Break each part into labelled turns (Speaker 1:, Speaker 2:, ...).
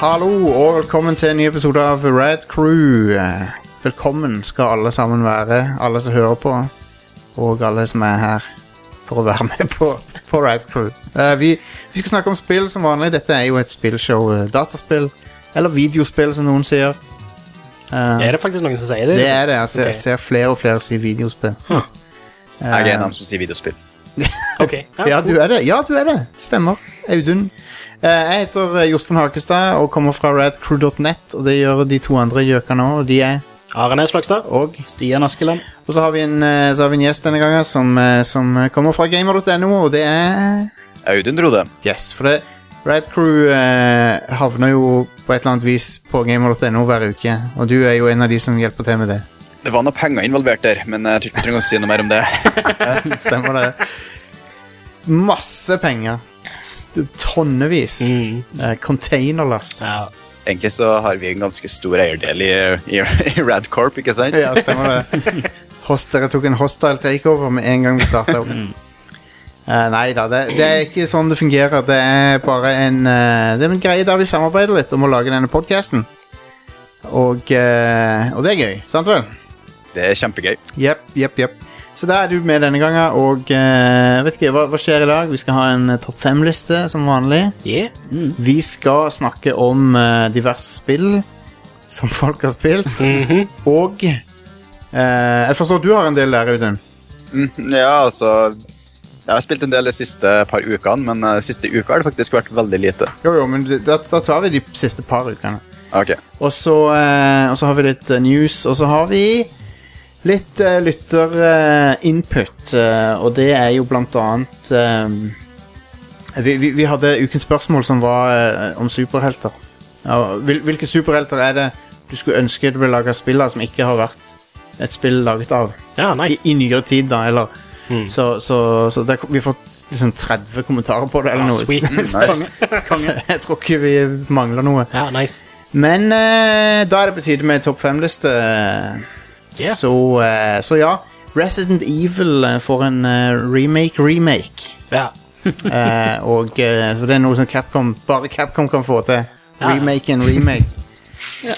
Speaker 1: Hallo og velkommen til en ny episode av Red Crew. Eh, Velkommen skal alle sammen være, alle som hører på, og alle som er her for å være med på, på Red Crew. Eh, Vi, vi skal snakke om spill som vanlig. Dette er jo et spillshow. eh, Dataspill, eller videospill, som noen sier. Eh,
Speaker 2: Er det faktisk noen som sier det?
Speaker 1: Det er det. Jeg ser,
Speaker 2: Ok.
Speaker 1: ser flere og flere si videospill.
Speaker 2: Huh.
Speaker 1: Eh,
Speaker 3: Jeg er en av dem som sier videospill.
Speaker 2: Ok.
Speaker 1: Ja, du er det. Ja, du er det. Stemmer. Audun. Eh, Jeg heter eh, Jostein Hakestad og kommer fra radcrew.net, og det gjør de to andre gjøkene òg, og de er
Speaker 2: Arenes Flakstad.
Speaker 1: og
Speaker 4: Stian Askeland.
Speaker 1: Og så har vi en, eh, så har vi en gjest denne gangen som, eh, som kommer fra gamer.no, og det er
Speaker 3: Audun dro det.
Speaker 1: Yes, for det Radcrew eh, havner jo på et eller annet vis på gamer.no hver uke, og du er jo en av de som hjelper til med det.
Speaker 3: Det var noe penger involvert der, men jeg tror ikke vi trenger å si noe mer om det.
Speaker 1: Stemmer det? Masse penger. St- Tonnevis.
Speaker 2: Mm.
Speaker 1: Eh, containerlass.
Speaker 2: Ja.
Speaker 3: Egentlig så har vi en ganske stor eierdel i, i, i Radcorp, ikke sant?
Speaker 1: Ja, stemmer det. Host, dere tok en hostile takeover med en gang vi starta. Eh, nei da, det, det er ikke sånn det fungerer. Det er bare en, eh, det er en greie der vi samarbeider litt om å lage denne podkasten. Og, eh, og det er gøy, sant vel?
Speaker 3: Det er kjempegøy.
Speaker 1: Jepp, jepp, jepp. Så der er du med denne gangen, og eh, vet ikke, hva, hva skjer i dag? Vi skal ha en eh, topp fem-liste som vanlig.
Speaker 2: Yeah.
Speaker 1: Vi skal snakke om eh, diverse spill som folk har spilt.
Speaker 2: Mhm.
Speaker 1: Og eh, Jeg forstår du har en del der, Audun.
Speaker 3: Mm, ja, altså Jeg har spilt en del de siste par ukene, men eh, siste uka har det faktisk vært veldig lite.
Speaker 1: Jo, jo, men det- da, da tar vi de siste par ukene.
Speaker 3: Ok.
Speaker 1: Og så, eh, og så har vi litt eh, news, og så har vi litt eh, lytterinput. Eh, og det er jo blant annet eh, vi, vi, vi hadde ukens spørsmål som var eh, om superhelter. Ja, hvil, hvilke superhelter er det du skulle ønske det ble laga spill av som ikke har vært et spill laget av?
Speaker 2: ja,
Speaker 1: i,
Speaker 2: nice.
Speaker 1: i nyere tid, da. Eller,
Speaker 2: Mm.
Speaker 1: Så, så, så der, vi har fått liksom 30 kommentarer på det, eller
Speaker 2: Ah,
Speaker 1: noe.
Speaker 2: sweet.
Speaker 3: Nice.
Speaker 1: Så jeg tror ikke vi mangler noe.
Speaker 2: Ja, nice.
Speaker 1: Men eh, da er det på tide med topp fem-liste.
Speaker 2: Yeah.
Speaker 1: Så, eh, så ja. Resident Evil eh, får en remake-remake.
Speaker 2: Ja.
Speaker 1: og eh, så det er noe som Capcom, bare Capcom kan få til.
Speaker 2: Ja.
Speaker 1: Remake and remake.
Speaker 2: Det,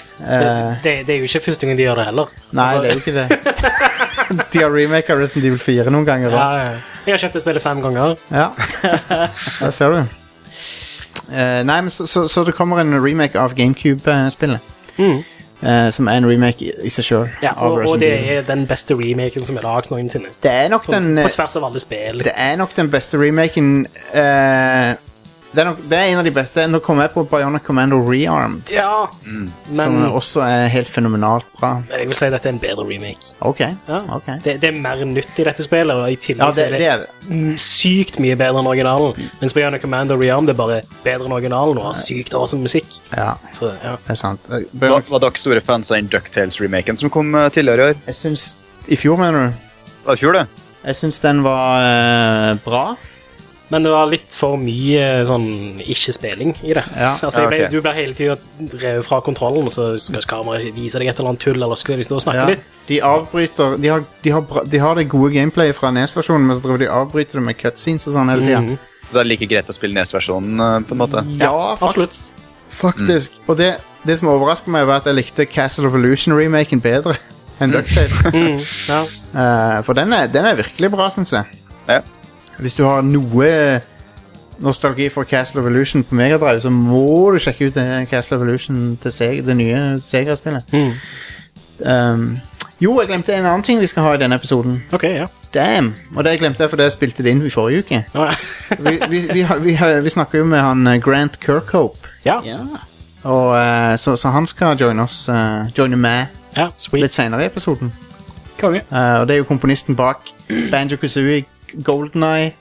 Speaker 2: det, det er jo ikke første gang de gjør det heller.
Speaker 1: Eh. Nei,
Speaker 2: Altså,
Speaker 1: det er jo ikke det. De har remaka Resident Evil 4 noen ganger. da.
Speaker 2: ja, ja. Jeg har kjøpt det spillet fem ganger.
Speaker 1: Ja, der ser du. Eh, nei, men så, så, så det kommer en remake av GameCube-spillet.
Speaker 2: Mm.
Speaker 1: eh, som er en remake i, i seg sjøl.
Speaker 2: Ja, og, og det er den beste remaken som er lagd noensinne.
Speaker 1: det er nok den
Speaker 2: På
Speaker 1: eh,
Speaker 2: tvers av alle spill.
Speaker 1: Det er nok den beste remaken eh, det, er nok, det er en av de beste. Nå kom jeg på Bionic Commando Rearmed,
Speaker 2: Ja,
Speaker 4: Mm.
Speaker 1: som
Speaker 2: men,
Speaker 1: også er helt fenomenalt bra.
Speaker 2: men jeg vil si at dette er en bedre remake.
Speaker 1: Ok.
Speaker 2: Ja.
Speaker 1: ok.
Speaker 2: Det, det er mer nytt i dette spillet, og i tillegg
Speaker 1: Ja,
Speaker 2: så
Speaker 1: det, det er det.
Speaker 2: mm, sykt mye bedre enn originalen. Mens Bionic Commando Rearm det er bare bedre enn originalen og har sykt awesome musikk.
Speaker 1: Ja,
Speaker 2: Så, ja.
Speaker 1: det er sant. Eh,
Speaker 3: Var,
Speaker 1: Bionic,
Speaker 3: var dere store fans av den Ducktales-remaken som kom eh, tidligere i år?
Speaker 1: jeg syns I fjor, mener du?
Speaker 3: Var det i fjor, det?
Speaker 1: Jeg syns den var eh, bra.
Speaker 2: Men det var litt for mye sånn ikke-spilling i det.
Speaker 1: Ja,
Speaker 2: altså, jeg ble,
Speaker 3: ja, ok.
Speaker 2: Du ble hele tida revet fra kontrollen, og så skal ikke kameraet vise deg et eller annet tull, eller skal de stå og snakke
Speaker 1: Ja.
Speaker 2: litt?
Speaker 1: De avbryter de har, de, har bra, de har det gode gameplayet fra NES-versjonen, men så driver de og avbryter det med cutscenes og sånn hele tida.
Speaker 2: Mhm.
Speaker 3: Så det er like greit å spille NES-versjonen, eh, på en måte?
Speaker 1: Ja, fak
Speaker 2: Absolutt.
Speaker 1: faktisk. Og det, det som overrasker meg, var at jeg likte Castle of Illusion-remaken bedre enn DuckTales.
Speaker 2: Mm, ja.
Speaker 1: Eh, for den er, den er virkelig bra, syns jeg.
Speaker 3: Ja.
Speaker 1: Hvis du har noe nostalgi for Castle of Illusion på Megadrive, så må du sjekke ut det Castle of Illusion til Sega, det nye Sega-spillet.
Speaker 2: Mm.
Speaker 1: Um, jo, jeg glemte en annen ting vi skal ha i denne episoden.
Speaker 2: OK, ja.
Speaker 1: Damn! Og det glemte jeg fordi jeg spilte det inn i forrige uke.
Speaker 2: Ja,
Speaker 1: vi, vi, vi, har- vi, har- vi snakker jo med han eh, Grant Kirkhope,
Speaker 2: ja.
Speaker 4: Ja.
Speaker 1: og, eh, så, så han skal joine oss eh, Joine meg
Speaker 2: ja. Sweet.
Speaker 1: litt senere i episoden.
Speaker 4: Konge.
Speaker 1: Eh, og det er jo komponisten bak Banjo Kazooie, Golden Eye,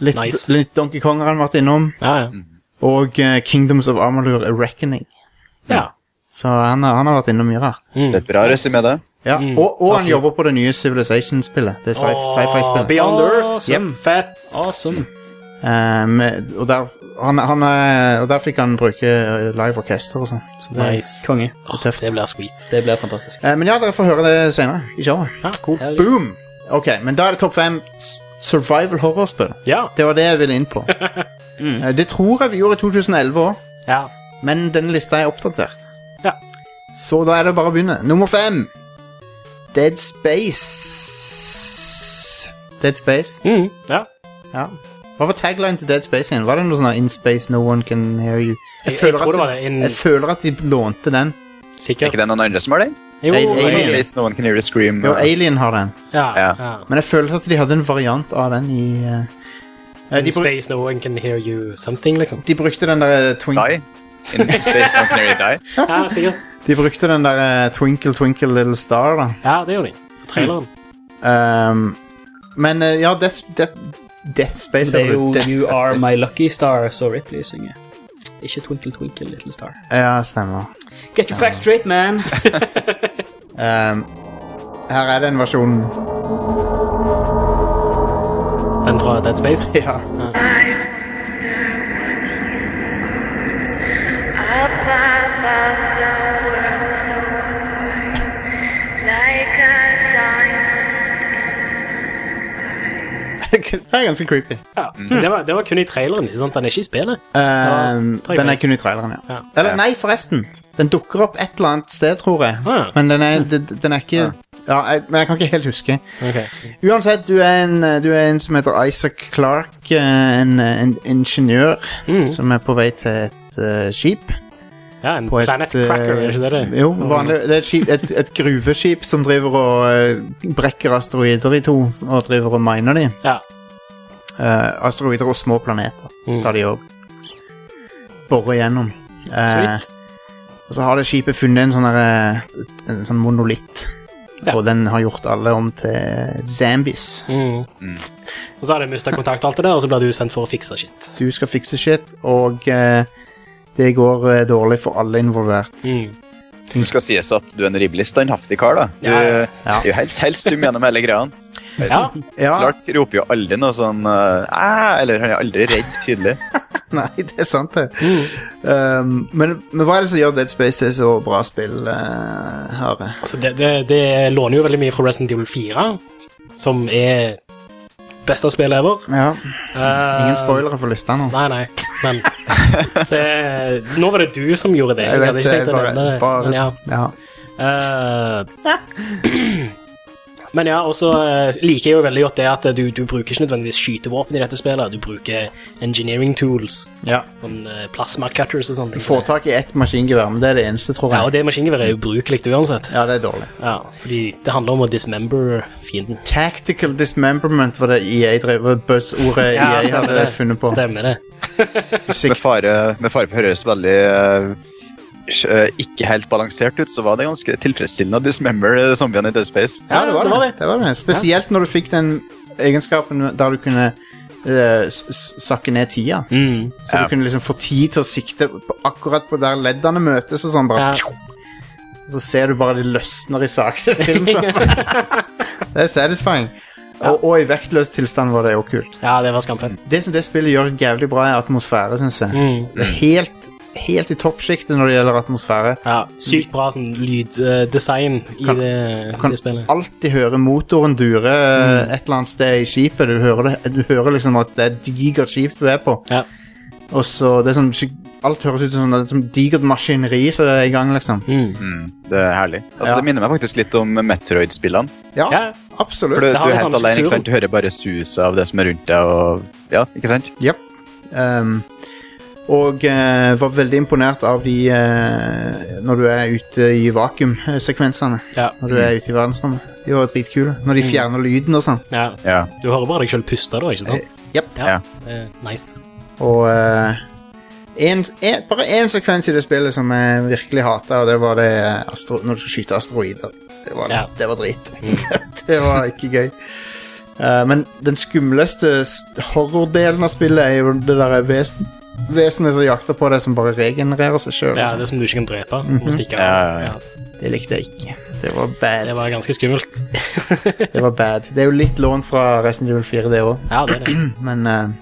Speaker 1: litt,
Speaker 2: Nice.
Speaker 1: litt Donkey Kong har han vært innom,
Speaker 2: Ja, ja.
Speaker 1: og eh, Kingdoms of Amalur Reckoning.
Speaker 2: ja.
Speaker 1: Så han, har- han har vært innom mye rart.
Speaker 3: Det er et bra resymé, det.
Speaker 1: Ja, og, og han jobber på det nye Civilization-spillet. Det er sci-
Speaker 2: Mm. Åh,
Speaker 1: sci-fi-spillet.
Speaker 2: Beyond Earth.
Speaker 4: Awesome.
Speaker 2: Fett.
Speaker 4: Awesome.
Speaker 1: Eh, med- og, der- han- han, eh, og der fikk han bruke eh, live orkester og sånn. Så det er
Speaker 2: Nice.
Speaker 4: Konge.
Speaker 2: Åh,
Speaker 1: tøft.
Speaker 2: det blir sweet.
Speaker 4: Det blir fantastisk.
Speaker 1: Eh, Men ja, dere får høre det senere i showet.
Speaker 2: Ja, cool.
Speaker 1: Boom! Ok, men da er det topp fem s- survival horror-spill.
Speaker 2: Ja.
Speaker 1: Mm.
Speaker 2: Mm.
Speaker 1: Det var det jeg ville inn på. Eh, Det tror jeg vi gjorde i 2011 òg.
Speaker 2: ja.
Speaker 1: Men denne lista er oppdatert.
Speaker 2: Ja.
Speaker 1: Så da er det bare å begynne. Nummer fem. Dead Space. Dead Space.
Speaker 2: Mm, ja.
Speaker 1: Ja. Hva var tagline til Dead Space igjen? Var det noe sånn her, In space no one can hear you?
Speaker 2: Jeg, jeg tror det
Speaker 1: at
Speaker 2: var en
Speaker 1: jeg føler at de lånte den.
Speaker 3: Er
Speaker 2: sikkert
Speaker 3: ikke det noen andre som har den?
Speaker 2: Jo,
Speaker 1: Alien.
Speaker 2: jeg-
Speaker 1: Alien.
Speaker 3: Hvis noen kan hear you scream.
Speaker 1: Jo, Alien har den.
Speaker 2: Ja,
Speaker 3: Ja.
Speaker 2: ja.
Speaker 1: Men jeg føler at de hadde en variant av den i eh, eh, de,
Speaker 2: In
Speaker 1: bru
Speaker 2: space, no one can hear you something, liksom.
Speaker 1: de brukte den der eh, twink
Speaker 3: Die. In space, noen can hear you die.
Speaker 2: Ja, sikkert.
Speaker 1: De brukte den der eh, Twinkle Twinkle Little Star, da.
Speaker 2: Ja, det gjør de. På traileren.
Speaker 4: Mm.
Speaker 1: Ehm, men eh, ja, Death, Death, Death Space
Speaker 4: Det er
Speaker 1: eller
Speaker 4: jo
Speaker 1: Death-
Speaker 4: You
Speaker 1: Death
Speaker 4: Are
Speaker 1: Space.
Speaker 4: My Lucky Star, så Ripley synger. Ikke Twinkle Twinkle Little Star.
Speaker 1: Ja, stemmer.
Speaker 4: Get your facts straight, man!
Speaker 1: Ehm, her er den versjonen.
Speaker 2: Den fra Dead Space.
Speaker 1: Ja. det er ganske creepy.
Speaker 2: Ja. Men Det, var, det var kun i traileren, ikke sant? Den er ikke i spillet.
Speaker 1: Ehm,
Speaker 2: tar jeg
Speaker 1: den er
Speaker 2: feil.
Speaker 1: kun i traileren, ja.
Speaker 2: Ja.
Speaker 1: Eller
Speaker 3: Ja.
Speaker 1: nei, forresten. Den dukker opp et eller annet sted, tror jeg.
Speaker 2: Ah, ja.
Speaker 1: Men den er, den, den er ikke ja, jeg, Men jeg kan ikke helt huske.
Speaker 2: Ok.
Speaker 1: Uansett, du er en, eh, du er en som heter Isaac Clark, eh, en, en ingeniør
Speaker 2: Mm.
Speaker 1: som er på vei til et eh, skip.
Speaker 2: Ja, en
Speaker 1: På et, eh,
Speaker 2: Planet Cracker, er ikke det det?
Speaker 4: eh,
Speaker 1: Jo, vanlig, det er et, skip, et, et gruveskip som driver og eh, brekker asteroider i to, og driver og miner de.
Speaker 2: Ja.
Speaker 1: Eh, asteroider og små planeter
Speaker 2: Mm.
Speaker 1: tar de og borer gjennom. Eh,
Speaker 2: Sweet.
Speaker 1: og så har det skipet funnet en sånn der, eh, en sånn monolitt,
Speaker 2: Ja.
Speaker 1: og den har gjort alle om til zombies.
Speaker 2: Mm. Og så har de mista kontakt, og alt det der, og så blir du sendt for å fikse shit.
Speaker 1: Du skal fikse shit, og eh, det går eh, dårlig for alle involvert.
Speaker 2: Mm.
Speaker 3: Det skal sies at du er en rimelig standhaftig kar, da. Du
Speaker 2: Ja, ja.
Speaker 1: Ja.
Speaker 3: er jo helt, helt stum gjennom hele greia.
Speaker 2: Ja.
Speaker 1: Ja,
Speaker 3: Clark roper jo aldri noe sånn eh, «Æ», Eller han er aldri redd, tydelig.
Speaker 1: nei, det er sant, det.
Speaker 2: Mm.
Speaker 1: Um, men, men hva er det som gjør Dead Space til så bra spill, eh, Are?
Speaker 2: Altså, det, det, det låner jo veldig mye fra Resident Evil 4, som er beste spill ever.
Speaker 1: Ja,
Speaker 2: Eh,
Speaker 1: ingen spoilere for lista nå.
Speaker 2: Nei, nei, men det, Nå var det du som gjorde det.
Speaker 1: Jeg
Speaker 2: Jeg, hadde
Speaker 1: vet
Speaker 2: ikke
Speaker 1: det,
Speaker 2: tenkt å
Speaker 1: bare,
Speaker 2: nevne det.
Speaker 1: bare
Speaker 2: Men ja,
Speaker 1: ja.
Speaker 2: eh, men ja, og så eh, liker jeg jo veldig godt det at du, du bruker ikke nødvendigvis skytevåpen i dette spillet. Du bruker engineering tools,
Speaker 1: ja.
Speaker 2: sånn eh, plasma cutters og sånne ting.
Speaker 1: Få tak i ett maskingevær, men det er det eneste, tror
Speaker 2: Ja, og
Speaker 1: jeg.
Speaker 2: det maskingeværet er ubrukelig uansett.
Speaker 1: Ja, det er dårlig.
Speaker 2: Ja, fordi det handler om å dismember fienden.
Speaker 1: Tactical dismemberment var det EA drev var Buzzordet
Speaker 2: Ja,
Speaker 1: EA
Speaker 2: stemmer
Speaker 1: hadde
Speaker 2: det.
Speaker 1: funnet på.
Speaker 2: Stemmer det.
Speaker 3: Med fare, med fare for å høres veldig eh, sj- eh, ikke helt balansert ut, så var det ganske tilfredsstillende å dismember eh, zombiene i Dead Space.
Speaker 1: Ja, det var
Speaker 2: Ja, det var
Speaker 1: det.
Speaker 2: det.
Speaker 1: det, var det. Spesielt når du fikk den egenskapen der du kunne eh, s- s- sakke ned tida.
Speaker 2: Mm.
Speaker 1: Så
Speaker 3: Ja.
Speaker 1: du kunne liksom få tid til å sikte på akkurat på der leddene møtes og sånn.
Speaker 2: Ja.
Speaker 1: bare Så ser du bare de løsner i sakte film. sånn. det er satisfying. Og, og i vektløs tilstand var det jo kult.
Speaker 2: ja, det var skamfett.
Speaker 1: Det som det spillet gjør jævlig bra, er atmosfære, syns jeg.
Speaker 2: Mm.
Speaker 1: Det er helt, helt i toppsjiktet når det gjelder atmosfære.
Speaker 2: Ja, sykt bra sånn lyddesign i
Speaker 1: Kan-
Speaker 2: det,
Speaker 1: Du kan
Speaker 2: det spillet.
Speaker 1: alltid høre motoren dure eh, et eller annet sted i skipet. Du hører, det, du hører liksom at det er et digert skip du er på.
Speaker 2: Ja.
Speaker 1: Og så det er sånn, skik- Alt høres ut som, sånn, som digert maskineri som er i gang, liksom.
Speaker 2: Mm.
Speaker 3: Det er herlig. Altså,
Speaker 1: Ja.
Speaker 3: Det minner meg faktisk litt om Metroid-spillene.
Speaker 1: Ja,
Speaker 2: Ja.
Speaker 3: For
Speaker 1: absolutt.
Speaker 3: du,
Speaker 2: Det
Speaker 3: du
Speaker 2: har
Speaker 3: er
Speaker 2: litt
Speaker 3: helt
Speaker 2: samme
Speaker 3: alene,
Speaker 2: struktur.
Speaker 3: ikke sant? Du hører bare suset av det som er rundt deg, og Ja, ikke sant?
Speaker 1: Jep. Ehm, og eh, var veldig imponert av de eh, Når du er ute i vakuumsekvensene.
Speaker 2: Ja.
Speaker 1: Når du er ute i verdensrommet. De var dritkule. Når de fjerner lyden og sånn.
Speaker 2: ja.
Speaker 3: Ja.
Speaker 2: Du hører bare deg sjøl puste, da, ikke sant?
Speaker 1: Jep.
Speaker 2: Ja.
Speaker 3: Ja.
Speaker 2: Eh, nice.
Speaker 1: Og eh, en, en, bare én sekvens i det spillet som jeg virkelig hata, og det var det astro når du skulle skyte asteroider. Det var,
Speaker 2: Ja. Mm.
Speaker 1: det var drit. det var ikke gøy. Eh, men den skumleste s- horrordelen av spillet er jo det der vesen, vesenet som jakter på deg, som bare regenererer seg sjøl.
Speaker 2: Ja, det som du ikke kan drepe. Du må stikke av.
Speaker 3: Ja, ja, ja.
Speaker 1: Det likte jeg ikke. Det var bad.
Speaker 2: Det var ganske skummelt.
Speaker 1: Det var bad. Det er jo litt lånt fra Resident Evil 4, det òg,
Speaker 2: Ja, det er det.
Speaker 1: men eh,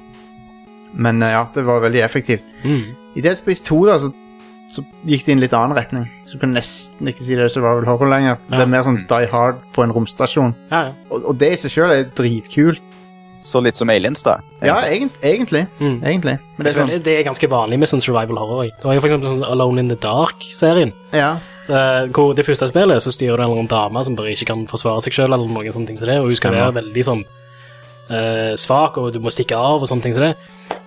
Speaker 1: Men eh, ja, det var veldig effektivt.
Speaker 2: Mm.
Speaker 1: I Dead Space 2 da, så, så gikk det i en litt annen retning. Så du kan nesten ikke si det er survival horror lenger. Det
Speaker 2: Ja.
Speaker 1: er mer sånn Die Hard på en romstasjon.
Speaker 2: Ja, ja.
Speaker 1: Og, og det i seg sjøl er dritkult.
Speaker 3: Så litt som aliens, da.
Speaker 1: Ja, egent, egentlig.
Speaker 2: Mm.
Speaker 1: Egentlig. Men det
Speaker 2: Det
Speaker 1: er sånn
Speaker 2: er, det er ganske vanlig med sånn survival horror. Det var jo for eksempel sånn Alone in the Dark-serien.
Speaker 1: Ja.
Speaker 2: Så, eh, Hvor det første spillet så styrer du en eller annen dame som bare ikke kan forsvare seg selv eller noen sånne ting som det, og hun skal
Speaker 1: Stemmer.
Speaker 2: være veldig sånn eh, svak, og du må stikke av og sånne ting som det.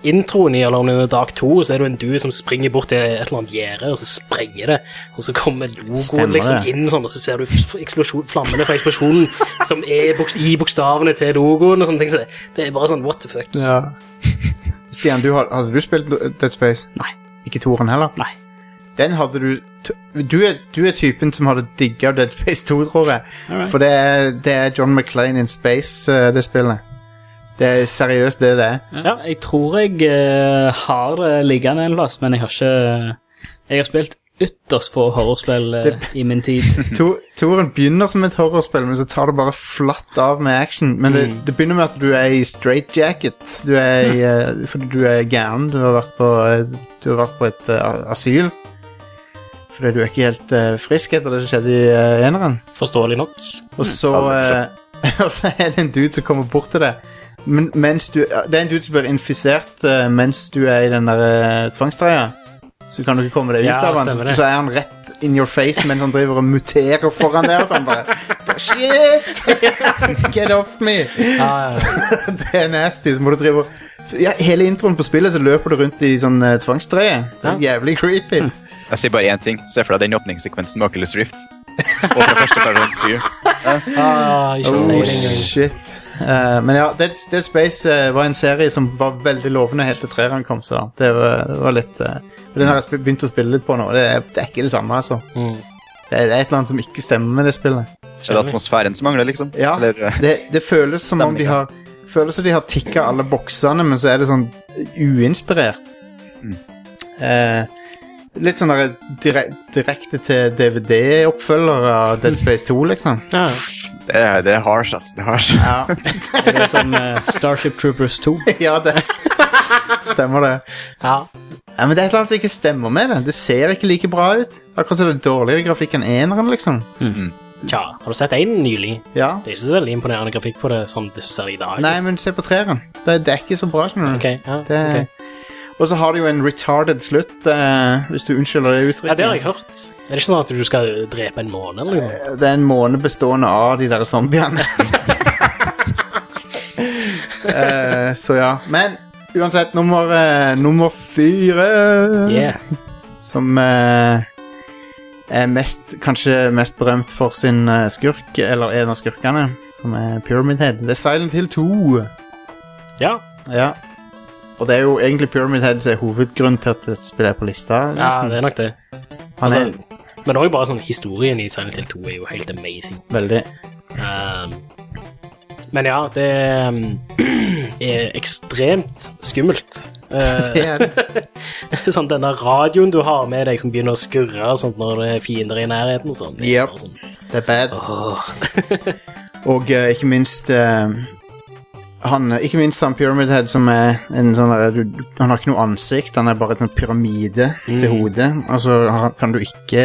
Speaker 2: Introen i Alone in the Dark 2, så er det jo en dude som springer bort til et eller annet gjerde, og så sprenger det, og så kommer logoen
Speaker 1: Stemmer
Speaker 2: liksom
Speaker 1: det.
Speaker 2: inn sånn, og så ser du f- eksplosjon, flammene fra eksplosjonen som er bok i bokstavene til logoen og sånne ting som det. Det er bare sånn, what the fuck.
Speaker 1: ja. Stian, du, har- hadde du spilt Dead Space?
Speaker 2: Nei.
Speaker 1: Ikke toeren heller?
Speaker 2: Nei.
Speaker 1: Den hadde du t- Du er, du er typen som hadde digga Dead Space 2, tror jeg.
Speaker 2: Alright.
Speaker 1: For det er, det er John McClain in space, eh, det spillet. Det er seriøst, det det er.
Speaker 4: Ja, jeg tror jeg eh, har det liggende en plass, men jeg har
Speaker 2: eh,
Speaker 4: ikke Jeg har spilt ytterst få horrorspill eh, i min tid.
Speaker 1: To- Toeren begynner som et horrorspill, men så tar det bare flatt av med action. Men det, det begynner med at du er i straight jacket. Du er i, eh, fordi du er gæren. Du har vært på, eh, du har vært på et eh, asyl. Fordi du er ikke helt eh, frisk etter det som skjedde i eh, eneren.
Speaker 2: Forståelig nok.
Speaker 1: Og
Speaker 2: Mm.
Speaker 1: så,
Speaker 3: Ja,
Speaker 1: eh, og så er det en dude som kommer bort til deg. Men, mens du, det er en dude som blir infisert eh, mens du er i den der eh, tvangstrøya. Så kan du ikke komme deg ut
Speaker 2: Ja,
Speaker 1: av han. Så,
Speaker 2: stemmer det.
Speaker 1: så er han rett in your face mens han driver og muterer foran deg. Og sånn bare Shit! Get off me!
Speaker 2: Ja, ja, ja.
Speaker 1: Det er nasty. Så må du drive og ja, Hele introen på spillet så løper du rundt i sånn eh, tvangstrøye. Det er jævlig creepy.
Speaker 3: Jeg sier bare én ting. Se for deg den åpningssekvensen med Oculus Rift. Og fra første person syv.
Speaker 2: Ah, ikke si det
Speaker 1: Oh,
Speaker 2: engang.
Speaker 1: shit. Eh, men ja, Dead, Dead Space eh, var en serie som var veldig lovende helt til treeren kom, så det var, det var litt eh, Den har jeg sp- begynt å spille litt på nå. Det, er- det er ikke det samme, altså.
Speaker 2: Mm.
Speaker 1: Det er, det er et eller annet som ikke stemmer med det spillet.
Speaker 3: Er det atmosfæren som mangler, liksom?
Speaker 1: Ja,
Speaker 3: Eller, eh,
Speaker 1: Det, det føles som om de har Føles som de har tikka alle boksene, men så er det sånn uinspirert. Eh, litt sånn der dire, direkte til DVD-oppfølger av Dead Space 2, liksom.
Speaker 2: Ja.
Speaker 3: det, er, det er harsh, ass. Det er harsh.
Speaker 1: Ja.
Speaker 4: Det er
Speaker 1: sånn,
Speaker 4: som eh, Starship Troopers 2.
Speaker 1: ja, det stemmer, det.
Speaker 2: ja.
Speaker 1: Ja, men Det er et eller annet som ikke stemmer med det. Det ser ikke like bra ut. Akkurat som det er dårligere grafikk enn eneren, liksom.
Speaker 2: Tja, har du sett én nylig?
Speaker 1: Ja.
Speaker 2: Det er ikke så veldig imponerende grafikk på det som det ser i dag.
Speaker 1: Nei, men se på treeren. Det, det er ikke så bra, skjønner du.
Speaker 2: Ok, ja,
Speaker 1: Det...
Speaker 2: ok.
Speaker 1: Og så har det jo en retarded slutt, eh, hvis du unnskylder det uttrykket. Eh,
Speaker 2: ja, det har jeg hørt. Er det ikke sånn at du skal drepe en måned eller noe?
Speaker 1: Det er en måned bestående av de der zombiene. Eh, så ja. Men uansett, nummer, eh, nummer fire
Speaker 2: Yeah.
Speaker 1: som eh, er mest, kanskje mest berømt for sin eh, skurk, eller en av skurkene, som er Pyramid Head. Det er Silent Hill 2.
Speaker 2: Ja.
Speaker 1: Ja. Og det er jo egentlig Pyramid Head som er hovedgrunnen til at det spiller på lista.
Speaker 2: ja,
Speaker 1: nesten.
Speaker 2: det er nok det.
Speaker 1: Han er
Speaker 2: altså- Men òg bare sånn historien i Silent Hill 2 er jo helt amazing.
Speaker 1: veldig
Speaker 2: Um, men ja, det um, er ekstremt skummelt. Uh,
Speaker 1: Det er det.
Speaker 2: sånn denne radioen du har med deg som begynner å skurre og sånt når det er fiender i nærheten og sånn.
Speaker 1: Yep.
Speaker 2: Og sånn.
Speaker 1: Det er bad.
Speaker 2: Åh.
Speaker 1: Og eh, ikke minst eh, han, eh, Ikke minst han Pyramid Head som er en sånn der, du, du- Han har ikke noe ansikt, han er bare en pyramide til hodet. Altså, han, kan du ikke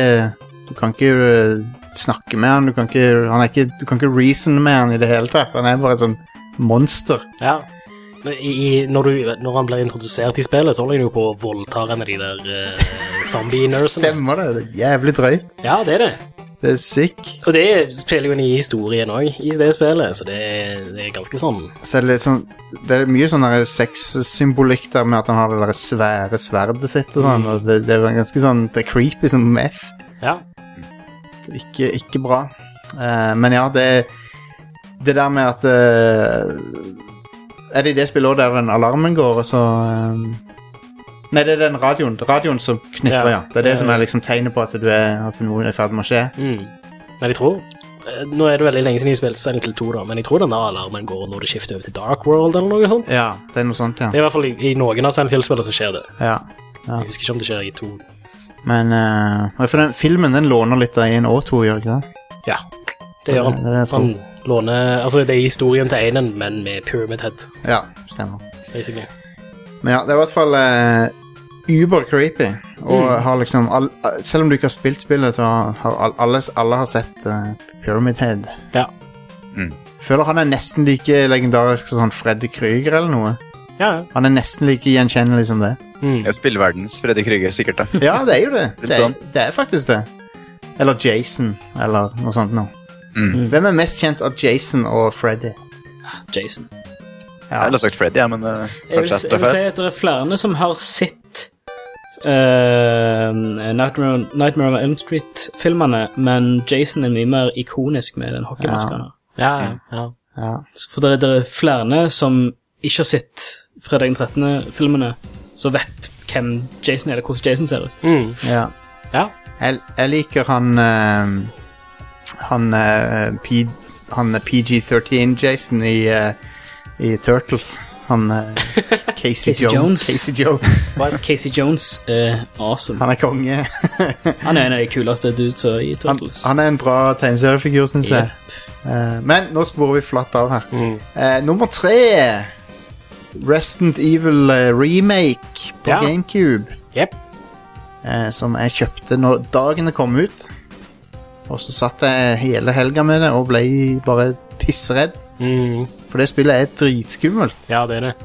Speaker 1: Du kan ikke eh, snakke med han, du kan ikke, han er ikke Du kan ikke reason med han i det hele tatt. Han er bare et sånn monster.
Speaker 2: Ja. Men I, i, når, du, når han blir introdusert i spillet, så holder han jo på å voldta en av de der eh, zombie-nursene.
Speaker 1: Stemmer det? det er jævlig drøyt.
Speaker 2: Ja, det er det.
Speaker 1: Det er sick.
Speaker 2: Og det spiller jo inn i historien òg, i det spillet, så det, er- det er ganske sånn
Speaker 1: Så er det, litt sånn, det er mye sånn der sexsymbolikk der med at han har det der svære sverdet sitt og sånn. Og det, det er ganske sånn Det er creepy som F.
Speaker 2: Ja.
Speaker 1: ikke, ikke bra. Eh, men ja, det Det der med at eh, Er det i det spillet òg der den alarmen går, og så eh, Nei, det er den radioen radioen som knitrer, ja.
Speaker 2: Ja.
Speaker 1: Det er det som er liksom tegnet på at, du er, at noe er i ferd med å skje.
Speaker 2: Mm. Men jeg tror eh, Nå er det veldig lenge siden jeg spilte Silent Hill 2, da, men jeg tror denne alarmen går når det skifter over til Dark World eller noe sånt.
Speaker 1: Ja, det er noe sånt, ja.
Speaker 2: Det er i hvert fall i, i noen av Silent Hill-spillene så skjer det.
Speaker 1: ja.
Speaker 2: Jeg husker ikke om det skjer i to.
Speaker 1: Men eh, For den filmen den låner litt av en og to, gjør ikke det?
Speaker 2: Ja, det gjør
Speaker 1: Det er det
Speaker 2: han.
Speaker 1: jeg tror.
Speaker 2: Han låner Altså, det er historien til Einen, men med Pyramid Head,
Speaker 1: Ja, stemmer.
Speaker 2: basically.
Speaker 1: Men ja, det er i hvert fall eh, uber creepy. Og har liksom all, Selv om du ikke har spilt spillet, så har all, alles, alle har sett eh, Pyramid Head.
Speaker 2: Ja.
Speaker 3: Mm.
Speaker 1: Føler han er nesten like legendarisk som sånn Freddy Krüger eller noe.
Speaker 2: Ja, ja.
Speaker 1: Han er nesten like gjenkjennelig som det.
Speaker 2: Mm.
Speaker 3: Jeg spiller verdens Freddy Krüger, sikkert. da.
Speaker 1: Ja, det er jo det.
Speaker 3: Litt
Speaker 1: Det er,
Speaker 3: sånn.
Speaker 1: det er faktisk det. Eller Jason, eller noe sånt noe.
Speaker 3: Mm.
Speaker 1: Hvem er mest kjent av Jason og Freddy?
Speaker 4: Jason.
Speaker 1: Ja,
Speaker 3: Jeg ville sagt Freddy, ja, men eh,
Speaker 4: Jeg vil,
Speaker 3: kanskje
Speaker 4: jeg vil si at det er flere som har sett eh, Nightmare, on- Nightmare on Elm Street-filmene, men Jason er mye mer ikonisk med den hockeymasken. han har.
Speaker 2: ja, ja, ja.
Speaker 1: ja.
Speaker 4: For det er, det er flere som ikke har sett Fredag den 13.-filmene, som vet hvem Jason er, eller hvordan Jason ser ut.
Speaker 2: Mm.
Speaker 1: ja.
Speaker 2: ja.
Speaker 1: Jeg, jeg liker han eh, Han, eh, P, han PG-13-Jason i, eh, i Turtles. Han eh, Casey,
Speaker 4: Casey
Speaker 1: Jones.
Speaker 4: Jones.
Speaker 1: Casey Jones.
Speaker 4: Casey Jones er awesome.
Speaker 1: Han er konge.
Speaker 4: Han er en av de kuleste dudesa i
Speaker 1: Han,
Speaker 4: Turtles.
Speaker 1: han er en bra tegneseriefigur, syns jeg. Eh, men nå sporer vi flatt av her.
Speaker 2: Mm.
Speaker 1: Eh, nummer tre Restant Evil eh, remake på
Speaker 2: Ja.
Speaker 1: GameCube.
Speaker 2: Jep.
Speaker 1: eh, som jeg kjøpte når dagen det kom ut. Og så satt jeg hele helga med det og ble bare pissredd.
Speaker 2: Mm.
Speaker 1: For det spillet er dritskummelt.
Speaker 2: Ja, det er det.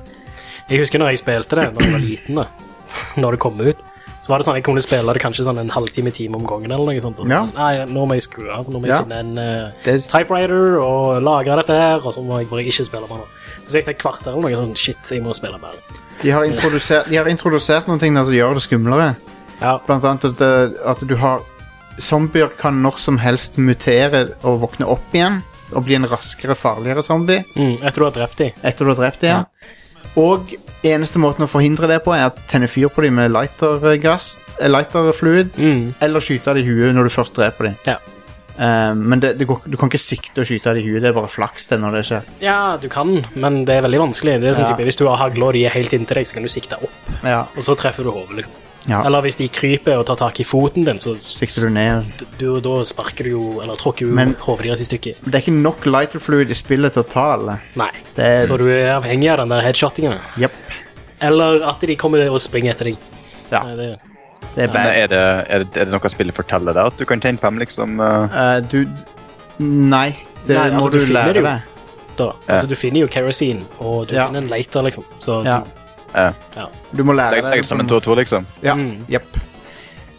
Speaker 2: Jeg husker når jeg spilte det da jeg var liten, da. Når det kom ut. Så var det sånn, Jeg kunne spille det kanskje sånn en halvtime time om gangen. eller noe sånt. Og
Speaker 1: Ja.
Speaker 2: sånn, Nei, nå må jeg skru av. Nå må jeg
Speaker 1: Ja.
Speaker 2: finne en eh,
Speaker 1: Det,
Speaker 2: typewriter og lagre dette her. Og så må jeg bare ikke spille mer nå. Så gikk det et kvarter eller noe sånn, shit, jeg må spille mer.
Speaker 1: de, har introdusert, de har introdusert noen ting der som gjør det skumlere.
Speaker 2: Ja.
Speaker 1: Blant annet at, eh, at du har Zombier kan når som helst mutere og våkne opp igjen. Og bli en raskere, farligere zombie
Speaker 2: Mm, etter du har drept dem.
Speaker 1: etter du har drept dem. Og eneste måten å forhindre det på, er å tenne fyr på dem med lightergass, eh, lighterfluid.
Speaker 2: Mm.
Speaker 1: Eller skyte av det i huet når du først dreper dem.
Speaker 2: Ja.
Speaker 1: Eh, men det, det går, du kan ikke sikte og skyte av det i huet, det er bare flaks det når det skjer.
Speaker 2: Ja, du kan, men det er veldig vanskelig. Det er sånn
Speaker 1: Ja.
Speaker 2: type, Hvis du har hagle og de er helt inntil deg, så kan du sikte opp,
Speaker 1: Ja,
Speaker 2: og så treffer du hodet. liksom.
Speaker 1: ja.
Speaker 2: Eller hvis de kryper og tar tak i foten din, så
Speaker 1: Sikter du ned.
Speaker 2: du, da sparker du jo, eller tråkker du
Speaker 1: Men-
Speaker 2: jo hodet deres i stykker.
Speaker 1: Det er ikke nok lighter fluid i spillet til å ta alle.
Speaker 2: Nei.
Speaker 1: Det er
Speaker 2: Så du er avhengig av den der headshotingen.
Speaker 1: Jepp.
Speaker 2: Eller at de kommer og springer etter deg.
Speaker 1: Ja.
Speaker 2: Nei, det-
Speaker 1: Det er
Speaker 3: Men eh,
Speaker 1: bad.
Speaker 3: er det, er, det, er det noe spillet forteller deg at du kan tjene på dem, liksom? eh,
Speaker 1: Eh, du Nei, det
Speaker 2: Nei, altså,
Speaker 1: må
Speaker 2: du
Speaker 1: du
Speaker 2: finner det
Speaker 1: lære
Speaker 2: jo.
Speaker 1: deg.
Speaker 2: da. Altså, du finner jo kerosin, og du
Speaker 1: Ja.
Speaker 2: finner en leiter, liksom. Så
Speaker 1: Ja.
Speaker 3: eh,
Speaker 1: Du må
Speaker 3: legg-
Speaker 1: lære
Speaker 3: Legg sammen
Speaker 1: deg.
Speaker 3: 2-2, liksom.
Speaker 1: Ja,
Speaker 2: Mm.
Speaker 1: jepp.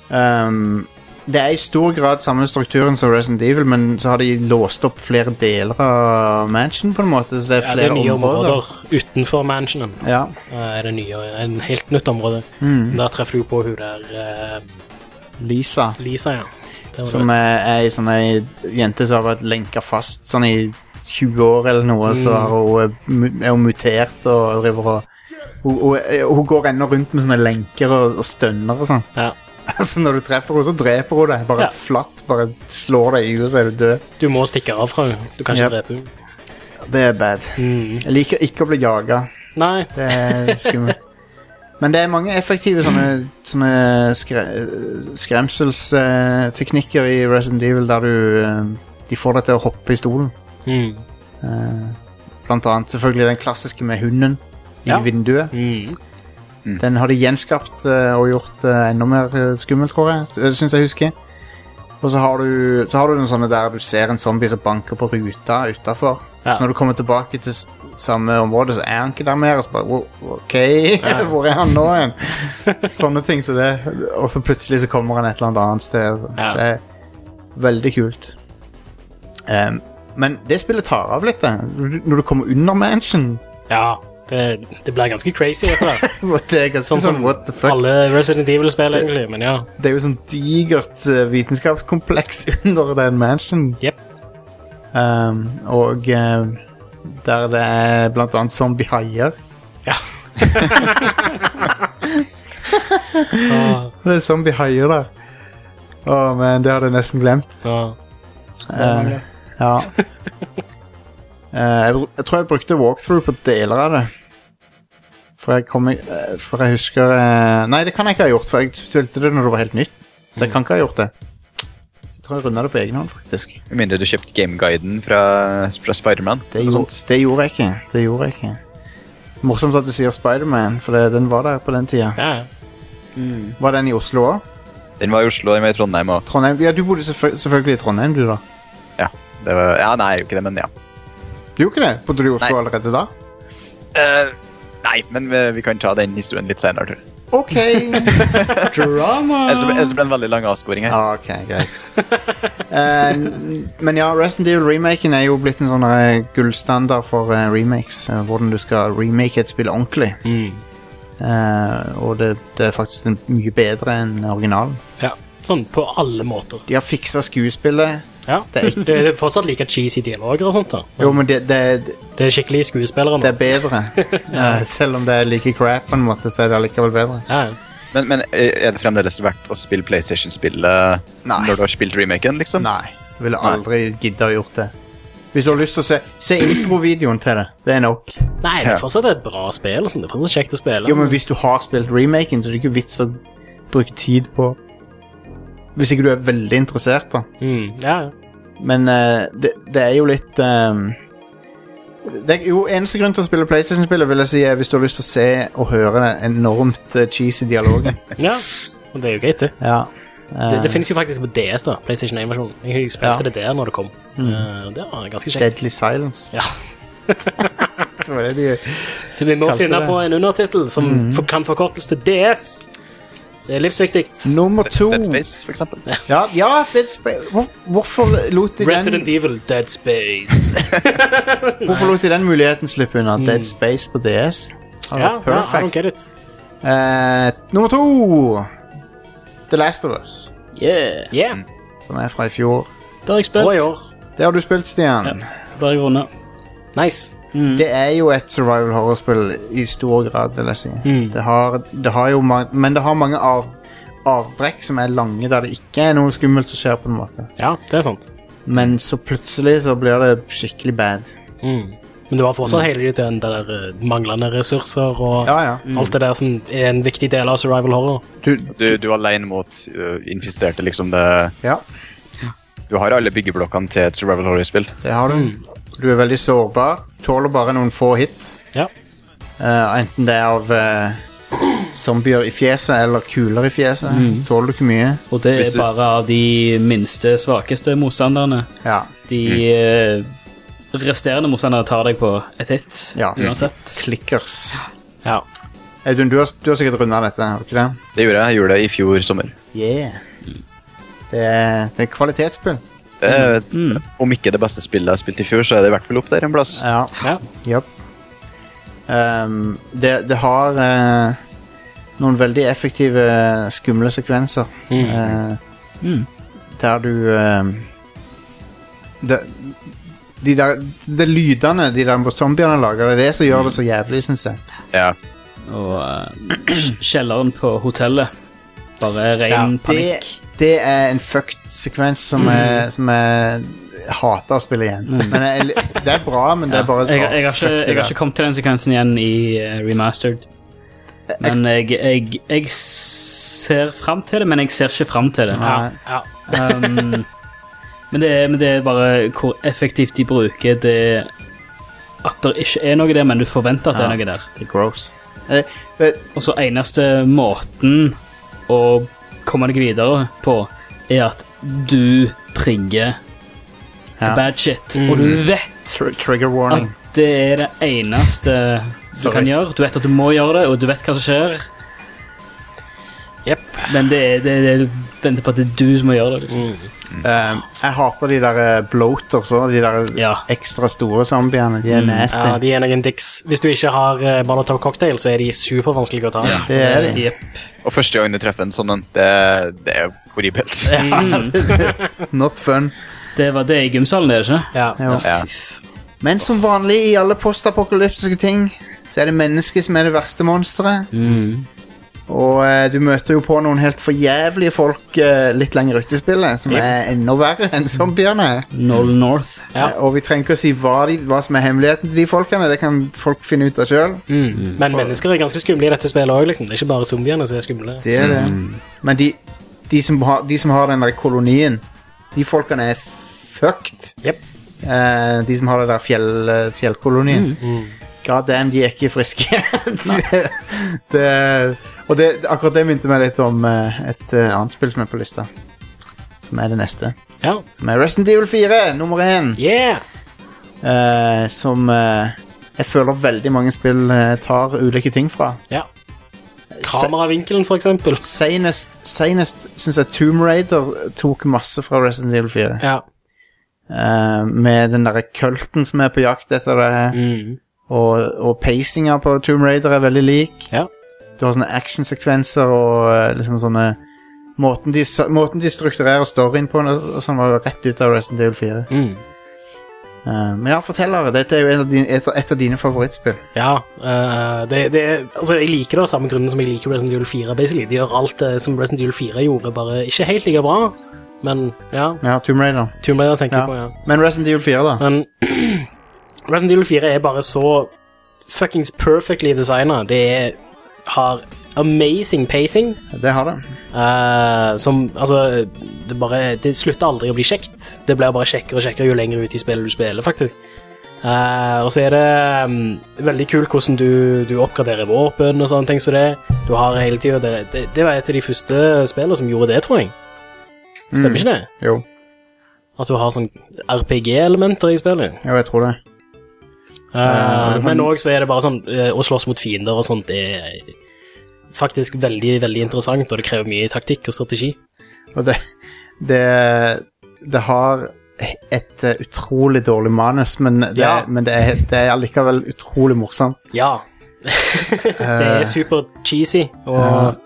Speaker 1: Ehm, det er i stor grad samme strukturen som Resident Evil, men så har de låst opp flere deler av mansion, på en måte, så det er
Speaker 2: ja, det
Speaker 1: flere
Speaker 2: er nye
Speaker 1: områder.
Speaker 2: områder utenfor mansionen.
Speaker 1: Ja.
Speaker 2: eh, Er det nye, en helt nytt område.
Speaker 1: Mm.
Speaker 2: Der treffer du på hun der eh,
Speaker 1: Lisa.
Speaker 2: Lisa, ja. Det var
Speaker 1: Som er ei sånn ei jente som har vært lenka fast sånn i 20 år eller noe,
Speaker 2: Mm.
Speaker 1: så har hun, eh, mu- er hun mutert og driver og hun, hun, eh, hun går ennå rundt med sånne lenker og, og stønner og sånn.
Speaker 2: Ja.
Speaker 1: Så når du treffer henne, så dreper hun deg. Bare
Speaker 2: Ja.
Speaker 1: flatt. Bare slår deg i huet, så er du død.
Speaker 2: Du må stikke av fra henne. Du kan
Speaker 1: Yep.
Speaker 2: ikke drepe henne.
Speaker 1: Det er bad.
Speaker 2: Mm.
Speaker 1: Jeg liker ikke å bli jaga.
Speaker 2: Nei.
Speaker 1: Det er skummelt. Men det er mange effektive sånne, sånne skre, skremselsteknikker i Resident Evil der du eh, De får deg til å hoppe i stolen.
Speaker 2: Mm.
Speaker 1: Eh, Blant annet selvfølgelig den klassiske med hunden i
Speaker 2: Ja.
Speaker 1: vinduet.
Speaker 2: Mm.
Speaker 1: Den har de gjenskapt eh, og gjort eh, enda mer eh, skummel, tror jeg. Det syns jeg husker. Og så har, du, så har du noen sånne der du ser en zombie som banker på ruta utafor.
Speaker 2: Ja.
Speaker 1: Så når du kommer tilbake til s- samme område, så er han ikke der mer. Og så bare, "Wo- ok, hvor er han nå igjen? Sånne ting som det. Og så plutselig så kommer han et eller annet annet sted.
Speaker 2: Ja.
Speaker 1: Det er veldig kult. Ehm, men det spillet tar av litt, det. Når du- Når du kommer under mansion.
Speaker 2: Ja. Det, det blir ganske crazy. etter det.
Speaker 1: Det er ganske
Speaker 2: Sånn
Speaker 1: sånn,
Speaker 2: som
Speaker 1: what the fuck.
Speaker 2: Alle Resident Evil-spill, egentlig. Men ja.
Speaker 1: Det er jo sånn digert eh, vitenskapskompleks under den mansion.
Speaker 2: Jep.
Speaker 1: Um, og eh, der det er blant annet zombiehaier.
Speaker 2: ja. Ah,
Speaker 1: Det er zombiehaier der. Å, men det hadde jeg nesten glemt.
Speaker 2: ah.
Speaker 1: Eh, ja. Eh, jeg, br- jeg tror jeg brukte walkthrough på deler av det. For jeg, kom, i- eh, for jeg husker eh, Nei, det kan jeg ikke ha gjort, for jeg spilte det når det var helt nytt. Så jeg kan ikke ha gjort det. Så jeg tror jeg runda det på egen hånd, faktisk.
Speaker 3: Med mindre du kjøpte gameguiden fra, fra Spiderman.
Speaker 1: Det,
Speaker 3: eller
Speaker 1: gjo-
Speaker 3: sånt.
Speaker 1: det gjorde jeg ikke. Det gjorde jeg ikke. Morsomt at du sier Spiderman, for det, den var der på den tida.
Speaker 2: ja. ja.
Speaker 1: Var den i Oslo òg?
Speaker 3: Den var i Oslo, den var i Trondheim òg.
Speaker 1: Trondheim? Ja, du bodde selvfø- selvfølgelig i Trondheim, du, da.
Speaker 3: Ja, det var- ja, nei, jeg gjorde ikke det, men ja.
Speaker 1: Du gjorde ikke det? Bodde du i Oslo
Speaker 3: Nei.
Speaker 1: allerede da?
Speaker 3: Eh, nei, men vi, vi kan ta den historien litt senere. tror jeg.
Speaker 1: OK.
Speaker 4: Drama!
Speaker 3: Ellers så blir- ellers så blir det en veldig lang avsporing her.
Speaker 1: Ah, ok, greit. Eh, n- men ja, Resident Evil-remaken er jo blitt en sånn eh, gullstandard for eh, remakes. eh, hvordan du skal remake et spill ordentlig.
Speaker 2: Mm.
Speaker 1: Eh, og det, det er faktisk en, mye bedre enn originalen.
Speaker 2: Ja. Sånn på alle måter.
Speaker 1: De har fiksa skuespillet.
Speaker 2: Ja.
Speaker 1: Det er ikke-
Speaker 2: Det er fortsatt like cheesy dialoger og sånt. da
Speaker 1: Jo, men det, det,
Speaker 2: Det er skikkelig skuespillere
Speaker 1: det
Speaker 2: nå.
Speaker 1: er bedre. Eh, selv om det er like crap, på en måte, så er det allikevel bedre.
Speaker 2: Ja, ja.
Speaker 3: Men, men er det fremdeles verdt å spille PlayStation-spillet
Speaker 1: Nei.
Speaker 3: når du har spilt remaken? liksom?
Speaker 1: Nei. Jeg ville aldri gidde å gjort det. Hvis du har lyst til å se Se introvideoen til det. Det er nok.
Speaker 2: Nei, det
Speaker 3: Ja.
Speaker 2: er fortsatt et bra spill. Sånn. Det er fortsatt kjekt å spille.
Speaker 1: Jo, men hvis du har spilt remaken, så er det ikke vits å bruke tid på Hvis ikke du er veldig interessert, da.
Speaker 2: mm, ja. ja.
Speaker 1: Men eh, det, det er jo litt ehm, det er, Jo, eneste grunn til å spille PlayStation-spillet vil jeg si er hvis du har lyst til å se og høre den enormt eh, cheesy dialogen.
Speaker 2: ja. Og det er jo greit, det.
Speaker 1: ja.
Speaker 2: Det,
Speaker 1: Eh,
Speaker 2: det finnes jo faktisk på DS, da. PlayStation 1-versjonen. Jeg spilte
Speaker 1: Ja. Mm.
Speaker 2: det der når det kom. Eh, det var ganske kjekt.
Speaker 1: Deadly Silence.
Speaker 2: Ja.
Speaker 1: Det var det de
Speaker 2: Vi må
Speaker 1: kalte
Speaker 2: finne
Speaker 1: det. Mm.
Speaker 2: på en undertittel som for, kan forkortes til DS. Det er livsviktig.
Speaker 1: Nummer to.
Speaker 3: Dead Space, for eksempel.
Speaker 1: Ja, ja Dead Space Hvor, Hvorfor lot de
Speaker 2: Resident
Speaker 1: den
Speaker 2: Evil Dead Space.
Speaker 1: Hvorfor lot de den muligheten slippe unna? Dead Space på DS? Han var
Speaker 2: Mm. ja, ja, I don't
Speaker 1: perfect.
Speaker 2: get it.
Speaker 1: Eh, nummer to The Last of Us,
Speaker 4: Yeah.
Speaker 2: Yeah.
Speaker 1: Mm. som er fra i fjor.
Speaker 4: Det har jeg spilt.
Speaker 2: Og i år.
Speaker 1: Det har du spilt, Stian.
Speaker 4: Det har jeg rundet.
Speaker 2: Nice.
Speaker 3: Mm.
Speaker 1: Det er jo et survival horror-spill i stor grad, vil jeg si.
Speaker 2: Mm.
Speaker 1: Det, har, det har jo ma- Men det har mange av, avbrekk som er lange, der det ikke er noe skummelt som skjer, på en måte.
Speaker 2: Ja, det er sant.
Speaker 1: Men så plutselig så blir det skikkelig bad.
Speaker 2: Mm. Men du har fortsatt hele tiden den der eh, manglende ressurser og
Speaker 1: Ja, Mm. ja.
Speaker 2: alt det der som er en viktig del av survival horror.
Speaker 1: Du,
Speaker 3: Du, du er alene mot uh, infesterte, liksom. det...
Speaker 1: ja,
Speaker 3: Du har alle byggeblokkene til et survival horror-spill.
Speaker 1: det har du. Du er veldig sårbar. Tåler bare noen få hit.
Speaker 2: Ja.
Speaker 1: Eh, enten det er av eh, zombier i fjeset eller kuler i fjeset. Så tåler du ikke mye.
Speaker 4: Og det
Speaker 3: Hvis
Speaker 4: er
Speaker 3: du-
Speaker 4: bare av de minste, svakeste motstanderne.
Speaker 1: Ja.
Speaker 4: De eh, resterende motstanderne tar deg på et hit,
Speaker 1: Ja. Mm.
Speaker 4: uansett.
Speaker 1: Klikkers.
Speaker 2: ja.
Speaker 1: Audun, du har, du har sikkert runda dette, har du ikke det?
Speaker 3: Det gjorde jeg. jeg gjorde det i fjor sommer.
Speaker 1: Yeah. Det er, det er kvalitetsspill.
Speaker 3: Det er,
Speaker 1: Mm.
Speaker 3: Om ikke det beste spillet jeg har spilt i fjor, så er det i hvert fall opp der en plass.
Speaker 1: Ja.
Speaker 2: ja.
Speaker 1: Japp. Ehm, det, det har eh, noen veldig effektive, skumle sekvenser. eh,
Speaker 4: Mm.
Speaker 1: Der du eh, det, de der de lydene de der zombiene lager, det er det som gjør det så jævlig, syns jeg.
Speaker 3: Ja.
Speaker 4: Og eh, kjelleren på hotellet. Bare ren
Speaker 1: det,
Speaker 4: panikk.
Speaker 1: det er en fucked sekvens
Speaker 4: Mm.
Speaker 1: som jeg, som jeg hater å spille igjen. Men jeg, det er bra, men det er bare
Speaker 4: Jeg, jeg, har
Speaker 1: fuck
Speaker 4: ikke,
Speaker 1: det
Speaker 4: jeg har
Speaker 1: der.
Speaker 4: ikke kommet til den sekvensen igjen i eh, remastered.
Speaker 1: Eh,
Speaker 4: Men jeg, jeg, jeg ser fram til det, men jeg ser ikke fram til det.
Speaker 1: Nei.
Speaker 2: ja.
Speaker 4: Um, men, det er, men det er bare hvor effektivt de bruker det At det ikke er noe der, men du forventer at det er
Speaker 1: Ja.
Speaker 4: noe der.
Speaker 1: Det er gross. Eh, but,
Speaker 4: Og så eneste måten å komme deg videre på, er at du trigger
Speaker 1: Ja.
Speaker 4: bad shit. Og du vet
Speaker 1: Mm. tr trigger warning.
Speaker 4: at det er det eneste du
Speaker 1: Sorry.
Speaker 4: kan gjøre. Du vet at du må gjøre det, og du vet hva som skjer,
Speaker 2: Jepp.
Speaker 4: men det er det, det, du venter på at det er du som må gjøre det. Liksom.
Speaker 1: Ehm, jeg hater de der eh, bloaters og de der eh,
Speaker 4: Ja.
Speaker 1: ekstra store zombiene. De er nasty.
Speaker 2: Ja, de er noen dicks. Hvis du ikke har uh, Molotov cocktail, så er de supervanskelige å ta.
Speaker 4: Ja,
Speaker 1: det er det.
Speaker 4: Jepp.
Speaker 3: Og første gang du treffer en sånn en, det, det er horribelt.
Speaker 1: Not fun.
Speaker 4: Det var det i gymsalen, det er det ikke?
Speaker 2: Ja.
Speaker 1: Jo.
Speaker 3: Ja.
Speaker 1: Men som vanlig i alle postapokalyptiske ting, så er det mennesket som er det verste monsteret. Og eh, du møter jo på noen helt forjævlige folk eh, litt lenger ute i spillet, som er enda verre enn zombiene.
Speaker 4: Noel North.
Speaker 2: Ja.
Speaker 1: Eh, Og vi trenger ikke å si hva, de, hva som er hemmeligheten til de folkene, det kan folk finne ut av sjøl.
Speaker 2: Mm. Men mennesker er ganske skumle i dette spillet òg, liksom. Det er ikke bare zombiene som er skumle.
Speaker 1: Det er det. Men de, de, som har, de som har den der kolonien, de folkene er fucked.
Speaker 2: Jep.
Speaker 1: Eh, de som har det der fjell, fjellkolonien. God damn, de er ikke friske. det, det, og det, akkurat det minte meg litt om eh, et eh, annet spill som er på lista. Som er det neste.
Speaker 2: Ja.
Speaker 1: Som er Resident Evil 4, nummer én.
Speaker 2: Yeah!
Speaker 1: eh, som eh, jeg føler veldig mange spill eh, tar ulike ting fra.
Speaker 2: Ja. Kameravinkelen, for eksempel.
Speaker 1: Senest, senest syns jeg Tomb Raider tok masse fra Resident Evil 4.
Speaker 2: Ja.
Speaker 1: Eh, med den derre kulten som er på jakt etter det,
Speaker 2: Mm.
Speaker 1: og, og pacinga på Tomb Raider er veldig lik.
Speaker 2: Ja.
Speaker 1: Du har sånne actionsekvenser og eh, liksom sånne Måten de, sa- måten de strukturerer storyen på, og sånn var jo rett ut av Resident Evil 4.
Speaker 2: Mm.
Speaker 1: Eh, men ja, fortellere, dette er jo et av dine, et, et av dine favorittspill.
Speaker 2: Ja, eh, det, det, altså jeg liker det av samme grunnen som jeg liker Resident Evil 4. basically. De gjør alt det som Resident Evil 4 gjorde, bare ikke helt like bra. Men ja,
Speaker 1: Ja, Tomb Raider.
Speaker 2: Tomb Raider tenker
Speaker 1: Ja.
Speaker 2: jeg på, ja.
Speaker 1: Men Resident Evil 4, da?
Speaker 2: Men Resident Evil 4 er bare så fuckings perfectly designa. Det er, har amazing pacing,
Speaker 1: Det har det.
Speaker 2: eh, som Altså, det bare Det slutter aldri å bli kjekt. Det blir bare kjekkere og kjekkere jo lenger ut i spillet du spiller, faktisk. Eh, og så er det mm, veldig kult hvordan du, du oppgraderer våpen og sånne ting som det. Du har hele tida det, det, det var et av de første spillene som gjorde det, tror jeg. Stemmer
Speaker 1: Mm.
Speaker 2: ikke det?
Speaker 1: Jo,
Speaker 2: At du har sånn RPG-elementer i spillet.
Speaker 1: jo jeg tror det.
Speaker 2: Eh,
Speaker 1: Eh,
Speaker 2: men òg så er det bare sånn eh, Å slåss mot fiender og sånt er faktisk veldig veldig interessant, og det krever mye taktikk og strategi.
Speaker 1: Og det Det, det har et eh, utrolig dårlig manus, men det,
Speaker 2: Ja.
Speaker 1: men det, er, det er allikevel utrolig morsomt.
Speaker 2: Ja. det
Speaker 1: Eh,
Speaker 2: er super cheesy, og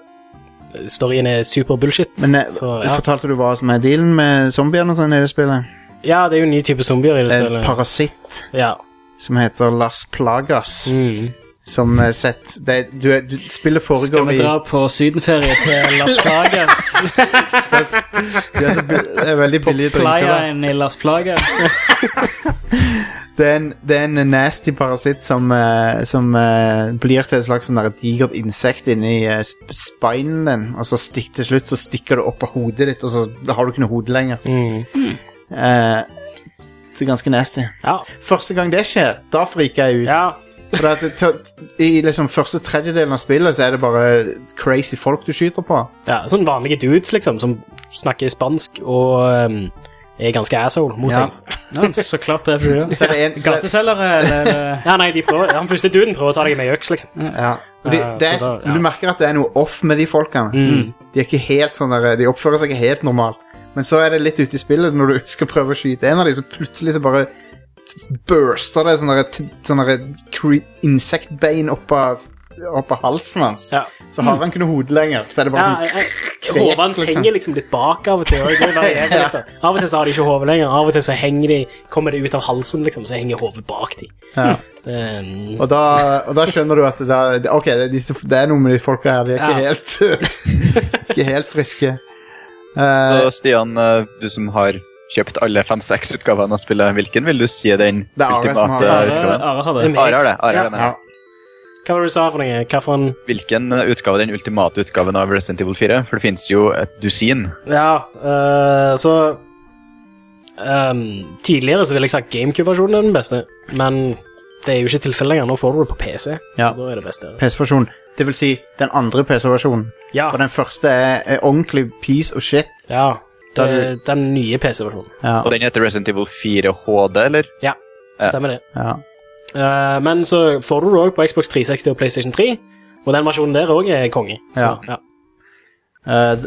Speaker 2: storyen er super bullshit.
Speaker 1: Men eh,
Speaker 2: så, ja.
Speaker 1: fortalte du hva som er dealen med zombiene og sånn i det spillet?
Speaker 2: ja, det er jo en ny type zombier i det
Speaker 1: Det er en
Speaker 2: spillet.
Speaker 1: parasitt
Speaker 2: Ja.
Speaker 1: som heter Las Plagas,
Speaker 2: Mm.
Speaker 1: som eh, sett det, er- du, er- du, Spillet
Speaker 4: Skal
Speaker 1: foregår
Speaker 4: vi
Speaker 1: i
Speaker 4: dra på sydenferie til Las Plagas?
Speaker 1: Det er, så, bu- det er veldig billige drinker. da.
Speaker 4: Playaen i Las Plagas?
Speaker 1: Det er, en, det er en nasty parasitt som, eh, som eh, blir til et slags sånn der digert insekt inni eh, sp- spinen din, og så stikk, til slutt så stikker det opp av hodet ditt, og så har du ikke noe hode lenger.
Speaker 2: Mm.
Speaker 1: Eh, det er ganske nasty.
Speaker 2: ja.
Speaker 1: Første gang det skjer, da friker jeg ut.
Speaker 2: Ja.
Speaker 1: For det at det tø- I liksom første tredjedelen av spillet så er det bare crazy folk du skyter på.
Speaker 2: ja. Sånn vanlige dudes, liksom, som snakker spansk og ehm, er ganske asshole mot
Speaker 1: Ja.
Speaker 2: deg.
Speaker 4: Ja, så klart det. for det.
Speaker 1: Så er det en, så, er-
Speaker 4: Gateselgere, eller
Speaker 2: Ja, nei, de prøver, han første duden prøver å ta deg med øks, liksom.
Speaker 1: ja. Og de,
Speaker 2: Ja,
Speaker 1: det,
Speaker 2: Eh, så da- ja.
Speaker 1: Du merker at det er noe off med de folkene.
Speaker 2: Mm.
Speaker 1: De er ikke helt sånn der, de oppfører seg ikke helt normalt. Men så er det litt ute i spillet, når du skal prøve å skyte en av dem, så plutselig så bare burster det sånne, der t- sånne der cre- insektbein opp av, opp av halsen hans.
Speaker 2: Ja.
Speaker 1: Så har han ikke noe hode lenger. Så er det
Speaker 2: Ja,
Speaker 1: bare sånn
Speaker 2: jeg- jeg- Hodet hans henger liksom litt bak av og til. og det varierer litt, da. Av og til så har de ikke hodet lenger, av og til så henger de, kommer det ut av halsen, liksom, så henger hodet bak de.
Speaker 1: ja.
Speaker 2: Um,
Speaker 1: og, da, og da skjønner du at det, er- det, ok, det, er de, det er noe med de folka her. De er ikke, helt, ikke helt friske. Eh,
Speaker 3: Så Stian, eh, du som har kjøpt alle fem-seks utgavene av spillet, hvilken vil du si er den
Speaker 1: Det er Are som har
Speaker 3: ultimate
Speaker 1: det.
Speaker 4: Are,
Speaker 3: utgaven?
Speaker 4: Are har
Speaker 2: det er
Speaker 4: det.
Speaker 2: meg.
Speaker 3: Are har det. Are
Speaker 2: Ja.
Speaker 3: har det
Speaker 1: Eh, ja.
Speaker 3: med.
Speaker 2: Hva var det du sa for noe? Hva for en
Speaker 3: Hvilken eh, utgave er den ultimate utgaven av Resident Evil 4? For det finnes jo et dusin.
Speaker 2: Ja, eh, så um, Tidligere så ville jeg sagt GameCube-versjonen er den beste, men det er jo ikke tilfellet lenger. Nå får du det på PC,
Speaker 1: Ja.
Speaker 2: så da er det beste.
Speaker 1: PC-versjonen. Det vil si den andre PC-versjonen.
Speaker 2: Ja,
Speaker 1: For den første er, er ordentlig piece of shit.
Speaker 2: ja
Speaker 1: Da er
Speaker 2: det, den nye PC-versjonen.
Speaker 1: Ja,
Speaker 3: Og den heter Resident Evil 4 HD, eller? Ja.
Speaker 2: Stemmer det.
Speaker 1: ja.
Speaker 2: Eh, men så får du det òg på Xbox 360 og PlayStation 3, og den versjonen der òg er konge. Så,
Speaker 1: Ja.
Speaker 2: ja.
Speaker 1: Eh,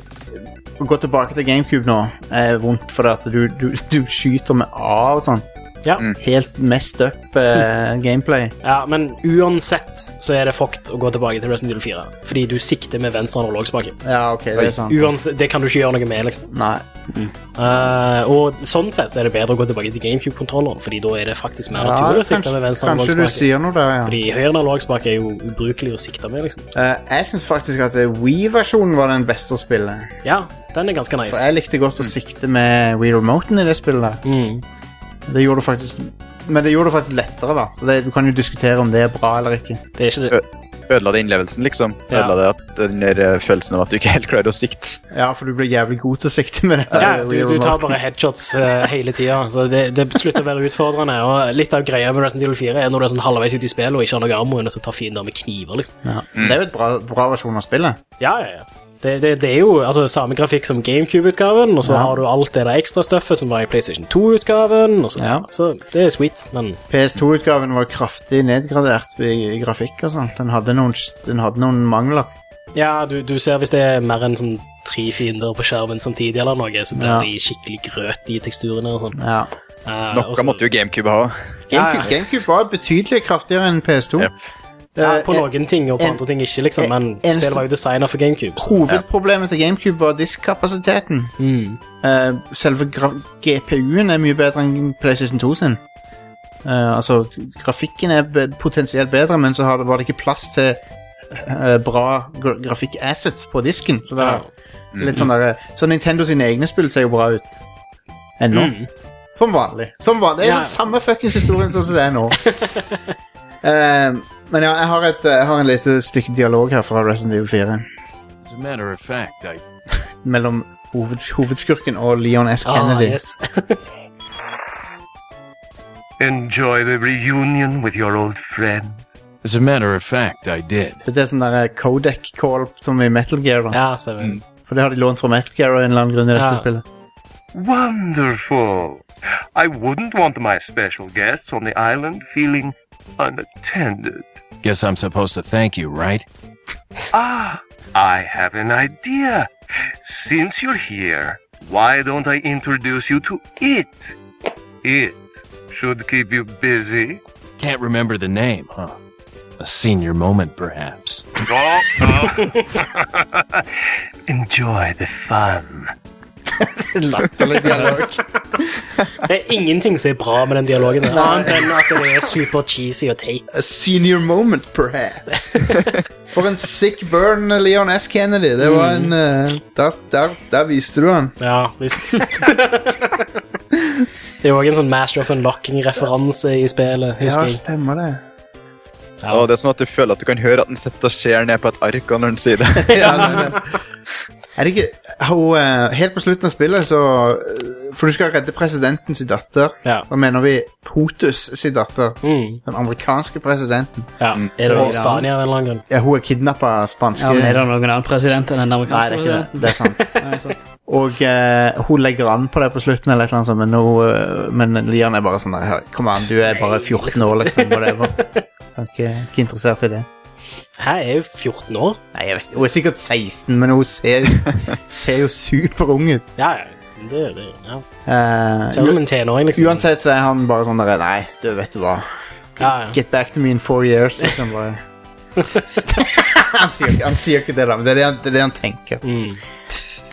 Speaker 1: Å gå tilbake til GameCube nå er vondt, for at du, du, du skyter med A og sånn.
Speaker 2: Ja.
Speaker 3: Mm.
Speaker 1: Helt messed up eh, gameplay.
Speaker 2: Ja, men uansett så er det fucked å gå tilbake til Resident Evil 4. Fordi du sikter med venstre analogspake.
Speaker 1: Ja, ok, det er sant.
Speaker 2: Uansett, det kan du ikke gjøre noe med, liksom.
Speaker 1: Nei.
Speaker 2: Eh, og sånn sett så er det bedre å gå tilbake til GameCube-kontrolleren, fordi da er det faktisk mer
Speaker 1: Ja,
Speaker 2: naturlig å sikte med
Speaker 1: kanskje,
Speaker 2: venstre
Speaker 1: kanskje du
Speaker 2: analogspake.
Speaker 1: sier noe der, ja.
Speaker 2: Fordi høyre analogspake er jo ubrukelig å sikte med, liksom.
Speaker 1: Eh, jeg syns faktisk at We-versjonen var den beste å spille.
Speaker 2: Ja, den er ganske
Speaker 1: For jeg
Speaker 2: nice.
Speaker 1: likte godt å sikte med We-remoten i det spillet. der.
Speaker 2: Mm.
Speaker 1: Det gjorde det faktisk Men det gjorde det faktisk lettere, da. Så det, du kan jo diskutere om det er bra eller ikke.
Speaker 2: Det er ikke det.
Speaker 3: Ødela det innlevelsen, liksom?
Speaker 2: Ja.
Speaker 3: Ødela det at den der eh, følelsen av at du ikke helt klarer å sikte?
Speaker 1: Ja, for du blir jævlig god til å sikte med det.
Speaker 2: Ja, du, du tar
Speaker 1: remoten.
Speaker 2: bare headshots eh, hele tida, så det, det slutter å være utfordrende. Og litt av greia med Resident Evil 4 er når du er sånn halvveis ute i spillet og ikke har noe ammo, enn å ta fiender med kniver, liksom.
Speaker 1: Ja. Det er jo et bra, bra versjon av spillet.
Speaker 2: Ja, ja, ja. Det, det, det er jo altså, samme grafikk som GameCube-utgaven, og så
Speaker 1: Ja.
Speaker 2: har du alt det der ekstra stuffet som var i PlayStation 2-utgaven. Så,
Speaker 1: Ja.
Speaker 2: så det er sweet, men
Speaker 1: PS2-utgaven var kraftig nedgradert i, i grafikk og sånn. Den, hadde noen s- den hadde noen mangler.
Speaker 2: ja, du, du ser hvis det er mer enn sånn tre fiender på skjermen samtidig eller noe, så blir
Speaker 1: Ja.
Speaker 2: de skikkelig grøt i teksturene og sånn.
Speaker 1: Ja.
Speaker 2: Eh, og
Speaker 3: Noe
Speaker 2: så-
Speaker 3: måtte jo GameCube ha.
Speaker 2: Ja, ja.
Speaker 1: GameCube, GameCube var betydelig kraftigere enn PS2.
Speaker 3: Yep.
Speaker 2: ja,
Speaker 1: Eh,
Speaker 2: På
Speaker 1: eh,
Speaker 2: noen ting og på
Speaker 1: en-
Speaker 2: andre ting ikke, liksom, men
Speaker 1: en-
Speaker 2: spillet var jo designa for GameCube. Så.
Speaker 1: hovedproblemet til GameCube var diskkapasiteten.
Speaker 2: Mm.
Speaker 1: Eh, selve gra- GPU-en er mye bedre enn PlayStation 2 sin. Eh, altså, grafikken er be potensielt bedre, men så har det, var det ikke plass til eh, bra gra grafikk-assets på disken. Så, det er
Speaker 2: Mm-hmm.
Speaker 1: litt sånn der, så Nintendo sine egne spill ser jo bra ut. Ennå.
Speaker 2: Mm.
Speaker 1: Som vanlig. Som vanlig. Det er
Speaker 2: Ja.
Speaker 1: den samme fuckings historien som det er nå. Eh, men ja, jeg har et eh, jeg har en lite stykke dialog her fra Resident Evil 4.
Speaker 5: As a matter of fact, I
Speaker 1: Mellom hoveds hovedskurken og Leon S.
Speaker 2: Ah,
Speaker 1: Kennedy.
Speaker 2: yes.
Speaker 6: Enjoy the reunion with your old friend.
Speaker 5: as a matter of fact, I did.
Speaker 1: Det er sånn der codec call som i Metal Gear. da
Speaker 2: ja, Mm. stemmer.
Speaker 1: For det har de lånt fra Metal Gear av en eller annen grunn i dette
Speaker 2: Ja.
Speaker 1: spillet.
Speaker 6: Wonderful. I wouldn't want my special guests on the island feeling unattended.
Speaker 5: Guess I'm supposed to thank you, right?
Speaker 6: Ah, I have an idea. Since you're here, why don't I introduce you to it? It should keep you busy.
Speaker 5: Can't remember the name, huh? A senior moment, perhaps.
Speaker 6: Oh, oh. Enjoy the fun.
Speaker 1: Latterlig dialog.
Speaker 2: Det er ingenting som er bra med den dialogen. der, Annet enn at det er super cheesy og teit.
Speaker 1: A senior moment, perhaps. For en sick burn, Leon S. Kennedy. Det var en eh, der, der, der viste du han.
Speaker 2: Ja, visst. det er jo òg en sånn Master of Unlocking-referanse i spillet.
Speaker 1: Ja,
Speaker 2: husker jeg.
Speaker 1: stemmer det.
Speaker 2: Ja.
Speaker 3: Og det er sånn at du føler at du kan høre at den sitter og ser ned på et ark og når den sier det.
Speaker 1: ja, nei, nei. Er det ikke hun, eh, Helt på slutten av spillet, så eh, For du skal redde presidenten sin datter.
Speaker 2: Ja.
Speaker 1: Da mener vi Potus sin datter.
Speaker 2: Mm,
Speaker 1: Den amerikanske presidenten.
Speaker 2: ja. Er det
Speaker 1: Og-
Speaker 2: i Spania av en eller annen grunn?
Speaker 1: Ja, hun er kidnappa av spanske
Speaker 4: Ja, men Er det noen annen president enn den
Speaker 1: Nei, det
Speaker 4: amerikanske?
Speaker 1: er ikke det. Det er sant.
Speaker 4: presidenten? Nei, sant.
Speaker 1: Og eh, hun legger an på det på slutten, eller et eller annet, sånt, men, nå, eh, men Lian er bare sånn der, «Hør, Kom an, du er bare 14 år, liksom. Whatever. Jeg er ikke, ikke interessert i det.
Speaker 2: Hæ, jeg er jo 14 år.
Speaker 1: Nei, jeg vet ikke. Hun er sikkert 16, men hun ser, ser jo superung ut.
Speaker 2: Ja, ja. Det, det, ja.
Speaker 1: Eh,
Speaker 2: Ser ut som en tenåring, liksom.
Speaker 1: Uansett så er han bare sånn der Nei, du vet du hva.
Speaker 2: Ja, ja.
Speaker 1: Get back to me in four years. Liksom bare. han, sier, ikke- han sier ikke det, da, men det er det han, det er det han tenker.
Speaker 2: Mm.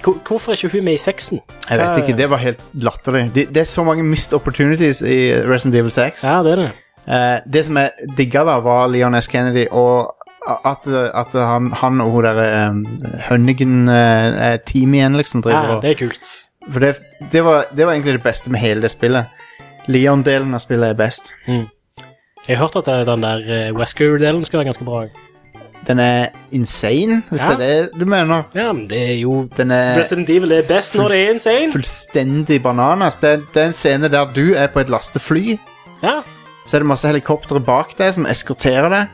Speaker 2: Hvor- Hvorfor er ikke hun med i sexen?
Speaker 1: Jeg vet ikke, Det var helt latterlig. Det, det er så mange missed opportunities i Resident Evil 6.
Speaker 2: Ja, det er det.
Speaker 1: Eh, det som jeg digga, da, var Leon S. Kennedy og at, at han, han og hun eh, derre Hønnigen-teamet igjen, liksom, driver
Speaker 2: Ja,
Speaker 1: og
Speaker 2: det er kult.
Speaker 1: For det, det, var, det var egentlig det beste med hele det spillet. Leon-delen av spillet er best.
Speaker 2: Jeg har hørt at eh, den der eh, Wesker-delen skal være ganske bra.
Speaker 1: Den er insane, hvis
Speaker 2: Ja.
Speaker 1: det er det du mener.
Speaker 2: Ja, men det er jo
Speaker 1: Den er
Speaker 2: Resident Evil er best når det er insane.
Speaker 1: fullstendig bananas. Det, det er en scene der du er på et lastefly,
Speaker 2: Ja.
Speaker 1: så er det masse helikoptre bak deg som eskorterer deg.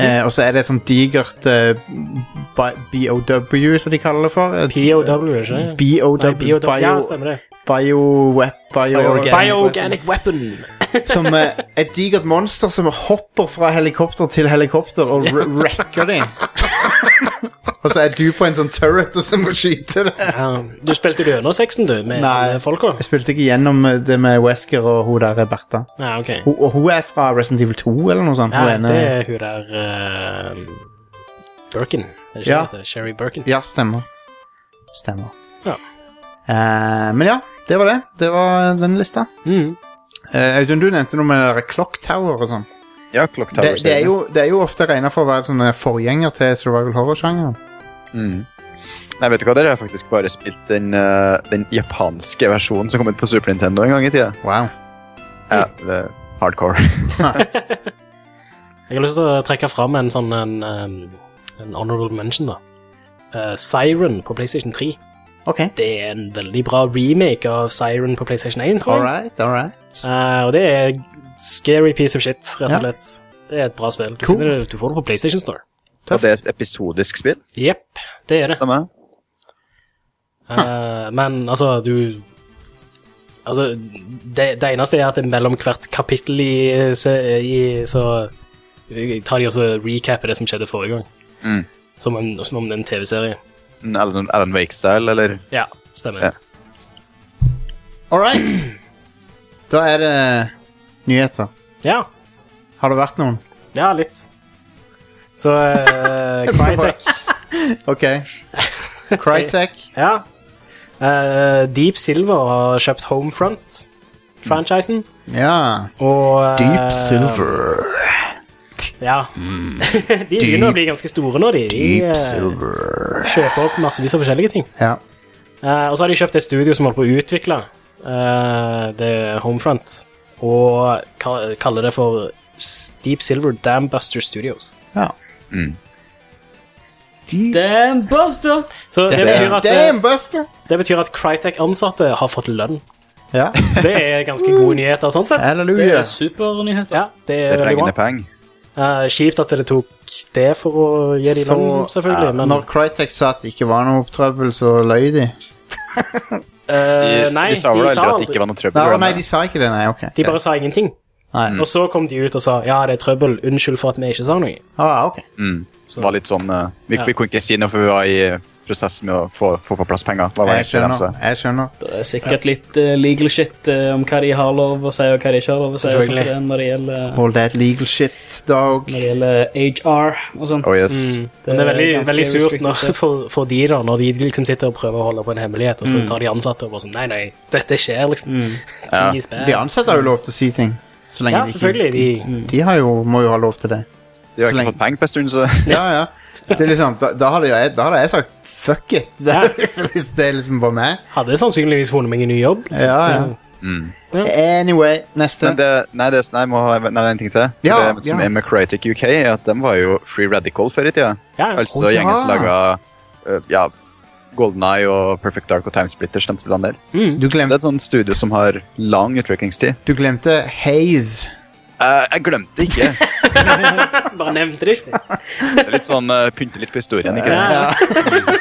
Speaker 1: eh, og så er det et sånt digert eh, bi- BOW, som de kaller det for. Et- eh,
Speaker 2: POW, ikke sant?
Speaker 1: BOW,
Speaker 2: Nei,
Speaker 1: bio,
Speaker 2: BOW. Ja, stemmer det.
Speaker 1: biowep, bioorganic
Speaker 2: Bioorganic weapon.
Speaker 1: Som eh, et digert monster som hopper fra helikopter til helikopter og re- wrecker dem. og så er du på en sånn turret og så må skyte det.
Speaker 2: Ja, du spilte jo gjennom sexen, du, med
Speaker 1: Nei.
Speaker 2: alle folka?
Speaker 1: Jeg spilte ikke gjennom eh, det med Wesker og hun der Bertha.
Speaker 2: Ja, ok.
Speaker 1: Hun, og hun er fra Resident Evil 2 eller noe sånt.
Speaker 2: Ja,
Speaker 1: hun ene-
Speaker 2: det er hun der eh, Birkin. Er det ikke
Speaker 1: Ja.
Speaker 2: det heter? Sherry Birkin.
Speaker 1: Ja, stemmer. Stemmer.
Speaker 2: Ja.
Speaker 1: Eh, men ja, det var det. Det var den lista.
Speaker 2: Mm.
Speaker 1: Eh, Audun, du nevnte noe med det der Clock Tower og sånn.
Speaker 3: Ja, Clock Tower.
Speaker 1: Det, det, er jo- det er jo ofte regna for å være sånne forgjenger til survival horror-sjangeren.
Speaker 3: Mm. Nei, vet du hva, dere har faktisk bare spilt den, eh, den japanske versjonen som kom ut på Super Nintendo en gang i tida.
Speaker 1: Wow.
Speaker 3: Ja, det er hardcore.
Speaker 2: Jeg har lyst til å trekke fram en sånn en, eh, en honorable mention, da. Eh, Siren på PlayStation 3.
Speaker 1: Ok.
Speaker 2: Det er en veldig bra remake av Siren på PlayStation 1, tror jeg.
Speaker 1: Alright, alright.
Speaker 2: Eh, og det er scary piece of shit, rett
Speaker 1: Ja.
Speaker 2: og slett. Det er et bra spill. Du,
Speaker 1: Cool.
Speaker 2: finner det, du får det på PlayStation Store.
Speaker 3: Og det er et episodisk spill.
Speaker 2: Jepp, det er det.
Speaker 3: Stemmer?
Speaker 2: Eh, men altså, du Altså, det, det eneste er at det mellom hvert kapittel i, se- i så eh, tar de også recapper det som skjedde forrige gang.
Speaker 3: Mm.
Speaker 2: Som, en, som om det er en TV-serie.
Speaker 3: En Alan, Alan Wake-style, eller
Speaker 2: Ja, stemmer.
Speaker 3: Ja.
Speaker 1: All right. Da er det nyheter.
Speaker 2: Ja,
Speaker 1: Har det vært noen?
Speaker 2: ja litt. Så eh, Crytek
Speaker 1: OK. Crytek.
Speaker 2: Ja. Eh, Deep Silver har kjøpt Homefront-franchisen.
Speaker 1: Ja.
Speaker 2: Og eh,
Speaker 1: Silver.
Speaker 2: Ja.
Speaker 1: Mm.
Speaker 2: de begynner å bli ganske store nå, de. de eh,
Speaker 1: Silver.
Speaker 2: kjøper opp massevis av forskjellige ting.
Speaker 1: Ja.
Speaker 2: Eh, og så har de kjøpt et studio som holder på å utvikle eh, det Homefront, og ka- kaller det for Deep Silver Dambuster Studios.
Speaker 1: ja. De-
Speaker 4: Damn buster!
Speaker 2: Så det, betyr at, eh,
Speaker 1: Damn, Buster!
Speaker 2: det betyr at Crytek-ansatte har fått lønn.
Speaker 1: Ja.
Speaker 2: Så det er ganske gode nyheter. sånn sett.
Speaker 4: Det
Speaker 1: Halleluja.
Speaker 4: er supernyheter.
Speaker 2: Ja, det
Speaker 3: Det
Speaker 2: er veldig bra.
Speaker 3: regner penger.
Speaker 2: Eh, kjipt at det tok det for å gi de
Speaker 1: Så,
Speaker 2: lønn, selvfølgelig.
Speaker 1: ja,
Speaker 2: men
Speaker 1: Når Crytek sa at det ikke var noe trøbbel, så løy de.
Speaker 2: eh,
Speaker 3: De-
Speaker 2: nei,
Speaker 3: de sa vel aldri at
Speaker 2: aldri-
Speaker 3: det ikke var noe trøbbel?
Speaker 1: Nei, å,
Speaker 3: gjorde de
Speaker 1: nei,
Speaker 3: det?
Speaker 1: de sa ikke det. Nei, ok.
Speaker 2: de bare Mm. sa ingenting.
Speaker 1: Nei.
Speaker 4: Mm.
Speaker 2: Og så kom de ut og sa ja, det er trøbbel, unnskyld for at vi ikke sa noe.
Speaker 1: Ah, ok.
Speaker 3: Mm. Det var litt sånn eh, vi,
Speaker 2: Ja.
Speaker 3: vi kunne ikke si noe, for vi var i eh, prosess med å få, få på plass penger. Hva var altså.
Speaker 1: Jeg
Speaker 3: egentlig dem, så?
Speaker 1: skjønner. Jeg skjønner.
Speaker 4: Det er sikkert litt eh, legal shit eh, om hva de har lov å si, og hva de ikke har lov å si. og sånt som det er Når det gjelder,
Speaker 1: All that legal shit, dog.
Speaker 4: når det gjelder HR og sånt.
Speaker 3: Oh, yes.
Speaker 2: Mm.
Speaker 4: Mm.
Speaker 2: Men det er veldig,
Speaker 4: Eh, ganske
Speaker 2: veldig surt
Speaker 4: restricted.
Speaker 2: når, for, for de da, når de liksom sitter og prøver å holde på en hemmelighet, og så
Speaker 4: Mm.
Speaker 2: tar de ansatte og bare sånn Nei, nei, dette skjer, liksom. Ting i spill.
Speaker 1: De ansatte har jo lov til å si ting. Så lenge
Speaker 2: Ja,
Speaker 1: de ikke
Speaker 2: selvfølgelig. De,
Speaker 1: De har jo, må jo ha lov til det.
Speaker 3: De har
Speaker 1: Så
Speaker 3: ikke
Speaker 1: lenge-
Speaker 3: fått penger på en stund, så
Speaker 1: Ja, ja. Det er liksom, da, da, hadde jeg, da hadde jeg sagt fuck it, det,
Speaker 2: Ja.
Speaker 1: hvis, hvis det liksom var meg.
Speaker 2: hadde sannsynligvis funnet meg en ny jobb. liksom.
Speaker 1: Ja, ja. Anyway, neste.
Speaker 3: Mm. Men det, nei, det, nei, jeg må ha nei, det er en ting til.
Speaker 1: Ja,
Speaker 3: det som
Speaker 1: ja.
Speaker 3: er med Crytek UK, er at de var jo Free Radical før i tida.
Speaker 2: Ja, ja.
Speaker 3: altså
Speaker 1: Å, ja.
Speaker 3: gjengen som laga uh, ja, Golden Eye og Perfect Dark og Timesplitters. De spillene der.
Speaker 1: Du
Speaker 3: Så det er
Speaker 1: glemte,
Speaker 3: et sånt studio som har lang utviklingstid.
Speaker 1: du glemte Haze.
Speaker 3: Eh, jeg glemte ikke.
Speaker 2: Bare nevnte det ikke.
Speaker 3: Det er litt sånn uh, pynte litt på historien. ikke sant?
Speaker 2: Ja. Jeg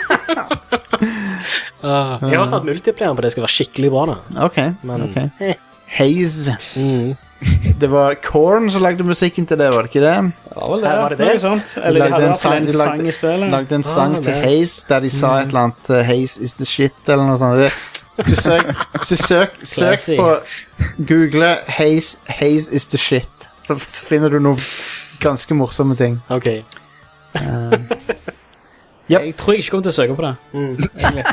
Speaker 2: Ah. har hørt at multiplayeren på det skal være skikkelig bra, da.
Speaker 1: Ok.
Speaker 2: Men Mm.
Speaker 1: ok. Haze. Det var Korn som lagde musikken til det, var det ikke det?
Speaker 4: Ja, vel,
Speaker 2: Her var det det.
Speaker 4: Noe sånt. Eller de
Speaker 1: Lagde
Speaker 4: hadde i
Speaker 1: en
Speaker 4: hvert fall
Speaker 1: sang-
Speaker 4: en
Speaker 1: de lagde-
Speaker 4: sang i spillet.
Speaker 1: Lagde en sang
Speaker 2: Ah,
Speaker 1: til
Speaker 2: det. Mm.
Speaker 1: Haze der de sa et eller annet eh, Haze is the shit, eller noe sånt. Det- Du søk, du søk, søk
Speaker 4: Classy.
Speaker 1: på Google Haze, Haze is the shit, så, så finner du noen ganske morsomme ting.
Speaker 2: OK.
Speaker 1: Jep.
Speaker 4: Jeg tror jeg ikke kommer til å søke på det.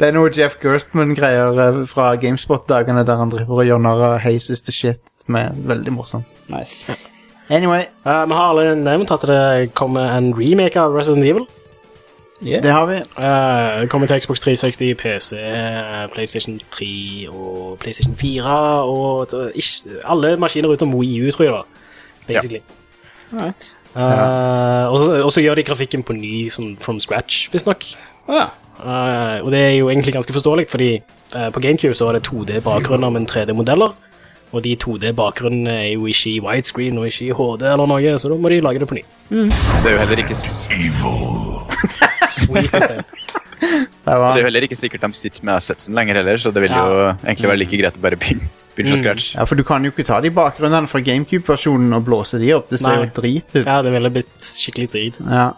Speaker 1: Det er noe Jeff Gerstmann-greier eh, fra GameSpot-dagene der han driver og gjør narr av Haze is the shit, som er veldig morsom.
Speaker 4: Nice.
Speaker 1: Anyway,
Speaker 2: Eh, vi har allerede nevnt at det kommer en remake av Resident Evil.
Speaker 1: det har vi.
Speaker 2: Eh, det kommer til Xbox 360, PC, eh, PlayStation 3 og PlayStation 4 og t- ish- alle maskiner utenom Wii U, tror jeg det var. Basically.
Speaker 4: Alright.
Speaker 2: Eh, og så- og så gjør de grafikken på ny sånn, from scratch, visstnok.
Speaker 4: Å ja.
Speaker 2: Eh, og det er jo egentlig ganske forståelig, fordi eh, på GameCube så var det 2D-bakgrunner, men 3D-modeller. Og de 2D-bakgrunnene er jo ikke i widescreen og ikke i HD eller noe, så da må de lage det på ny.
Speaker 3: Det er jo heller ikke, s- det
Speaker 2: Sweet, altså.
Speaker 1: Det var,
Speaker 3: er jo heller ikke sikkert de sitter med assetsen lenger heller, så det vil jo egentlig være like greit å bare begynne
Speaker 1: Mm.
Speaker 3: begynne fra scratch.
Speaker 1: ja, for du kan jo ikke ta de bakgrunnene fra GameCube-versjonen og blåse de opp. Det ser jo
Speaker 2: Nei.
Speaker 1: drit ut.
Speaker 2: ja, det ville blitt skikkelig drit.
Speaker 1: Ja.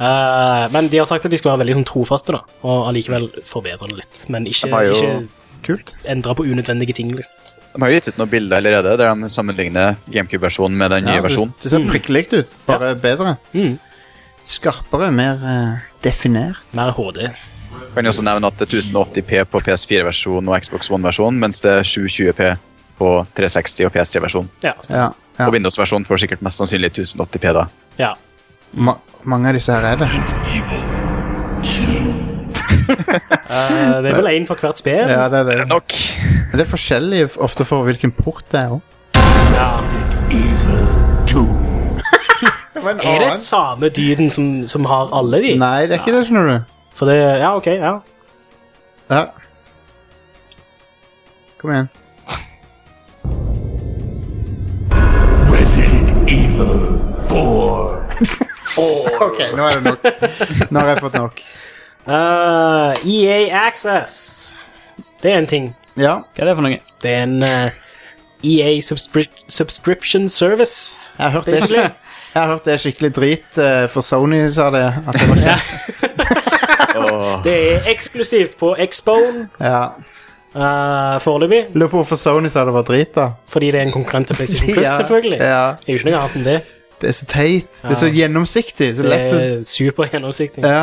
Speaker 2: Eh, men de har sagt at de skal være veldig sånn, trofaste, da, og allikevel forbedre det litt. Men ikke,
Speaker 3: De har jo-
Speaker 2: ikke
Speaker 1: Kult.
Speaker 2: endre på unødvendige ting, liksom.
Speaker 3: De har jo gitt ut noen bilder allerede der de sammenligner GameCube-versjonen med den nye
Speaker 1: Ja,
Speaker 3: versjonen.
Speaker 1: Det, det ser prikkelikt ut, bare bedre. Skarpere, mer eh, definert.
Speaker 2: Mer HD.
Speaker 3: Kan jeg også nevne at det er 1080p på PS4-versjonen og Xbox One-versjonen, mens det er 720p på 360 og PS3-versjonen.
Speaker 2: Ja,
Speaker 1: Ja, ja.
Speaker 3: Og Windows-versjonen får sikkert mest sannsynlig 1080p, da.
Speaker 2: ja.
Speaker 1: Ma mange av disse her er det.
Speaker 2: Eh, det er vel én for hvert spill.
Speaker 1: Ja, det er det.
Speaker 3: Nok!
Speaker 1: Men det er forskjellig f- ofte for hvilken port det er òg.
Speaker 2: Er det samme dyden som, som har alle de?
Speaker 1: Nei, det er ikke det, skjønner du.
Speaker 2: For det Ja, OK, ja.
Speaker 1: Ja. Kom igjen. OK, nå er det nok. Nå har jeg fått nok.
Speaker 2: Eh, EA Access. Det er en ting.
Speaker 1: Ja.
Speaker 4: Hva er det for noe?
Speaker 2: Det er en eh, EA subscri subscription service.
Speaker 1: Jeg har hørt det,
Speaker 2: Basically.
Speaker 1: jeg har hørt det er skikkelig drit, eh, for Sony sa det. At det var kjent.
Speaker 2: Det er eksklusivt på Xbone
Speaker 1: Ja.
Speaker 2: eh, foreløpig.
Speaker 1: Lurer på hvorfor Sony sa det var drit, da.
Speaker 2: Fordi det er en konkurrent til PlayStation Plus,
Speaker 1: Ja.
Speaker 2: selvfølgelig. Det
Speaker 1: Ja.
Speaker 2: er jo ikke noe annet enn det.
Speaker 1: Det er så teit. Det er så gjennomsiktig. Så
Speaker 2: Det
Speaker 1: lett å
Speaker 2: er supergjennomsiktig.
Speaker 1: Ja.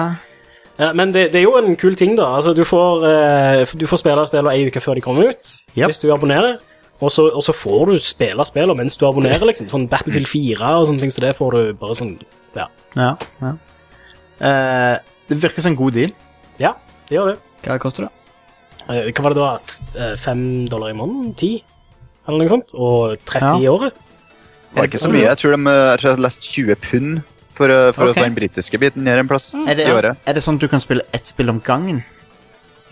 Speaker 2: Ja, men det, det er jo en kul ting, da. Altså, du, får, eh, du får spille spillene ei uke før de kommer ut,
Speaker 1: Yep.
Speaker 2: hvis du abonnerer. Og så, og så får du spille spillene mens du abonnerer. liksom Sånn Battlefield 4 og sånne ting så det får du bare sånn Ja,
Speaker 1: ja. ja. Eh, det virker som en god deal.
Speaker 2: ja det gjør det.
Speaker 4: Hva koster det?
Speaker 2: Eh, Hva var det da? F- eh, Fem dollar i måneden? Ti? Eller noe sånt? Og
Speaker 1: Ja.
Speaker 2: 30 i året?
Speaker 3: Det er ikke så mye. Jeg tror, de, eh, jeg tror jeg har lest 20 pund for, eh, for
Speaker 1: Ok.
Speaker 3: å ta den britiske biten ned en plass
Speaker 1: Er det,
Speaker 3: i året.
Speaker 1: er det sånn at du kan spille ett spill om gangen?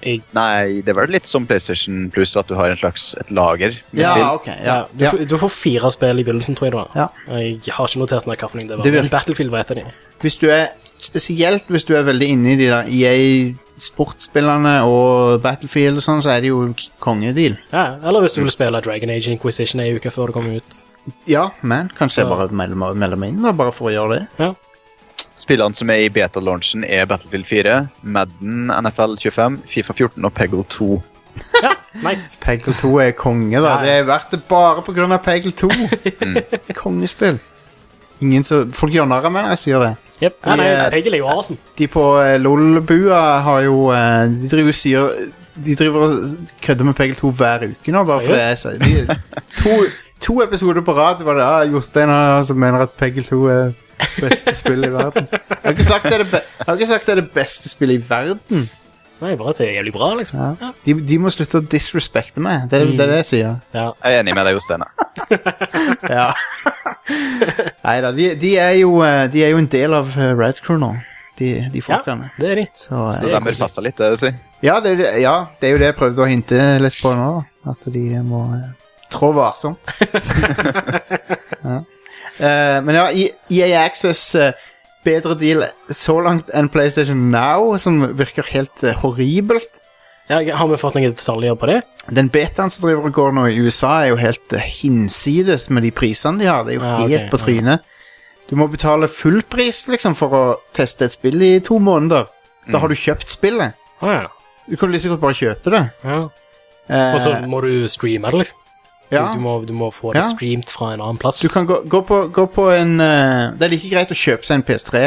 Speaker 3: Nei, det var litt som PlayStation Plus, at du har en slags et lager med
Speaker 1: Ja,
Speaker 3: spill.
Speaker 1: ok.
Speaker 2: Ja,
Speaker 1: Ja.
Speaker 2: du,
Speaker 1: Ja.
Speaker 2: får- du får fire spill i begynnelsen, tror jeg det var.
Speaker 1: Ja.
Speaker 2: Jeg har ikke notert meg hvilken det var.
Speaker 1: Det virker-
Speaker 2: men Battlefield var et av de.
Speaker 1: Hvis du er Spesielt hvis du er veldig inne i de der EA-sportsspillene og Battlefield og sånn, så er det jo en k- kongedeal.
Speaker 2: Ja, eller hvis du vil spille Dragon Age Inquisition ei uke før det kommer ut.
Speaker 1: Ja, men kanskje jeg bare melder meg- melder meg inn, da, bare for å gjøre det.
Speaker 3: Spillene som er i beta-launchen, er Battlefield 4, Madden, NFL 25, Fifa 14 og Peggle 2.
Speaker 2: Ja, nice.
Speaker 1: Peggle 2 er konge, da.
Speaker 2: Ja, Mm. ja.
Speaker 1: Det er verdt det bare på grunn av Peggle 2. Kongespill. Ingen som, folk gjør narr av meg når jeg sier det.
Speaker 2: Yep. Nei, nei,
Speaker 1: De, eh,
Speaker 2: Peggle er jo awesome.
Speaker 1: De på eh, LOL-bua har jo eh, De driver og sier De driver og kødder med Peggle 2 hver uke nå, bare for det. er så- De, to, to episoder på rad var det ah, Jostein ah, som mener at Peggle 2 er beste spill i verden. Jeg har ikke sagt det er det, be jeg har ikke sagt det, er det beste spillet i verden.
Speaker 2: Nei, bare at det er jævlig bra, liksom. Ja.
Speaker 1: De, de må slutte å disrespekte meg. Det er det, det, er det jeg sier.
Speaker 2: Ja.
Speaker 3: Jeg er enig med deg, Jostein.
Speaker 1: Ja. Nei da, de, de, er jo, eh, de er jo en del av eh, Red Crew nå, de, de folkene.
Speaker 2: det er de.
Speaker 1: Så, eh,
Speaker 3: Så de bør passe litt, det vil si.
Speaker 1: ja, det, er jo det- ja, det er jo det jeg prøvde å hinte litt på nå. da. At de må eh, trå varsomt. ja. Eh, men ja, E- EA Access eh, Bedre deal så langt enn PlayStation Now, som virker helt eh, horribelt.
Speaker 2: Ja, har vi fått noen detaljer på det?
Speaker 1: Den betaen som driver og går nå i USA, er jo helt eh, hinsides med de prisene de har. Det er jo
Speaker 2: Ja, ok,
Speaker 1: helt på
Speaker 2: ja.
Speaker 1: trynet. Du må betale full pris liksom, for å teste et spill i to måneder.
Speaker 2: Mm.
Speaker 1: Da har du kjøpt spillet.
Speaker 2: Å ja.
Speaker 1: Du kan like godt bare kjøpe det.
Speaker 2: ja.
Speaker 1: Eh,
Speaker 2: Og så må du streame det, liksom.
Speaker 1: ja.
Speaker 2: Du, du, må, du må få det
Speaker 1: Ja.
Speaker 2: streamt fra en annen plass.
Speaker 1: Du kan gå, gå, på, gå på en eh, Det er like greit å kjøpe seg en PS3.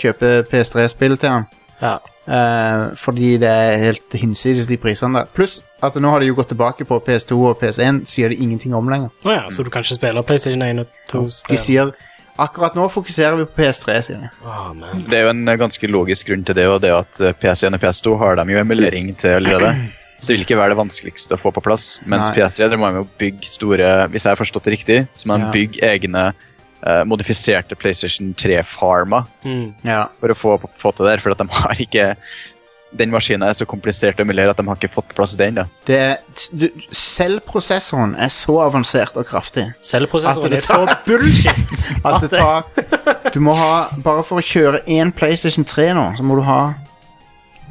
Speaker 1: Kjøpe PS3-spill til han.
Speaker 2: Ja.
Speaker 1: Eh, fordi det er helt hinsides de prisene der. Pluss at nå har de jo gått tilbake på PS2 og PS1, sier de ingenting om lenger.
Speaker 2: Å ja, så du kan ikke spille PlayStation 1 og 2?
Speaker 1: De sier akkurat nå fokuserer vi på PS3, sier de.
Speaker 2: Å, men.
Speaker 3: Det er jo en eh, ganske logisk grunn til det, og det er at eh, PC1 og PS2 har de jo emulering til allerede. Så det vil ikke være det vanskeligste å få på plass. Mens
Speaker 1: Nei.
Speaker 3: PS3 der må de jo bygge store Hvis jeg har forstått det riktig, så må
Speaker 1: Ja.
Speaker 3: de bygge egne eh, modifiserte PlayStation 3-farmer
Speaker 2: Mm.
Speaker 1: Ja.
Speaker 3: for å få, få til det her, for at de har ikke Den maskinen er så komplisert å emulere at de har ikke fått på plass det ennå.
Speaker 1: Det er, du, selv prosessoren er så avansert og kraftig At
Speaker 2: Selvprosessoren
Speaker 1: det
Speaker 2: er så bullshit!
Speaker 1: at det tar Du må ha Bare for å kjøre én PlayStation 3 nå, så må du ha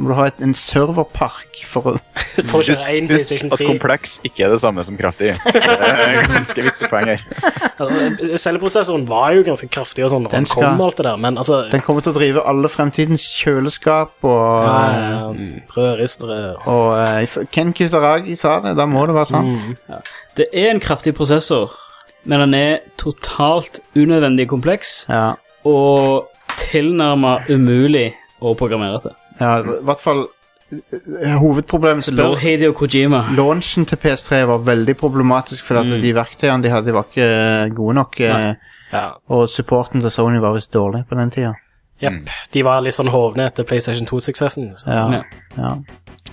Speaker 1: må du ha et, en serverpark for å
Speaker 2: For å
Speaker 3: Husk
Speaker 2: kjøre én
Speaker 3: husk
Speaker 2: PlayStation
Speaker 3: at
Speaker 2: 3.
Speaker 3: kompleks ikke er det samme som kraftig. Det er et ganske viktig poeng her.
Speaker 2: Altså, Selvprosessoren var jo ganske kraftig, og sånn, når
Speaker 1: Den
Speaker 2: den
Speaker 1: skal-
Speaker 2: kom alt det der, men altså
Speaker 1: Den kommer til å drive alle fremtidens kjøleskap og
Speaker 2: ja,
Speaker 1: Mm.
Speaker 2: Brødristere
Speaker 1: Og eh, f- Ken Kutaragi sa det, da må det være sant.
Speaker 2: Mm.
Speaker 4: Det er en kraftig prosessor, men den er totalt unødvendig kompleks
Speaker 1: Ja,
Speaker 4: og tilnærmet umulig å programmere til.
Speaker 1: ja, I hvert fall eh, Hovedproblemet til
Speaker 4: Spør Hideo Kojima.
Speaker 1: Launchen til PS3 var veldig problematisk, fordi at de verktøyene de hadde, var ikke gode nok. eh,
Speaker 2: Ja.
Speaker 1: Og supporten til Sony var visst dårlig på den tida.
Speaker 2: Jepp. De var litt sånn hovne etter PlayStation 2-suksessen. så-
Speaker 1: Ja,
Speaker 4: Ja.
Speaker 1: ja.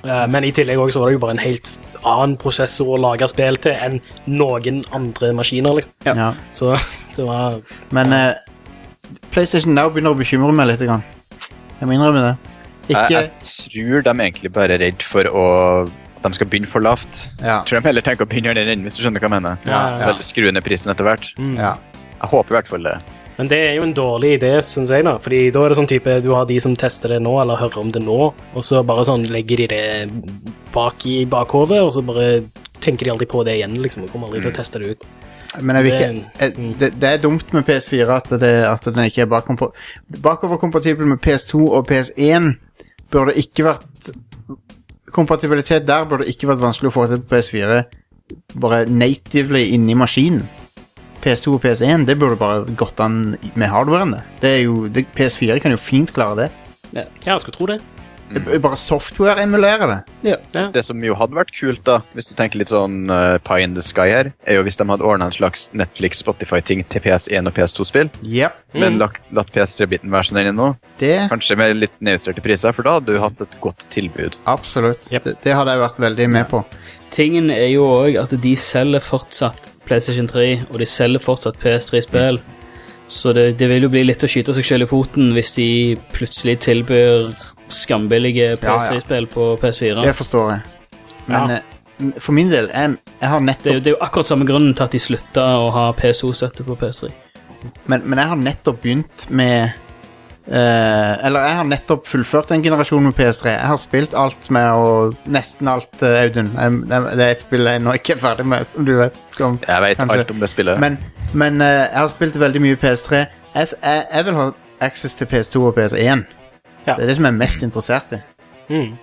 Speaker 2: Eh, Men i tillegg også så var det jo bare en helt annen prosessor å lage spill til enn noen andre maskiner. liksom.
Speaker 4: Ja.
Speaker 1: ja.
Speaker 2: Så det var
Speaker 1: Men eh, PlayStation Now begynner å bekymre meg litt. Grann. Jeg må innrømme det. Ikke
Speaker 3: Jeg, jeg tror de egentlig bare er redd for å, at de skal begynne for lavt.
Speaker 1: Ja.
Speaker 3: Jeg tror de heller tenker å begynne i den enden, hvis du skjønner hva jeg mener.
Speaker 1: Ja, Mm. ja.
Speaker 3: Så heller skru ned prisen etter hvert.
Speaker 1: ja.
Speaker 3: Jeg håper i hvert fall det.
Speaker 2: Men det er jo en dårlig idé, syns jeg, da. Fordi da er det sånn type du har de som tester det nå, eller hører om det nå, og så bare sånn legger de det bak i bakhovet, og så bare tenker de aldri på det igjen, liksom. Og kommer aldri til å teste det ut.
Speaker 1: Men jeg vil ikke,
Speaker 2: Det-
Speaker 1: jeg, det, det er dumt med PS4 at, det, at den ikke er bakompa- bakoverkompatibel med PS2 og PS1. Burde ikke vært Kompatibilitet der burde ikke vært vanskelig å få til på PS4. Bare natively inni maskinen. PS2 og PS1 det burde bare gått an med hardwaren. det. Det er jo, det, PS4 kan jo fint klare det.
Speaker 2: Ja, jeg skulle tro det.
Speaker 1: B- Bare software emulerer det.
Speaker 3: Det som jo hadde vært kult, da, hvis du tenker litt sånn eh, pie in the sky her, er jo hvis de hadde ordna en slags Netflix-Spotify-ting til PS1 og PS2-spill,
Speaker 1: Yep.
Speaker 3: men lagt, latt PS3-biten være som den er nå.
Speaker 1: Det
Speaker 3: Kanskje med litt nedjusterte priser, for da hadde du hatt et godt tilbud.
Speaker 1: Absolutt.
Speaker 2: Yep.
Speaker 1: Det, det hadde jeg vært veldig med på.
Speaker 4: Tingen er jo òg at de selger fortsatt PlayStation 3, og de selger fortsatt PS3-spill. Så det, det vil jo bli litt å skyte seg selv i foten hvis de plutselig tilbyr skambillige PS3-spill på PS4.
Speaker 1: Det forstår jeg. Men eh, m- for min del, jeg, jeg har
Speaker 4: Det, er
Speaker 1: nettopp
Speaker 4: jo- det er jo akkurat samme grunnen til at de slutta å ha PS2-støtte på PS3.
Speaker 1: men, men jeg har nettopp begynt med eh, Eller jeg har nettopp fullført en generasjon med PS3. Jeg har spilt alt med og nesten alt, eh, Audun. Jeg, jeg, det er et spill jeg nå ikke er ferdig med, som du vet. Som,
Speaker 3: Jeg vet
Speaker 1: Kanskje.
Speaker 3: alt om det spillet.
Speaker 1: men men eh, jeg har spilt veldig mye PS3. Jeg, f- jeg, jeg vil ha access til PS2 og PS1.
Speaker 2: Ja.
Speaker 1: Det er det som jeg er mest interessert i.
Speaker 2: Mm.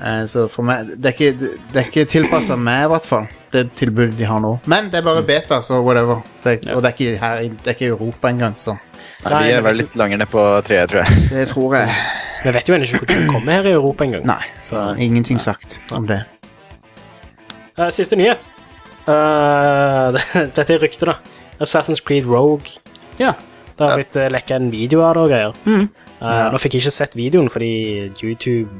Speaker 1: Eh, Så for meg Det er ikke, det er ikke tilpassa meg, i hvert fall, det tilbudet de har nå. Men det er bare beta, så whatever. Det, Og det er ikke her i- det er ikke i Europa engang, så
Speaker 3: Nei, vi er vel litt lenger ned på treet, tror jeg.
Speaker 1: det tror jeg.
Speaker 2: Vi vet jo ennå ikke hvordan det kommer her i Europa engang.
Speaker 1: Nei.
Speaker 2: Så
Speaker 1: Ingenting sagt om det.
Speaker 2: eh, Siste nyhet. Eh, Dette er ryktet, da. Assassin's Creed Rogue.
Speaker 4: Ja. Mm.
Speaker 2: Det har blitt uh, lekka en video av det og greier. Eh, Nå fikk jeg ikke sett videoen fordi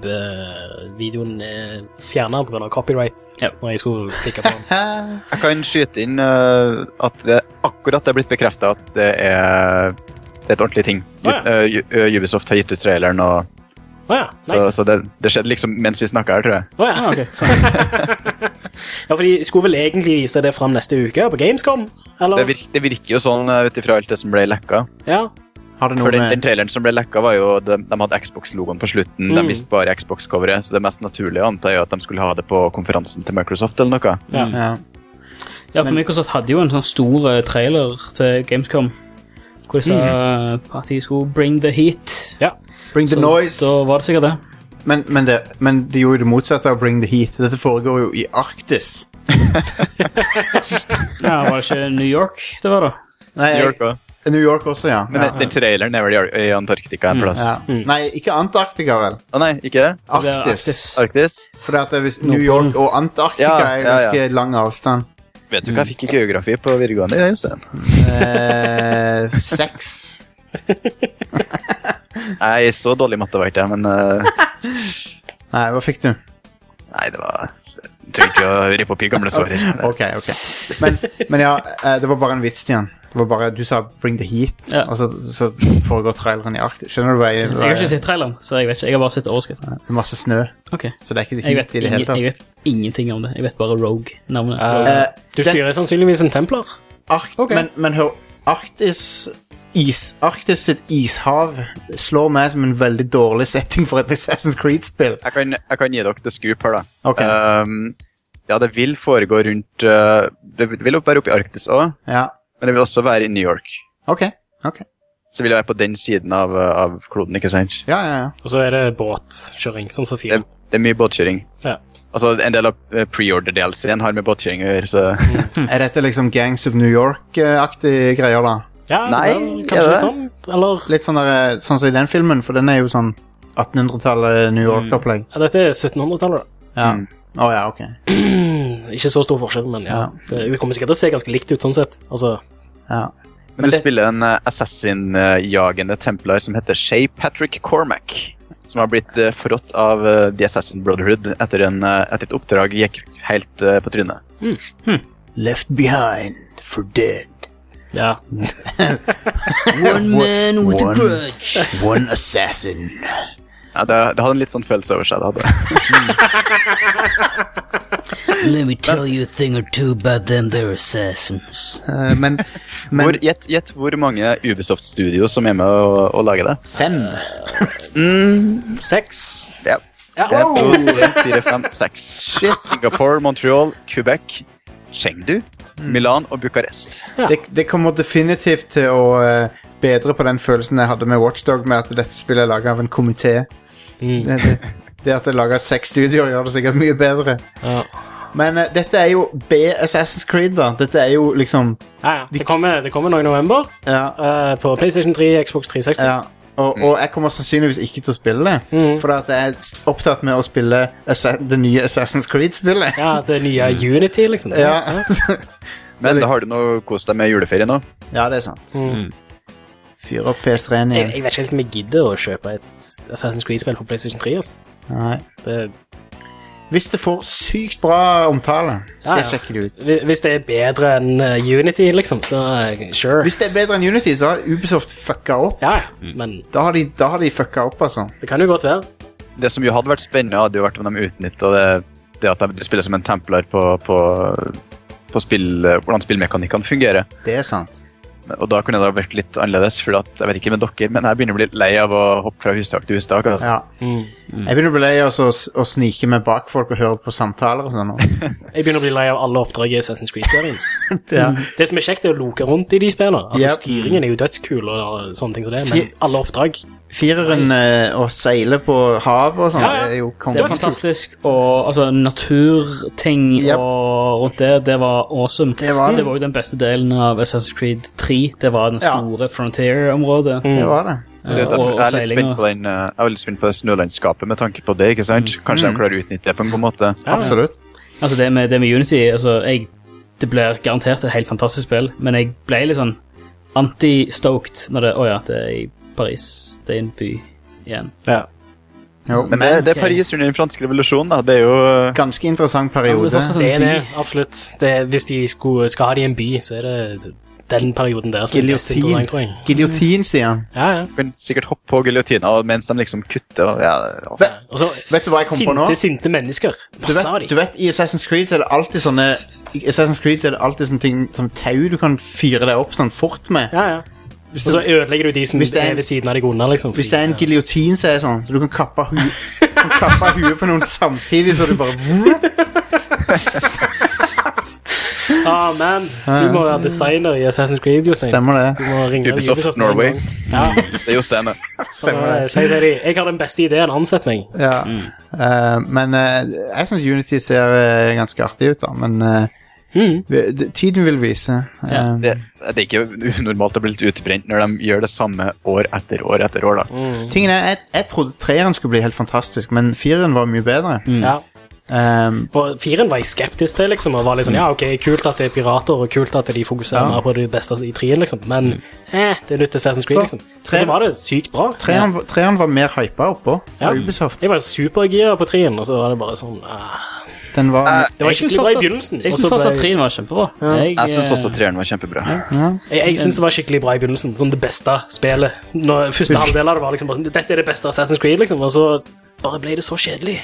Speaker 2: YouTube-videoen uh, fjerna pga. copyright.
Speaker 4: Ja.
Speaker 2: Når jeg skulle klikke på den.
Speaker 3: Jeg kan skyte inn eh, at det akkurat det er blitt bekrefta at det er, det er et ordentlig ting. Ju-
Speaker 2: Å, ja.
Speaker 3: eh, Ju- eh, Ubisoft har gitt ut traileren, og,
Speaker 2: Å ja,
Speaker 3: så,
Speaker 2: nice.
Speaker 3: så det, det skjedde liksom mens vi snakka her, tror jeg.
Speaker 2: Å ja.
Speaker 4: Ah,
Speaker 2: ja, for de skulle vel egentlig vise det fram neste uke på Gamescom? Eller?
Speaker 3: Det, virk, det virker jo sånn eh, ut ifra alt det som ble lekka.
Speaker 2: ja.
Speaker 1: Har det noe
Speaker 3: For den, den
Speaker 1: med
Speaker 3: traileren som ble lekka, var jo De, de hadde Xbox-logoen på slutten. De
Speaker 2: Mm.
Speaker 3: visste bare Xbox-coveret, så det mest naturlige antar jeg er at de skulle ha det på konferansen til Microsoft eller noe.
Speaker 1: ja.
Speaker 4: Ja, for Microsoft hadde jo en sånn stor eh, trailer til Gamescom. Hvor de sa eh, at de skulle bring the heat.
Speaker 2: ja.
Speaker 1: Bring Mhm. the
Speaker 4: Så Da
Speaker 1: noise.
Speaker 4: var det sikkert det.
Speaker 1: Men, men, det, men de gjorde det motsatte av bring the heat. Dette foregår jo i Arktis.
Speaker 4: Ja, Var det ikke New York det var, da?
Speaker 1: Nei,
Speaker 3: New York, også.
Speaker 1: New York også, ja.
Speaker 3: Men
Speaker 1: ja. Mm.
Speaker 3: den- den traileren er vel i- i Antarktika en plass. Å
Speaker 1: ja. Nei, ikke Antarktika, vel.
Speaker 3: nei, ikke det?
Speaker 4: Det ble
Speaker 1: Arktis.
Speaker 3: Arktis?
Speaker 1: For det er hvis New York og Antarktika
Speaker 3: Ja,
Speaker 1: er
Speaker 3: ja, ja.
Speaker 1: ganske lang avstand.
Speaker 3: Vet du hva jeg fikk i geografi på videregående? Ja, Jostein?
Speaker 1: Eh, seks.
Speaker 3: Nei, så dårlig matte var ikke jeg, men eh,
Speaker 1: Nei, hva fikk du?
Speaker 3: Nei, det var jeg Trenger ikke å rippe opp i gamle sårer.
Speaker 1: Ok, ok. Men, men ja, eh, det var bare en vits, Stian. Det var bare, du sa 'bring the heat',
Speaker 4: Ja.
Speaker 1: og så, så foregår traileren i Arktis. Skjønner du hva jeg,
Speaker 4: Jeg
Speaker 1: hva
Speaker 4: har
Speaker 1: jeg
Speaker 4: ikke sett traileren, så jeg vet ikke. Jeg har bare sett overskriften.
Speaker 1: Det er Masse snø,
Speaker 4: Ok.
Speaker 1: så det er ikke
Speaker 4: Jeg
Speaker 1: heat
Speaker 4: vet,
Speaker 1: i det hele
Speaker 4: ingen, jeg
Speaker 1: tatt.
Speaker 4: vet ingenting om det. Jeg vet bare Rogue-navnet.
Speaker 2: Eh,
Speaker 1: Eh,
Speaker 2: Du
Speaker 1: den-
Speaker 2: styrer sannsynligvis en templar.
Speaker 1: Ark
Speaker 4: Ok.
Speaker 1: men, men hør, Arktis is, Arktis sitt ishav slår meg som en veldig dårlig setting for et Assassin's Creed-spill.
Speaker 3: Jeg kan, jeg kan gi dere the scoop her, da.
Speaker 1: Ok.
Speaker 3: Ehm, ja, det vil foregå rundt eh, Det vil jo være oppe i Arktis òg,
Speaker 1: Ja,
Speaker 3: men det vil også være i New York.
Speaker 1: ok. ok.
Speaker 3: Så vil jeg være på den siden av, eh, av kloden, ikke sant?
Speaker 1: Ja, ja, ja.
Speaker 2: Og så er det båtkjøring, sånn som
Speaker 3: Det,
Speaker 2: fire.
Speaker 3: det er mye båtkjøring.
Speaker 2: Ja.
Speaker 3: Altså, en del av eh, pre-order-delsen har med båtkjøring å gjøre, så
Speaker 4: Hm.
Speaker 1: Er dette liksom Gangs of New York-aktige greier, da?
Speaker 2: Ja,
Speaker 3: Nei,
Speaker 2: vel,
Speaker 3: er
Speaker 2: kanskje
Speaker 3: det
Speaker 2: litt
Speaker 3: det?
Speaker 2: sånn? Eller
Speaker 1: Litt sånn, der, eh, sånn som i den filmen, for den er jo sånn 1800-tallet
Speaker 2: Mm.
Speaker 1: New York-opplegg.
Speaker 2: ja, Dette er 1700-tallet, da.
Speaker 1: Ja. Å ja, ok.
Speaker 2: Ikke så stor forskjell, men ja.
Speaker 1: Ja.
Speaker 2: Det, det kommer sikkert til å se ganske likt ut, sånn sett. Altså,
Speaker 1: Ja.
Speaker 3: Men du spiller en eh, assassin-jagende templar som heter Shay Patrick Cormac. Som har blitt eh, forrådt av eh, The Assassin Brotherhood etter, en, eh, etter et oppdrag gikk helt eh, på trynet.
Speaker 1: Left behind for dead.
Speaker 2: ja.
Speaker 1: One
Speaker 4: man with a
Speaker 1: one-
Speaker 4: grudge.
Speaker 1: One assassin.
Speaker 3: Ja, det, det hadde en litt sånn følelse over seg. det hadde.
Speaker 4: Let me tell you a thing or two about them, they're assassins.
Speaker 1: Eh, men Men-
Speaker 3: Hvor- Gjett gjett hvor mange Ubisoft-studio som er med å, å lage det.
Speaker 1: fem
Speaker 2: Seks.
Speaker 3: Ja.
Speaker 2: Ja.
Speaker 3: Det er to, tre, fire, fem, seks. Shit. Singapore, Montreal, Quebec, Chengdu, Milan og Bucharest.
Speaker 2: Ja.
Speaker 1: det, det kommer definitivt til å eh, bedre på den følelsen jeg hadde med Watchdog, med at dette spillet er laga av en komité.
Speaker 2: Mm.
Speaker 1: Det, det, det at det er laga av seks studioer, gjør det sikkert mye bedre.
Speaker 2: Ja.
Speaker 1: Men eh, dette er jo B-Assassin's Creed, da. Dette er jo liksom
Speaker 2: Ja, ja. Det, kommer, det kommer nå i november
Speaker 1: Ja.
Speaker 2: eh, på PlayStation 3, Xbox 360.
Speaker 1: ja. Og,
Speaker 2: Mm.
Speaker 1: og jeg kommer sannsynligvis ikke til å spille det.
Speaker 2: Mhm.
Speaker 1: For at jeg er opptatt med å spille Assa det nye Assassin's Creed-spillet.
Speaker 2: Ja, det nye Unity, liksom.
Speaker 1: Ja.
Speaker 3: Men da har du nå kost deg med juleferie nå.
Speaker 1: ja, det er sant.
Speaker 2: Mm.
Speaker 1: Fyr opp PS3-en
Speaker 2: Jeg,
Speaker 1: igjen.
Speaker 2: jeg vet ikke helt om jeg gidder å kjøpe et Assassin's Creed-spill på PlayStation 3. Altså.
Speaker 1: Nei.
Speaker 2: Det,
Speaker 1: Hvis det får sykt bra omtale,
Speaker 2: Ja,
Speaker 1: skal
Speaker 2: ja.
Speaker 1: jeg sjekke det ut.
Speaker 2: hvi- hvis det er bedre enn eh, Unity, liksom, så eh, sure.
Speaker 1: Hvis det er bedre enn Unity, så har Ubisoft fucka opp.
Speaker 2: Ja, ja, men
Speaker 1: Da har de, da har de fucka opp, altså.
Speaker 2: det kan jo godt være.
Speaker 3: Det som jo hadde vært spennende, hadde jo vært om de utnytta det, det at de spiller som en templar på, på, på spill, hvordan spillmekanikkene fungerer.
Speaker 1: Det er sant.
Speaker 3: Og da kunne det ha vært litt annerledes, for at, jeg vet ikke med dere, men jeg begynner å bli litt lei av å hoppe fra hustak til hustak. Altså.
Speaker 1: Ja. Jeg begynner å bli lei av å, å snike meg bak folk og høre på samtaler og sånn.
Speaker 2: Jeg begynner å bli lei av alle oppdrag i Assassin's Creed-serien.
Speaker 3: Mm.
Speaker 1: Ja.
Speaker 2: Det som er kjekt, er å loke rundt i de spillene. Altså,
Speaker 1: Yep.
Speaker 2: Styringen er jo dødskul, og sånne ting som det, men
Speaker 1: Fy- Sånn
Speaker 2: alle oppdrag
Speaker 1: Fireren eh, å seile på havet og sånn,
Speaker 2: Ja, ja.
Speaker 1: det er jo
Speaker 4: Det
Speaker 1: konge.
Speaker 4: var fantastisk, og altså, naturting
Speaker 1: Yep.
Speaker 4: og rundt det, det var awesome.
Speaker 1: Det var det.
Speaker 4: det var jo den beste delen av Assassin's Creed 3. Det var den
Speaker 1: Ja.
Speaker 4: store Frontier-området.
Speaker 1: Det var det.
Speaker 3: Mm. Det,
Speaker 4: eh,
Speaker 3: det,
Speaker 4: Og, og
Speaker 3: jeg er litt spent
Speaker 4: seilinga.
Speaker 3: på, den, eh, jeg er litt spent på det snølandskapet med tanke på det. ikke sant?
Speaker 4: Mm.
Speaker 3: Kanskje de klarer å utnytte det på en god måte.
Speaker 1: Absolutt.
Speaker 4: Altså, det med, det med Unity altså, jeg, Det blir garantert et helt fantastisk spill, men jeg ble litt sånn anti-stoked når det Å ja, det er i Paris. Det er en by igjen.
Speaker 2: ja.
Speaker 1: Jo.
Speaker 3: Men det, det
Speaker 4: ok.
Speaker 3: er Paris under den franske revolusjonen. da, Det er jo eh,
Speaker 1: Ganske interessant
Speaker 4: Ja, men
Speaker 1: periode.
Speaker 4: det er fortsatt
Speaker 2: Det er
Speaker 4: en by.
Speaker 2: det, absolutt. Det er, hvis de skulle, skal ha det i en by, så er det den perioden der som er mest
Speaker 1: Giljotin.
Speaker 2: interessant, tror jeg.
Speaker 1: Giljotin, Stian.
Speaker 2: Ja, ja.
Speaker 3: kan sikkert hoppe på giljotina og- mens de liksom kutter. og ja, ja.
Speaker 1: Vet,
Speaker 2: Og så
Speaker 1: vet du hva jeg kom på nå?
Speaker 2: Sinte, sinte mennesker.
Speaker 1: Du
Speaker 2: Masse av
Speaker 1: vet, du
Speaker 2: de.
Speaker 1: vet, I Assassin's Creed så er det alltid sånne I Assassin's Creed så er det alltid sånne ting Sånn tau du kan fyre deg opp sånn fort med.
Speaker 2: Ja, ja. Og så ødelegger du de som
Speaker 1: Hvis det er
Speaker 2: er,
Speaker 1: en-
Speaker 2: ved siden av deg unna, liksom.
Speaker 1: Hvis det er en giljotin, så er det sånn Så du kan kappe hu du kan kappe huet på noen samtidig, så du bare
Speaker 2: Ah, man. Du må være designer i Assassin's Creed, Jostein.
Speaker 1: Stemmer
Speaker 2: Du
Speaker 1: det.
Speaker 2: må ringe
Speaker 3: Ubisoft
Speaker 2: med en
Speaker 3: Norway.
Speaker 2: gang. Ja,
Speaker 3: Det er jo scene.
Speaker 1: Stemmer
Speaker 2: Si til dem jeg har den beste ideen, ansett meg.
Speaker 1: Ja.
Speaker 2: Mm.
Speaker 1: Eh, men eh, jeg syns Unity ser eh, ganske artig ut, da. Men eh,
Speaker 2: Mm.
Speaker 1: vi- d- tiden vil vise. Eh,
Speaker 3: Det, det er ikke unormalt å bli litt utbrent når de gjør det samme år etter år etter år. da.
Speaker 1: Tingen er, jeg, jeg trodde treeren skulle bli helt fantastisk, men fireren var mye bedre.
Speaker 2: Ja.
Speaker 1: Eh,
Speaker 2: På firen var jeg skeptisk til, liksom, og var litt sånn
Speaker 4: Mm.
Speaker 2: ja, ok, kult at det er pirater, og kult at de
Speaker 1: Ja.
Speaker 2: fokuserer mer på det beste i trien, liksom, men
Speaker 4: Mm.
Speaker 2: eh, det er nytt til Assassin's Creed,
Speaker 1: Så,
Speaker 2: liksom. Og
Speaker 1: tre-
Speaker 2: så var det sykt bra.
Speaker 1: treeren, var- treeren var mer hypa oppå. Ja.
Speaker 2: Ja.
Speaker 1: Ubisoft.
Speaker 2: Jeg var supergira på trien, og så var det bare sånn ah.
Speaker 1: Den var
Speaker 2: Det var
Speaker 4: Jeg synes
Speaker 2: skikkelig bra i
Speaker 4: fortsatt-
Speaker 2: begynnelsen.
Speaker 4: Jeg
Speaker 2: og
Speaker 4: syns
Speaker 2: så
Speaker 4: fortsatt
Speaker 2: ble-
Speaker 4: 3 var kjempebra. Jeg,
Speaker 3: Jeg syns
Speaker 4: eh,
Speaker 3: også treeren var kjempebra.
Speaker 2: Jeg, jeg synes det var skikkelig bra i begynnelsen. Sånn det beste spillet. Når første halvdel av det var liksom bare sånn Dette er det beste Assassin's Creed, liksom. Og så bare ble det så kjedelig.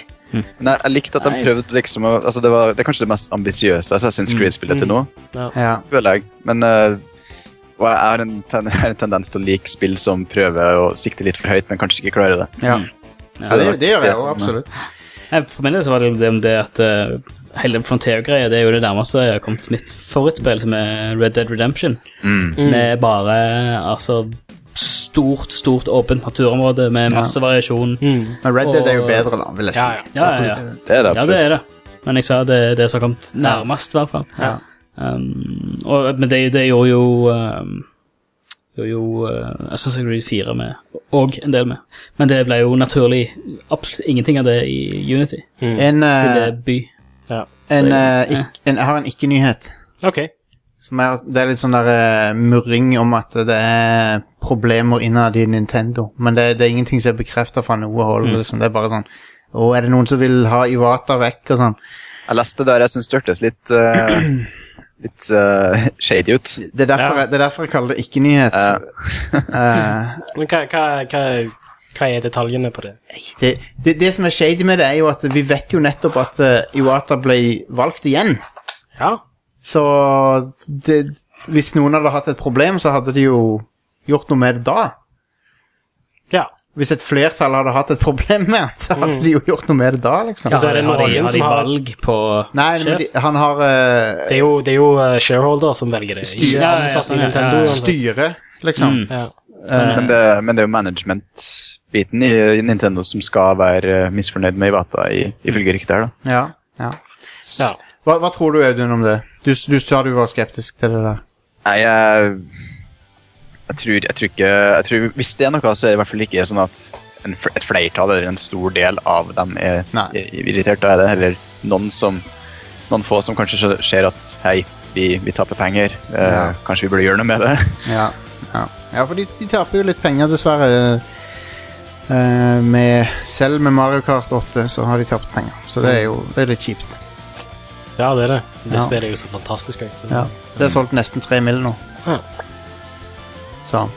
Speaker 3: Nei, jeg likte at de
Speaker 4: Nice.
Speaker 3: prøvde liksom å altså Det var det er kanskje det mest ambisiøse
Speaker 1: Mm.
Speaker 3: Assassin's Creed-spillet til nå,
Speaker 1: Ja.
Speaker 3: føler jeg. Men eh, og jeg har en, ten, jeg har en tendens til å like spill som prøver å sikte litt for høyt, men kanskje ikke klarer det.
Speaker 1: ja.
Speaker 3: Så sånn,
Speaker 1: ja det, altså. det gjør jeg
Speaker 3: som-
Speaker 1: jo absolutt.
Speaker 4: jeg, for min del så var det jo det, om det at eh, hele den Frontier-greia det er jo det nærmeste jeg har kommet mitt favorittspill, som er Red Dead Redemption.
Speaker 3: Mm.
Speaker 2: Mm.
Speaker 4: Med bare altså stort, stort åpent naturområde med masse variasjon.
Speaker 2: Mm.
Speaker 1: Men Red Dead er jo
Speaker 4: Og-
Speaker 1: bedre, da, vil jeg si.
Speaker 2: Ja, ja.
Speaker 4: Ja, ja, ja.
Speaker 3: Det er det
Speaker 4: ja,
Speaker 3: absolutt.
Speaker 4: det er det. Men jeg sa det er det som har kommet nærmest, i hvert fall.
Speaker 1: Ja.
Speaker 4: Um, og, men det, det gjorde jo um, gjorde jo uh, Assassin's Creed 4 med, og en del med. Men det ble jo naturlig absolutt ingenting av det i Unity,
Speaker 2: Mm.
Speaker 1: En, eh,
Speaker 4: siden det er by.
Speaker 1: en, eh, ikk- en, jeg har en ikke-nyhet.
Speaker 2: OK.
Speaker 1: Som er, det er litt sånn der eh, murring om at det er problemer innad i Nintendo. Men det, det er ingenting som er bekrefta fra noe hold.
Speaker 2: Mm.
Speaker 1: Liksom. Det er bare sånn Å, er det noen som vil ha Iwata vekk, og sånn.
Speaker 3: Jeg leste det der jeg syntes det hørtes litt eh, Litt eh, shady ut. Eh,
Speaker 1: Det er derfor, jeg, det er derfor jeg kaller det ikke-nyhet.
Speaker 3: Ja.
Speaker 1: Eh,
Speaker 2: Men hva, hva, hva Hva er detaljene på det?
Speaker 1: Nei, Det, det, det som er shady med det, er jo at vi vet jo nettopp at eh, Iwata ble valgt igjen.
Speaker 2: Ja,
Speaker 1: Så det, hvis noen hadde hatt et problem, så hadde de jo gjort noe med det da.
Speaker 2: ja.
Speaker 1: Hvis et flertall hadde hatt et problem med han, så hadde de jo gjort noe med det da, liksom.
Speaker 2: Mm. Ja. så er det
Speaker 4: har de-
Speaker 2: noen
Speaker 4: har de
Speaker 2: som har-
Speaker 4: valg på
Speaker 1: Nei, men de, han har eh,
Speaker 2: Det er jo, det er jo eh, shareholder som velger det.
Speaker 1: Styr-
Speaker 2: Ikke
Speaker 4: Ja, ja,
Speaker 2: ansatte i
Speaker 4: sånn, ja,
Speaker 2: Nintendo. altså.
Speaker 4: ja, ja.
Speaker 2: uansett.
Speaker 1: styre, liksom.
Speaker 2: Ja.
Speaker 3: Men det, men det er jo management-biten i i Nintendo som skal være eh, misfornøyd med Iwata, i- ifølge ryktet her. da.
Speaker 1: Ja, ja.
Speaker 2: Ja.
Speaker 1: Hva, hva tror du, Audun, om det? Du, s- du sa du var skeptisk til det der.
Speaker 3: Nei, jeg, jeg, tror, jeg tror ikke jeg tror, Hvis det er noe, så er det i hvert fall ikke sånn at en, fl- et flertall eller en stor del av dem er,
Speaker 1: Nei.
Speaker 3: er irritert. Da er det heller noen som noen få som kanskje skjø- ser at hei, vi, vi taper penger, eh,
Speaker 1: Ja.
Speaker 3: kanskje vi burde gjøre noe med det.
Speaker 1: Ja, ja. ja for de, de taper jo litt penger, dessverre. Eh, med, selv med Mario Kart 8 så har de tapt penger, så det er jo det er litt kjipt.
Speaker 2: ja, det er det. Det
Speaker 1: Ja.
Speaker 2: spillet er jo så fantastisk. jeg, Så.
Speaker 1: Ja. Det er solgt nesten tre mil nå.
Speaker 2: Ja.
Speaker 1: Så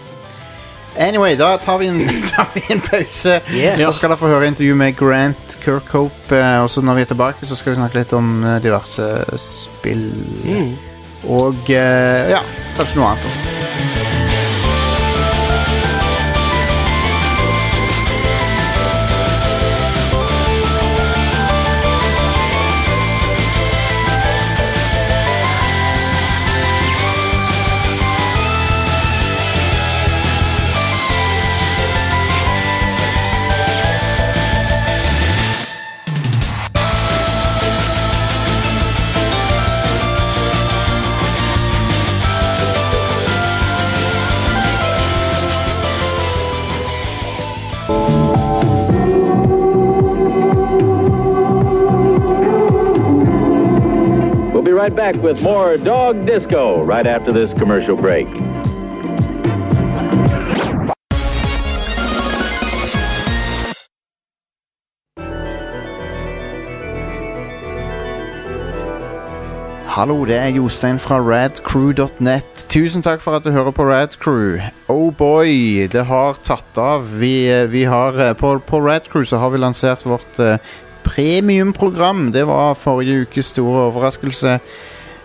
Speaker 1: Anyway, da tar vi en, tar vi en pause.
Speaker 2: Yeah.
Speaker 1: Da skal dere få høre intervju med Grant Kirkhope. eh, Og så når vi er tilbake, så skal vi snakke litt om eh, diverse spill.
Speaker 2: Mm.
Speaker 1: Og eh, ja, kanskje noe annet. også.
Speaker 7: We'll be right back with more Dog Disco right after this commercial break.
Speaker 1: Hallo, det er Jostein fra radcrew.net. Tusen takk for at du hører på Radcrew. Oh boy, det har tatt av. Vi, eh, vi har, eh, på, på Radcrew så har vi lansert vårt eh, premiumprogram. Det var forrige ukes store overraskelse.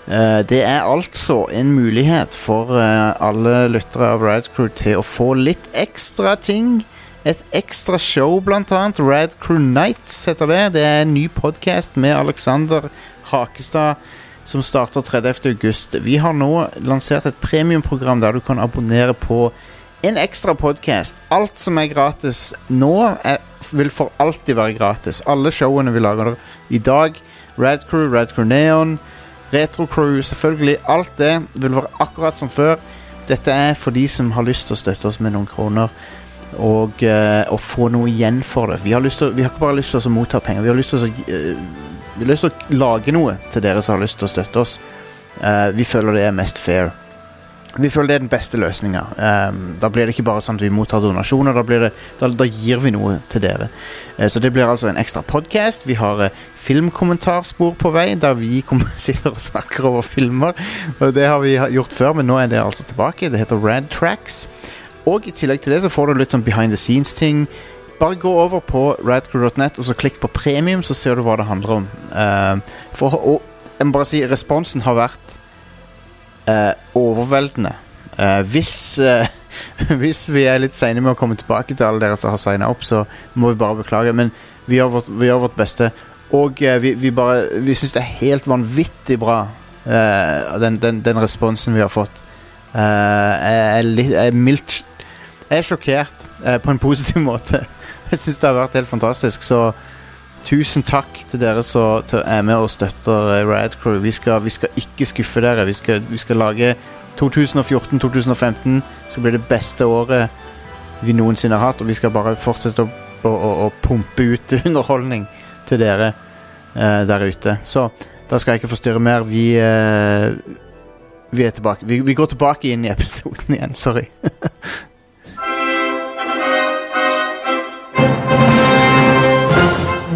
Speaker 1: Eh, det er altså en mulighet for eh, alle lyttere av Radcrew til å få litt ekstra ting. Et ekstra show, blant annet. Radcrew Nights heter det. Det er en ny podkast med Alexander Hakestad som starter 30. august. Vi har nå lansert et premiumprogram der du kan abonnere på en ekstra podkast. Alt som er gratis nå, er, vil for alltid være gratis. Alle showene vi lager i dag, Radcrew, Radcrew Neon, Retrocrew, selvfølgelig. Alt det vil være akkurat som før. Dette er for de som har lyst til å støtte oss med noen kroner. Og, eh, og få noe igjen for det. Vi har, lyst til, vi har ikke bare lyst til å motta penger, vi har lyst til å eh, vi har lyst til å lage noe til dere som har lyst til å støtte oss. Eh, vi føler det er mest fair. Vi føler det er den beste løsninga. da blir det ikke bare sånn at vi mottar donasjoner, da, blir det, da, da gir vi noe til dere. Eh, så det blir altså en ekstra podkast. Vi har eh, filmkommentarspor på vei, der vi kom, sitter og snakker over filmer. Og det har vi ha- gjort før, men nå er det altså tilbake. Det heter Rad Tracks. Og i tillegg til det så får du litt sånn behind the scenes-ting. Bare gå over på radcrew.net og så klikk på premium, så ser du hva det handler om. Eh, for, og, jeg må bare si, responsen har vært eh, overveldende. Eh, hvis, eh, hvis vi er litt seine med å komme tilbake til alle dere som har signa opp, så må vi bare beklage, men vi gjør vårt, vi gjør vårt beste. Og eh, vi, vi, bare- vi syns det er helt vanvittig bra, eh, den, den, den responsen vi har fått. Eh, jeg, er litt, jeg er mildt Jeg er sjokkert, eh, på en positiv måte. Jeg syns det har vært helt fantastisk, så tusen takk til dere som til- er med og støtter eh, Riot Crew. Vi skal, vi skal ikke skuffe dere. Vi skal, vi skal lage 2014-2015 skal bli det beste året vi noensinne har hatt, og vi skal bare fortsette å, å, å, å pumpe ut underholdning til dere eh, der ute. Så da skal jeg ikke forstyrre mer. Vi, eh, vi er tilbake. Vi, vi går tilbake inn i episoden igjen. Sorry.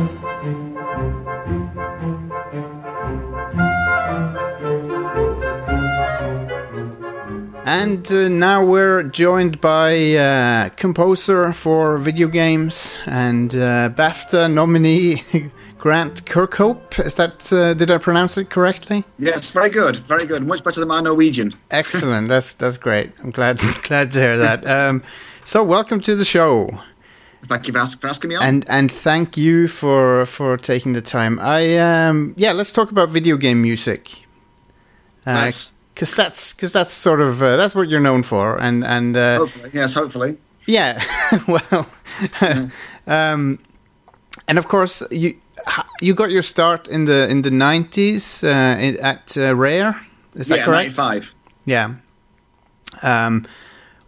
Speaker 1: And And uh, now we're joined by uh, composer for video games and uh, BAFTA nominee Grant Kirkhope. Is that uh, did I pronounce it correctly?
Speaker 8: Yes, very good, very good. Much better than my Norwegian.
Speaker 1: Excellent. That's that's great. I'm glad glad to hear that. Um, so welcome to the show,
Speaker 8: Thank you for, ask, for asking me on.
Speaker 1: and and thank you for for taking the time. I um, yeah, let's talk about video game music. Uh,
Speaker 8: Nice.
Speaker 1: Cause that's cause that's sort of uh, that's what you're known for, and and uh,
Speaker 8: hopefully, yes, hopefully.
Speaker 1: yeah, well, um, and of course you you got your start in the in the nineties uh, in- at uh, Rare. Is that
Speaker 8: yeah,
Speaker 1: correct?
Speaker 8: ninety-five.
Speaker 1: Yeah. Um,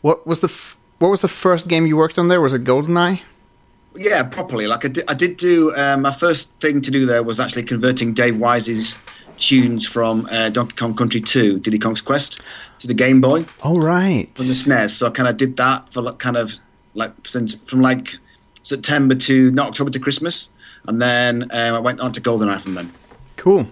Speaker 1: what was the f- what was the first game you worked on there? Was it GoldenEye?
Speaker 8: Yeah, properly. Like I did, I did do um, my first thing to do there was actually converting Dave Wise's tunes from uh, Donkey Kong Country 2, Diddy Kong's Quest, to the Game Boy
Speaker 1: Oh right.
Speaker 8: from the SNES. So I kind of did that for like kind of like since from like September to not October to Christmas, and then um, I went on to Goldeneye from then.
Speaker 1: Cool.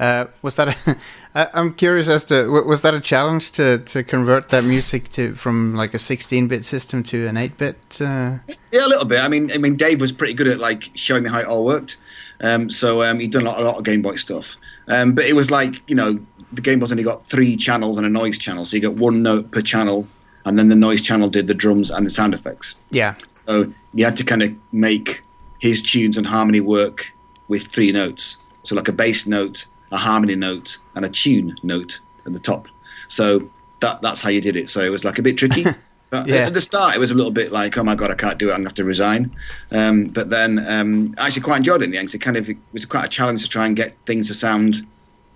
Speaker 1: Uh, was that? A, I, I'm curious as to wa- was that a challenge to, to convert that music to from like a 16-bit system to an 8-bit? Uh...
Speaker 8: Yeah, a little bit. I mean, I mean, Dave was pretty good at like showing me how it all worked. Um, so um, he'd done a lot, a lot of Game Boy stuff. Um, but it was like you know, the Game Boy's only got three channels and a noise channel, so you got one note per channel, and then the noise channel did the drums and the sound effects.
Speaker 1: Yeah.
Speaker 8: So you had to kind of make his tunes and harmony work with three notes. So like a bass note, a harmony note, and a tune note at the top. So that that's how you did it. So it was like a bit tricky. But
Speaker 1: Yeah.
Speaker 8: At the start, it was a little bit like, "Oh my god, I can't do it. I'm gonna have to resign." Um, but then, um, I actually quite enjoyed it in the end. 'cause it kind of it was quite a challenge to try and get things to sound,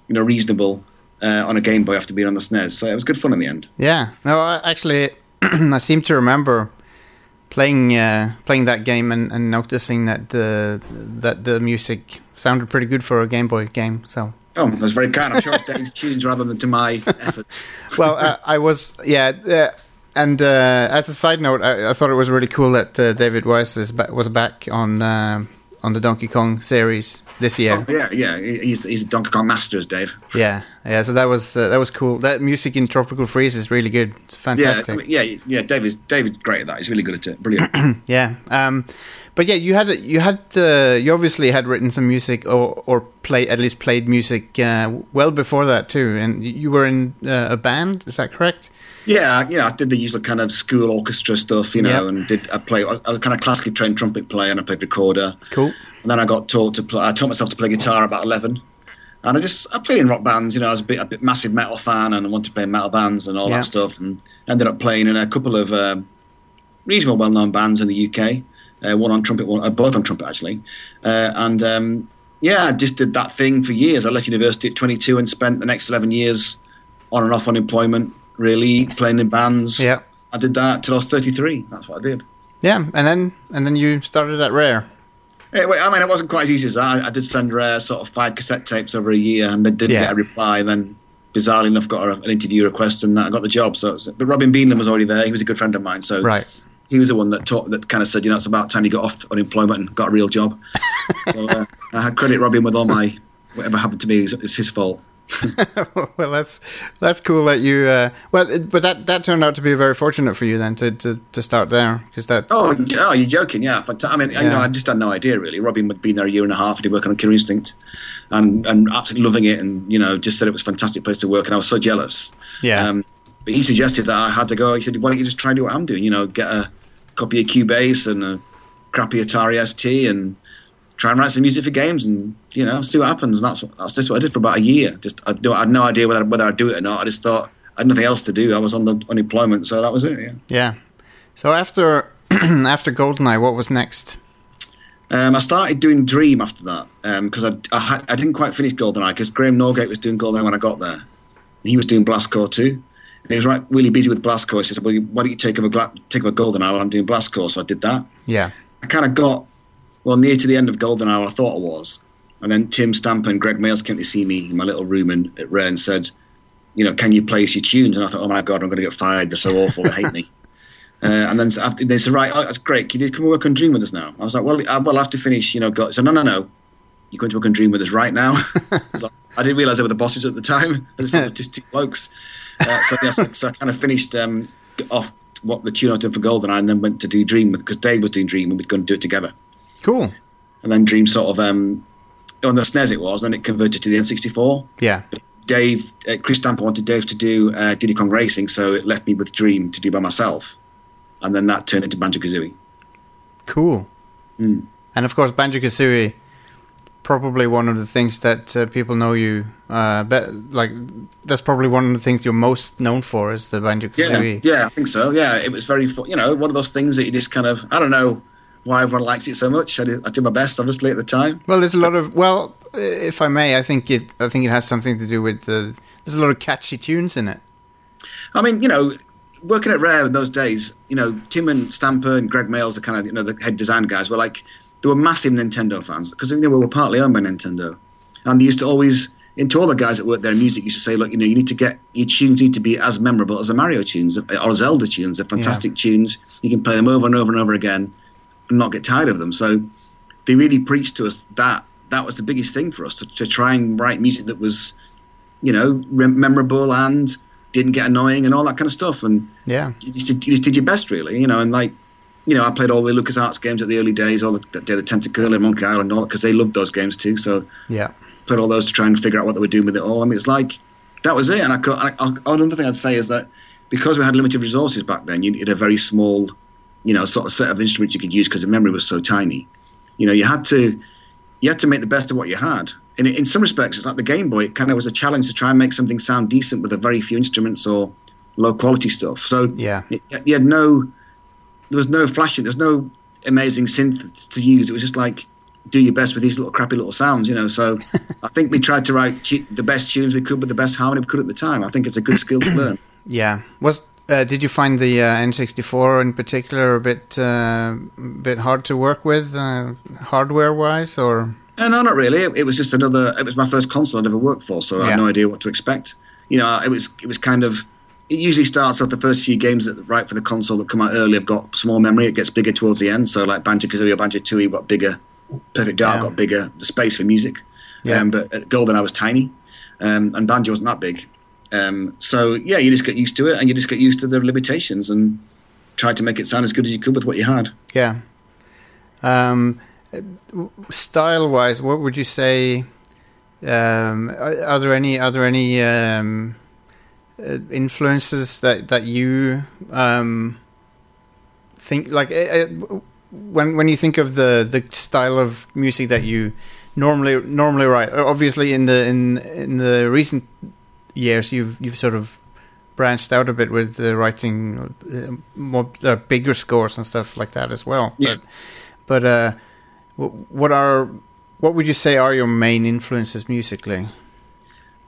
Speaker 8: you know, reasonable uh, on a Game Boy after being on the SNES. So it was good fun in the end.
Speaker 1: Yeah. No, I, actually, I seem to remember playing uh, playing that game and, and noticing that the that the music sounded pretty good for a Game Boy game. So.
Speaker 8: Oh, that was very kind. I'm sure it's Dave's tunes rather than to my efforts.
Speaker 1: well, uh, I was, yeah. Uh, and uh, as a side note, I, I thought it was really cool that uh, David Weiss is ba- was back on uh, on the Donkey Kong series this year.
Speaker 8: Oh, Yeah, yeah, he- he's he's Donkey Kong Masters, Dave.
Speaker 1: Yeah, yeah. So that was uh, that was cool. That music in Tropical Freeze is really good. It's
Speaker 8: Yeah,
Speaker 1: fantastic.
Speaker 8: I mean, yeah, yeah. David's David's great at that. He's really good at it. Brilliant.
Speaker 1: Yeah. Um, but yeah, you had you had uh, you obviously had written some music or or play at least played music uh, well before that too, and you were in uh, a band. Is that correct?
Speaker 8: yeah, you know, I did the usual kind of school orchestra stuff, you know,
Speaker 1: Yeah.
Speaker 8: and did I play? I was kind of classically trained trumpet player, and I played recorder.
Speaker 1: Cool.
Speaker 8: And then I got taught to play. I taught myself to play guitar about eleven, and I just I played in rock bands. You know, I was a bit a bit massive metal fan, and I wanted to play in metal bands and all
Speaker 1: Yeah.
Speaker 8: that stuff, and ended up playing in a couple of um reasonable well known bands in the UK. Uh, one on trumpet, one uh, both on trumpet actually, uh, and um, yeah, I just did that thing for years. I left university at 22 and spent the next 11 years on and off unemployment, really playing in bands.
Speaker 1: Yeah.
Speaker 8: I did that till I was 33. That's what I did.
Speaker 1: Yeah, and then and then you started at Rare.
Speaker 8: Eh, wait, I mean, it wasn't quite as easy as that. I, I did send Rare sort of five cassette tapes over a year, and I didn't
Speaker 1: Yeah.
Speaker 8: get a reply. Then, bizarrely enough, got a, an interview request, and I got the job. So, it's- but Robin Beanland was already there. He was a good friend of mine, so
Speaker 1: Right.
Speaker 8: he was the one that taught, that kind of said, you know, it's about time you got off unemployment and got a real job. so uh, I had credit Robin with all my whatever happened to me is, is his fault.
Speaker 1: well, that's that's cool that you. Uh, well, it, but that that turned out to be very fortunate for you then to to, to start there because that.
Speaker 8: Oh, you- oh, you're joking? Yeah, Fant- I mean, you
Speaker 1: Yeah.
Speaker 8: know, I just had no idea really. Robin had been there a year and a half and he working on Killer Instinct, and and absolutely loving it, and you know, just said it was a fantastic place to work, and I was so jealous.
Speaker 1: yeah,
Speaker 8: Um, but he suggested that I had to go. He said, "Why don't you just try and do what I'm doing? You know, get a copy of Cubase and a crappy Atari ST and try and write some music for games and you know see what happens." And that's what, that's just what I did for about a year. Just I, do, I had no idea whether whether I'd do it or not. I just thought I had nothing else to do. I was on the unemployment, so that was it. Yeah.
Speaker 1: yeah. So after after Goldeneye, what was next?
Speaker 8: Um, I started doing Dream after that because I, I, had- I didn't quite finish Goldeneye because Graham Norgate was doing Goldeneye when I got there. And he was doing Blastcore too. And he was right, really busy with Blastcore. So he said, well, you- why don't you take over, Gla- take over Goldeneye while I'm doing Blastcore? So I did that.
Speaker 1: Yeah,
Speaker 8: I kind of got, well, near to the end of Goldeneye, I thought I was. And then Tim Stamper and Greg Mails came to see me in my little room in, at Rare and said, you know, can you play us your tunes? And I thought, oh my God, I'm going to get fired. They're so awful. They hate me. Uh, and then s- after- they said, right, oh, that's great. Can you come and work on Dream with us now? I was like, well, I, well, I have to finish, you know, go. So, no, no, no. You're going to work on Dream with us right now. I was like- I didn't realize they were the bosses at the time. I just thought they were just two blokes. Uh, so yes, so I kind of finished um, off what the tune I did for Goldeneye, and then went to do Dream because Dave was doing Dream, and we'd gone do it together.
Speaker 1: Cool.
Speaker 8: And then Dream sort of um, on the SNES it was, and then it converted to the N64.
Speaker 1: Yeah.
Speaker 8: Dave, uh, Chris Stamper wanted Dave to do uh, Diddy Kong Racing, so it left me with Dream to do by myself, and then that turned into Banjo Kazooie.
Speaker 1: Cool.
Speaker 8: Hmm.
Speaker 1: And of course, Banjo Kazooie, probably one of the things that uh, people know you. Uh, bet like that's probably one of the things you're most known for is the Banjo
Speaker 8: Yeah,
Speaker 1: Kazooie.
Speaker 8: yeah, I think so. Yeah, it was very, fu- you know, one of those things that you just kind of, I don't know why everyone likes it so much. I did, I did my best, obviously, at the time.
Speaker 1: Well, there's a lot of well, uh, if I may, I think it. I think it has something to do with the. There's a lot of catchy tunes in it.
Speaker 8: I mean, you know, working at Rare in those days, you know, Tim and Stamper and Greg Mails, the kind of, you know, the head design guys, were like, they were massive Nintendo fans because, you know, we were partly owned by Nintendo. And they used to always, into all the guys that worked there in music, used to say, look, you know, you need to get, your tunes need to be as memorable as the Mario tunes or Zelda tunes. They're fantastic tunes. You can play them over and over and over again and not get tired of them. So they really preached to us that. That was the biggest thing for us to, to try and write music that was you know, rem- memorable and didn't get annoying and all that kind of stuff. And
Speaker 1: Yeah.
Speaker 8: you just, did, you just did your best, really, you know. And like, you know, I played all the LucasArts games at the early days, all the, the, the Tentacle and Monkey Island, and all because they loved those games too. So
Speaker 1: Yeah.
Speaker 8: played all those to try and figure out what they were doing with it all. I mean, it's like that was it. And I, cou- and I, I another thing I'd say is that because we had limited resources back then, you needed a very small, you know, sort of set of instruments you could use because the memory was so tiny. You know, you had to you had to make the best of what you had. And in some respects, it's like the Game Boy. It kind of was a challenge to try and make something sound decent with a very few instruments or low quality stuff. So
Speaker 1: Yeah.
Speaker 8: y- you had no there was no flashing, there was no amazing synth to use. It was just like do your best with these little crappy little sounds, you know. So I think we tried to write tu- the best tunes we could with the best harmony we could at the time. I think it's a good skill to learn.
Speaker 1: Yeah. Was uh, did you find the uh, N64 in particular a bit uh, bit hard to work with uh, hardware wise or
Speaker 8: Uh, no, not really. It, it was just another. It was my first console I'd ever worked for, so I
Speaker 1: Yeah.
Speaker 8: had no idea what to expect. You know, it was it was kind of. It usually starts off the first few games that right for the console that come out early. have got small memory. It gets bigger towards the end. So like Banjo Kazooie or Banjo Tooie got bigger. Perfect Dark
Speaker 1: Yeah.
Speaker 8: got bigger. The space for music.
Speaker 1: Yeah.
Speaker 8: Um, but at Golden, I was tiny, um, and Banjo wasn't that big. Um, so yeah, you just get used to it, and you just get used to the limitations, and try to make it sound as good as you could with what you had.
Speaker 1: yeah. Um, style wise, what would you say? Um, are, are there any are there any um, uh, influences that that you um, think like eh, eh, when when you think of the the style of music that you normally normally write? o- Obviously, in the in in the recent years, you've you've sort of branched out a bit with the writing uh, more uh, bigger scores and stuff like that as well.
Speaker 8: Yeah.
Speaker 1: But but uh, wh- what are what would you say are your main influences musically?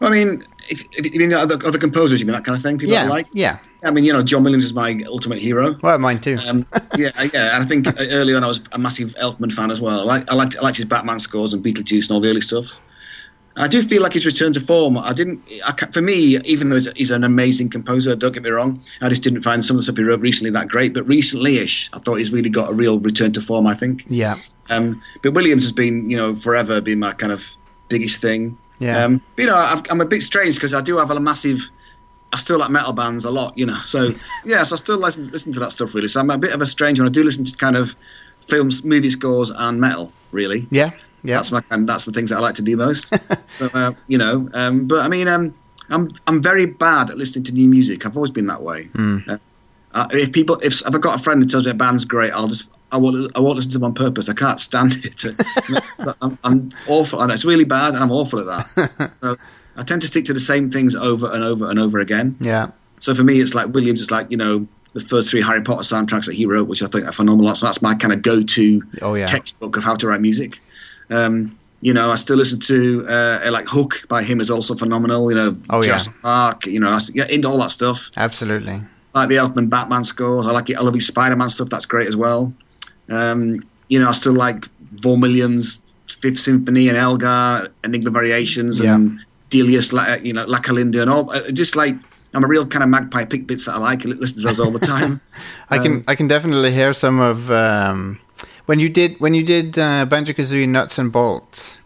Speaker 8: I mean, if, if you mean other, other composers, you mean that kind of thing. People
Speaker 1: yeah,
Speaker 8: I like.
Speaker 1: yeah.
Speaker 8: I mean, you know, John Williams is my ultimate hero.
Speaker 1: Well, mine too.
Speaker 8: Um, yeah, yeah, and I think uh, early on I was a massive Elfman fan as well. I, like- I liked I liked his Batman scores and Beetlejuice and all the early stuff. And I do feel like his return to form. I didn't. I, ca- for me, even though he's, he's an amazing composer, don't get me wrong, I just didn't find some of the stuff he wrote recently that great. But recently-ish, I thought he's really got a real return to form. I think.
Speaker 1: yeah,
Speaker 8: Um, but Williams has been, you know, forever been my kind of biggest thing.
Speaker 1: Yeah.
Speaker 8: Um, but, you know, I've, I'm a bit strange because I do have a massive. I still like metal bands a lot, you know. So yeah, so I still listen, listen to that stuff really. So I'm a bit of a strange one. I do listen to kind of films, movie scores, and metal really.
Speaker 1: yeah, yeah.
Speaker 8: That's my and that's the things that I like to do most. so, uh, you know, um, but I mean, um, I'm I'm very bad at listening to new music. I've always been that way.
Speaker 1: Hmm.
Speaker 8: Uh, Uh, if people, if, if I've got a friend who tells me a band's great, I'll just I won't I won't listen to them on purpose. I can't stand it. I'm, I'm awful. And it's really bad, and I'm awful at that. so I tend to stick to the same things over and over and over again.
Speaker 1: yeah,
Speaker 8: So for me, it's like Williams. It's like you know the first three Harry Potter soundtracks that he wrote, which I think are phenomenal. So that's my kind of go-to
Speaker 1: Oh, yeah.
Speaker 8: textbook of how to write music. Um, you know, I still listen to uh, like Hook by him is also phenomenal. You know,
Speaker 1: Oh, yeah.
Speaker 8: Jurassic Park. You know, I s- yeah, into all that stuff.
Speaker 1: absolutely.
Speaker 8: I like the Elfman Batman scores. I like it. I love his Spider-Man stuff. That's great as well. Um, you know, I still like Vaughan Williams' Fifth Symphony and Elgar, Enigma Variations, and Delius, La- you know, La Calinda, and all. uh, Just like I'm a real kind of magpie. Pick bits that I like and listen to those all the time.
Speaker 1: I can
Speaker 8: Um,
Speaker 1: I can definitely hear some of um, when you did when you did uh, Banjo Kazooie Nuts and Bolts.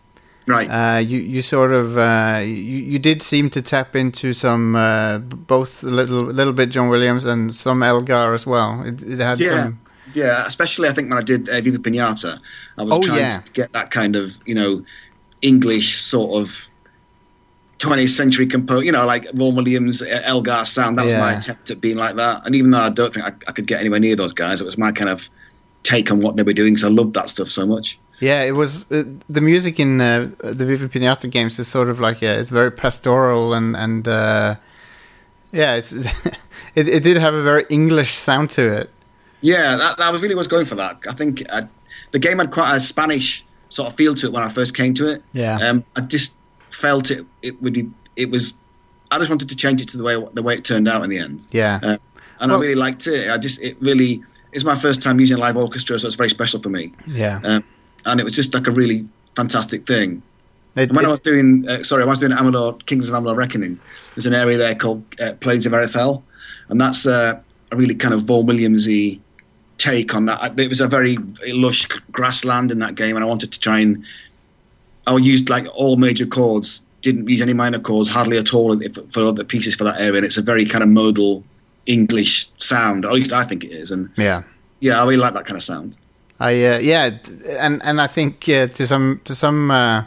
Speaker 8: Right.
Speaker 1: Uh, you you sort of uh, you you did seem to tap into some uh, b- both a little little bit John Williams and some Elgar as well. It, it had
Speaker 8: yeah.
Speaker 1: some
Speaker 8: Yeah, especially I think when I did uh, Viva Pinata, I was
Speaker 1: Oh,
Speaker 8: trying
Speaker 1: yeah.
Speaker 8: to get that kind of you know English sort of 20th century composer, you know, like Vaughan Williams, uh, Elgar sound. That was my
Speaker 1: Yeah.
Speaker 8: attempt at being like that. And even though I don't think I, I could get anywhere near those guys, it was my kind of take on what they were doing because I loved that stuff so much.
Speaker 1: Yeah, it was uh, the music in uh, the Viva Pinata games is sort of like a, it's very pastoral and and uh, yeah, it's it, it did have a very English sound to it.
Speaker 8: Yeah, that, that I really was going for that. I think uh the game had quite a Spanish sort of feel to it when I first came to it.
Speaker 1: Yeah.
Speaker 8: um, I just felt it. It would be. It was. I just wanted to change it to the way the way it turned out in the end,
Speaker 1: Yeah,
Speaker 8: uh, and
Speaker 1: Well-
Speaker 8: I really liked it. I just it really. It's my first time using a live orchestra, so it's very special for me.
Speaker 1: yeah.
Speaker 8: Um, and it was just like a really fantastic thing.
Speaker 1: It-
Speaker 8: And when I
Speaker 1: it-
Speaker 8: was doing, uh, sorry, when I was doing Amalur, Kingdoms of Amalur Reckoning, there's an area there called uh, Plains of Erethel, and that's uh, a really kind of Vaughan Williamsy take on that. I- It was a very lush grassland in that game, and I wanted to try and I used like all major chords, didn't use any minor chords hardly at all if- for other pieces for that area, and it's a very kind of modal English sound, or at least I think it is, and
Speaker 1: yeah.
Speaker 8: yeah, I really like that kind of sound.
Speaker 1: I uh, yeah, d- and and I think uh, to some to some uh,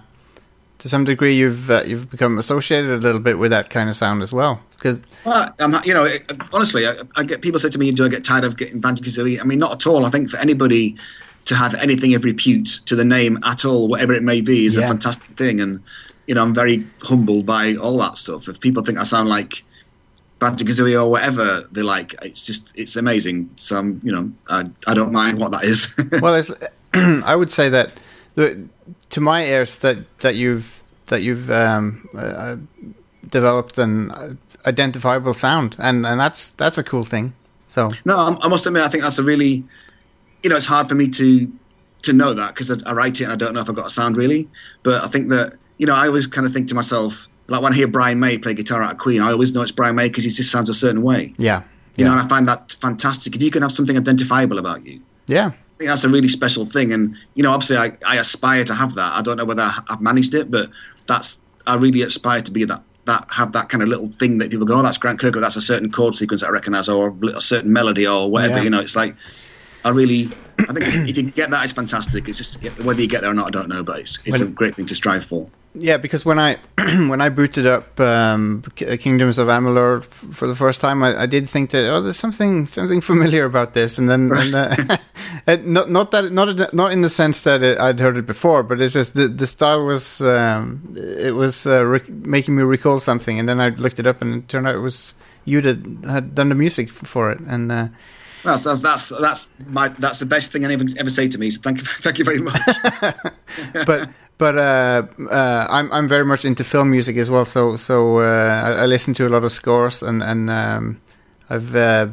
Speaker 1: to some degree you've uh, you've become associated a little bit with that kind of sound as well because
Speaker 8: Well, I'm, you know, it, honestly, I, I get people say to me, "Do I get tired of getting Banjo Kazooie?" I mean, not at all. I think for anybody to have anything of repute to the name at all, whatever it may be, is
Speaker 1: Yeah.
Speaker 8: a fantastic thing. And you know, I'm very humbled by all that stuff. If people think I sound like Banjo Kazooie or whatever they like, it's just it's amazing. So I'm, you know, I, I don't mind what that is.
Speaker 1: well, it's, I would say that the- to my ears that that you've that you've um, uh, uh, developed an uh, identifiable sound, and and that's that's a cool thing. So
Speaker 8: No, I, I must admit, I think that's a really, you know, it's hard for me to to know that because I, I write it and I don't know if I've got a sound really. But I think that you know, I always kind of think to myself, like when I hear Brian May play guitar at Queen, I always know it's Brian May because he just sounds a certain way.
Speaker 1: yeah,
Speaker 8: You know,
Speaker 1: yeah,
Speaker 8: and I find that fantastic. If you can have something identifiable about you,
Speaker 1: yeah,
Speaker 8: I think that's a really special thing. And you know, obviously, I, I aspire to have that. I don't know whether I- I've managed it, but that's I really aspire to be that that have that kind of little thing that people go, oh, that's Grant Kirkwood. That's a certain chord sequence that I recognise, or a certain melody, or whatever.
Speaker 1: Yeah.
Speaker 8: You know, it's like I really. I think it's- if you get that, it's fantastic. It's just whether you get there or not, I don't know, but it's, it's a
Speaker 1: Well-
Speaker 8: great thing to strive for.
Speaker 1: yeah. Because when I when I booted up um, K- Kingdoms of Amalur f- for the first time, I, I did think that oh, there's something something familiar about this, and then and, uh, and not not that not in the- not in the sense that it, I'd heard it before, but it's just the the style was um, it was uh, rec- making me recall something, and then I looked it up, and it turned out it was you that had done the music f- for it, and uh,
Speaker 8: That's that's that's that's, my, that's the best thing anyone ever say to me. So thank you, thank you very much.
Speaker 1: but. But uh, uh, I'm I'm very much into film music as well, so so uh, I, I listen to a lot of scores and and um, I've uh,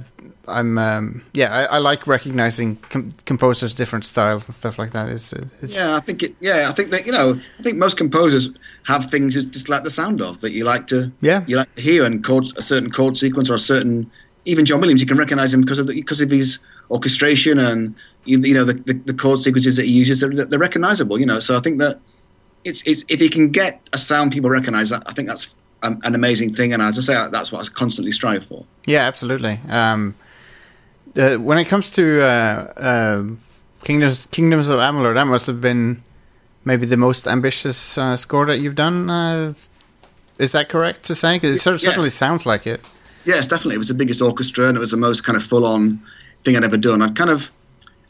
Speaker 1: I'm um, yeah I, I like recognizing com- composers' different styles and stuff like that. It's it's
Speaker 8: Yeah, I think it. Yeah, I think that you know, I think most composers have things just- just like the sound of that you like to.
Speaker 1: Yeah.
Speaker 8: You like to hear and chords a certain chord sequence or a certain even John Williams you can recognize him because of the, because of his orchestration and you, you know the, the, the chord sequences that he uses they're, they're recognizable you know so I think that it's it's if you can get a sound people recognize that I think that's um, an amazing thing and as I say that's what I constantly strive for.
Speaker 1: Yeah, absolutely. Um, uh, when it comes to uh, uh, Kingdoms Kingdoms of Amalur, that must have been maybe the most ambitious uh, score that you've done. Uh, is that correct to say? 'Cause it cer-
Speaker 8: Yeah.
Speaker 1: certainly sounds like it.
Speaker 8: Yes, definitely. It was the biggest orchestra, and it was the most kind of full-on thing I'd ever done. I'd kind of,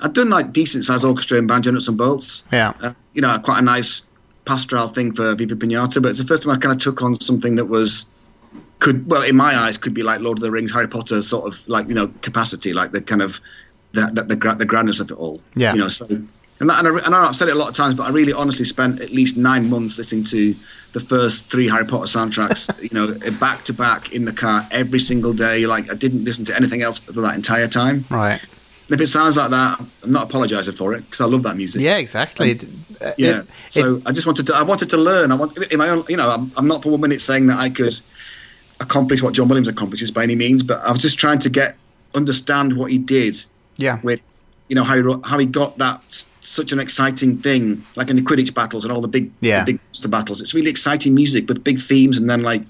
Speaker 8: I'd done like decent-sized orchestra in banjo nuts and bolts.
Speaker 1: Yeah.
Speaker 8: Uh, you know, quite a nice pastoral thing for Viva Pinata, but it's the first time I kind of took on something that was could, well, in my eyes, could be like Lord of the Rings, Harry Potter sort of like you know capacity, like the kind of the the, the, gra- the grandness of it all.
Speaker 1: Yeah.
Speaker 8: You know, so and that, and, I, and I've said it a lot of times, but I really honestly spent at least nine months listening to the first three Harry Potter soundtracks, you know, back to back in the car every single day. Like I didn't listen to anything else for that entire time.
Speaker 1: Right.
Speaker 8: And if it sounds like that, I'm not apologising for it because I love that music.
Speaker 1: Yeah. Exactly. It- uh,
Speaker 8: Um, Yeah.
Speaker 1: it-
Speaker 8: so I just wanted to. I wanted to learn. I want in my own. You know, I'm, I'm not for one minute saying that I could accomplish what John Williams accomplishes by any means, but I was just trying to get understand what he did
Speaker 1: yeah.
Speaker 8: with, you know, how he wrote, how he got that s- such an exciting thing, like in the Quidditch battles and all the big,
Speaker 1: Yeah.
Speaker 8: the big monster battles. It's really exciting music with big themes and then like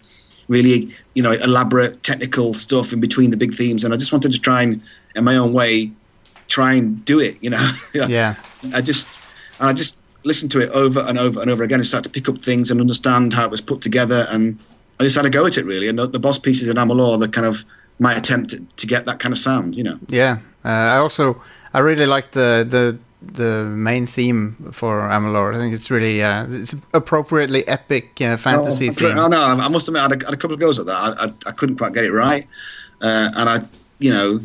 Speaker 8: really, you know, elaborate technical stuff in between the big themes. And I just wanted to try and, in my own way, try and do it. You know,
Speaker 1: Yeah.
Speaker 8: I just and I just listened to it over and over and over again and started to pick up things and understand how it was put together and I just had a go at it really and the, the boss pieces in Amalur the kind of my attempt to, to get that kind of sound you know
Speaker 1: Yeah, uh, I also I really like the the the main theme for Amalur. I think it's really uh, it's appropriately epic uh, fantasy
Speaker 8: oh,
Speaker 1: theme.
Speaker 8: oh, no I I must admit I had a, I had a couple of goes at that I, I, I couldn't quite get it right uh, and I you know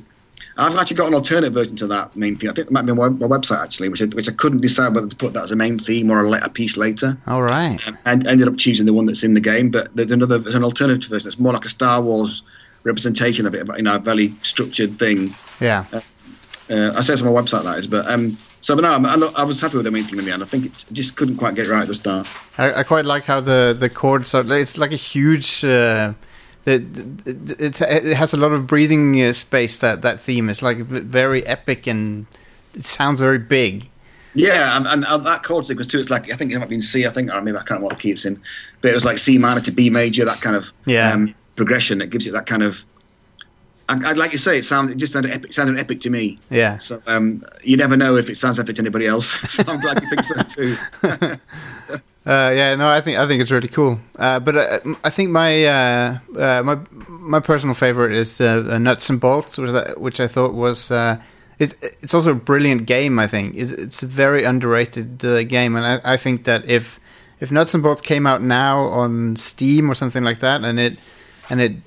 Speaker 8: I've actually got an alternate version to that main theme I think it might be on my, my website actually which I, which I couldn't decide whether to put that as a main theme or a, le- a piece later
Speaker 1: All right.
Speaker 8: and ended up choosing the one that's in the game. But there's another, there's an alternative version that's more like a Star Wars representation of it, you know, a very structured thing.
Speaker 1: Yeah.
Speaker 8: Uh, I say it's on my website that is, but um, so but no, I'm, I, lo- I was happy with the main thing in the end. I think it just couldn't quite get it right at the start.
Speaker 1: I, I quite like how the the chords are. It's like a huge. Uh, the- the- the- it's, it has a lot of breathing uh, space. That that theme is like v- very epic and it sounds very big.
Speaker 8: Yeah, and, and, uh, that chord sequence too. It's like I think it might have been C. I think or maybe I can't remember what key it's in, but it was like C minor to B major. That kind of um,
Speaker 1: Yeah.
Speaker 8: progression that gives it that kind of. I, I'd like you say it sounded it just sounded epic, sounded epic to me.
Speaker 1: Yeah.
Speaker 8: So um, you never know if it sounds epic to anybody else. so I'm glad you think so too.
Speaker 1: Uh, yeah, no, I think I think it's really cool. Uh, but uh, m- I think my uh, uh, my my personal favorite is uh, the Nuts and Bolts, which I, which I thought was uh, it's it's also a brilliant game. I think it's, it's a very underrated uh, game, and I, I think that if if Nuts and Bolts came out now on Steam or something like that, and it and it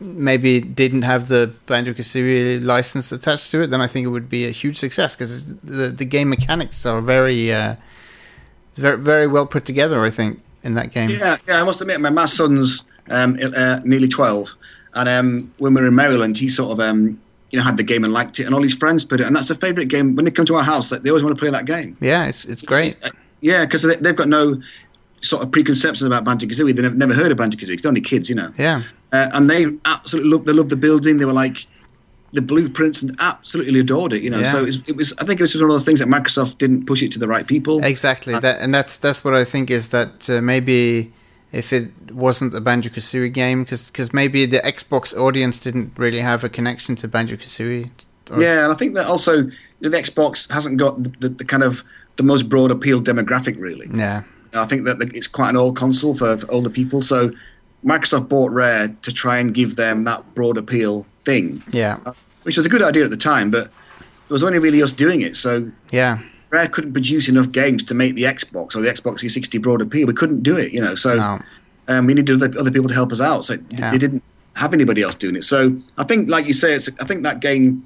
Speaker 1: maybe didn't have the Banjo Kazooie license attached to it, then I think it would be a huge success because the the game mechanics are very. Uh, it's very, very well put together, I think, in that game.
Speaker 8: yeah, yeah. I must admit, my, my son's um, i- uh, nearly twelve, and um, when we were in Maryland, he sort of um, you know had the game and liked it, and all his friends put it, and that's their favourite game. When they come to our house, like, they always want to play that game.
Speaker 1: Yeah, it's it's great.
Speaker 8: Uh, Yeah, because they, they've got no sort of preconceptions about Banjo Kazooie. They've never heard of Banjo Kazooie. They're only kids, you know.
Speaker 1: Yeah,
Speaker 8: Uh, and they absolutely loved. They loved the building. They were like the blueprints and absolutely adored it. You know.
Speaker 1: Yeah.
Speaker 8: So it was, it was. I think it was one of the things that Microsoft didn't push it to the right people.
Speaker 1: exactly. That and that's that's what I think is that uh, maybe if it wasn't a Banjo Kazooie game, because maybe the Xbox audience didn't really have a connection to Banjo Kazooie.
Speaker 8: Yeah, and I think that also you know, the Xbox hasn't got the, the, the kind of the most broad appeal demographic really.
Speaker 1: Yeah,
Speaker 8: I think that the, it's quite an old console for, for older people. So Microsoft bought Rare to try and give them that broad appeal thing,
Speaker 1: yeah,
Speaker 8: which was a good idea at the time, but it was only really us doing it. So
Speaker 1: yeah,
Speaker 8: Rare couldn't produce enough games to make the Xbox or the Xbox 360 broad appeal. We couldn't do it, you know. So
Speaker 1: No.
Speaker 8: um, we needed other, other people to help us out. So
Speaker 1: Yeah.
Speaker 8: they didn't have anybody else doing it. So I think, like you say, it's, I think that game,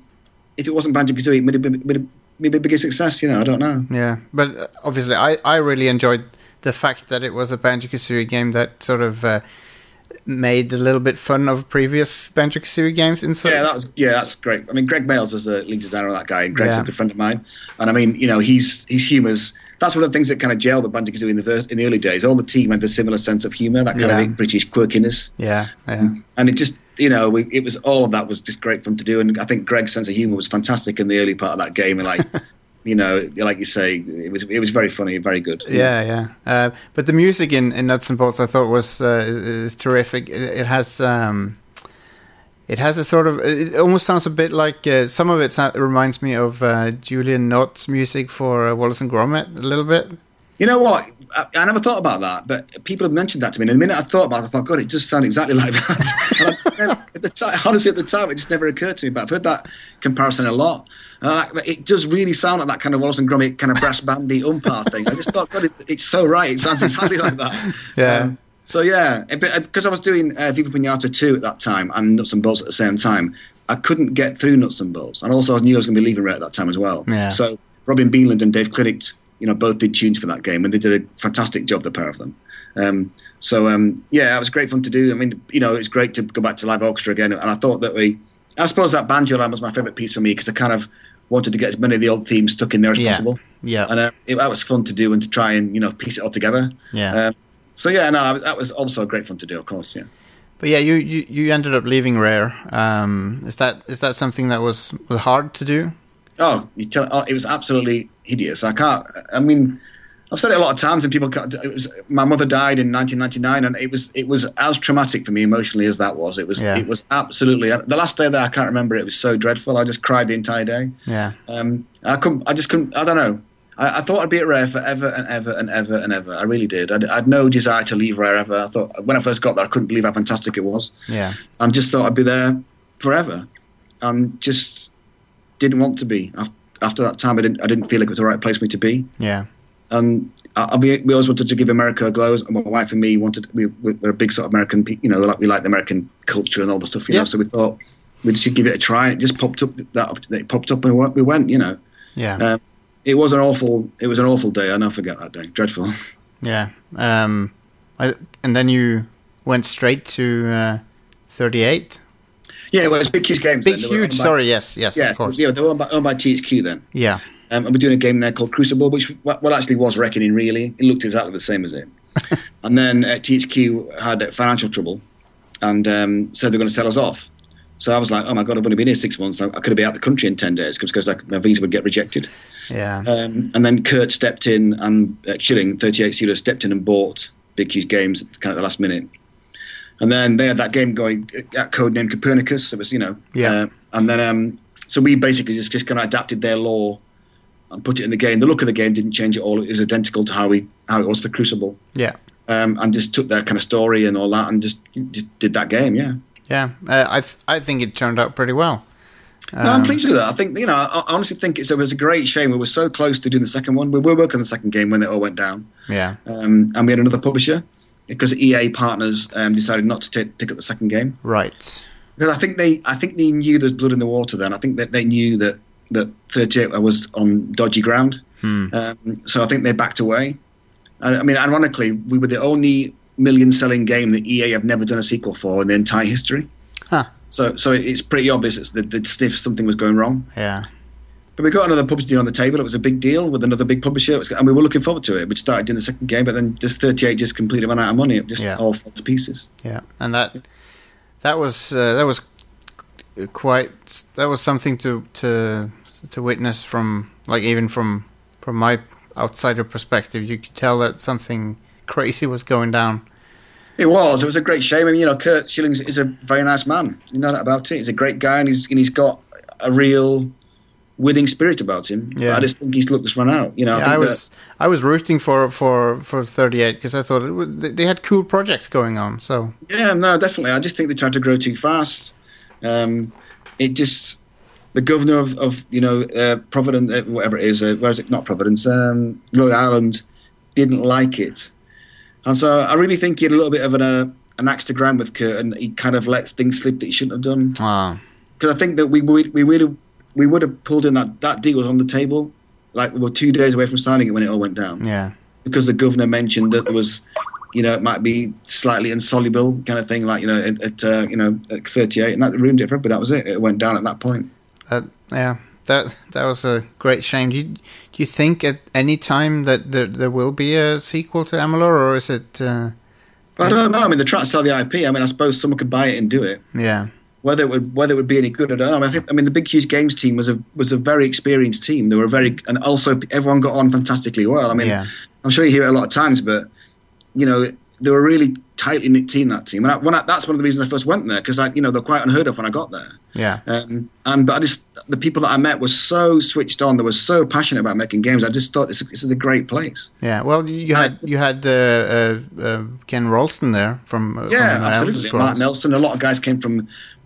Speaker 8: if it wasn't Banjo Kazooie, it would have been would have maybe a bigger success. You know, I don't know.
Speaker 1: yeah. But uh, obviously, I I really enjoyed the fact that it was a Banjo Kazooie game that sort of. Uh, made a little bit fun of previous Banjo Kazooie games in some
Speaker 8: Yeah, that was yeah, that's great. I mean, Greg Males is the lead designer of that guy, and Greg's
Speaker 1: Yeah.
Speaker 8: a good friend of mine. And I mean, you know, he's he's humor's. That's one of the things that kind of jailed with Banjo Kazooie in the ver- in the early days. All the team had a similar sense of humor, that kind
Speaker 1: Yeah.
Speaker 8: of British quirkiness.
Speaker 1: yeah, yeah.
Speaker 8: and it just you know we, it was all of that was just great for him to do and i think greg's sense of humor was fantastic in the early part of that game and like you know like you say it was it was very funny and very good
Speaker 1: Yeah, yeah. Uh, but the music in, in Nuts and Bolts, I thought was uh, is, is terrific. It, it has um, it has a sort of it it almost sounds a bit like uh, some of it sound, reminds me of uh, Julian Nott's music for uh, Wallace and Gromit a little bit.
Speaker 8: you know what I, I never thought about that but people have mentioned that to me and the minute i thought about it i thought god it just sounds exactly like that And I- at the time, honestly at the time it just never occurred to me but i've heard that comparison a lot uh, but it does really sound like that kind of Wallace and Gromit kind of brass bandy umpire thing. I just thought, God, it, it's so right. It sounds exactly like that.
Speaker 1: Yeah.
Speaker 8: Um, So yeah, because I was doing uh, Viva Pinata two at that time and Nuts and Bolts at the same time, I couldn't get through Nuts and Bolts, and also I knew I was going to be leaving Red at that time as well.
Speaker 1: Yeah.
Speaker 8: So Robin Beanland and Dave Clinic, you know, both did tunes for that game, and they did a fantastic job, the pair of them. Um, so um, yeah, it was great fun to do. I mean, you know, it's great to go back to live orchestra again, and I thought that we, I suppose that banjo line was my favorite piece for me because I kind of wanted to get as many of the old themes stuck in there as
Speaker 1: Yeah.
Speaker 8: possible
Speaker 1: Yeah,
Speaker 8: and uh, it, that was fun to do and to try and you know piece it all together.
Speaker 1: Yeah.
Speaker 8: Um, so yeah, no, that was also great fun to do, of course. Yeah.
Speaker 1: but yeah, you, you, you ended up leaving Rare. Um, is that is that something that was was hard to do?
Speaker 8: Oh, you tell, oh, it was absolutely hideous. I can't. I mean, I've said it a lot of times, and people. Can't, it was my mother died in 1999, and it was it was as traumatic for me emotionally as that was. It was
Speaker 1: Yeah.
Speaker 8: it was absolutely the last day there. I can't remember. It was so dreadful. I just cried the entire day.
Speaker 1: Yeah.
Speaker 8: Um, I couldn't. I just couldn't. I don't know. I, I thought I'd be at Rare forever and ever and ever and ever. I really did. I'd, I'd no desire to leave Rare ever. I thought when I first got there, I couldn't believe how fantastic it was.
Speaker 1: Yeah.
Speaker 8: I just thought I'd be there forever, and just didn't want to be. Af- After that time, I didn't. I didn't feel like it was the right place for me to be.
Speaker 1: Yeah.
Speaker 8: And I, I- we, we always wanted to give America a glow. And my wife and me wanted. We, we- we're a big sort of American. pe- You know, like we like the American culture and all the stuff. You
Speaker 1: Yeah.
Speaker 8: know, so we thought we should give it a try. And it just popped up. That it popped up, and we went. You know,
Speaker 1: Yeah.
Speaker 8: um, it was an awful. It was an awful day. I never forget that day. Dreadful.
Speaker 1: Yeah. Um, I, and then you went straight to uh, 38.
Speaker 8: Yeah, well, it was Big Huge Games.
Speaker 1: Big,
Speaker 8: then. They were
Speaker 1: huge.
Speaker 8: owned by-
Speaker 1: Sorry. Yes. Yes.
Speaker 8: Yes,
Speaker 1: of course.
Speaker 8: yeah, they were owned by, owned by THQ then.
Speaker 1: Yeah.
Speaker 8: Um, and we're doing a game there called Crucible, which wa- well actually was Reckoning. Really, it looked exactly the same as it. and then uh, THQ had uh, financial trouble, and um, said they're going to sell us off. So I was like, oh my god, I've only been here six months. I, I could be out the country in ten days because like, my visa would get rejected.
Speaker 1: Yeah.
Speaker 8: Um, and then Kurt stepped in, and uh, Chilling Thirty Eight Studios stepped in and bought Big Q's Games kind of at the last minute. And then they had that game going, uh, that code named Copernicus. It was you know,
Speaker 1: Yeah.
Speaker 8: uh, and then um, so we basically just just kind of adapted their law and put it in the game. The look of the game didn't change at all. It was identical to how we how it was for Crucible.
Speaker 1: yeah.
Speaker 8: Um, and just took their kind of story and all that, and just, just did that game. Yeah.
Speaker 1: Yeah. Uh, I th- I think it turned out pretty well.
Speaker 8: No, I'm pleased with that. I think you know, I I honestly think it's, it was a great shame. We were so close to doing the second one. We were working on the second game when it all went down,
Speaker 1: Yeah.
Speaker 8: um, and we had another publisher because EA partners um, decided not to take, pick up the second game
Speaker 1: Right.
Speaker 8: because I think they, I think they knew there's blood in the water. Then I think that they knew that that 38 was on dodgy ground, um, so I think they backed away. I, I mean, ironically, we were the only million-selling game that EA have never done a sequel for in their entire history.
Speaker 1: Huh.
Speaker 8: So, so it's pretty obvious it's, that they'd sniffed something was going wrong.
Speaker 1: Yeah.
Speaker 8: But we got another publisher deal on the table. It was a big deal with another big publisher, It was- and we were looking forward to it. We started doing the second game, but then just 38 just completely ran out of money. It just
Speaker 1: Yeah.
Speaker 8: all fell to pieces.
Speaker 1: Yeah. And that that was uh, that was quite that was something to to to witness from like even from from my outsider perspective. You could tell that something crazy was going down.
Speaker 8: It was. It was a great shame. I mean, you know, Kurt Schillings is a very nice man. You know that about it. He's a great guy, and he's and he's got a real winning spirit about him.
Speaker 1: Yeah.
Speaker 8: But I just think his luck was run out. You know, I
Speaker 1: Yeah,
Speaker 8: think
Speaker 1: I was I was rooting for for for 38 because I thought it was, they they had cool projects going on. So
Speaker 8: that, yeah, no, definitely. I just think they tried to grow too fast. Um, it just the governor of, of you know uh, Providence, uh, whatever it is, uh, where is it? Not Providence, um, Rhode Island, didn't like it, and so I really think he had a little bit of an uh, an axe to grind with Kurt, and he kind of let things slip that he shouldn't have done.
Speaker 1: ah,
Speaker 8: because I think that we would we would have we would have pulled in that that deal was on the table, like we were two days away from signing it when it all went down
Speaker 1: yeah,
Speaker 8: because the governor mentioned that there was, you know, it might be slightly insoluble kind of thing, like you know, at, at uh, you know, at 38, and that ruined it for everybody. That was it. It went down at that point.
Speaker 1: that yeah that that was a great shame. Do you, do you think at any time that there there will be a sequel to Amalur or is it uh,
Speaker 8: But I don't know. I mean, they're trying to sell the IP. I mean, I suppose someone could buy it and do it.
Speaker 1: yeah
Speaker 8: Whether it would whether it would be any good, I don't know. I, mean, I think I mean the Big Huge Games team was a was a very experienced team. They were very and also everyone got on fantastically well. I mean,
Speaker 1: yeah
Speaker 8: I'm sure you hear it a lot of times, but you know they were a really tightly knit team that team, and I, when I, that's one of the reasons I first went there because I, you know, they're quite unheard of when I got there.
Speaker 1: yeah
Speaker 8: Um, and but I just the people that I met were so switched on, they were so passionate about making games. I just thought this, this is a great place.
Speaker 1: yeah. Well, you had you had uh, uh, uh, Ken Ralston there from uh,
Speaker 8: Yeah,
Speaker 1: from Elder
Speaker 8: absolutely.
Speaker 1: Scrolls.
Speaker 8: Mark Nelson, a lot of guys came from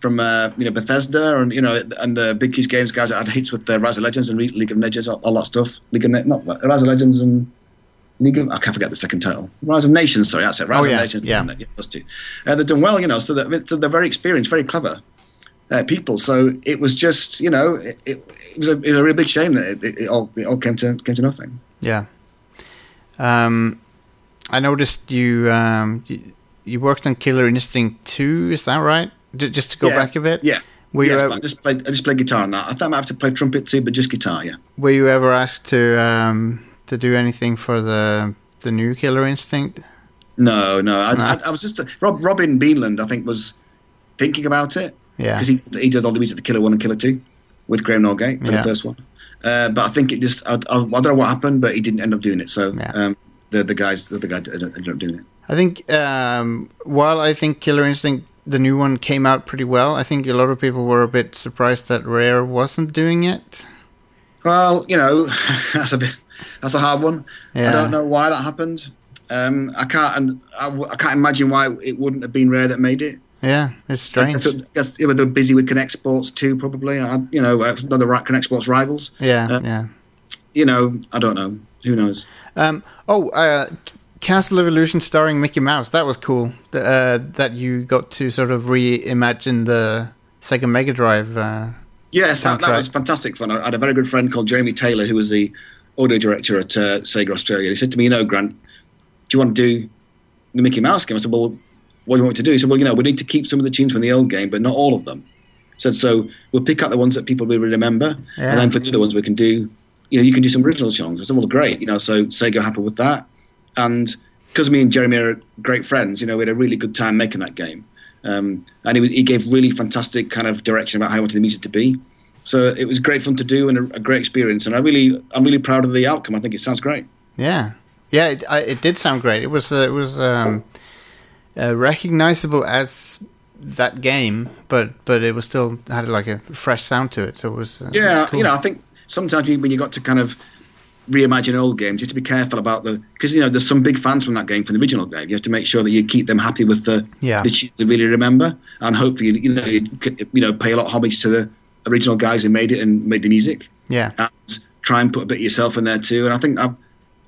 Speaker 8: from uh, you know Bethesda and you know and the Big Huge Games guys that had hits with the Rise of Legends and Re- League of Legends, all, all that stuff. League of ne- not Rise of Legends and League of I can't forget the second title. Rise of Nations, sorry, that's it. Rise
Speaker 1: Oh,
Speaker 8: of
Speaker 1: yeah,
Speaker 8: Nations,
Speaker 1: yeah.
Speaker 8: those two. Uh, they've done well, you know. So they're, I mean, so they're very experienced, very clever. Uh, people, so it was just you know it, it, it was a it was a real big shame that it, it, it all it all came to came to nothing.
Speaker 1: Yeah. Um, I noticed you um you, you worked on Killer Instinct two. Is that right? J- just to go
Speaker 8: Yeah.
Speaker 1: back a bit.
Speaker 8: Yes.
Speaker 1: Were you
Speaker 8: yes,
Speaker 1: ev-
Speaker 8: but I just played. I just played guitar on that. I thought I might have to play trumpet too, but just guitar. Yeah.
Speaker 1: Were you ever asked to um to do anything for the the new Killer Instinct?
Speaker 8: No, no. I,
Speaker 1: No.
Speaker 8: I, I was just Rob, Robin Beanland. I think was thinking about it
Speaker 1: Yeah.
Speaker 8: because he he did all the music for Killer One and Killer Two with Graham Norgate for
Speaker 1: Yeah.
Speaker 8: the first one. Uh, but I think it just I, I, I don't know what happened, but he didn't end up doing it. So
Speaker 1: Yeah.
Speaker 8: um, the the guys the other guy d- ended up doing it.
Speaker 1: I think um, while I think Killer Instinct the new one came out pretty well, I think a lot of people were a bit surprised that Rare wasn't doing it.
Speaker 8: Well, you know, that's a bit that's a hard one.
Speaker 1: Yeah.
Speaker 8: I don't know why that happened. Um, I can't and I, w- I can't imagine why it wouldn't have been Rare that made it.
Speaker 1: Yeah, it's strange.
Speaker 8: I guess they were busy with Connect Sports too, probably. I, you know, uh, they're the right Connect Sports rivals.
Speaker 1: Yeah,
Speaker 8: Uh,
Speaker 1: yeah.
Speaker 8: You know, I don't know. Who knows?
Speaker 1: Um, oh, uh, C- Castle of Illusion starring Mickey Mouse. That was cool. Th- uh, that you got to sort of reimagine the Sega Mega Drive. Uh,
Speaker 8: Yes, that, that
Speaker 1: Soundtrack.
Speaker 8: was fantastic fun. I had a very good friend called Jeremy Taylor, who was the audio director at uh, Sega Australia. He said to me, "You know, Grant, do you want to do the Mickey Mouse game?" I said, "Well, what do you want me to do?" He said, "Well, you know, we need to keep some of the tunes from the old game, but not all of them." He said, "So we'll pick out the ones that people will remember,
Speaker 1: Yeah.
Speaker 8: and then for the other ones, we can do, you know, you can do some original songs." I said, "Well, great, you know." So Sega happy with that, and because me and Jeremy are great friends, you know, we had a really good time making that game. Um, and he, was- he gave really fantastic kind of direction about how he wanted the music to be. So it was great fun to do and a, a great experience. And I really, I'm really proud of the outcome. I think it sounds great.
Speaker 1: yeah, yeah. It, I, it did sound great. It was uh, it was um, uh, recognizable as that game, but but it was still had like a fresh sound to it. So it was uh, it
Speaker 8: Yeah,
Speaker 1: was cool.
Speaker 8: you know, I think sometimes you- when you got to kind of reimagine old games, you have to be careful about the because you know there's some big fans from that game from the original game. You have to make sure that you keep them happy with the
Speaker 1: Yeah.
Speaker 8: the tunes they really remember, and hopefully you know you, could, you know pay a lot of homage to the original guys who made it and made the music.
Speaker 1: yeah,
Speaker 8: and try and put a bit of yourself in there too. And I think I've,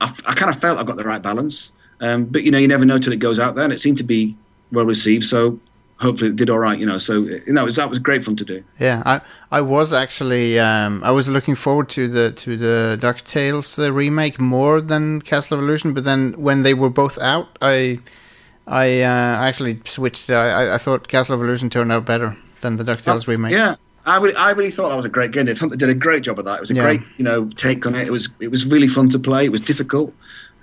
Speaker 8: I've, I kind of felt I got the right balance. Um, but you know, you never know till it goes out there, and it seemed to be well received. So hopefully it did all right. You know, so you know it was, that was great fun to do.
Speaker 1: yeah. I I was actually um, I was looking forward to the to the Ducktales uh, remake more than Castle of Illusion, but then when they were both out, I I uh, actually switched. I, I- I thought Castle of Illusion turned out better than the Ducktales remake.
Speaker 8: Oh, Uh, Yeah, I really, I really thought that was a great game. They thought they did a great job of that. It was a
Speaker 1: Yeah.
Speaker 8: great, you know, take on it. It was, it was really fun to play. It was difficult.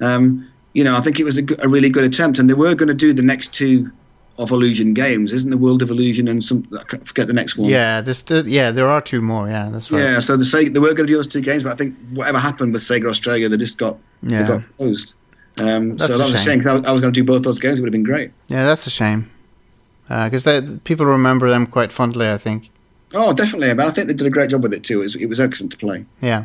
Speaker 8: Um, you know, I think it was a, go- a really good attempt. And they were going to do the next two of Illusion games, isn't the World of Illusion and some? I can't- forget the next one.
Speaker 1: Yeah, there's, there, yeah, there are two more. Yeah, that's right.
Speaker 8: Yeah, so the Sega, they were going to do those two games, but I think whatever happened with Sega Australia, they just got
Speaker 1: Yeah.
Speaker 8: they got closed. Um,
Speaker 1: That's
Speaker 8: so
Speaker 1: a
Speaker 8: that was a
Speaker 1: shame.
Speaker 8: shame 'cause I, I was going to do both those games. It would have been great.
Speaker 1: Yeah, that's a shame. Because people remember them quite fondly, I think.
Speaker 8: Oh, definitely. But I think they did a great job with it too. It was, it was excellent to play.
Speaker 1: Yeah.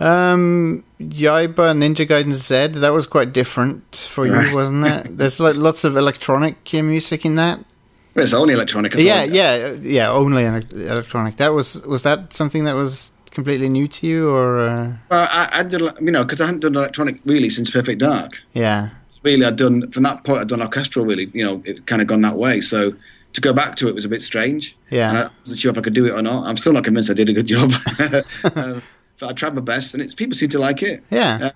Speaker 1: Um, Yaiba Ninja Gaiden Z, that was quite different for you,
Speaker 8: Right.
Speaker 1: wasn't it? There's like lots of electronic uh, music in that.
Speaker 8: But it's only electronic. as
Speaker 1: yeah,
Speaker 8: well.
Speaker 1: yeah, uh, yeah. Only elec- electronic. That was was that something that was completely new to you, or uh,
Speaker 8: Well, I, I did, you know, because I hadn't done electronic really since Perfect Dark.
Speaker 1: yeah,
Speaker 8: Really, I'd done from that point. I'd done orchestral. Really, you know, it kind of gone that way. So to go back to it was a bit strange.
Speaker 1: Yeah.
Speaker 8: and I wasn't sure if I could do it or not. I'm still not convinced I did a good job. um, but I tried my best, and it's people seem to like it.
Speaker 1: yeah,
Speaker 8: Uh,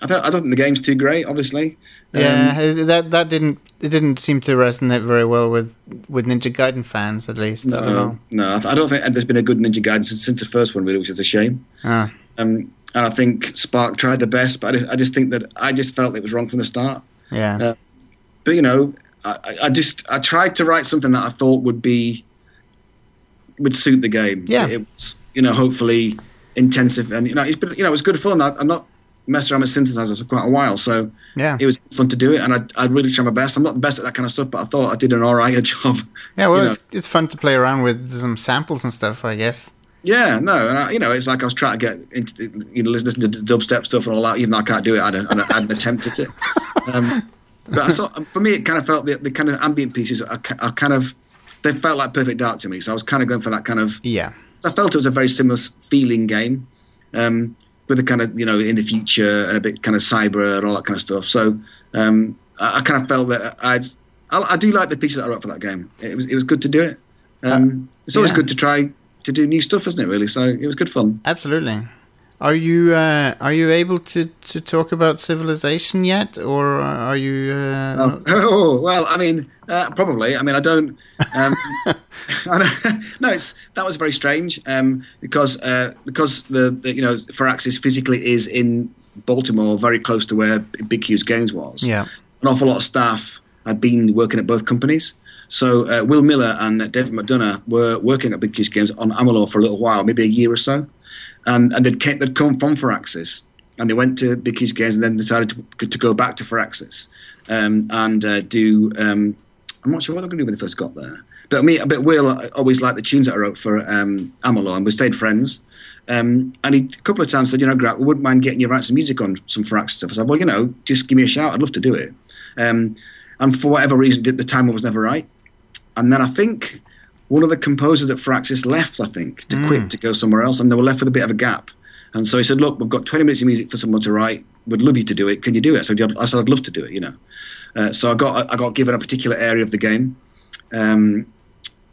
Speaker 8: I don't, I don't think the game's too great, obviously. Um,
Speaker 1: yeah? uh, That that didn't it didn't seem to resonate very well with with Ninja Gaiden fans, at least. I don't
Speaker 8: uh,
Speaker 1: know.
Speaker 8: no, I, th- I don't think there's been a good Ninja Gaiden since, since the first one, really, which is a shame.
Speaker 1: Ah.
Speaker 8: Um, and I think Spark tried the best, but I just, I just think that I just felt it was wrong from the start.
Speaker 1: Yeah.
Speaker 8: Uh, But you know, I, I- I just I tried to write something that I thought would be would suit the game.
Speaker 1: Yeah.
Speaker 8: it, was you know hopefully intensive, and you know it's been you know it was good fun. I, I'm not messed around with synthesizers for quite a while, so
Speaker 1: yeah.
Speaker 8: it was fun to do it, and I, I really tried my best. I'm not the best at that kind of stuff, but I thought I did an all right job.
Speaker 1: Yeah, well,
Speaker 8: you know.
Speaker 1: it's, it's fun to play around with some samples and stuff, I guess.
Speaker 8: Yeah, no, and I, you know, it's like I was trying to get into, you know, listen to the dubstep stuff and all that. Even though I can't do it, I don't, I don't, I hadn't attempted it. Um, but I saw, for me, it kind of felt the, the kind of ambient pieces are, ki- are kind of they felt like Perfect Dark to me. So I was kind of going for that kind of.
Speaker 1: Yeah.
Speaker 8: I felt it was a very similar s- feeling game, um, with a kind of you know in the future and a bit kind of cyber and all that kind of stuff. So um, I, I kind of felt that I'd, I, I do like the pieces that I wrote for that game. It was it was good to do it. Um, it's always
Speaker 1: yeah.
Speaker 8: good to try to do new stuff, isn't it? Really, so it was good fun.
Speaker 1: Absolutely. Are you uh, are you able to, to talk about civilization yet, or are you? Uh,
Speaker 8: Oh, well, I mean, uh, probably. I mean, I don't. Um, I don't- uh, no, it's that was very strange um, because uh, because the, the you know Firaxis physically is in Baltimore, very close to where Big Q's Games was.
Speaker 1: Yeah.
Speaker 8: an awful lot of staff had been working at both companies. So uh, Will Miller and David McDonough were working at Big Q's Games on Amalur for a little while, maybe a year or so. and and they'd, came, they'd come from Firaxis, and they went to Bicky's Games, and then decided to, to go back to Firaxis, um, and uh, do. Um, I'm not sure what they're going to do when they first got there, but me, but Will uh, always liked the tunes that I wrote for um, Amalur, and we stayed friends. Um, and he a couple of times said, you know, Grant, we wouldn't mind getting you to write some music on some Firaxis stuff. I said, well, you know, just give me a shout. I'd love to do it. Um, and for whatever reason, did- the time was never right. And then I think one of the composers at Firaxis left, I think, to quit to go somewhere else, and they were left with a bit of a gap. And so he said, "Look, we've got 20 minutes of music for someone to write. We'd love you to do it. Can you do it?" So I said, "I'd love to do it," you know. Uh, so I got I got given a particular area of the game. Um,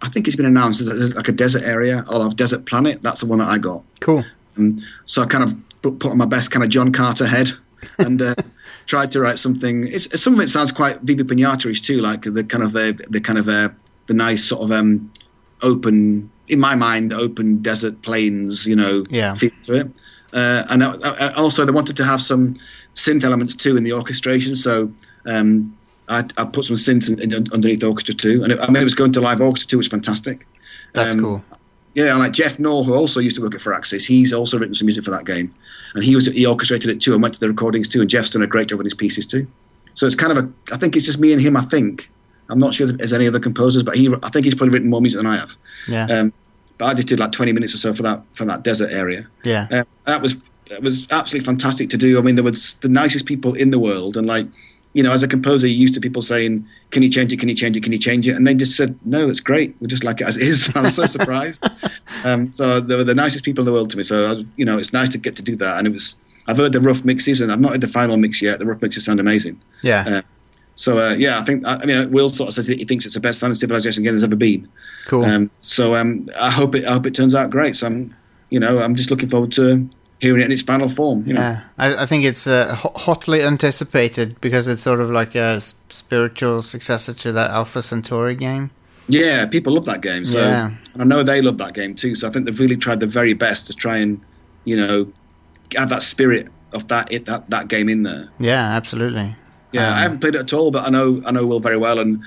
Speaker 8: I think it's been announced as like a desert area. I'll have Desert Planet. That's the one that I got.
Speaker 1: Cool.
Speaker 8: Um, so I kind of put, put on my best kind of John Carter head and uh, tried to write something. It's, some of it sounds quite Vivi Pignata-ish too, like the kind of uh, the kind of uh, the nice sort of um, open, in my mind, open desert plains, you know,
Speaker 1: Yeah.
Speaker 8: feel to it. Uh, and I, I, also, they wanted to have some synth elements too in the orchestration, so. Um, I, I put some synths in, in, underneath Orchestra 2, and it, I mean, it was going to live Orchestra 2, which is fantastic.
Speaker 1: That's
Speaker 8: Um,
Speaker 1: cool.
Speaker 8: Yeah, and like Jeff Knoll, who also used to work at Firaxis, he's also written some music for that game, and he was he orchestrated it too, and went to the recordings too, and Jeff's done a great job with his pieces too. So it's kind of a, I think it's just me and him. I think I'm not sure if there's any other composers, but he, I think he's probably written more music than I have.
Speaker 1: Yeah.
Speaker 8: Um, but I just did like 20 minutes or so for that for that desert area.
Speaker 1: yeah.
Speaker 8: Um, that was that was absolutely fantastic to do. I mean, there was the nicest people in the world, and like you know, as a composer, you're used to people saying, "Can you change it? Can you change it? Can you change it?" And they just said, "No, that's great. We just like it as it is." And I was so surprised. Um, so they were the nicest people in the world to me. So I, you know, it's nice to get to do that. And it was I've heard the rough mixes, and I've not heard the final mix yet. The rough mixes sound amazing.
Speaker 1: yeah.
Speaker 8: uh, So uh, yeah, I think I, I mean Will sort of says he thinks it's the best standard civilization game there's ever been.
Speaker 1: cool.
Speaker 8: Um, so um, I hope it I hope it turns out great. So I'm, you know, I'm just looking forward to hearing it in its final form. You know,
Speaker 1: yeah. I, I think it's uh, ho- hotly anticipated because it's sort of like a s- spiritual successor to that Alpha Centauri game.
Speaker 8: yeah, people love that game. So
Speaker 1: Yeah.
Speaker 8: and I know they love that game too. So I think they've really tried their very best to try and, you know, have that spirit of that it, that that game in there.
Speaker 1: Yeah, absolutely.
Speaker 8: Yeah, I haven't played it at all, but I know I know Will very well, and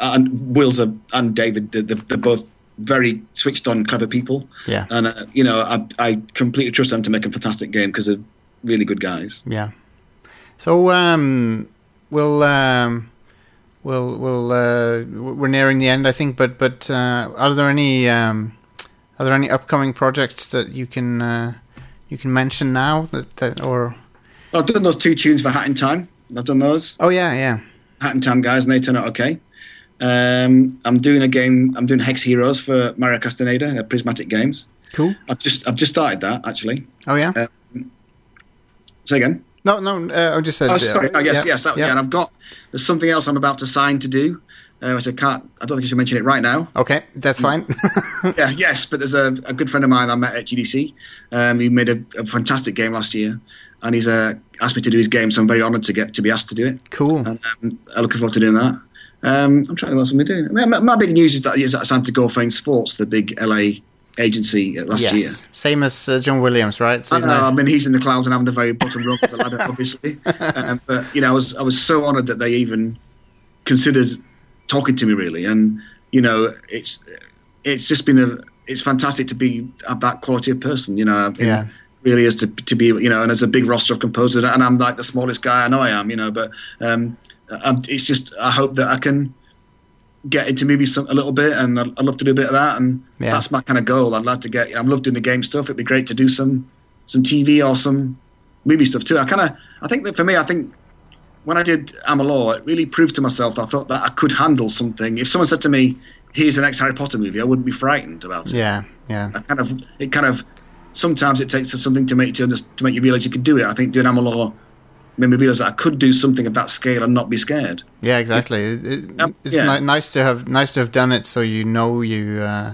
Speaker 8: and Will's a, and David they're, they're both very switched on, clever people.
Speaker 1: Yeah.
Speaker 8: and uh, you know I I completely trust them to make a fantastic game because they're really good guys.
Speaker 1: Yeah. So um, we'll um, we'll we'll uh, w- we're nearing the end, I think. But but uh, are there any um, are there any upcoming projects that you can uh, you can mention now that, that or
Speaker 8: I've done those two tunes for Hat in Time. I've done those.
Speaker 1: oh yeah yeah
Speaker 8: Hat and Tam guys, and they turn out okay. Um, I'm doing a game. I'm doing Hex Heroes for Mario Castaneda, uh, Prismatic Games.
Speaker 1: cool
Speaker 8: I've just I've just started that actually.
Speaker 1: oh yeah
Speaker 8: Uh, Say again.
Speaker 1: no no uh, I just said
Speaker 8: Oh, sorry. Oh, yes,
Speaker 1: yeah,
Speaker 8: yes. That, yeah.
Speaker 1: yeah.
Speaker 8: And I've got there's something else I'm about to sign to do, uh, which I can't. I don't think I should mention it right now.
Speaker 1: okay that's fine
Speaker 8: yeah, yes. But there's a, a good friend of mine I met at GDC. Um, he made a, a fantastic game last year, and he's uh, asked me to do his game. So I'm very honoured to get to be asked to do it.
Speaker 1: cool
Speaker 8: and um, I'm looking forward to doing that. Um, I'm trying to what else am I doing. I mean, my, my big news is that is that Santa Gorfain Sports, the big LA agency uh, last
Speaker 1: yes
Speaker 8: year.
Speaker 1: same as uh, John Williams right so
Speaker 8: I, know, I mean, he's in the clouds and I'm the very bottom rung of the ladder, obviously. um, but you know, I was I was so honoured that they even considered talking to me, really. And you know, it's it's just been a it's fantastic to be have that quality of person. You know, it
Speaker 1: Yeah.
Speaker 8: really is to to be you know, and there's a big roster of composers, and I'm like the smallest guy. I know I am, you know, but um, i it's just I hope that I can get into maybe some, a little bit, and I'd, I'd love to do a bit of that. And
Speaker 1: Yeah.
Speaker 8: that's my kind of goal. I'd like to get. You know, I'm loved doing the game stuff. It'd be great to do some some TV or some movie stuff too. I kind of I think that for me, I think when I did Amalur, it really proved to myself I thought that I could handle something. If someone said to me, "Here's the next Harry Potter movie," I wouldn't be frightened about it.
Speaker 1: yeah yeah
Speaker 8: I kind of it kind of sometimes it takes something to make you under- to make you realize you could do it. I think doing Amalur made me realize that I could do something of that scale and not be scared.
Speaker 1: Yeah, exactly. It, it,
Speaker 8: Yep,
Speaker 1: it's
Speaker 8: yeah.
Speaker 1: ni- nice to have nice to have done it, so you know you. Uh,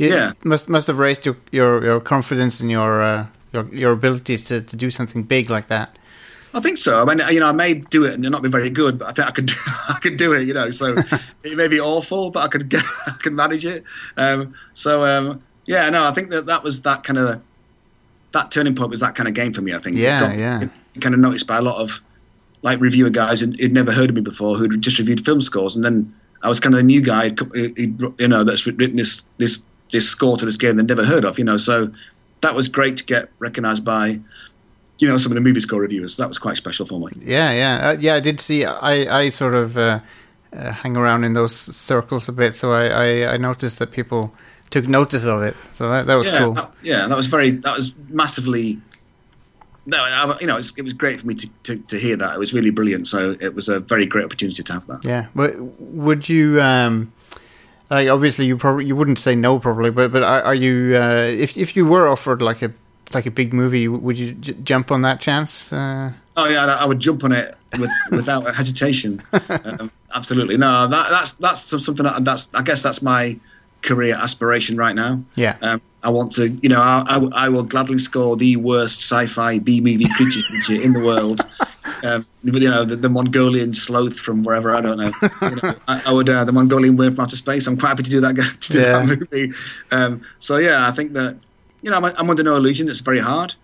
Speaker 1: you
Speaker 8: Yeah.
Speaker 1: must must have raised your your, your confidence and your, uh, your your abilities to, to do something big like that.
Speaker 8: I think so. I mean, you know, I may do it and not be very good, but I think I could, I could do it. You know, so it may be awful, but I could, get, I could manage it. Um, so um, yeah, no, I think that that was that kind of that turning point was that kind of game for me. I think. It
Speaker 1: Yeah,
Speaker 8: got-
Speaker 1: yeah.
Speaker 8: It, kind of noticed by a lot of like reviewer guys who'd, who'd never heard of me before, who'd just reviewed film scores, and then I was kind of the new guy, who'd co- who'd- who'd, you know, that's written this this this score to this game they'd never heard of. You know, so that was great to get recognised by, you know, some of the movie score reviewers. That was quite special for me.
Speaker 1: Yeah, yeah, uh, yeah. I did see. I, I sort of uh, uh, hang around in those circles a bit, so I, I, I noticed that people took notice of it. So that, that was
Speaker 8: yeah,
Speaker 1: cool.
Speaker 8: That, yeah, that was very. That was massively. No, I, you know, it was, it was great for me to, to, to hear that. It was really brilliant. So it was a very great opportunity to have that.
Speaker 1: yeah, but would you? Um, like obviously, you probably you wouldn't say no, probably, but but are, are you? Uh, if if you were offered like a like a big movie, would you j- jump on that chance? Uh,
Speaker 8: Oh yeah, I I would jump on it with, without hesitation. Um, absolutely, no. That, that's that's some- something that, that's I guess that's my career aspiration right now.
Speaker 1: Yeah.
Speaker 8: Um, I want to, you know, I, I w- I will gladly score the worst sci-fi B movie creature feature in the world. Um, you know, the, the Mongolian sloth from wherever I don't know. You know, I, I would uh, the Mongolian worm from outer space. I'm quite happy to do that. guy- To do
Speaker 1: Yeah.
Speaker 8: that movie. Um, so yeah, I think that you know I'm, I'm under no illusion. It's very hard,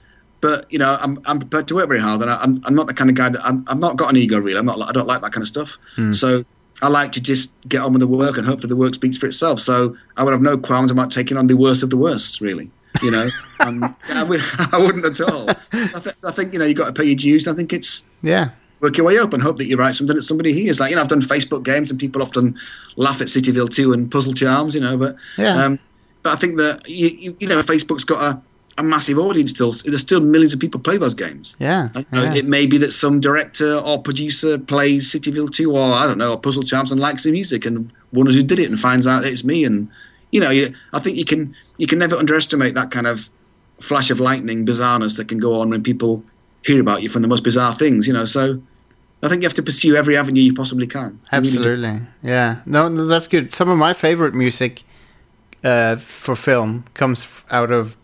Speaker 8: but you know I'm I'm prepared to work very hard, and I, I'm I'm not the kind of guy that I'm I've not got an ego really. I'm not like- I don't like that kind of stuff. So I like to just get on with the work, and hopefully the work speaks for itself. So I would have no qualms about taking on the worst of the worst, really. You know, um, I, would, I wouldn't at all. I, th- I think you know you got to pay your dues. and I think it's
Speaker 1: yeah,
Speaker 8: work your way up and hope that you write something that somebody hears. Like, you know, I've done Facebook games and people often laugh at Cityville 2 and Puzzle Two Arms, you know, but
Speaker 1: Yeah.
Speaker 8: um, but I think that, you, you, you know, Facebook's got a, a massive audience still. There's still millions of people play those games.
Speaker 1: yeah,
Speaker 8: You know,
Speaker 1: yeah.
Speaker 8: Uh, It may be that some director or producer plays Cityville 2 or, I don't know, or Puzzle Charms and likes the music and wonders who did it and finds out that it's me. And, you know, you, I think you can you can never underestimate that kind of flash of lightning bizarreness that can go on when people hear about you from the most bizarre things, you know. So I think you have to pursue every avenue you possibly can. You really do.
Speaker 1: Absolutely, yeah. No, no, that's good. Some of my favorite music uh, for film comes f- out of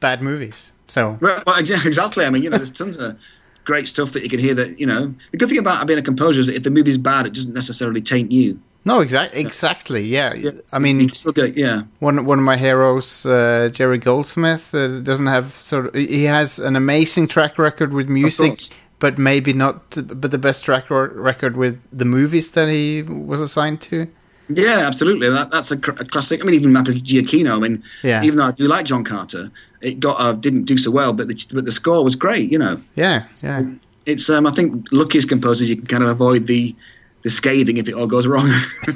Speaker 1: bad movies. So
Speaker 8: Well, well, exa- exactly. I mean, you know, there's tons of great stuff that you can hear that, you know. The good thing about being a composer is that if the movie's bad, it doesn't necessarily taint you.
Speaker 1: no, exactly, exactly. Yeah, I mean,
Speaker 8: You can still get, yeah.
Speaker 1: one one of my heroes, uh, Jerry Goldsmith, uh, doesn't have sort of. He has an amazing track record with music,
Speaker 8: course.
Speaker 1: but maybe not. But the best track r- record with the movies that he was assigned to.
Speaker 8: Yeah, absolutely. That, that's a, cr- a classic. I mean, even Matt Giacchino. I mean,
Speaker 1: Yeah.
Speaker 8: even though I do like John Carter, it got uh, didn't do so well, but the, but the score was great. You know,
Speaker 1: Yeah, yeah,
Speaker 8: it's um, I think lucky as composers, you can kind of avoid the the scathing if it all goes wrong.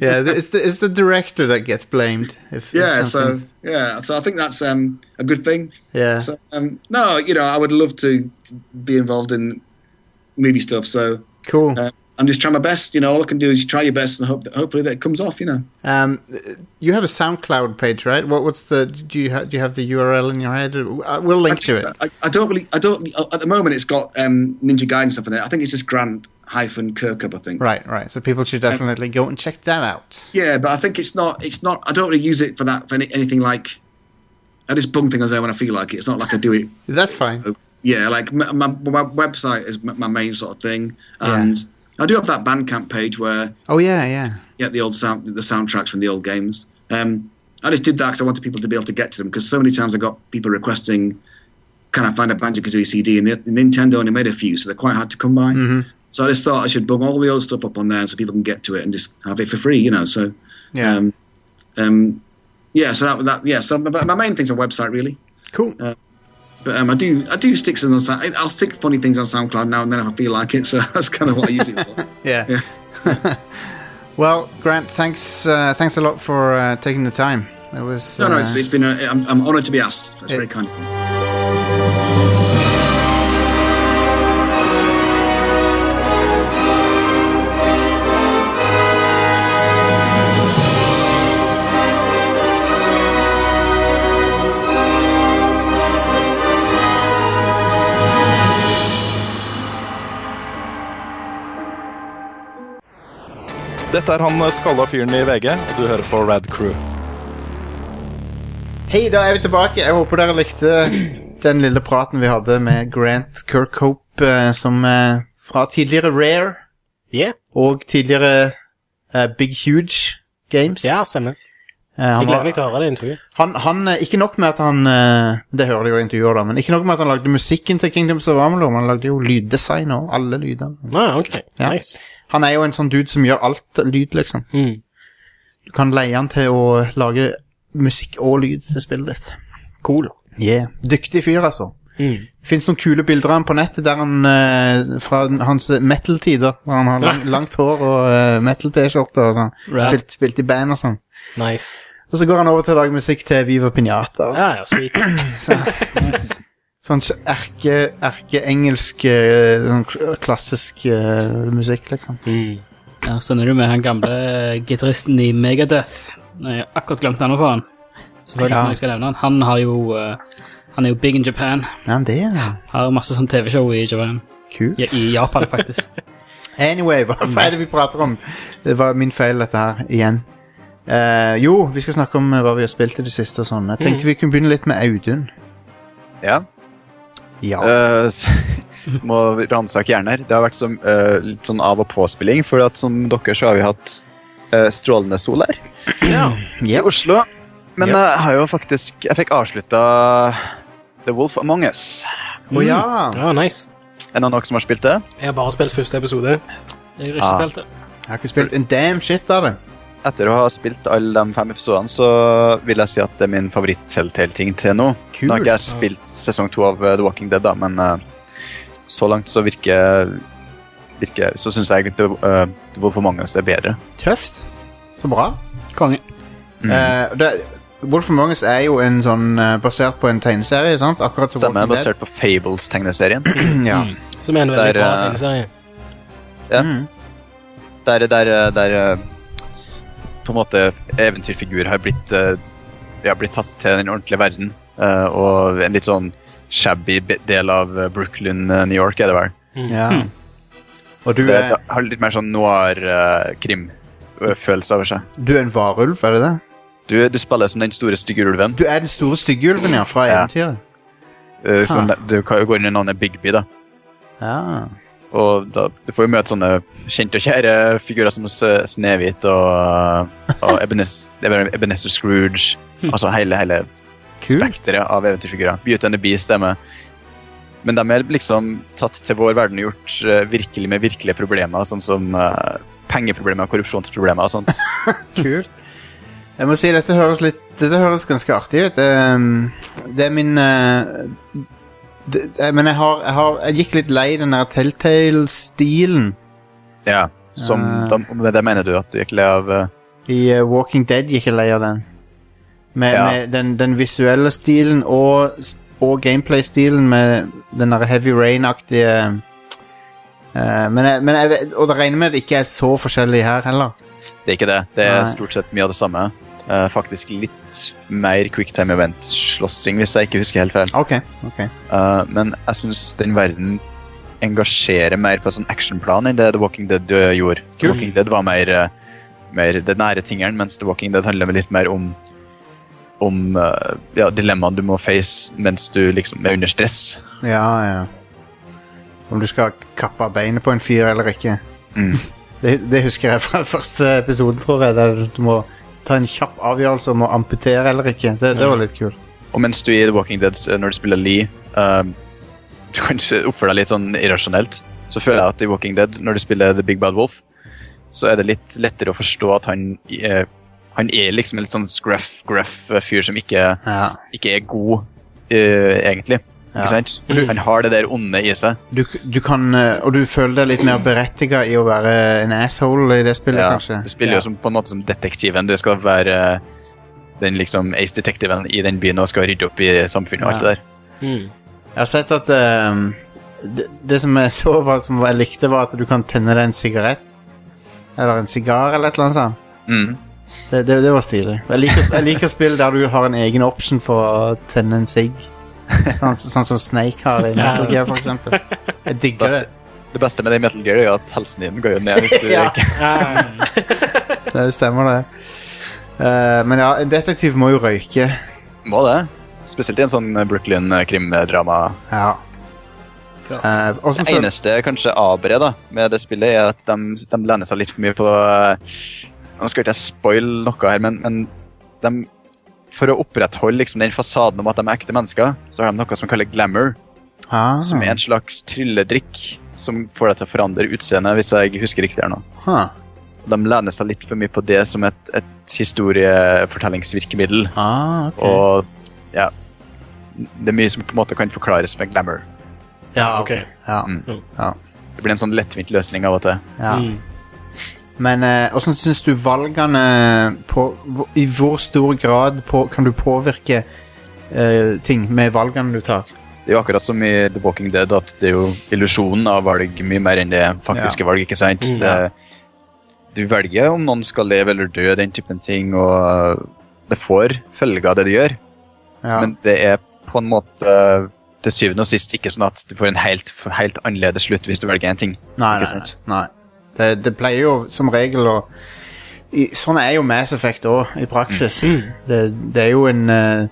Speaker 1: yeah. th- It's the, it's the director that gets blamed. If if
Speaker 8: yeah, so
Speaker 1: something's-
Speaker 8: yeah, so I think that's um, a good thing.
Speaker 1: yeah,
Speaker 8: So um, no, you know, I would love to be involved in movie stuff. So
Speaker 1: cool.
Speaker 8: uh, I'm just trying my best. You know, all I can do is try your best and hope that hopefully that it comes off. You know.
Speaker 1: Um, you have a SoundCloud page, right? What, what's the? Do you ha- do you have the URL in your head? Uh, We'll link to it.
Speaker 8: I, I don't really. I don't. uh, At the moment, it's got um, Ninja Gaiden stuff in there. I think it's just Grand hyphen Kirkup. I think.
Speaker 1: Right, right. So people should definitely go and check that out.
Speaker 8: Yeah, but I think it's not. It's not. I don't really use it for that for any, anything like. I just bung things out when I feel like it. It's not like I do it. uh,
Speaker 1: That's fine.
Speaker 8: Yeah, like my, my, my website is my, my main sort of thing,
Speaker 1: Yeah.
Speaker 8: and I do have that Bandcamp page where
Speaker 1: Oh yeah, yeah.
Speaker 8: get the old sound, the soundtracks from the old games. Um, I just did that because I wanted people to be able to get to them. Because so many times I got people requesting, "Can I find a Banjo Kazooie CD?" and the, the Nintendo only made a few, so they're quite hard to come by.
Speaker 1: Mm-hmm.
Speaker 8: So I just thought I should bung all the old stuff up on there so people can get to it and just have it for free, you know. So,
Speaker 1: Yeah.
Speaker 8: um, um, yeah. So that, that yeah. So my, my main thing's a website really.
Speaker 1: Cool.
Speaker 8: But um, I do I do stick things on. Sound- I'll stick funny things on SoundCloud now and then if I feel like it. So that's kind of what I use it for.
Speaker 1: Yeah. well, Grant, thanks. Uh, thanks a lot for uh, taking the time. It was.
Speaker 8: No, no,
Speaker 1: uh,
Speaker 8: it's, it's been. A, I'm, I'm honoured to be asked. That's
Speaker 1: It-
Speaker 8: very kind. of you.
Speaker 3: Dette er han eh, skalla fyren i VG, og du hører på Rad Crew.
Speaker 1: Hei, da er vi tilbake. Jeg håper dere likte den lille praten vi hadde med Grant Kirkhope, eh, som eh, fra tidligere Rare
Speaker 2: Yeah.
Speaker 1: og tidligere eh, Big Huge Games.
Speaker 2: Ja, stemmer.
Speaker 1: Eh, han,
Speaker 2: Jeg gleder
Speaker 1: var,
Speaker 2: meg til å høre det intervjuet.
Speaker 1: han, han eh, Ikke nok med at han eh, Det hører de jo i intervjuer, da, men ikke nok med at han lagde musikken til Kingdoms of Amalur, men han lagde jo lyddesign og alle lydene.
Speaker 2: Ah, ok.
Speaker 1: Ja.
Speaker 2: Nice.
Speaker 1: Han er jo en sånn dude som gjør alt lyd, liksom.
Speaker 2: Mm.
Speaker 1: Du kan leie han til å lage musikk og lyd til spillet ditt.
Speaker 2: Cool. Mm.
Speaker 1: Yeah. Dyktig fyr, altså. Det fins noen kule bilder av han på nettet der han, eh, fra hans metal-tider. Hvor han har lang, langt hår og eh, metal-T-skjorte og sånn.
Speaker 2: Right.
Speaker 1: Spilt, spilt i band og sånn.
Speaker 2: Nice.
Speaker 1: Og så går han over til å lage musikk til Viva Pinata.
Speaker 2: Ja, ja, sweet.
Speaker 1: Sånn erke, erkeengelsk, eh, sånn kl- klassisk eh, musikk, liksom.
Speaker 4: Ja, sånn er det jo med han gamle gitaristen i Megadeth. Nå har Jeg akkurat glemt navnet på han. Selvfølgelig
Speaker 1: Ja.
Speaker 4: når jeg skal nevne han. Han har jo eh, Han er jo big in Japan.
Speaker 1: Ja, men det er
Speaker 4: Har masse sånn TV-show i Japan.
Speaker 1: kult.
Speaker 4: Ja, I Japan, faktisk.
Speaker 1: Anyway, hva, hva er det vi prater om? Det var min feil, dette her, igjen. Eh, jo, vi skal snakke om eh, hva vi har spilt i det siste og sånn. Jeg tenkte vi kunne begynne litt med Audun.
Speaker 3: Ja.
Speaker 1: Ja.
Speaker 3: Eh, så- må ransake hjernen her. Det har vært som, eh, litt sånn av- og påspilling, for at som dere så har vi hatt eh, strålende sol her i
Speaker 1: Yep.
Speaker 3: Oslo. Men
Speaker 1: Ja.
Speaker 3: jeg har jo faktisk Jeg fikk avslutta The Wolf Among Us.
Speaker 1: Å ja.
Speaker 2: Ja, nice.
Speaker 3: En av dere som har spilt det?
Speaker 2: Jeg har bare spilt første episode.
Speaker 4: Jeg har ikke
Speaker 3: Ah.
Speaker 4: spilt det.
Speaker 1: Jeg har ikke spilt en damn shit av det.
Speaker 3: Etter å ha spilt alle de fem episodene, så vil jeg si at det er min favoritt-Telltale-ting til nå. Nå har ikke jeg spilt sesong to av eh, The Walking Dead, da, men eh, så langt så virker, virker Så syns jeg egentlig eh, The Wolf Among Us er bedre.
Speaker 1: Tøft. Så bra.
Speaker 4: Konge.
Speaker 3: Mm.
Speaker 1: Eh, det, Wolf Among Us er jo en sånn eh, basert på en tegneserie, sant? Akkurat som
Speaker 3: Stemmer,
Speaker 1: Walking Dead.
Speaker 3: basert på Fables-tegneserien.
Speaker 1: ja.
Speaker 2: Som er en veldig
Speaker 3: Der,
Speaker 2: bra
Speaker 3: eh,
Speaker 2: tegneserie.
Speaker 1: Mm.
Speaker 3: Der, der, der eh, på en måte eventyrfigurer har blitt, eh, ja, blitt tatt til den ordentlige verden. eh, og en litt sånn shabby be- del av eh, Brooklyn, eh, New York, er det vel.
Speaker 1: ja. Og
Speaker 3: Så
Speaker 1: du
Speaker 3: det
Speaker 1: er,
Speaker 3: har litt mer sånn noir-krim-følelse over seg.
Speaker 1: du er en varulv, er det det?
Speaker 3: Du, du spiller som den store stygge ulven.
Speaker 1: Du er den store styggulven, ja, fra
Speaker 3: Ja.
Speaker 1: eventyret.
Speaker 3: Eh, som
Speaker 1: Ha.
Speaker 3: du kan jo gå inn i navnet Bigby, da.
Speaker 1: Ja.
Speaker 3: Og da, du får jo møte sånne kjente og kjære figurer som Sø- Snehvit og, og Ebenezer, Ebenezer Scrooge. Altså hele, hele
Speaker 1: Hm. Kult.
Speaker 3: spekteret av eventyrfigurer. Beauty and the Beast er med. Men de er liksom tatt til vår verden og gjort eh, virkelig med virkelige problemer, sånn som eh, pengeproblemer og korrupsjonsproblemer og sånt.
Speaker 1: Kult. Jeg må si, dette høres litt Dette høres ganske artig ut. Ehm, det er min eh, det, eh, Men jeg har, jeg har Jeg gikk litt lei den der Telltale-stilen
Speaker 3: Ja. Som,
Speaker 1: Ah.
Speaker 3: de, med det mener du at du gikk lei av eh,
Speaker 1: I eh, Walking Dead gikk jeg lei av den. Med,
Speaker 3: Ja.
Speaker 1: med den, den visuelle stilen og, s- og gameplay-stilen med den derre Heavy Rain-aktige eh, men jeg, men jeg, vet- og det regner med det ikke er så forskjellig her heller.
Speaker 3: Det er ikke det. Det er
Speaker 1: Nei.
Speaker 3: stort sett mye av det samme. Eh, faktisk litt mer quicktime event-slåssing, hvis jeg ikke husker helt feil.
Speaker 1: Ok, ok
Speaker 3: Eh, men jeg syns den verden engasjerer mer på sånn actionplan enn det The Walking Dead eh, gjorde. The Walking Dead var mer, eh, mer det nære tingeren, mens The Walking Dead handler litt mer om om eh, ja, dilemmaene du må face mens du liksom er under stress.
Speaker 1: Ja, ja. Om du skal kappe av beinet på en fyr eller ikke.
Speaker 3: Mm.
Speaker 1: Det, det husker jeg fra første episode, tror jeg, der du må ta en kjapp avgjørelse om å amputere eller ikke. Det, det var litt kult.
Speaker 3: Og mens du i The Walking Dead, eh, når du spiller Lee, eh, du kan ikke oppføre deg litt sånn irrasjonelt. Så føler jeg at i Walking Dead, når du spiller The Big Bad Wolf, så er det litt lettere å forstå at han eh, han er liksom en litt sånn scruff, gruff eh, fyr som ikke,
Speaker 1: Ja.
Speaker 3: ikke er god, eh, egentlig.
Speaker 1: Ja. Mm.
Speaker 3: Ikke sant? Han har det der onde i seg.
Speaker 1: Du, du kan, eh, og du føler deg litt mer berettiget i å være en asshole i det spillet,
Speaker 3: Ja, Du
Speaker 1: kanskje.
Speaker 3: spiller jo som, på en måte som detektiven. Du skal være eh, den liksom ace-detektiven i den byen og skal rydde opp i samfunnet og alt
Speaker 1: Ja.
Speaker 3: det der.
Speaker 1: Jeg har sett at ehm, det, det som jeg så, var, som jeg likte, var at du kan tenne deg en sigarett. Eller en sigar, eller et eller annet sånt.
Speaker 3: Mm.
Speaker 1: Det, det, det var stilig. Jeg liker, jeg liker spill der du har en egen option for å tenne en sigg. Sånn, sånn som Snake har i Metal Gear, for eksempel. Jeg digger det.
Speaker 3: Beste, det beste med det i Metal Gear er jo at helsen din går jo ned hvis du
Speaker 1: Ja.
Speaker 3: ikke
Speaker 1: Det stemmer, det. Eh, men ja, en detektiv må jo røyke.
Speaker 3: Må det. Spesielt i en sånn Brooklyn-krimdrama.
Speaker 1: Ja. Eh, og så
Speaker 3: Det
Speaker 1: føl-
Speaker 3: eneste kanskje aberet da, med det spillet, er at de, de lener seg litt for mye på eh, Nå skal ikke jeg spoile noe her, men, men de, for å opprettholde liksom, den fasaden om at de er ekte mennesker, så har de noe som kalles glamour,
Speaker 1: ah,
Speaker 3: som er en slags trylledrikk som får deg til å forandre utseendet, hvis jeg husker riktig her nå.
Speaker 1: huh.
Speaker 3: De lener seg litt for mye på det som et, et historiefortellingsvirkemiddel.
Speaker 1: ah, ok.
Speaker 3: Og ja, det er mye som på en måte kan forklares med glamour.
Speaker 2: Ja, ok.
Speaker 1: Ja.
Speaker 3: Mm.
Speaker 1: ja.
Speaker 3: Det blir en sånn lettvint løsning av og til.
Speaker 1: ja.
Speaker 2: Mm.
Speaker 1: Men eh, åssen syns du valgene på, hvor- I hvor stor grad på, kan du påvirke eh, ting med valgene du tar?
Speaker 3: Det er jo akkurat som i The Walking Dead at det er jo illusjonen av valg mye mer enn det faktiske valg, ikke sant?
Speaker 2: Mm.
Speaker 3: det, du velger om noen skal leve eller dø, den typen ting, og det får følger av det du gjør,
Speaker 1: Ja.
Speaker 3: men det er på en måte til syvende og sist ikke sånn at du får en helt, helt annerledes slutt hvis du velger en ting.
Speaker 1: nei, nei,
Speaker 3: ikke sant?
Speaker 1: nei. Det, det pleier jo som regel å i, Sånn er jo Mass Effect òg, i praksis.
Speaker 2: Mm.
Speaker 1: Det, det er jo en eh,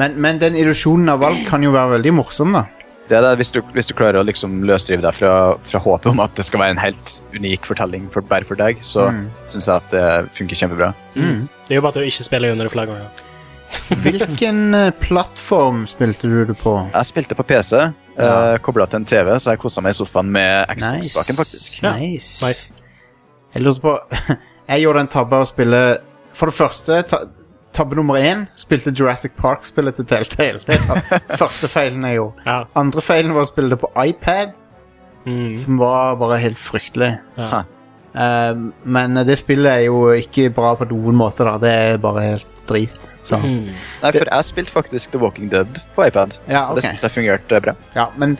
Speaker 1: men, men den illusjonen av valg kan jo være veldig morsom, da.
Speaker 3: Det er det, hvis, du, hvis du klarer å liksom løsrive deg fra, fra håpet om at det skal være en helt unik fortelling for, bare for deg, så
Speaker 1: Mm.
Speaker 3: syns jeg at det funker kjempebra.
Speaker 2: Det er jo bare til å ikke spille under det flagget. Ja.
Speaker 1: Hvilken eh, plattform spilte du det på?
Speaker 3: Jeg spilte på PC,
Speaker 1: Ja.
Speaker 3: ja. kobla til en TV, så jeg kosa meg i sofaen med Xbox-spaken, faktisk.
Speaker 2: Ja,
Speaker 1: Nice.
Speaker 2: nice.
Speaker 1: Jeg lurte på Jeg gjorde en tabbe å spille For det første, ta, tabbe nummer én Spilte Jurassic Park-spillet til Telltale Det er ta- første feilen jeg gjorde
Speaker 2: Ja.
Speaker 1: Andre feilen var å spille det på iPad
Speaker 2: Mm.
Speaker 1: Som var bare helt fryktelig
Speaker 2: Ja.
Speaker 1: Eh, Men det spillet er jo ikke bra på noen måte da Det er bare helt drit så.
Speaker 2: Mm.
Speaker 3: Nei, for jeg spilte faktisk The Walking Dead på iPad.
Speaker 1: Ja, ok.
Speaker 3: og Det syns jeg fungerte bra.
Speaker 1: Ja, men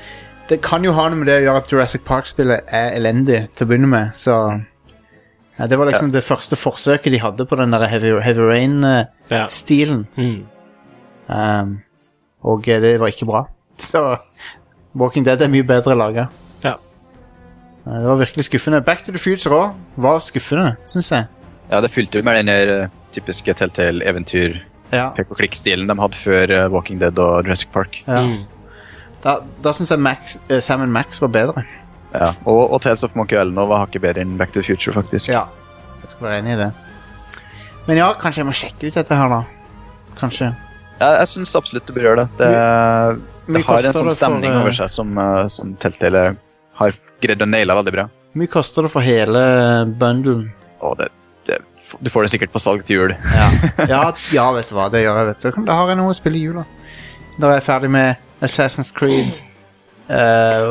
Speaker 1: det kan jo ha noe med det å gjøre at Jurassic Park-spillet er elendig til å begynne med, så ja, Det var liksom det første forsøket de hadde på den der Heavy, heavy Rain-stilen.
Speaker 2: Ja. Mm.
Speaker 1: Um, og eh, det var ikke bra. Så Walking Dead er mye bedre laga.
Speaker 2: Ja.
Speaker 1: Det var virkelig skuffende. Back to the Future òg var skuffende, syns jeg.
Speaker 3: Ja, Det fylte jo med den der eh, typiske Telltale-eventyr-pek-og-klikk-stilen
Speaker 1: Ja,
Speaker 3: de hadde før eh, Walking Dead og Jurassic Park.
Speaker 1: ja.
Speaker 2: Mm.
Speaker 1: Da, da syns jeg Max, eh, Sam Max var bedre.
Speaker 3: Ja. Og, og Tales of Monkey Island nå var hakket bedre enn Back to the Future, faktisk.
Speaker 1: Ja, jeg skal være enig i det. Men ja, kanskje jeg må sjekke ut dette her, da. Kanskje.
Speaker 3: Jeg, jeg syns absolutt du bør gjøre det. Det, det
Speaker 1: mye
Speaker 3: Eh, har
Speaker 1: koster
Speaker 3: en
Speaker 1: det
Speaker 3: sånn
Speaker 1: for,
Speaker 3: stemning
Speaker 1: eh,
Speaker 3: over seg som, eh, som Telltale har greid å naile veldig bra.
Speaker 1: Hvor mye koster det for hele bundlen?
Speaker 3: Og det, det, du får det sikkert på salg til jul.
Speaker 1: Ja. ja, ja, vet du hva, det gjør jeg, vet du. Da har jeg noe å spille i jula. Da er jeg ferdig med Assassin's Creed eh,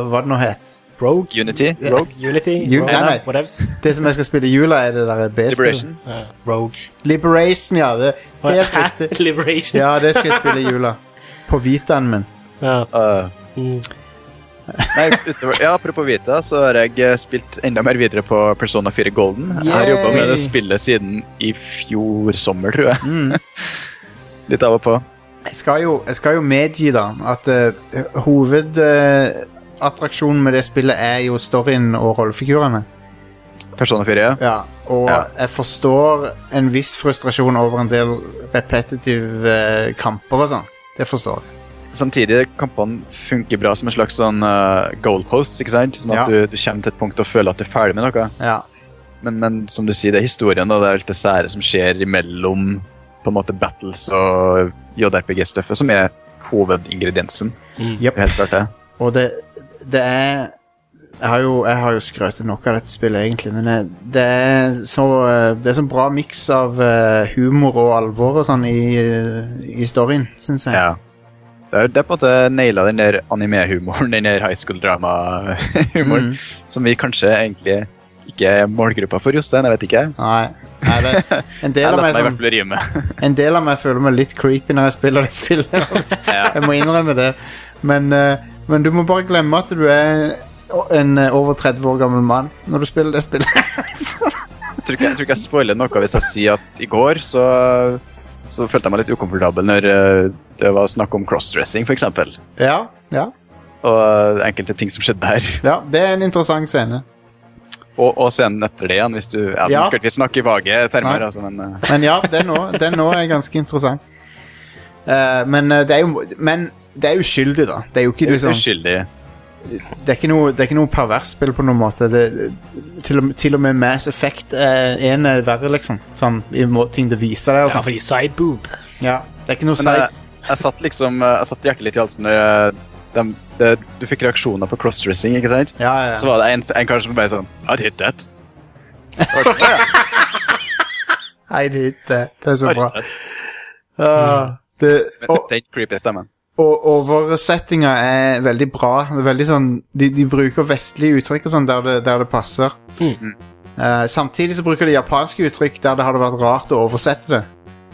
Speaker 1: Hva det nå het.
Speaker 2: Rogue,
Speaker 3: Unity.
Speaker 2: Rogue, Unity,
Speaker 1: Ju-
Speaker 2: Rogue,
Speaker 1: nei, nei.
Speaker 2: whatevs.
Speaker 1: Det som jeg skal spille i jula, er det der B-spillet.
Speaker 3: Liberation.
Speaker 2: Ja, Rogue.
Speaker 1: Liberation, ja. Det, helt riktig.
Speaker 2: Liberation.
Speaker 1: Ja, det skal jeg spille i jula. På Vitaen min.
Speaker 2: Ja.
Speaker 3: Eh,
Speaker 2: Mm.
Speaker 3: Nei, utover, ja, Apropos Vita, så har jeg eh, spilt enda mer videre på Persona 4 Golden. Jeg har
Speaker 1: Yay!
Speaker 3: jobba med det spillet siden i fjor sommer, tror jeg.
Speaker 1: Mm.
Speaker 3: Litt av og på.
Speaker 1: Jeg skal jo, jeg skal jo medgi da at eh, hovedattraksjonen med det spillet er jo storyen og rollefigurene.
Speaker 3: Persona 4, ja.
Speaker 1: Ja, og
Speaker 3: Ja.
Speaker 1: jeg forstår en viss frustrasjon over en del repetitive eh, kamper og sånn. Det forstår jeg.
Speaker 3: Samtidig, kampene funker bra som en slags sånn eh, goalpost, ikke sant? Sånn
Speaker 1: Ja.
Speaker 3: at du, du kommer til et punkt og føler at du er ferdig med noe.
Speaker 1: Ja.
Speaker 3: Men, men som du sier, det er historien, og det er alt det sære som skjer imellom på en måte battles og JRPG-stuffet, som er hovedingrediensen.
Speaker 1: Jep.
Speaker 3: Helt klart det.
Speaker 1: Og det, det er jeg har, jo, jeg har jo skrøtet nok av dette spillet, egentlig, men eh, det er så, eh, det er så bra miks av eh, humor og alvor og sånn i, eh, i storyen, syns jeg.
Speaker 3: Ja. Det er, det er på en måte naila den der anime-humoren, den der high school-drama-humoren, som vi kanskje egentlig ikke er målgruppa for, Jostein. Jeg vet ikke.
Speaker 1: Nei, nei det, en,
Speaker 3: Jeg
Speaker 1: del av
Speaker 3: lot
Speaker 1: meg
Speaker 3: meg i
Speaker 1: som,
Speaker 3: hvert fall rime.
Speaker 1: en del av meg føler meg litt creepy når jeg spiller det spillet.
Speaker 3: Ja.
Speaker 1: jeg må innrømme det. Men, eh, men du må bare glemme at du er en eh, over 30 år gammel mann når du spiller det spillet.
Speaker 3: Jeg tror ikke jeg, tror ikke jeg spoiler noe hvis jeg sier at i går så, så følte jeg meg litt ukomfortabel når eh, det var snakk om crossdressing, f.eks.
Speaker 1: ja, ja,
Speaker 3: Og eh, enkelte ting som skjedde der.
Speaker 1: ja, det er en interessant scene.
Speaker 3: Og, og scenen etter det igjen, hvis du Ja,
Speaker 1: Ja.
Speaker 3: nå skal ikke vi snakke i vage
Speaker 1: Nei.
Speaker 3: termer, altså, men eh,
Speaker 1: Men ja, den òg den også er ganske interessant. Eh, men, eh, det er jo, men det er uskyldig, da. Det er jo ikke, liksom,
Speaker 3: Uskyldig.
Speaker 1: det er ikke noe, det er ikke noe pervers spill på noen måte. Det, til, og, til og med Mass Effect eh, en er verre, liksom. Sånn, i må, ting det viser deg. og
Speaker 2: ja,
Speaker 1: sånn.
Speaker 2: fordi sideboob.
Speaker 1: Ja, det er ikke noe
Speaker 3: Men eh, jeg,
Speaker 1: seigt.
Speaker 3: jeg satt liksom eh, Jeg satt hjertet litt i halsen når jeg- dem- det- du fikk reaksjoner på crossdressing, ikke sant?
Speaker 1: Ja, ja,
Speaker 3: Så
Speaker 1: ja.
Speaker 3: var det en, en kar som bare sånn I'd hit that. Og jeg bare, «Ja,
Speaker 1: Nei, det, det, det er så
Speaker 3: I'd
Speaker 1: bra.
Speaker 3: hit that».
Speaker 1: Ah, det,
Speaker 3: Men
Speaker 1: og,
Speaker 3: Den creepy stemmen.
Speaker 1: Og oversettinga er veldig bra. Det er veldig sånn, de, de bruker vestlige uttrykk og sånn der, det- der det passer.
Speaker 2: Mhm.
Speaker 1: Eh, samtidig så bruker de japanske uttrykk der det hadde vært rart å oversette det.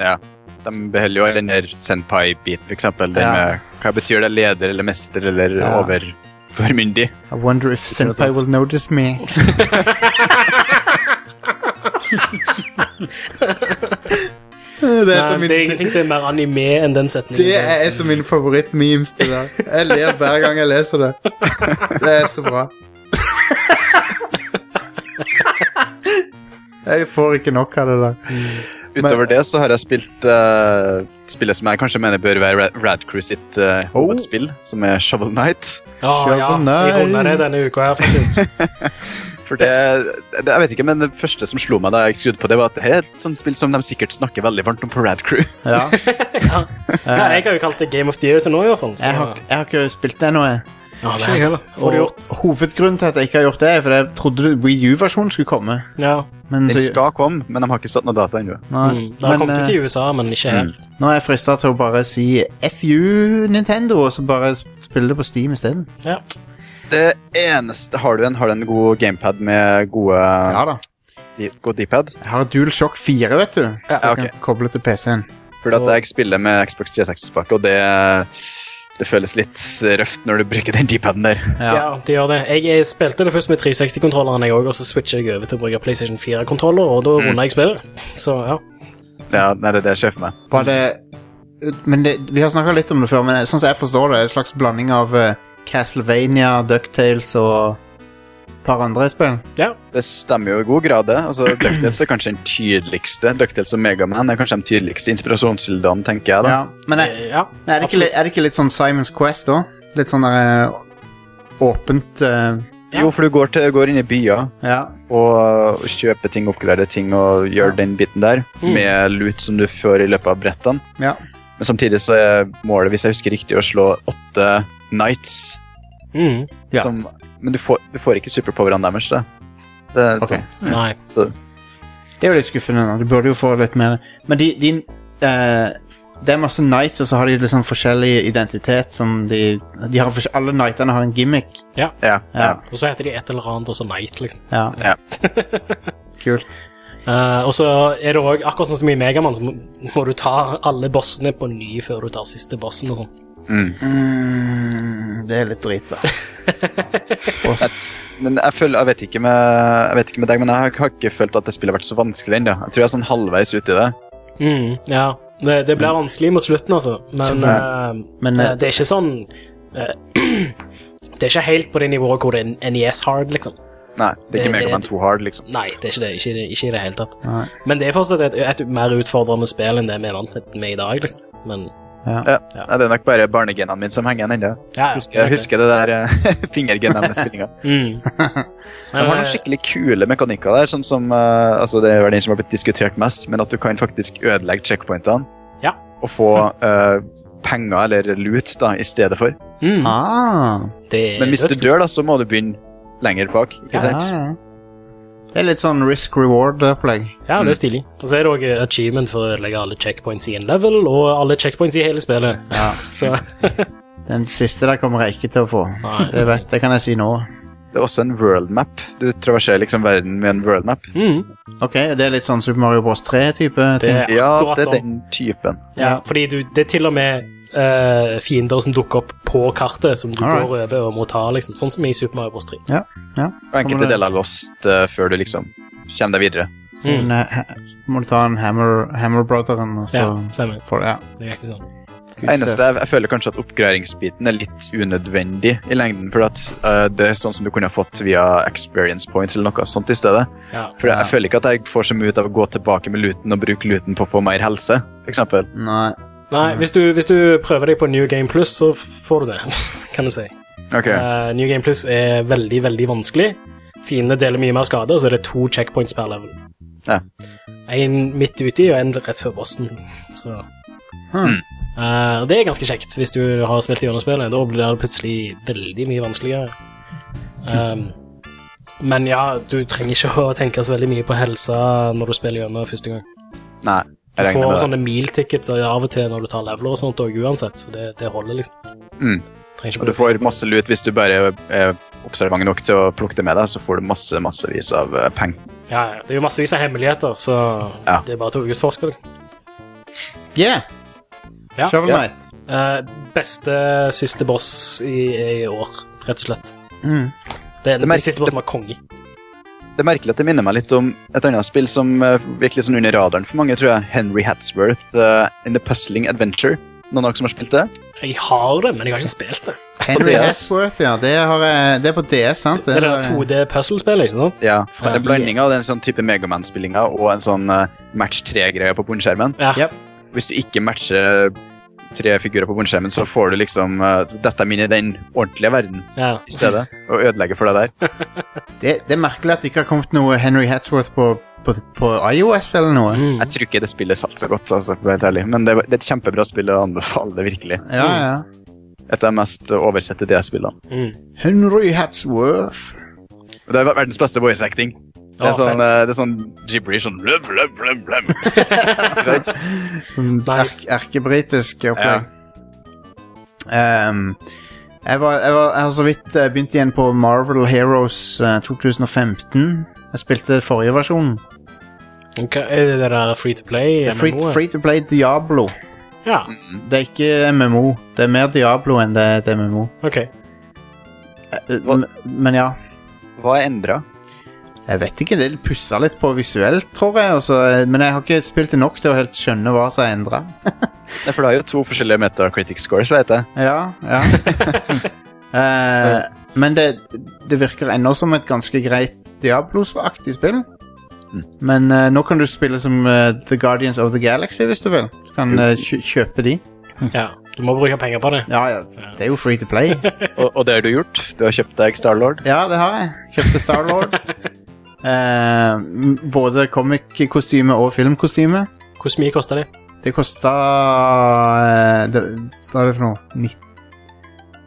Speaker 3: Ja. De beholder jo den der senpai-biten, f.eks.
Speaker 1: Ja.
Speaker 3: Hva betyr det? Leder eller mester eller
Speaker 1: Ja.
Speaker 3: overformyndig?
Speaker 1: I wonder if senpai will notice me. det er et av
Speaker 2: Nei, det er
Speaker 1: mine
Speaker 2: ingenting som er mer anime enn den setningen.
Speaker 1: Det er et av mine favorittmemes, det der. Jeg ler hver gang jeg leser det. Det er så bra. Jeg får ikke nok av det der.
Speaker 3: Utover det så har jeg spilt eh, spillet som jeg kanskje mener bør være Ra- Radcrew sitt eh,
Speaker 1: Oh.
Speaker 3: hovedspill, som er Shovel Knight.
Speaker 2: Ah, ja,
Speaker 1: Shovel
Speaker 2: jeg runder det
Speaker 1: Knight.
Speaker 2: denne uka her, faktisk.
Speaker 3: For det, Eh, det, jeg vet ikke, men det første som slo meg da jeg skrudde på det, var at det her er et sånt spill som de sikkert snakker veldig varmt om på Radcrew.
Speaker 1: Ja. Eh,
Speaker 2: Ja, jeg har jo kalt det Game of the Year til nå, i hvert fall. så-
Speaker 1: Jeg har, jeg har ikke spilt det ennå. jeg.
Speaker 2: Ja, det
Speaker 4: Ikke jeg
Speaker 2: er-
Speaker 4: heller.
Speaker 1: Og hovedgrunnen til at jeg ikke har gjort det, er fordi jeg trodde Wii U-versjonen skulle komme.
Speaker 2: Ja.
Speaker 1: Men
Speaker 3: Den
Speaker 1: så,
Speaker 3: skal komme, men de har ikke satt noe data ennå.
Speaker 1: nei.
Speaker 2: Mm. Det har
Speaker 1: Men,
Speaker 2: kommet ut
Speaker 1: eh, Mm,
Speaker 2: i USA, men ikke her.
Speaker 1: nå er jeg frista til å bare si FU Nintendo, og så bare sp- spille det på Steam isteden.
Speaker 2: Ja.
Speaker 3: Det eneste Har du en, har du en god gamepad med gode,
Speaker 1: Ja da.
Speaker 3: di, god d-pad?
Speaker 1: Jeg har DualShock 4, vet du. Så jeg kan
Speaker 3: ok.
Speaker 1: koble til PC-en.
Speaker 3: Fordi at jeg spiller med Xbox 360-pakke, og det, det føles litt røft når du bruker den d-paden der.
Speaker 2: Ja. det gjør det. Jeg, eh, spilte det først med 360-kontrolleren, jeg òg, og så switcha jeg over til å bruke PlayStation 4-kontroller, og da
Speaker 1: Mm.
Speaker 2: runda jeg spillet. Så ja.
Speaker 3: Ja, nei, det er det jeg ser for meg.
Speaker 1: Var det Men det, vi har snakka litt om det før, men sånn som jeg forstår det, er det en slags blanding av eh, Castlevania, Ducktales og et par andre spill.
Speaker 3: Det stemmer jo i god grad, det. Altså, Ducktails er kanskje den tydeligste. Ducktails og Megaman er kanskje de tydeligste inspirasjonskildene, tenker jeg. da.
Speaker 1: Ja. Men er,
Speaker 2: Eh, ja.
Speaker 1: er, det ikke, li- er det ikke litt sånn Simons Quest, da? Litt sånn der, eh, åpent eh,
Speaker 3: Jo, for du går, til, går inn i byer
Speaker 1: Ja.
Speaker 3: og kjøper ting, oppgraderer ting og gjør den biten der
Speaker 2: Mm.
Speaker 3: med loot som du får i løpet av brettene.
Speaker 1: ja.
Speaker 3: Men samtidig så er målet, hvis jeg husker riktig, å slå åtte knights.
Speaker 2: Mm.
Speaker 1: Ja.
Speaker 3: Som, men du får, du får ikke superpowerne deres, da. Det er
Speaker 1: Ok.
Speaker 3: sånn,
Speaker 2: Nei.
Speaker 3: så,
Speaker 1: Det er jo litt skuffende. da. Du burde jo få litt mer Men de, de eh, Det er masse knights, og så har de litt sånn forskjellig identitet som de, de har forskjell- Alle knightene har en gimmick.
Speaker 3: ja, ja.
Speaker 1: Ja.
Speaker 2: Og så heter de et eller annet, og så Night, liksom.
Speaker 1: Ja.
Speaker 3: Ja.
Speaker 1: Kult.
Speaker 2: Eh, og så er det òg, akkurat sånn som i Megaman, så må, må du ta alle bossene på ny før du tar siste bossen og sånn.
Speaker 1: Mm, det er litt drit, da. Boss.
Speaker 3: Men jeg, føler, jeg, vet ikke med, jeg vet ikke med deg, men jeg har ikke følt at det spillet har vært så vanskelig ennå. Jeg tror jeg er sånn halvveis ute i det.
Speaker 2: Mm, ja. Det, det blir vanskelig mot slutten, altså. Men, eh,
Speaker 1: Men
Speaker 2: eh,
Speaker 1: eh,
Speaker 2: det er ikke sånn eh, Det er ikke helt på det nivået hvor det er NES-hard, liksom.
Speaker 3: Nei,
Speaker 2: Det-
Speaker 3: det er ikke
Speaker 2: det-
Speaker 3: Megaman 2 Hard, liksom.
Speaker 2: Nei, det er ikke det. Ikke, i det- ikke i det hele tatt.
Speaker 1: Nei.
Speaker 2: Men det er fortsatt et, et mer utfordrende spill enn det vi er vant med- med i dag. Liksom. Men
Speaker 3: Ja. Nei, det er nok bare barnegenene mine som henger igjen ennå.
Speaker 2: ja, ja,
Speaker 3: Husker, jeg husker det der eh, fingergenene med spillinga.
Speaker 2: Mm.
Speaker 3: De
Speaker 2: Eh.
Speaker 3: har noen skikkelig kule mekanikker der, sånn som eh, altså Det er vel den som har blitt diskutert mest, men at du kan faktisk ødelegge checkpointene
Speaker 2: Ja.
Speaker 3: og få eh, penger eller loot da, i stedet for.
Speaker 2: Mm.
Speaker 1: ah,
Speaker 2: Det er
Speaker 3: Men hvis du
Speaker 2: dødskult.
Speaker 3: dør, da, så må du begynne lenger bak. ikke sant?
Speaker 1: ja. Det er litt sånn risk reward-opplegg.
Speaker 2: Ja, det er stilig. Og så er det òg achievement for å ødelegge alle checkpoints i en level, og alle checkpoints i hele spillet. Så
Speaker 1: Den siste der kommer jeg ikke til å få.
Speaker 2: Nei.
Speaker 1: Det, vet, det kan jeg si nå.
Speaker 3: Det er også en world map. Du traverserer liksom verden med en world map.
Speaker 2: mm.
Speaker 1: Ok, Det er litt sånn Super Mario Bros. 3-type ting.
Speaker 2: Det- Ja,
Speaker 3: Ja,
Speaker 2: akkurat
Speaker 3: det er
Speaker 2: sånn.
Speaker 3: den typen.
Speaker 2: Ja, Eh, fordi du, det er til og med eh, fiender som dukker opp på kartet, som du
Speaker 1: Alright.
Speaker 2: går over og må ta, liksom. Sånn som i Super Mario Bros. 3.
Speaker 3: Og enkelte
Speaker 1: Kommer det-
Speaker 3: deler er lost eh, før du liksom kommer deg videre.
Speaker 1: Men, eh, ha- Så må du ta en Hammer, hammer Brotheren, og så
Speaker 2: Ja, stemmer.
Speaker 1: får du Ja.
Speaker 2: Det er ikke sånn.
Speaker 1: Good
Speaker 3: Det eneste
Speaker 1: stuff.
Speaker 3: jeg, jeg føler kanskje at oppgraderingsbiten er litt unødvendig i lengden. For at eh, det er sånn som du kunne ha fått via experience points eller noe sånt i stedet.
Speaker 2: Ja.
Speaker 3: For jeg, jeg føler ikke at jeg får så mye ut av å gå tilbake med luten og bruke luten på å få mer helse, f.eks.
Speaker 1: Nei.
Speaker 2: Nei, hvis du, hvis du prøver deg på New Game Plus, så f- får du det, kan du si.
Speaker 3: Okay.
Speaker 2: Eh, New Game Plus er veldig, veldig vanskelig. Fiendene deler mye mer skade, og så er det to checkpoints per level.
Speaker 3: Ja.
Speaker 2: En midt uti og en rett før bossen. Så.
Speaker 1: Hmm.
Speaker 2: Eh, og det er ganske kjekt hvis du har spilt gjennom spillet. Da blir det plutselig veldig mye vanskeligere. Um, men ja, du trenger ikke å tenke så veldig mye på helsa når du spiller gjennom første gang.
Speaker 3: Nei.
Speaker 2: Du
Speaker 3: Jeg
Speaker 2: får
Speaker 3: regner
Speaker 2: sånn-
Speaker 3: med det.
Speaker 2: sånne meal-tickets av og til når du tar leveler og sånt og uansett, så det, det holder liksom.
Speaker 3: Mm.
Speaker 2: Trenger
Speaker 3: Og du
Speaker 2: ikke
Speaker 3: får masse lut hvis du bare er observant nok til å plukke det med deg, så får du masse, massevis av eh, penger.
Speaker 2: Ja, ja, det er jo massevis av hemmeligheter, så
Speaker 3: Ja.
Speaker 2: det er bare til å utforske. liksom.
Speaker 1: Yeah!
Speaker 2: Ja.
Speaker 1: Shovel
Speaker 3: Ja.
Speaker 1: Knight.
Speaker 2: Eh, beste siste boss i, i år, rett og slett.
Speaker 1: Mm.
Speaker 2: Det er den
Speaker 3: merker-
Speaker 2: siste bossen var konge.
Speaker 3: Det er merkelig at det minner meg litt om et annet spill som eh, gikk litt sånn under radaren for mange, tror jeg. Henry Hatsworth eh, in the Puzzling Adventure. Noen av dere som har spilt det?
Speaker 2: Jeg har det, men jeg har ikke spilt det.
Speaker 1: Henry
Speaker 3: DS.
Speaker 1: Hesworth, ja. Det, har, jeg- det er på DS, sant?
Speaker 2: Det er det
Speaker 1: har jeg-
Speaker 2: 2D-puzzle-spillet, ikke sant?
Speaker 3: Ja.
Speaker 1: Fra-
Speaker 3: det er en blanding av den sånn type Megaman-spillinga og en sånn eh, match tre-greie på bunnskjermen.
Speaker 2: Ja.
Speaker 1: Yep.
Speaker 3: Hvis du ikke matcher tre figurer på bunnskjermen, så får du liksom eh, dette er min i den ordentlige verden
Speaker 2: Ja.
Speaker 3: i stedet, og ødelegger for deg der.
Speaker 1: det, det er merkelig at det ikke har kommet noe Henry Hesworth på, på, på IOS eller noe.
Speaker 2: Mm.
Speaker 3: Jeg tror ikke det spillet satt så godt, altså, for å være helt ærlig. men det, det er et kjempebra spill å anbefale det virkelig.
Speaker 1: Ja, ja.
Speaker 3: Et av de mest oversette DS-spillene.
Speaker 2: Mm.
Speaker 1: Henry Hatsworth.
Speaker 3: Det er verdens beste voice acting. Det
Speaker 2: Ja,
Speaker 3: er sånn,
Speaker 2: fett.
Speaker 3: eh, det er sånn gibberish sånn blub, blub, blub, blub. Right?
Speaker 2: Nice.
Speaker 1: Er erkebritisk opplegg. Ehm, jeg, var, jeg, var, jeg har så vidt eh, begynt igjen på Marvel Heroes eh, 2015. Jeg spilte forrige versjon.
Speaker 2: Ok, Er det det der free to play?
Speaker 1: Free,
Speaker 2: MMO-et?
Speaker 1: free to play Diablo.
Speaker 2: Ja,
Speaker 1: Det er ikke MMO. Det er mer Diablo enn det er et MMO.
Speaker 2: ok.
Speaker 1: Eh, men- Men ja.
Speaker 3: Hva er endra?
Speaker 1: Jeg vet ikke, det pussa litt på visuelt, tror jeg. Altså, men jeg har ikke spilt det nok til å helt skjønne hva som er endra.
Speaker 3: For det er jo to forskjellige metacritic scores, vet jeg.
Speaker 1: Ja, ja. Eh, men det, det virker ennå som et ganske greit Diablo-aktig spill. Men eh, nå kan du spille som eh, The Guardians of the Galaxy, hvis du vil. Du kan eh, kjø kjøpe de.
Speaker 2: Ja, du må bruke penger på det.
Speaker 1: Ja, ja, det er jo free to play.
Speaker 3: Og, og det har du gjort. Du har kjøpt deg Starlord.
Speaker 1: Ja, det har jeg. Kjøpte Starlord. Eh, m- både comic-kostyme og filmkostyme.
Speaker 2: Hvor mye koster det?
Speaker 1: Det kosta eh, det- Hva er det for noe? 90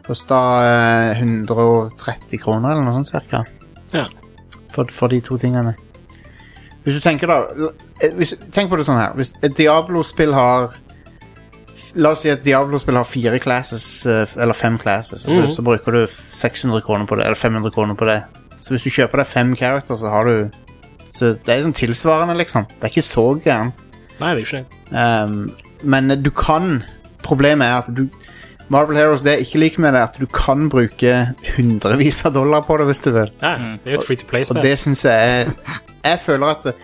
Speaker 1: Kosta eh, 130 kroner, eller noe sånt cirka.
Speaker 2: Ja.
Speaker 1: For, for de to tingene. Hvis du tenker, da l- eh, hvis, Tenk på det sånn her. Hvis et Diablo-spill har La oss si at Diablo-spill har fire classes, eh, f- eller fem classes, og så,
Speaker 2: Mhm.
Speaker 1: så bruker du f- 600 kroner på det, eller 500 kroner på det. Så hvis du kjøper deg fem characters, så har du Så det er sånn tilsvarende, liksom. Det er ikke så gærent.
Speaker 2: Nei, det er jo ikke det.
Speaker 1: Um, men du kan Problemet er at du Marvel Heroes, det jeg ikke liker med det, er at du kan bruke hundrevis av dollar på det hvis du vil.
Speaker 2: Nei, det er jo et free to
Speaker 1: Og
Speaker 2: play-spill.
Speaker 1: det syns jeg er Jeg føler at det-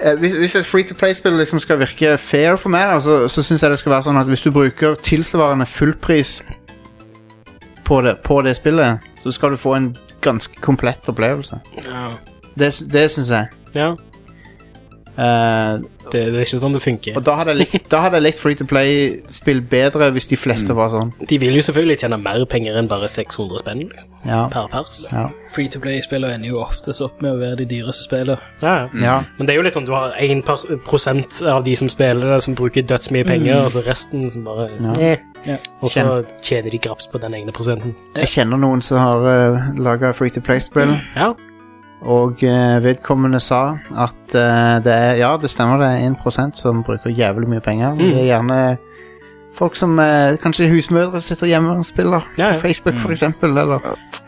Speaker 1: eh, hvis, hvis et free to play-spill liksom skal virke fair for meg, da, så, så syns jeg det skal være sånn at hvis du bruker tilsvarende fullpris på det, på det spillet, så skal du få en ganske komplett opplevelse.
Speaker 2: Ja,
Speaker 1: Det, det syns jeg.
Speaker 2: ja
Speaker 1: Eh,
Speaker 2: det, det er ikke sånn det funker.
Speaker 1: Og da hadde jeg likt, da hadde jeg likt Free to Play-spill bedre hvis de fleste var sånn.
Speaker 2: De vil jo selvfølgelig tjene mer penger enn bare 600 spenn liksom,
Speaker 1: Ja.
Speaker 2: per pers.
Speaker 1: Ja.
Speaker 4: Free to play-spillene ender jo oftest opp med å være de dyreste spillene.
Speaker 2: Ja, ja.
Speaker 1: ja.
Speaker 2: Men det er jo litt sånn, du har 1 prosent av de som spiller det, som bruker dødsmye penger, og så resten som bare...
Speaker 1: Ja.
Speaker 2: Eh.
Speaker 4: Ja.
Speaker 2: Og så tjener de graps på den egne prosenten.
Speaker 1: Jeg kjenner noen som har uh, laga Free to Play-spill,
Speaker 2: Ja,
Speaker 1: og eh, vedkommende sa at eh, det er Ja, det stemmer, det er 1 som bruker jævlig mye
Speaker 2: Mm.
Speaker 1: penger. Men Det er gjerne folk som eh, Kanskje husmødre sitter hjemme og spiller.
Speaker 2: Ja, Mm. ja.
Speaker 1: På Facebook, for eksempel, eller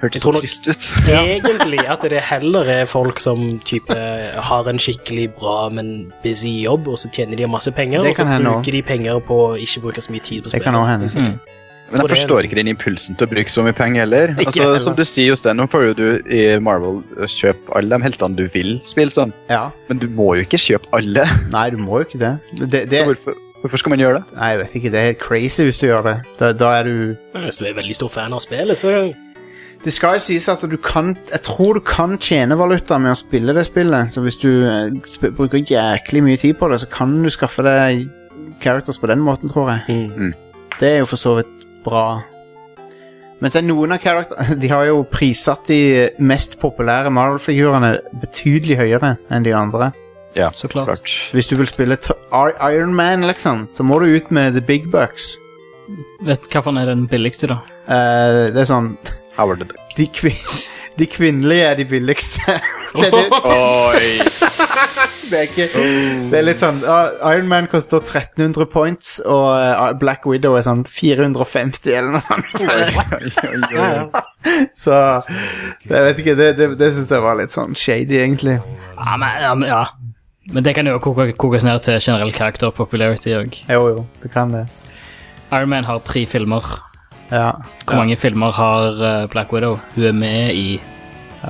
Speaker 3: Hørtes
Speaker 2: tror
Speaker 3: så
Speaker 2: nok-
Speaker 3: trist ut.
Speaker 2: egentlig at det heller er folk som type har en skikkelig bra, men busy jobb, og så tjener de masse penger,
Speaker 1: Det
Speaker 2: og så
Speaker 1: kan hende
Speaker 2: bruker de penger på å ikke bruke så mye tid på
Speaker 1: Det kan òg
Speaker 2: spillet.
Speaker 1: hende.
Speaker 3: Men
Speaker 2: Og
Speaker 3: jeg
Speaker 2: det er
Speaker 3: forstår
Speaker 2: det.
Speaker 3: ikke den impulsen til å bruke så mye penger heller. Altså,
Speaker 1: heller.
Speaker 3: Som du sier, Jostein, nå får jo du i Marvel kjøpe alle de heltene du vil spille sånn,
Speaker 1: Ja.
Speaker 3: men du må jo ikke kjøpe alle.
Speaker 1: Nei, du må jo ikke det. det, det
Speaker 3: Så hvorfor, hvorfor skal man gjøre det?
Speaker 1: nei, jeg vet ikke. Det er helt crazy hvis du gjør det. Da, da er du
Speaker 2: Men Hvis du er veldig stor fan av spillet, så
Speaker 1: Det skal jo sies at du kan Jeg tror du kan tjene valuta med å spille det spillet. Så hvis du eh, sp bruker jæklig mye tid på det, så kan du skaffe deg characters på den måten, tror jeg. Det er jo for så vidt bra. Men så er noen av characterene De har jo prissatt de mest populære Marvel-figurene betydelig høyere enn de andre.
Speaker 3: Ja,
Speaker 4: Så klart.
Speaker 1: Hvis du vil spille to- Ar- Iron Man, liksom, så må du ut med the big bucks.
Speaker 4: Vet hva for den er den billigste, da?
Speaker 1: Eh, det er sånn
Speaker 3: Howard the Duck.
Speaker 1: de, kvin de kvinnelige er de billigste. Det, det,
Speaker 3: Oi!
Speaker 1: det, er ikke, det er litt sånn ah, Iron Man koster 1300 points, og ah, Black Widow er sånn 450 eller noe sånt. Så jeg vet ikke, det, det, det syns jeg var litt sånn shady, egentlig.
Speaker 4: Ja, men, ja, men, ja. men det kan jo koke- kokes ned til generell karakter popularity òg.
Speaker 1: Jo, jo, du kan det.
Speaker 4: Iron Man har tre filmer.
Speaker 1: Ja.
Speaker 4: Hvor mange filmer har eh, Black Widow? Hun er med i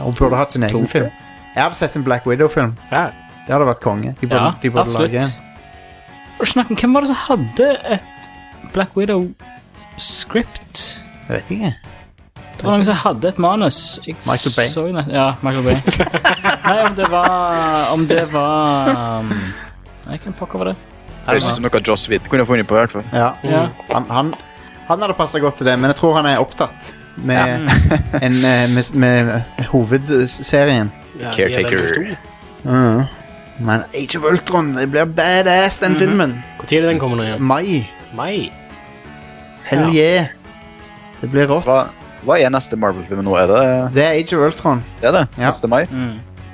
Speaker 1: Og burde hatt sin egen
Speaker 4: To.
Speaker 1: film. Jeg hadde sett en Black Widow-film.
Speaker 2: Ja.
Speaker 1: Det hadde vært konge. De burde,
Speaker 4: Ja,
Speaker 1: de burde lage en.
Speaker 4: absolutt. Og snakk om hvem var det som hadde et Black Widow-script?
Speaker 1: Jeg vet ikke.
Speaker 4: Det var noen som hadde et manus. Jeg
Speaker 1: Michael Bay.
Speaker 4: Så, jo nett- ja, Michael Bay. Nei, om det var Om det var um, Nei, hvem pokker var det?
Speaker 3: Det høres ut som noe Joss Whedon kunne funnet på. i hvert fall.
Speaker 1: Ja.
Speaker 4: Ja.
Speaker 1: Han, han, han hadde passa godt til det, men jeg tror han er opptatt med, en, eh, med, med hovedserien.
Speaker 2: Ja, de er
Speaker 3: Caretaker.
Speaker 2: veldig store.
Speaker 1: Mm. Men Age of Ultron det blir badass, den filmen.
Speaker 2: Hvor tid er den kommer nå igjen?
Speaker 1: Mai.
Speaker 2: Mai?
Speaker 1: Hell yeah. Det blir rått.
Speaker 3: Hva, hva er neste Marvel-film nå? Er det
Speaker 1: Det er Age of Ultron
Speaker 3: det? Er det?
Speaker 1: Ja.
Speaker 3: Neste mai?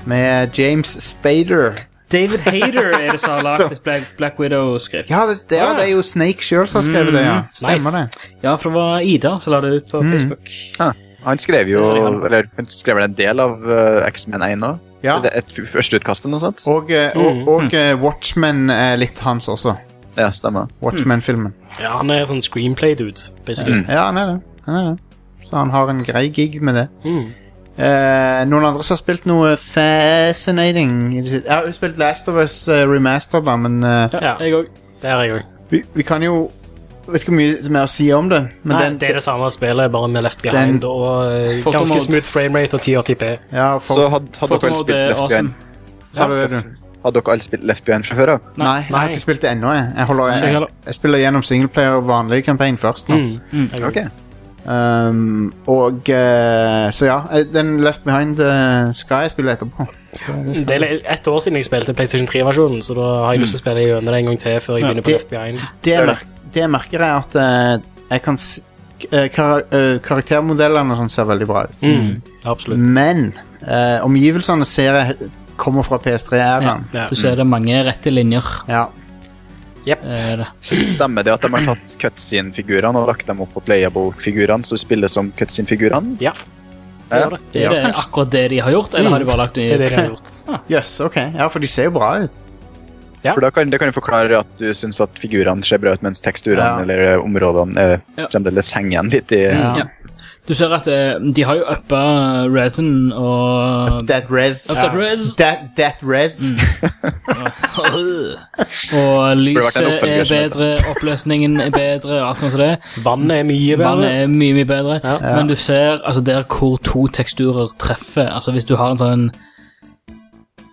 Speaker 1: med James Spader.
Speaker 4: David Hayter er det som har
Speaker 1: Så-
Speaker 4: lagd et Black, Black Widow-skrift.
Speaker 1: Ja, det, det, ja, det er jo Snake sjøl som har skrevet det. ja
Speaker 4: Mm,
Speaker 1: Stemmer
Speaker 2: nice.
Speaker 1: det.
Speaker 4: Ja, for det var Ida som la det ut på Facebook.
Speaker 3: Ja. Han skrev jo
Speaker 4: Det er han.
Speaker 3: Eller han skrev vel en del av eh, X-Men 1 òg?
Speaker 1: Ja.
Speaker 3: Det er Et f- første utkast eller noe sånt?
Speaker 1: Og, eh, og, og eh, Watchmen er litt hans også.
Speaker 3: Ja, stemmer.
Speaker 1: Watchmen-filmen.
Speaker 2: Ja, han er sånn screenplay-dude, basically.
Speaker 1: Ja, han er det. Han er det. Så han har en grei gig med det.
Speaker 2: Mm.
Speaker 1: Eh, noen andre som har spilt noe fascinating i det siste? Jeg har jo spilt Last of Us eh, Remastered, da, men eh,
Speaker 2: Ja,
Speaker 4: Jeg òg.
Speaker 2: det er jeg òg.
Speaker 1: vi, vi kan jo Vet ikke hvor mye som er å si om det, men
Speaker 2: Nei,
Speaker 1: den,
Speaker 2: det er det samme spillet, bare med left behind
Speaker 1: Den-
Speaker 2: og eh,
Speaker 4: Photo
Speaker 2: ganske
Speaker 4: mode.
Speaker 2: smooth framerate og 1080p.
Speaker 1: ja, for,
Speaker 3: Så hadde, hadde dere alle
Speaker 4: Fotomode
Speaker 3: spilt
Speaker 4: er
Speaker 3: Left
Speaker 4: awesome.
Speaker 3: Behind
Speaker 1: Sa du det, du?
Speaker 3: Hadde dere alle spilt Left Behind fra før av?
Speaker 1: Nei, jeg har
Speaker 2: Nei.
Speaker 1: ikke spilt det ennå. Jeg. Jeg, holder,
Speaker 4: Ikke jeg
Speaker 1: jeg,
Speaker 4: heller.
Speaker 1: jeg spiller gjennom singleplayer og vanlig campaign først nå.
Speaker 2: Mm. Jeg
Speaker 3: Ok.
Speaker 2: også.
Speaker 1: Um, og eh, Så ja, eh, den Left Behind eh, skal jeg spille etterpå.
Speaker 2: Det er ett år siden jeg spilte PlayStation 3-versjonen, så da har jeg lyst til å spille gjennom det en gang til før jeg begynner på
Speaker 1: det-
Speaker 2: Left Behind.
Speaker 1: Det,
Speaker 3: Ser du.
Speaker 1: merk, det merker jeg at eh, jeg kan s- eh, kar eh, Karaktermodellene og sånn ser veldig bra ut.
Speaker 2: Mm. Absolutt.
Speaker 1: Men eh, omgivelsene ser jeg kommer fra PS3-æraen.
Speaker 2: Ja.
Speaker 4: Du ser det er mange rette linjer.
Speaker 1: Ja.
Speaker 4: Er det.
Speaker 3: Stemmer det at de har tatt cutscene-figurene og lagt dem opp på playable-figurene, så de spiller som cutscene-figurene?
Speaker 2: Ja. Det
Speaker 3: Ja.
Speaker 2: var det.
Speaker 4: Er det akkurat det de har gjort, eller har de bare lagt
Speaker 2: Det er det de
Speaker 4: det
Speaker 2: har
Speaker 4: i
Speaker 2: gjort.
Speaker 1: Jøss, ok. Ja, for de ser jo bra ut.
Speaker 2: Ja.
Speaker 3: For da kan, det kan jo forklare at du syns at figurene ser bra ut, mens teksturene
Speaker 1: Ja.
Speaker 3: eller områdene eh,
Speaker 4: Ja.
Speaker 3: fremdeles henger igjen litt i
Speaker 1: Ja.
Speaker 4: Ja. Du ser at eh, de har jo uppa resin og
Speaker 1: That res.
Speaker 4: Up that res.
Speaker 1: That, that
Speaker 4: Mm.
Speaker 1: res.
Speaker 4: Og
Speaker 3: Burde vært en
Speaker 4: lyset er
Speaker 3: oppfølger som heter
Speaker 4: bedre, oppløsningen er bedre, og alt sånt som det.
Speaker 2: Vannet er mye bedre.
Speaker 4: Vannet er mye, mye bedre.
Speaker 2: Ja.
Speaker 4: Men du ser altså, der hvor to teksturer treffer. Altså Hvis du har en sånn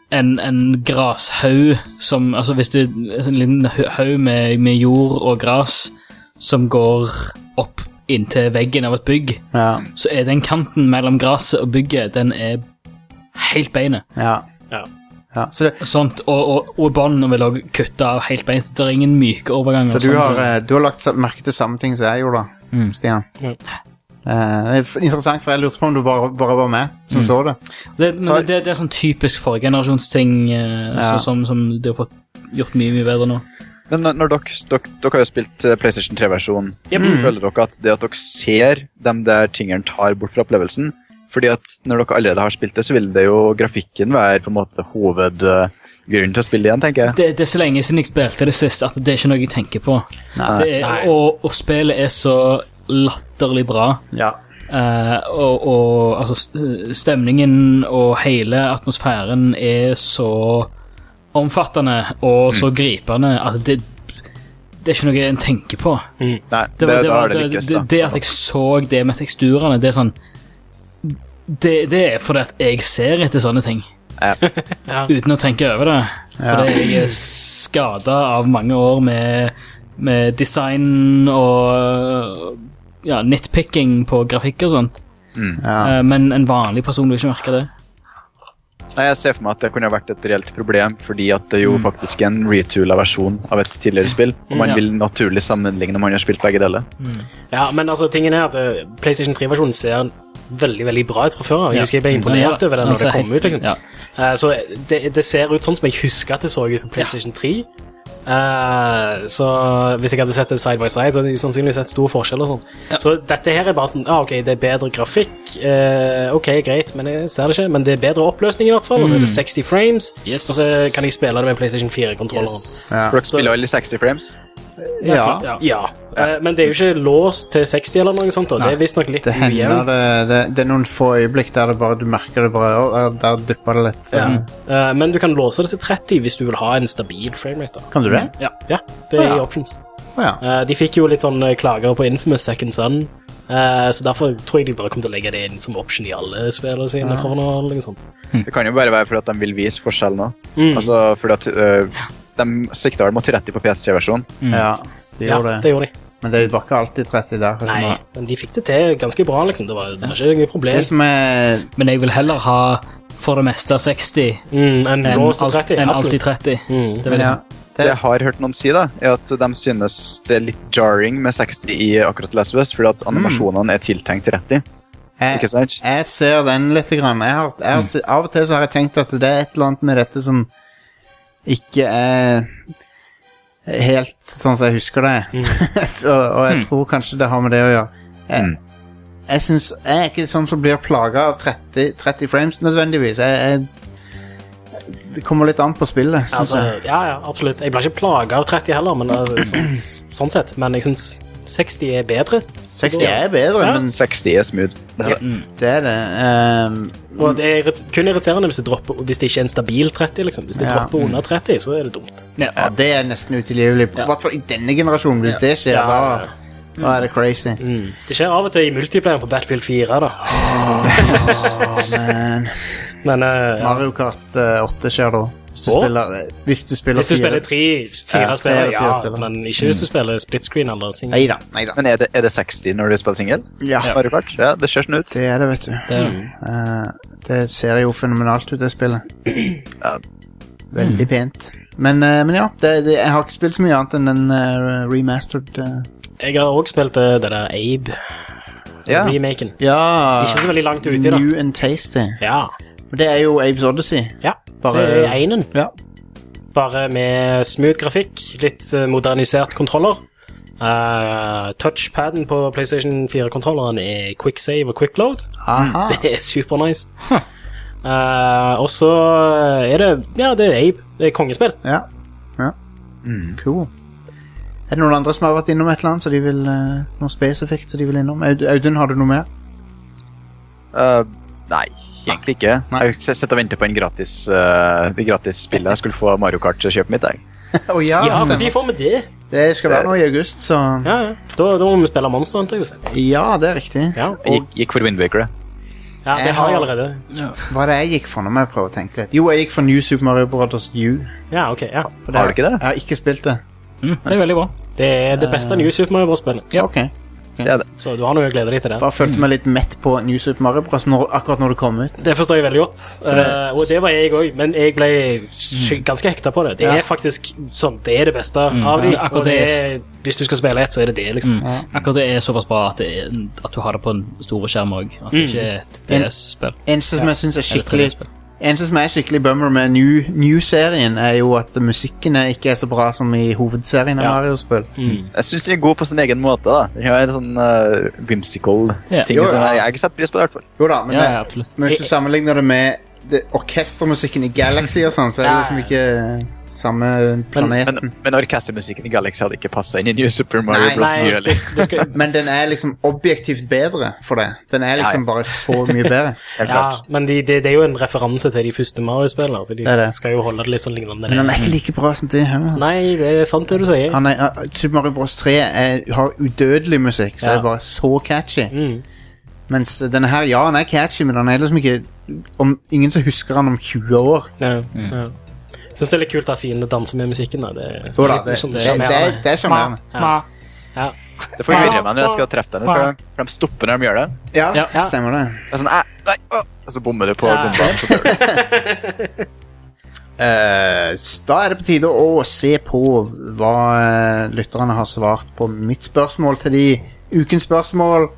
Speaker 4: en, en grashaug som Altså hvis du En liten hø- haug med, med jord og gras som går opp inntil veggen av et bygg,
Speaker 1: Ja.
Speaker 4: så er den kanten mellom gresset og bygget, den er helt beinet.
Speaker 1: Ja.
Speaker 2: Ja.
Speaker 1: ja. Så, det,
Speaker 4: Sånt, og, og, og båndene vil også kutte av helt beint. Det er ingen myke overganger.
Speaker 1: så du,
Speaker 4: sånn
Speaker 1: har,
Speaker 4: som-
Speaker 1: eh, du har lagt sa- merke til samme ting som jeg gjorde, da,
Speaker 4: Mm.
Speaker 1: Stian.
Speaker 2: Ja.
Speaker 1: Eh, det er f- interessant, for jeg lurte på om du bare, bare var med
Speaker 4: Mm.
Speaker 1: som så det.
Speaker 4: det, men det, det, det er sånn typisk forgenerasjonsting eh,
Speaker 1: Ja.
Speaker 4: så, som, som de har fått gjort mye, mye bedre nå.
Speaker 3: Men når- når dere, dere, dere har jo spilt eh, PlayStation 3-versjonen, føler dere at det at dere ser de der tingene tar bort fra opplevelsen Fordi at når dere allerede har spilt det, så vil det jo grafikken være på en måte hovedgrunnen til å spille igjen, tenker jeg.
Speaker 4: Det, det er så lenge siden jeg spilte det sist at det er ikke noe jeg tenker på. Det er,
Speaker 2: Nei.
Speaker 4: og, og spillet er så latterlig bra.
Speaker 1: Ja.
Speaker 4: eh, og, og altså st- stemningen og hele atmosfæren er så omfattende og så gripende at det, det er ikke noe en tenker på.
Speaker 3: Nei,
Speaker 4: Det,
Speaker 3: det,
Speaker 4: var,
Speaker 3: da
Speaker 4: det, var,
Speaker 3: er det
Speaker 4: det,
Speaker 3: lykkes,
Speaker 4: det,
Speaker 3: da.
Speaker 4: det at jeg så det med teksturene, det er sånn Det, det er fordi at jeg ser etter sånne ting.
Speaker 3: Ja.
Speaker 2: Ja.
Speaker 4: Uten å tenke over det. Fordi jeg er skada av mange år med, med design og ja, nitpicking på grafikk og sånt.
Speaker 1: Ja.
Speaker 4: Eh, Men en vanlig person vil ikke merke det.
Speaker 3: Nei, jeg ser for meg at det kunne ha vært et reelt problem, fordi at det er jo faktisk en retoola versjon av et tidligere spill, og man
Speaker 4: Ja.
Speaker 3: vil naturlig sammenligne om man har spilt begge deler.
Speaker 2: Ja, men altså, tingen er at eh, PlayStation 3-versjonen ser veldig, veldig bra ut fra før. av. Jeg husker jeg ble
Speaker 4: Ja, Altså,
Speaker 2: imponert over den
Speaker 4: han
Speaker 2: når
Speaker 4: ser
Speaker 2: det kom
Speaker 4: helt-
Speaker 2: ut, liksom.
Speaker 4: Ja.
Speaker 2: Eh, så det, det ser ut sånn som jeg husker at det så ut på PlayStation 3. Eh, så hvis jeg hadde sett det side by side, så hadde jeg usannsynlig sett stor forskjell. og sånn Så dette her er bare sånn ah, OK, det er bedre grafikk. eh, OK, greit, men jeg ser det ikke. Men det er bedre oppløsning, i hvert fall. Og så
Speaker 1: Mm.
Speaker 2: er det 60 frames.
Speaker 4: Yes.
Speaker 2: Og så kan jeg spille det med PlayStation 4-kontrolleren.
Speaker 4: Yes.
Speaker 1: Ja.
Speaker 3: Brooks spiller alle i 60 frames.
Speaker 1: Ja,
Speaker 2: Ja. Eh, men det er jo ikke låst til 60 eller noe sånt. Da. Det er visstnok litt
Speaker 1: det hender
Speaker 2: ujevnt.
Speaker 1: det, det Det er noen få øyeblikk der det bare, du merker det bare «Å, ja, Der dupper det litt.
Speaker 2: Ja. Eh, men du kan låse det til 30 hvis du vil ha en stabil framerate.
Speaker 1: Kan du det?
Speaker 2: Ja, ja, det er
Speaker 1: Ja.
Speaker 2: i options.
Speaker 1: Å Mm. ja.
Speaker 2: Eh, de fikk jo litt sånn eh, klager på Infamous Second Son, eh, så derfor tror jeg de bare kommer til å legge det inn som option i alle spillene sine. fra nå av, liksom.
Speaker 3: Det kan jo bare være fordi at de vil vise forskjell nå. Altså, fordi at øh, de sikta vel mot 30 på PS3-versjonen.
Speaker 4: Mm.
Speaker 1: ja. De
Speaker 2: Ja,
Speaker 1: gjorde
Speaker 2: det gjorde de.
Speaker 1: Men det er jo bare ikke alltid 30 der.
Speaker 2: Nei, men de fikk det til ganske bra, liksom. Det var, det var ikke noe problem.
Speaker 1: Det som er
Speaker 4: Men jeg vil heller ha for det meste 60
Speaker 2: Mm, en
Speaker 4: enn
Speaker 2: låst til
Speaker 4: alt-
Speaker 2: 30,
Speaker 4: enn
Speaker 2: absolutt.
Speaker 4: alltid 30.
Speaker 2: Mm.
Speaker 4: Det vil
Speaker 1: men ja,
Speaker 4: jeg.
Speaker 1: det,
Speaker 3: Det jeg har hørt noen si, da, er at de synes det er litt jarring med 60 i akkurat Last of Us, fordi at animasjonene er tiltenkt 30.
Speaker 1: jeg,
Speaker 3: Ikke sant?
Speaker 1: jeg ser den litt. Grann. Jeg har, jeg har, se- Av og til så har jeg tenkt at det er et eller annet med dette som ikke er helt sånn som jeg husker det. så, og jeg tror kanskje det har med det å gjøre. Jeg, jeg, synes, jeg er ikke sånn som blir plaga av 30, 30 frames nødvendigvis. Jeg, jeg, det kommer litt an på spillet, syns
Speaker 2: Altså,
Speaker 1: jeg.
Speaker 2: ja, ja, absolutt. Jeg blir ikke plaga av 30 heller, men eh, sånn, sånn sett. Men jeg syns 60 er bedre.
Speaker 1: 60 er bedre,
Speaker 2: Ja.
Speaker 1: men
Speaker 3: 60 er smooth. Det er det.
Speaker 1: det er det. Ehm,
Speaker 2: Og det er irrit- kun irriterende hvis det, dropper, hvis det ikke er en stabil 30, liksom. Hvis det
Speaker 1: Ja.
Speaker 2: dropper under 30, så er det dumt.
Speaker 1: Ja, det er nesten utilgivelig. I hvert fall i denne generasjonen. Hvis det skjer,
Speaker 2: Ja, ja, ja.
Speaker 1: da, da er det crazy.
Speaker 2: Mm. Det skjer av og til i multiplayer på Battlefield 4, da.
Speaker 1: Ehm,
Speaker 2: Men eh, ja.
Speaker 1: Mario Kart eh, 8 skjer da. Hvis du
Speaker 2: Å?
Speaker 1: spiller, eh, hvis du spiller,
Speaker 2: hvis du spiller
Speaker 1: fire.
Speaker 2: tre,
Speaker 1: Ja,
Speaker 2: fire
Speaker 1: tre
Speaker 2: spillere,
Speaker 1: eller fire
Speaker 2: ja,
Speaker 1: spillere.
Speaker 2: men ikke hvis du spiller split screen eller single.
Speaker 1: Neida, neida.
Speaker 3: Men er det, er det 60 når du spiller singel?
Speaker 1: Ja,
Speaker 3: Mario Kart? Ja, det ser sånn ut.
Speaker 1: det er det, vet du.
Speaker 4: Det er
Speaker 1: Eh, det ser jo fenomenalt ut, det spillet.
Speaker 3: Ja.
Speaker 2: Mm.
Speaker 1: Veldig pent. Men, eh, men ja, det, det, jeg har ikke spilt så mye annet enn den eh, remastered eh.
Speaker 2: Jeg har også spilt eh, det der Abe,
Speaker 3: Ja.
Speaker 2: remaken.
Speaker 1: Ja,
Speaker 2: Ikke så veldig langt uti, da.
Speaker 1: New and Tasty.
Speaker 2: Ja.
Speaker 1: Men det er jo Abes Odyssey.
Speaker 2: ja.
Speaker 1: Bare-
Speaker 2: Det er einen.
Speaker 1: Ja.
Speaker 2: Bare med smooth grafikk, litt eh, modernisert kontroller. Eh, touchpaden på PlayStation 4-kontrolleren er quick save og quick load.
Speaker 1: Aha.
Speaker 2: Mm, Det er super nice. Eh, og så eh, er det Ja, det er Abe. Det er kongespill.
Speaker 1: Ja. ja.
Speaker 2: Mm.
Speaker 1: Cool. Er det noen andre som har vært innom et eller annet, så de vil, eh, noe spesifikt som de vil innom? Aud- Audun, har du noe mer?
Speaker 3: Eh, nei, egentlig ikke.
Speaker 1: Nei.
Speaker 3: Jeg s- sitter og venter på en gratis, eh, det gratis spillet jeg skulle få av Mario Kart-kjøpet mitt. Jeg.
Speaker 1: Å ja,
Speaker 2: Ja,
Speaker 1: stemmer.
Speaker 2: men de får med det.
Speaker 1: Det skal være nå i august, så
Speaker 2: Ja, ja. Da, da må vi spille Monster Hunter. Jostein.
Speaker 1: Ja, det er riktig.
Speaker 2: Ja.
Speaker 3: jeg gikk, gikk for Windwaker.
Speaker 2: ja, det
Speaker 1: Jeg
Speaker 2: har jeg
Speaker 1: har-
Speaker 2: allerede.
Speaker 1: Hva er det jeg gikk for? Nå må jeg prøve å tenke litt. Jo, jeg gikk for New Super Mario Brothers U.
Speaker 2: Ja, ok, ja.
Speaker 1: for
Speaker 3: Har du ikke det?
Speaker 1: Jeg har ikke spilt det.
Speaker 4: Mm, det er veldig bra.
Speaker 2: Det er det beste nye Super Mario Bros.-spillet,
Speaker 4: Ja.
Speaker 1: Ok.
Speaker 3: Det er det.
Speaker 2: så du har noe å glede deg til det.
Speaker 1: Bare følte meg litt mett på New Super Mario Bros. Når, akkurat når det kom ut.
Speaker 2: Det forstår jeg veldig godt,
Speaker 1: det- Mm.
Speaker 2: Eh, og det var jeg òg, men jeg ble sy- ganske hekta på det. Det
Speaker 1: Ja. Mm.
Speaker 2: er faktisk sånn, det er det beste av de,
Speaker 4: Ja, akkurat
Speaker 2: og det
Speaker 4: det
Speaker 2: er, hvis du skal spille ett, så er det det, liksom.
Speaker 4: Mm. Akkurat det er såpass bra at, det er, at du har det på en store skjerm òg. At det ikke er et DS-spill.
Speaker 1: Eneste som jeg synes er skikkelig
Speaker 4: Eller 3D-spill.
Speaker 1: Eneste som er skikkelig bummer med New, New-serien, er jo at musikkene ikke er så bra som i hovedserien av
Speaker 4: Ja.
Speaker 1: Mario-spill.
Speaker 3: Jeg syns den er god på sin egen måte. da. Den har en sånn eh, whimsical
Speaker 4: Ja.
Speaker 3: ting
Speaker 1: Jo,
Speaker 3: som
Speaker 1: ja.
Speaker 3: jeg, jeg har ikke setter pris på. det i hvert fall.
Speaker 1: Jo da, men,
Speaker 4: Ja,
Speaker 1: det-
Speaker 4: ja, absolutt.
Speaker 1: men hvis du sammenligner det med det, orkestermusikken i Galaxy og sånn, så er det liksom ikke samme planeten.
Speaker 3: Men, men orkestermusikken i Galaxy hadde ikke passa inn i New Super Mario
Speaker 1: Nei,
Speaker 3: Bros.
Speaker 2: Nei,
Speaker 3: New,
Speaker 2: det,
Speaker 3: eller?
Speaker 2: det skal,
Speaker 1: Men den er liksom objektivt bedre for det. Den er liksom
Speaker 3: Ja, ja.
Speaker 1: bare så mye bedre.
Speaker 3: Helt
Speaker 2: ja,
Speaker 3: klart.
Speaker 2: men de, det, det er jo en referanse til de første Mario-spillene, så de
Speaker 1: Det er det.
Speaker 2: skal jo holde det litt sånn lignende.
Speaker 1: Men den er ikke like bra som det heller.
Speaker 2: Nei, det er sant det du sier.
Speaker 1: Han er, uh, Super Mario Bros. 3 er, har udødelig musikk, så
Speaker 2: Ja.
Speaker 1: det er bare så catchy.
Speaker 2: Mm.
Speaker 1: Mens denne her, ja, den er catchy, men den er liksom ikke om, Ingen som husker den om 20 år.
Speaker 2: Ja,
Speaker 4: Mm.
Speaker 2: ja. Syns det er litt kult at fiendene danser med musikken. Da. Det,
Speaker 1: Jo da, det,
Speaker 2: det er
Speaker 1: det,
Speaker 2: sånn
Speaker 1: det,
Speaker 2: sjarmerende.
Speaker 1: er- det er sjarmerende.
Speaker 3: Det forvirrer meg når jeg skal treffe deg. For de- for de stopper når de gjør det.
Speaker 1: Ja,
Speaker 2: Ja.
Speaker 1: stemmer det.
Speaker 3: Det er sånn, "Æ, nei, å!" Og så bommer du på
Speaker 2: Ja.
Speaker 3: bomba. Så dør du.
Speaker 1: Eh, da er det på tide å se på hva eh, lytterne har svart på mitt spørsmål til de ukens spørsmål,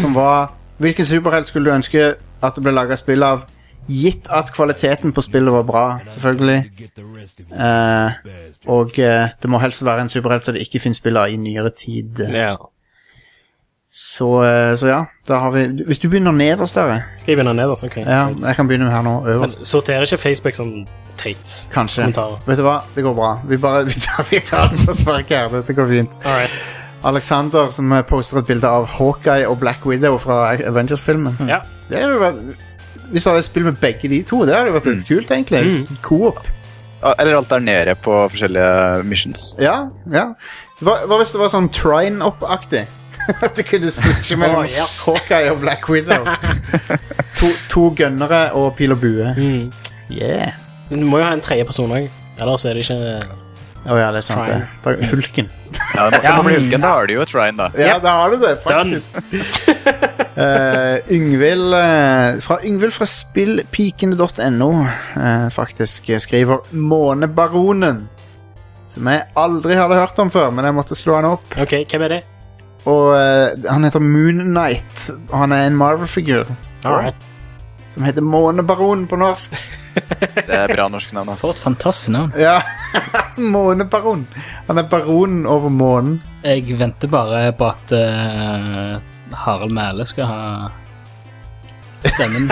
Speaker 1: som var Hvilken superhelt skulle du ønske at det ble laga spill av Gitt at kvaliteten på spillet var bra, selvfølgelig. Eh, og eh, det må helst være en superhelt så det ikke finnes spill av i nyere tid.
Speaker 2: Ja.
Speaker 1: Så, eh, så ja, da har vi Hvis du begynner nederst der,
Speaker 2: Skal jeg begynne nederst? Ok.
Speaker 1: ja, jeg kan begynne her nå,
Speaker 2: Men
Speaker 1: øverst,
Speaker 2: sorterer ikke Facebook som teit?
Speaker 1: kanskje.
Speaker 2: kommentarer.
Speaker 1: Vet du hva, det går bra. Vi bare vi tar, vi tar den på sparket her. Dette går fint.
Speaker 2: All right.
Speaker 1: Alexander som eh, poster et bilde av Hawkeye og Black Widow fra Avengers-filmen.
Speaker 2: Ja.
Speaker 1: Det er jo vært Hvis du hadde et spill med begge de to, det hadde vært litt kult, egentlig. Coop.
Speaker 3: Ah, Eller alternere på forskjellige missions.
Speaker 1: Ja, ja. Hva, hva hvis det var sånn trine-up-aktig? At du kunne switche mellom
Speaker 2: Å, ja.
Speaker 1: Hawkeye og Black Widow. to, to gønnere og pil og bue.
Speaker 2: Mm.
Speaker 1: Yeah.
Speaker 2: Men Du må jo ha en tredje person òg. Ellers er det ikke
Speaker 1: Å ja, det er sant, det. Da- Hulken.
Speaker 3: Ja, nå, nå blir hulken, Da har du jo et Ryan, da.
Speaker 1: Ja, da har du det, faktisk. Eh, Yngvild eh, fra Yngvild fra spillpikene.no eh, faktisk eh, skriver Månebaronen. Som jeg aldri hadde hørt om før, men jeg måtte slå han opp.
Speaker 2: OK, hvem er det?
Speaker 1: Og eh, han heter Moon Knight. Og han er en Marvel-figur
Speaker 2: All right.
Speaker 1: som heter Månebaronen på norsk.
Speaker 3: Det er bra norsk navn.
Speaker 4: For et
Speaker 3: ass.
Speaker 4: fantastisk navn.
Speaker 1: Ja, Månebaron. Han er baronen over månen.
Speaker 4: Jeg venter bare på at eh, Harald Mæle skal ha stemmen.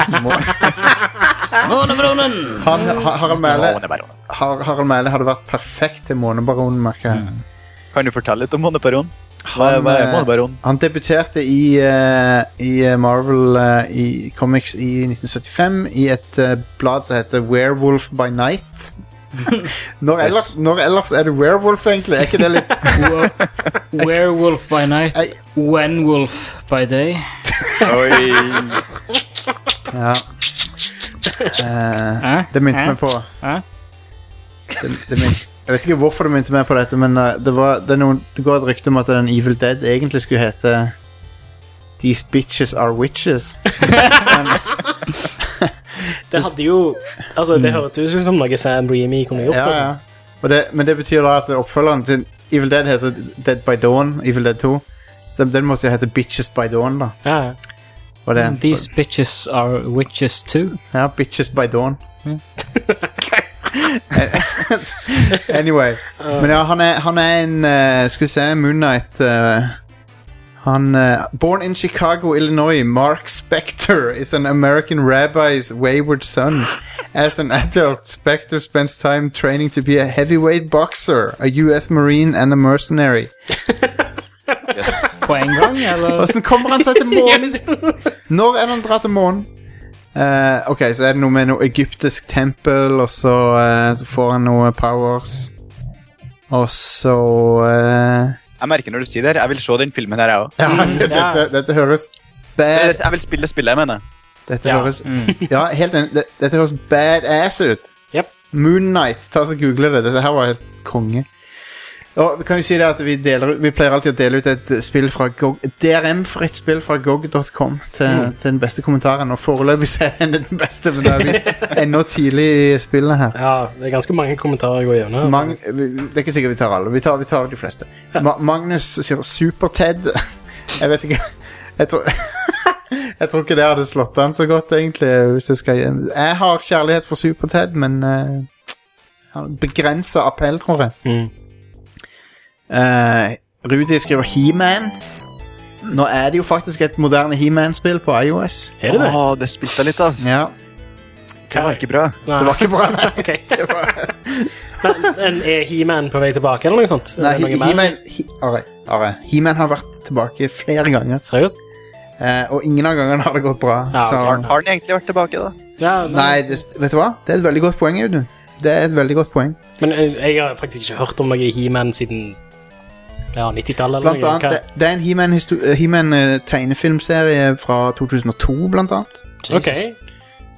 Speaker 4: Månebronen!
Speaker 1: Han, ha, Harald Mæhle
Speaker 3: Månebaron.
Speaker 1: har, Harald Mæhle hadde vært perfekt til Månebaronen, merker jeg.
Speaker 3: Kan du fortelle litt om Månebaron? Hva er,
Speaker 1: Han,
Speaker 3: hva er
Speaker 1: eh,
Speaker 3: Månebaron?
Speaker 1: Han debuterte i, eh, i eh, Marvel eh, i Comics i 1975 i et eh, blad som heter Werewolf by Night. når, ellers, når ellers er det werewolf, egentlig? Er ikke det litt
Speaker 4: Werewolf by night,
Speaker 1: Ei.
Speaker 4: Wenwolf by day.
Speaker 3: Oi.
Speaker 1: Ja. Eh,
Speaker 4: Hæ?
Speaker 1: det minte
Speaker 4: Hæ?
Speaker 1: meg på
Speaker 4: Hæ?
Speaker 1: det, det minte, Jeg vet ikke hvorfor det minte meg på dette, men eh, det, var, det, er noen, det går et rykte om at den Evil Dead egentlig skulle hete These bitches are witches.
Speaker 2: Det hadde jo Altså, det hørtes ut som noe Sam Breamy kunne gjort.
Speaker 1: Ja, ja.
Speaker 2: altså.
Speaker 1: Og det, men det betyr da at oppfølgeren til Evil Dead heter Dead by Dawn, Evil Dead 2. Så den, den måtte jo hete Bitches by Dawn, da.
Speaker 2: Ja, ja.
Speaker 1: Var det.
Speaker 4: These bitches are witches too.
Speaker 1: Ja, Bitches by Dawn. Hmm? anyway. Men ja, han er, han er en eh, Skal vi se, Moonnight Han eh, Born in Chicago, Illinois, Mark Spector is an American rabbi's wayward son. As an adult, Spector spends time training to be a heavyweight boxer, a US Marine and a mercenary.
Speaker 3: Yes.
Speaker 4: På en gang, eller?
Speaker 1: Hvordan kommer han seg til månen? Når er det han drar til månen? Eh, ok, så er det noe med noe egyptisk tempel, og så, eh, så får han noe powers. Og så eh,
Speaker 3: Jeg merker når du sier det. her, Jeg vil se den filmen her, jeg òg.
Speaker 1: Ja, dette, dette, dette høres bad
Speaker 3: Jeg vil spille spillet, jeg mener.
Speaker 1: Dette høres Ja, Mm. helt enig. det- Dette høres badass ut.
Speaker 2: Jep.
Speaker 1: Moon Knight. Ta så Google det. Dette her var helt konge. Og vi kan jo si det at vi, deler, vi pleier alltid å dele ut et spill fra GOG DRM-fritt spill fra GOG.com til, til den beste kommentaren, og foreløpig så er den den beste, men da er vi ennå tidlig i spillet her.
Speaker 2: ja, det er ganske mange kommentarer å gå gjennom.
Speaker 1: Mag vi- det er ikke sikkert vi tar alle. Vi tar, vi tar de fleste. Ma Magnus sier Super-Ted. Jeg vet ikke jeg tror, jeg tror ikke det hadde slått an så godt, egentlig. Hvis jeg, skal, jeg har kjærlighet for Super-Ted, men eh, uh, begrensa appell, tror jeg.
Speaker 2: Mm.
Speaker 1: Eh, Rudi skriver He-Man. Nå er det jo faktisk et moderne He-Man-spill på iOS.
Speaker 2: Er det det?
Speaker 3: Å, det spilte jeg litt av.
Speaker 1: Ja,
Speaker 3: Det var ikke bra.
Speaker 2: Nei.
Speaker 1: Det var ikke bra, nei.
Speaker 2: Ok. Men, men er He-Man på vei tilbake, eller noe sånt? Er
Speaker 1: nei
Speaker 2: det
Speaker 1: He-
Speaker 2: noe mer?
Speaker 1: He-Man He Are, Are. He-Man har vært tilbake flere ganger.
Speaker 2: Seriøst?
Speaker 1: Eh, og ingen av gangene har det gått bra.
Speaker 2: Ja,
Speaker 1: så,
Speaker 2: klart.
Speaker 3: Har den egentlig vært tilbake, da?
Speaker 2: Ja, men,
Speaker 1: nei, det, vet du hva? Det er et veldig godt poeng, Audun. Det er et veldig godt poeng.
Speaker 2: men jeg jeg har faktisk ikke hørt om noe He-Man siden ja, 90-tallet eller
Speaker 1: Blant
Speaker 2: noe.
Speaker 1: annet, det, det er en He-Man histo- eh, He-Man, eh, tegnefilmserie fra 2002, blant annet.
Speaker 2: Hva- Ok.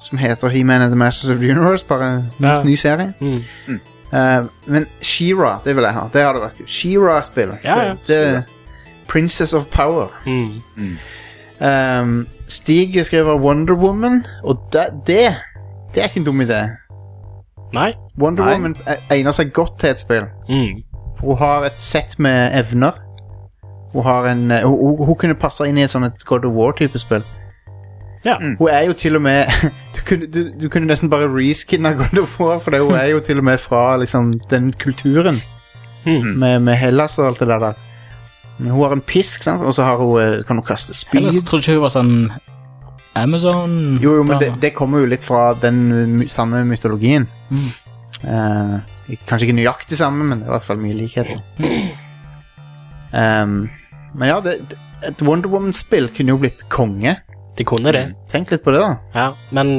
Speaker 1: Som heter He-Man and the Masters of the Universe. Bare en ny,
Speaker 2: Ja.
Speaker 1: ny serie.
Speaker 2: Mm.
Speaker 1: Eh, men She-Ra, det vil jeg ha. Det har det vært kult. She-Ra-spill.
Speaker 2: Ja, ja,
Speaker 1: Det- det- Princess of Power.
Speaker 2: Mm.
Speaker 1: Um, Stig skriver Wonder Woman, og det, det, det er ikke en dum idé.
Speaker 2: Nei?
Speaker 1: Wonder
Speaker 3: Nei.
Speaker 1: Woman eh, egner seg godt til et spill.
Speaker 2: Mm.
Speaker 1: For hun har et sett med evner. Hun, har en, eh, hun, sånn Mm. hun, hun kunne passa inn i et sånt et God of War-type spill.
Speaker 2: Ja.
Speaker 1: Hun er jo til og med Du Du kunne, du, du kunne nesten bare reskinne God of War, for det er jo til og med fra liksom, den kulturen. Med, med Hellas og alt det der. der. Men hun har en pisk, sant? og så har hun, eh, kan hun kaste spyd.
Speaker 4: Ellers trodde jeg ikke hun var sånn Amazon
Speaker 1: Jo, jo, men det, det kommer jo litt fra den my samme mytologien. Eh, kanskje ikke nøyaktig samme, men det er i hvert fall mye likheter. Ehm, men ja, det, det, et Wonder Woman-spill kunne jo blitt konge.
Speaker 2: De kunne det.
Speaker 1: Tenk litt på det, da.
Speaker 2: Ja, men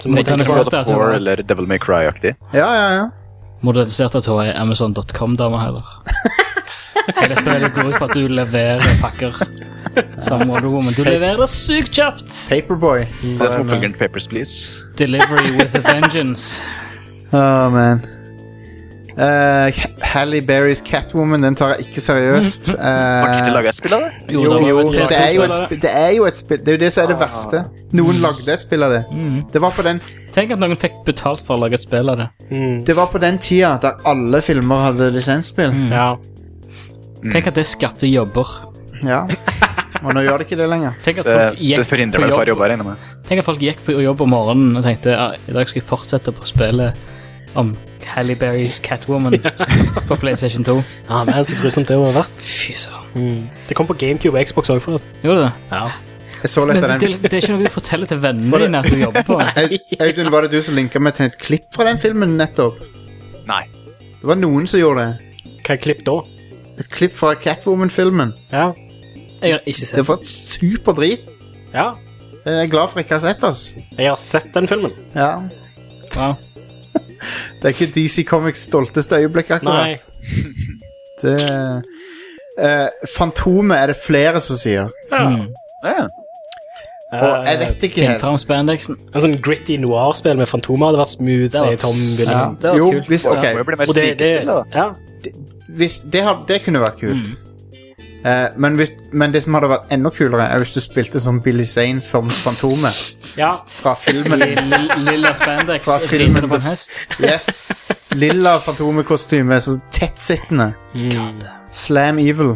Speaker 2: så må
Speaker 4: Men
Speaker 2: du
Speaker 4: kan
Speaker 2: tenke
Speaker 4: jeg
Speaker 2: på
Speaker 4: svare?
Speaker 2: at
Speaker 3: God
Speaker 4: klart
Speaker 3: of
Speaker 4: det, altså.
Speaker 3: War eller Devil May Cry-aktig.
Speaker 1: Ja, ja, ja.
Speaker 4: Modernisert at hun er Amazon.com-dame heller. Hele spillet går ut på at du leverer pakker. Samme Wonder Woman. Du leverer det sykt kjapt!
Speaker 1: Paperboy.
Speaker 3: Det er som oppfølgeren til Papers, Please.
Speaker 4: Eh, Delivery with a vengeance.
Speaker 1: Oh, man. Eh, Halle Berrys Catwoman, den tar jeg ikke seriøst.
Speaker 3: Har ikke
Speaker 1: Eh,
Speaker 3: laget et spill av det?
Speaker 1: jo,
Speaker 4: Jo, det var
Speaker 1: jo,
Speaker 4: et
Speaker 1: det
Speaker 4: PS2
Speaker 1: er jo et
Speaker 4: spillere.
Speaker 1: spill. Det er jo et spill. Det er jo det som er det verste. Noen lagde et spill av det. Det var på den
Speaker 4: Tenk at noen fikk betalt for å lage et spill av det.
Speaker 2: Mm.
Speaker 1: Det var på den tida der alle filmer hadde lisensspill.
Speaker 2: Ja.
Speaker 1: Mm.
Speaker 4: Tenk at det skapte jobber.
Speaker 1: Ja. Og nå gjør det ikke det lenger.
Speaker 4: Tenk at
Speaker 3: Det,
Speaker 4: folk
Speaker 3: Eh, det
Speaker 4: gikk
Speaker 3: forhindrer
Speaker 4: på
Speaker 3: vel et par
Speaker 4: jobb,
Speaker 3: jobber, regner jeg med.
Speaker 4: tenk at folk gikk på jobb om morgenen og tenkte «Ah, i dag skal jeg fortsette på spillet om Halle Berrys Catwoman på PlayStation 2.
Speaker 2: ja, men så grusomt det må ha vært.
Speaker 4: Fy søren.
Speaker 2: Mm. Det kom på GameCube og Xbox òg, forresten.
Speaker 4: Gjorde det?
Speaker 2: Ja.
Speaker 1: Jeg så litt
Speaker 4: Men
Speaker 1: av
Speaker 4: det,
Speaker 1: den.
Speaker 4: det er ikke noe du forteller til vennene
Speaker 1: Var det-
Speaker 4: dine at du jobber på.
Speaker 1: Au- Audun, var det du som linka meg til et klipp fra den filmen nettopp?
Speaker 3: Nei.
Speaker 1: Det var noen som gjorde det.
Speaker 2: Hva klipp da?
Speaker 1: Et klipp fra Catwoman-filmen.
Speaker 2: Ja.
Speaker 4: Jeg har ikke
Speaker 1: Det
Speaker 4: sett
Speaker 1: var superdrit.
Speaker 2: ja.
Speaker 1: Jeg er glad for ikke å ha sett, ass.
Speaker 2: Jeg har sett den filmen.
Speaker 1: Ja.
Speaker 4: Wow.
Speaker 1: Det er ikke DC Comics' stolteste øyeblikk,
Speaker 2: Nei.
Speaker 1: akkurat. Det, eh, Fantomet er det flere som sier.
Speaker 3: Ja.
Speaker 1: Mm.
Speaker 2: Eh,
Speaker 1: Og jeg vet ikke
Speaker 4: Finn
Speaker 1: helt.
Speaker 4: fram spandexen.
Speaker 2: En sånn gritty noir-spill med fantomer hadde vært smooth,
Speaker 4: hadde
Speaker 2: sier
Speaker 4: vært
Speaker 2: Tom
Speaker 4: s-
Speaker 1: Ja.
Speaker 2: William.
Speaker 4: Det var
Speaker 1: Jo,
Speaker 4: kult.
Speaker 1: hvis,
Speaker 3: Det må
Speaker 1: ok,
Speaker 3: jo bli mer
Speaker 2: Og det, det,
Speaker 3: snikespill, da.
Speaker 2: ja.
Speaker 1: hvis det, har, det kunne vært kult.
Speaker 4: Mm.
Speaker 1: Eh, men, hvis, men det som hadde vært enda kulere, er hvis du spilte som Billy Zane som Fantomet
Speaker 2: ja.
Speaker 1: fra filmen.
Speaker 4: Lill- Lilla spandex
Speaker 1: Fra
Speaker 4: og
Speaker 1: filmen
Speaker 4: rider på en hest.
Speaker 1: Yes. Lilla Fantomekostyme, så tettsittende. Slam Evil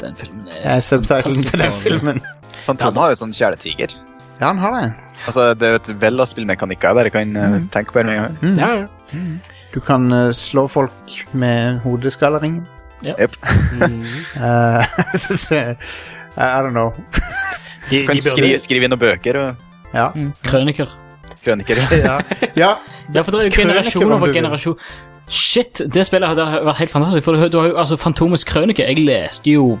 Speaker 4: Den filmen er
Speaker 1: er subtitlen til den
Speaker 4: fantastisk
Speaker 1: filmen.
Speaker 3: Fantomet har jo sånn kjæletiger.
Speaker 1: Ja, han har det.
Speaker 3: Altså, det er jo et vell av spillmekanikker jeg bare kan eh, tenke på. her med en
Speaker 4: Mm.
Speaker 1: Mm.
Speaker 3: gang.
Speaker 2: ja.
Speaker 1: Du kan eh, slå folk med hodeskalleringen.
Speaker 3: Jep.
Speaker 4: Mm.
Speaker 1: Eh, så, eh, I don't know.
Speaker 2: De,
Speaker 3: Du
Speaker 2: de
Speaker 3: kan skrive,
Speaker 2: burde,
Speaker 3: skrive inn noen bøker og
Speaker 1: Ja.
Speaker 4: Mm. Krøniker.
Speaker 3: krøniker.
Speaker 1: ja. ja.
Speaker 4: Ja, for det er jo
Speaker 1: Krøniker,
Speaker 4: generasjon
Speaker 1: om du
Speaker 4: over
Speaker 1: vil.
Speaker 4: generasjon. Shit, det spillet hadde vært helt fantastisk. For du, har- du har jo, altså, Fantomets krønike Jeg leste jo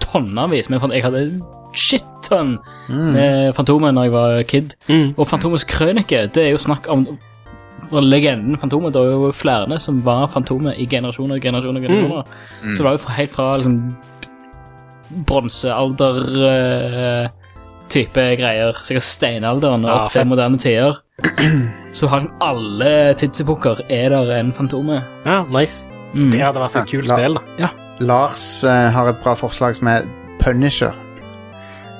Speaker 4: tonnevis, men fan- jeg hadde shit-tonn
Speaker 1: Mm.
Speaker 4: med Fantomet når jeg var kid. Og Fantomets krønike, det er jo snakk om for legenden Fantomet. Det er jo flere som var Fantomet i generasjoner og generasjoner.
Speaker 2: Mm.
Speaker 4: og generasjoner. Så det var jo fra- helt fra liksom bronsealder eh, type greier, sikkert steinalderen og
Speaker 2: Ja,
Speaker 4: opp til
Speaker 2: fett.
Speaker 4: moderne tider. Så har den alle tidsepoker er der en Mm. fantome.
Speaker 2: ja, nice. Det hadde vært et kult
Speaker 1: Ja.
Speaker 2: spill, da.
Speaker 1: Lars eh, har et bra forslag som er Punisher.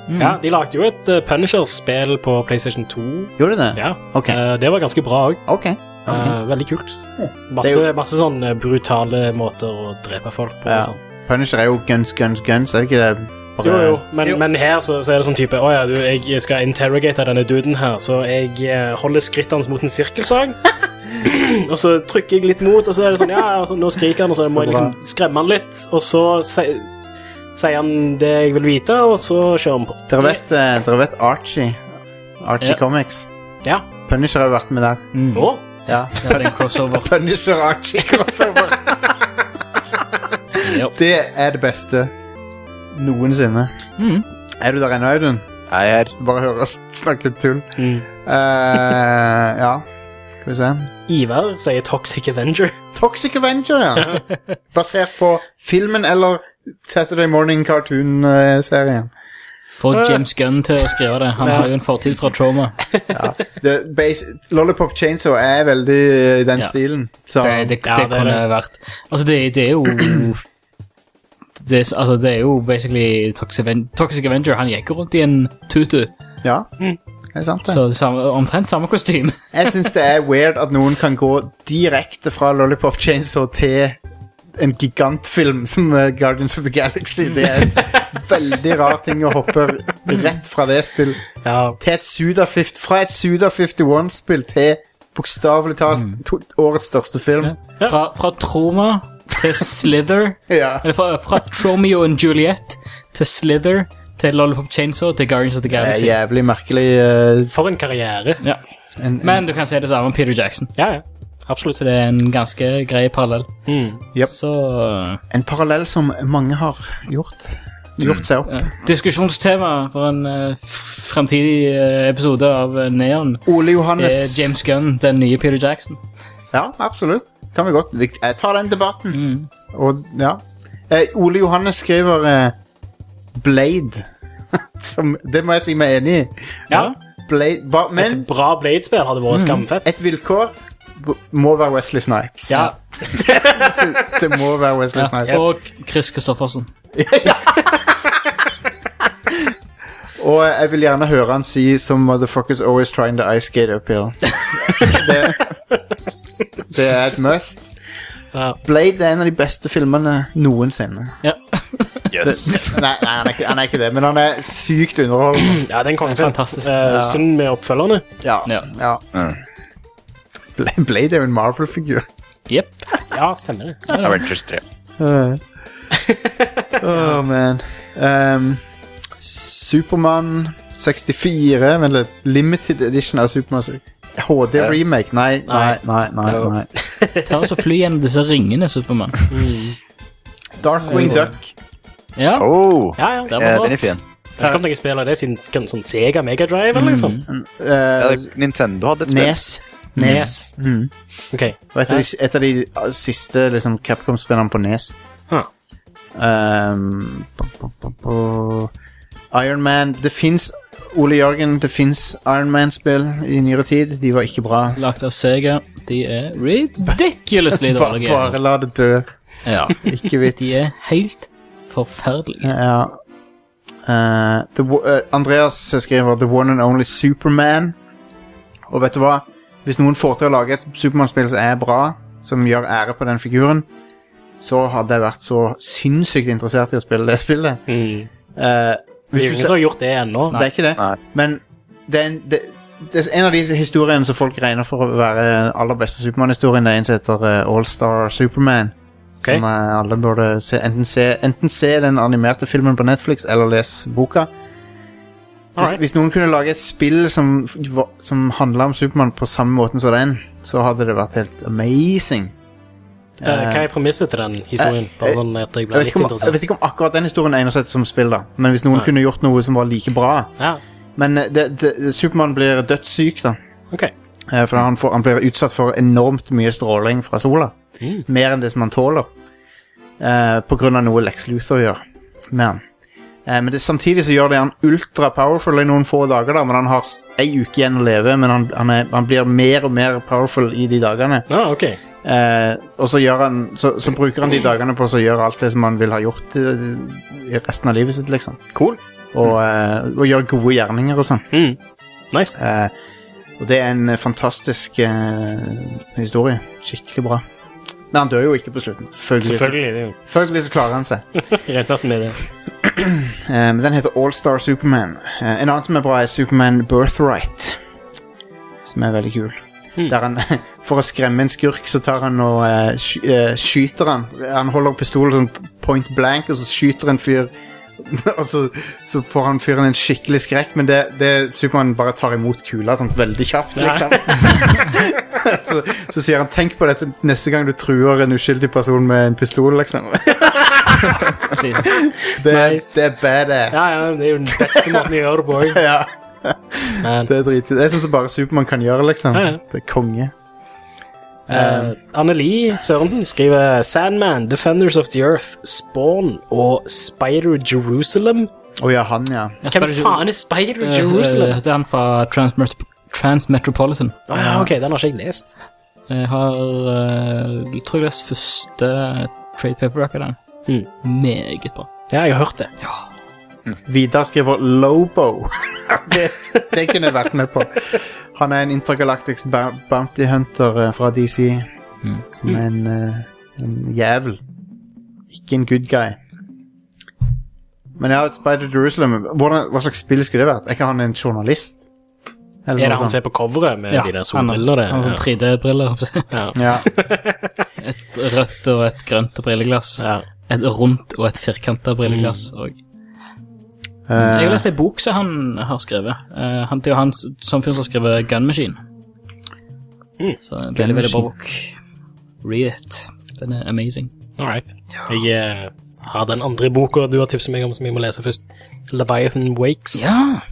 Speaker 2: Ja, de lagde jo et eh, Punisher-spill på PlayStation 2.
Speaker 1: Gjorde det?
Speaker 2: Ja.
Speaker 1: Ok.
Speaker 2: Eh, det var ganske bra òg.
Speaker 1: Ok.
Speaker 2: veldig kult. Masse,
Speaker 1: Det er
Speaker 2: masse sånne brutale måter å drepe folk på.
Speaker 1: Ja.
Speaker 2: og sånn.
Speaker 1: Punisher er jo guns, guns, guns, er det ikke det? Bare-
Speaker 2: Jo, jo, men, men her så, så er det sånn type Å ja, du, jeg skal interrogate denne duden her, så jeg eh, holder skrittet hans mot en sirkelsag. og så trykker jeg litt mot, og så er det sånn Ja, og så, nå skriker han, og så,
Speaker 1: Så
Speaker 2: må jeg
Speaker 1: bra.
Speaker 2: liksom skremme han litt. Og så si, sier han det jeg vil vite, og så kjører han på.
Speaker 1: Dere vet, eh, dere vet Archie? Archie
Speaker 4: Ja.
Speaker 1: Comics.
Speaker 2: Ja.
Speaker 1: Punisher har jo vært med der.
Speaker 2: Å,
Speaker 1: Ja.
Speaker 4: Det er en crossover.
Speaker 1: Punisher Archie crossover.
Speaker 4: Ja.
Speaker 1: det er det beste noensinne.
Speaker 4: Mhm.
Speaker 1: Er du der ennå, Audun?
Speaker 3: Jeg er
Speaker 1: Du bare hører oss snakke tull.
Speaker 2: Mhm.
Speaker 1: Eh, ja, skal vi se.
Speaker 2: Ivar sier Toxic Avenger.
Speaker 1: Toxic Avenger, ja. Basert på filmen eller Saturday Morning eh, Cartoon-serien.
Speaker 4: Få James Gunn til å skrive det. Han har jo en fortid fra trauma.
Speaker 1: Det- bas- Lollipop Chainsaw er veldig eh, i den
Speaker 4: Ja.
Speaker 1: stilen. Så
Speaker 4: Det, det, det
Speaker 2: Ja, det er
Speaker 4: kunne
Speaker 2: det.
Speaker 4: vært Altså, det, det er jo det, er s- altså, det er jo basically Toxic, Aven Toxic Avenger. Han gikk jo rundt i en tutu,
Speaker 1: ja, det er sant, det.
Speaker 4: så det samme, omtrent samme kostyme.
Speaker 1: Jeg syns det er weird at noen kan gå direkte fra Lollipop Chainsaw til en gigantfilm som eh, Guardians of the Galaxy. Det er en veldig rar ting å hoppe rett fra det spillet
Speaker 2: Ja,
Speaker 1: til et Suda 50, fra et Suda 51-spill til bokstavelig talt
Speaker 4: Mm.
Speaker 1: to, årets største film.
Speaker 4: Fra, fra Troma til Slither.
Speaker 1: Ja.
Speaker 4: Eller fra, fra Tromeo and Juliet til Slither til Lollipop Chainsaw til Guardians of
Speaker 2: Eh,
Speaker 4: the
Speaker 1: Det er
Speaker 4: Galaxy.
Speaker 1: jævlig merkelig. eh,
Speaker 2: for en karriere.
Speaker 4: Ja.
Speaker 1: en, en,
Speaker 4: Men du kan si det samme om Peter Jackson.
Speaker 2: Ja, ja.
Speaker 4: Absolutt. Det er en ganske grei parallell.
Speaker 2: Mm.
Speaker 1: Yep.
Speaker 4: Så eh,
Speaker 1: en parallell som mange har gjort.
Speaker 4: Mm.
Speaker 1: Gjort seg opp.
Speaker 4: ja. Diskusjonstema for en eh, f- fremtidig eh, episode av eh, Neon
Speaker 1: Ole
Speaker 4: er
Speaker 1: Johannes.
Speaker 4: Eh, James Gunn, den nye Peter Jackson.
Speaker 1: Ja, absolutt. Kan vi godt. Vi, jeg tar den debatten.
Speaker 4: Mm.
Speaker 1: Og, ja. eh, Ole Johannes skriver eh, Blade. som, det må jeg si meg enig i.
Speaker 2: Ja.
Speaker 1: Blade, ba,
Speaker 2: Et
Speaker 1: men
Speaker 2: bra Blade-spill hadde vært skamfett.
Speaker 1: et vilkår b- må være Wesley Snipes.
Speaker 2: Ja,
Speaker 1: Det må være Wesley Snipes.
Speaker 4: Ja. Og Chris Christoffersen.
Speaker 1: Og jeg vil gjerne høre han si som motherfuckers always trying to ice skate uphill. det, det er et must.
Speaker 2: Ja.
Speaker 1: Blade er en av de beste filmene noensinne.
Speaker 4: Ja.
Speaker 3: Yes.
Speaker 1: Nei, nei han, er ikke, han er ikke det, men han er sykt underholdende.
Speaker 2: ja den kom
Speaker 4: Fantastisk.
Speaker 2: Eh, Synd med oppfølgerne.
Speaker 1: Ja.
Speaker 4: Ja.
Speaker 1: ja. Bla- Blade er jo en Marvel-figur.
Speaker 4: Jepp.
Speaker 2: Ja, stemmer det.
Speaker 3: Avengers 3.
Speaker 1: Oh, man. Ehm, Supermann 64, vent litt. Limited edition av Supermann. HD-remake? Nei, nei, nei. nei, nei.
Speaker 4: Ta oss og fly gjennom disse ringene, Supermann.
Speaker 1: Darkwing Duck.
Speaker 4: Ja,
Speaker 3: Oh,
Speaker 2: Ja, ja.
Speaker 4: det
Speaker 3: eh,
Speaker 4: var
Speaker 3: den er
Speaker 4: bra.
Speaker 3: fin.
Speaker 2: Det har ikke kommet noen spill av det siden kan, sånn Sega Mega Drive, eller liksom.
Speaker 4: Mm.
Speaker 3: Ja,
Speaker 1: Eh,
Speaker 3: det- Nintendo hadde et spill.
Speaker 1: Nes. Nes. Mm.
Speaker 2: Ok.
Speaker 1: Og et av de, et av de uh, siste liksom, Capcom-spillene på Nes.
Speaker 2: Huh.
Speaker 1: Um, bu- bu- bu- bu- Iron Man Det fins Ole Jørgen, det fins Iron Man-spill i nyere tid. De var ikke bra.
Speaker 4: Lagt av Sega. De er ridiculously
Speaker 1: Bare,
Speaker 4: dårlige.
Speaker 1: bare la det dø.
Speaker 4: Ja.
Speaker 1: Ikke vits.
Speaker 4: De er helt forferdelige.
Speaker 1: Ja. Eh, the, wo- eh, Andreas skriver The one and only Superman. Og vet du hva? Hvis noen får til å lage et Supermann-spill som er bra, som gjør ære på den figuren, så hadde jeg vært så sinnssykt interessert i å spille det spillet. Eh,
Speaker 2: Mm. Det er
Speaker 1: hvis
Speaker 2: jo
Speaker 1: du
Speaker 2: ingen
Speaker 1: ser,
Speaker 2: som har gjort det ennå.
Speaker 1: det er ikke det,
Speaker 3: Nei.
Speaker 1: men det er, en, det, det er en av de historiene som folk regner for å være aller beste Supermann-historien. Det er en som heter eh, All Star Superman.
Speaker 2: Ok.
Speaker 1: Som eh, alle burde se enten, se enten se den animerte filmen på Netflix eller lese boka. Hvis,
Speaker 2: Alright.
Speaker 1: hvis noen kunne lage et spill som, f- va- som handla om Supermann på samme måten som den, så hadde det vært helt amazing.
Speaker 2: Eh, Hva er premisset til den historien?
Speaker 1: eh,
Speaker 2: Bare sånn at jeg
Speaker 1: Jeg
Speaker 2: ble
Speaker 1: vet,
Speaker 2: litt
Speaker 1: ikke om, jeg
Speaker 2: interessert.
Speaker 1: vet ikke om akkurat den historien egner seg som spill, da. Men hvis noen
Speaker 2: Nei.
Speaker 1: kunne gjort noe som var like bra
Speaker 2: Ja,
Speaker 1: Men eh, det- det- Supermann blir dødssyk, da.
Speaker 2: ok.
Speaker 1: Eh, For han, får, han blir utsatt for enormt mye stråling fra sola.
Speaker 2: Mm.
Speaker 1: Mer enn det som han tåler. Eh, på grunn av noe Lex Luthor gjør med han. Eh, men det, samtidig så gjør det han ultra-powerful i noen få dager, da, men han har s- ei uke igjen å leve. Men han, han, er, han blir mer og mer powerful i de dagene.
Speaker 2: Ja, ok.
Speaker 1: Eh, og så, gjør han, så, så bruker han de dagene på å gjøre alt det som han vil ha gjort eh, i resten av livet sitt, liksom.
Speaker 2: Cool.
Speaker 1: Og, eh, og gjør gode gjerninger og sånn.
Speaker 2: Mm. Nice.
Speaker 1: Eh, og det er en eh, fantastisk eh, historie. Skikkelig bra. Men han dør jo ikke på slutten. Selvfølgelig,
Speaker 2: Selvfølgelig. Det er jo
Speaker 1: Selvfølgelig så klarer han seg.
Speaker 2: rentesten med det.
Speaker 1: Eh, men den heter Allstar Superman. Eh, en annen som er bra, er Superman Birthright. Som er veldig kul.
Speaker 2: Hmm.
Speaker 1: Der han, For å skremme en skurk, så tar han og eh, sky, eh, skyter han. Han holder pistolen sånn point blank, og så skyter en fyr. og så, så får han fyren en skikkelig skrekk, men det, det Superman bare tar imot kula sånn veldig kjapt, liksom. så, så sier han 'tenk på dette neste gang du truer en uskyldig person med en pistol', liksom. det, er-
Speaker 2: Nice.
Speaker 1: det er badass.
Speaker 2: Ja, ja, det er jo den beste måten å gjøre det på. jeg.
Speaker 1: ja.
Speaker 2: Men,
Speaker 1: Det er drit. Det er sånn som bare Supermann kan gjøre, liksom.
Speaker 2: Ja, ja.
Speaker 1: Det er konge.
Speaker 2: eh, Anneli Sørensen skriver Sandman, Defenders of the Earth, Spawn og Spider Jerusalem.
Speaker 1: Å ja, han, ja.
Speaker 2: Hvem faen er Spider
Speaker 4: Eh, eh,
Speaker 2: Jerusalem?
Speaker 4: Det er han fra Transmet Transmetropolitan.
Speaker 1: Eh,
Speaker 2: Ah, ja, ok, den har ikke jeg lest.
Speaker 4: Jeg har eh, jeg tror jeg leste første trade paperback av den.
Speaker 2: Hmm.
Speaker 4: Meget bra.
Speaker 2: Ja, jeg har hørt det.
Speaker 1: Vidar skriver Lobo. det, det kunne jeg vært med på. Han er en intergalactic ba- bounty hunter eh, fra DC. Som er en, eh, en jævel. ikke en good guy. Men ja, Spider Jerusalem hvordan, Hva slags spill skulle det vært? Er ikke han en journalist? Eller
Speaker 2: Er
Speaker 1: noe
Speaker 2: det han
Speaker 1: sånt?
Speaker 2: som er på coveret med de der
Speaker 4: Sånn. han
Speaker 2: solbriller?
Speaker 4: han har
Speaker 2: det?
Speaker 4: sånn 3D-briller.
Speaker 2: Ja.
Speaker 1: Ja.
Speaker 4: Et rødt og et grønt brilleglass.
Speaker 2: Ja.
Speaker 4: Et rundt og et firkanta brilleglass. Og... Jeg har
Speaker 1: Eh,
Speaker 4: lest ei bok som han har skrevet. Eh, han, det er jo han s- som fyren som har skrevet Gun Machine.
Speaker 2: Mm.
Speaker 4: Så en veldig, veldig bra
Speaker 1: Machine.
Speaker 4: bok. Read it. Den er amazing.
Speaker 2: All right. Jeg eh, har den andre boka du har tipset meg om, som jeg må lese først. Leviathan Wakes.
Speaker 4: Ja!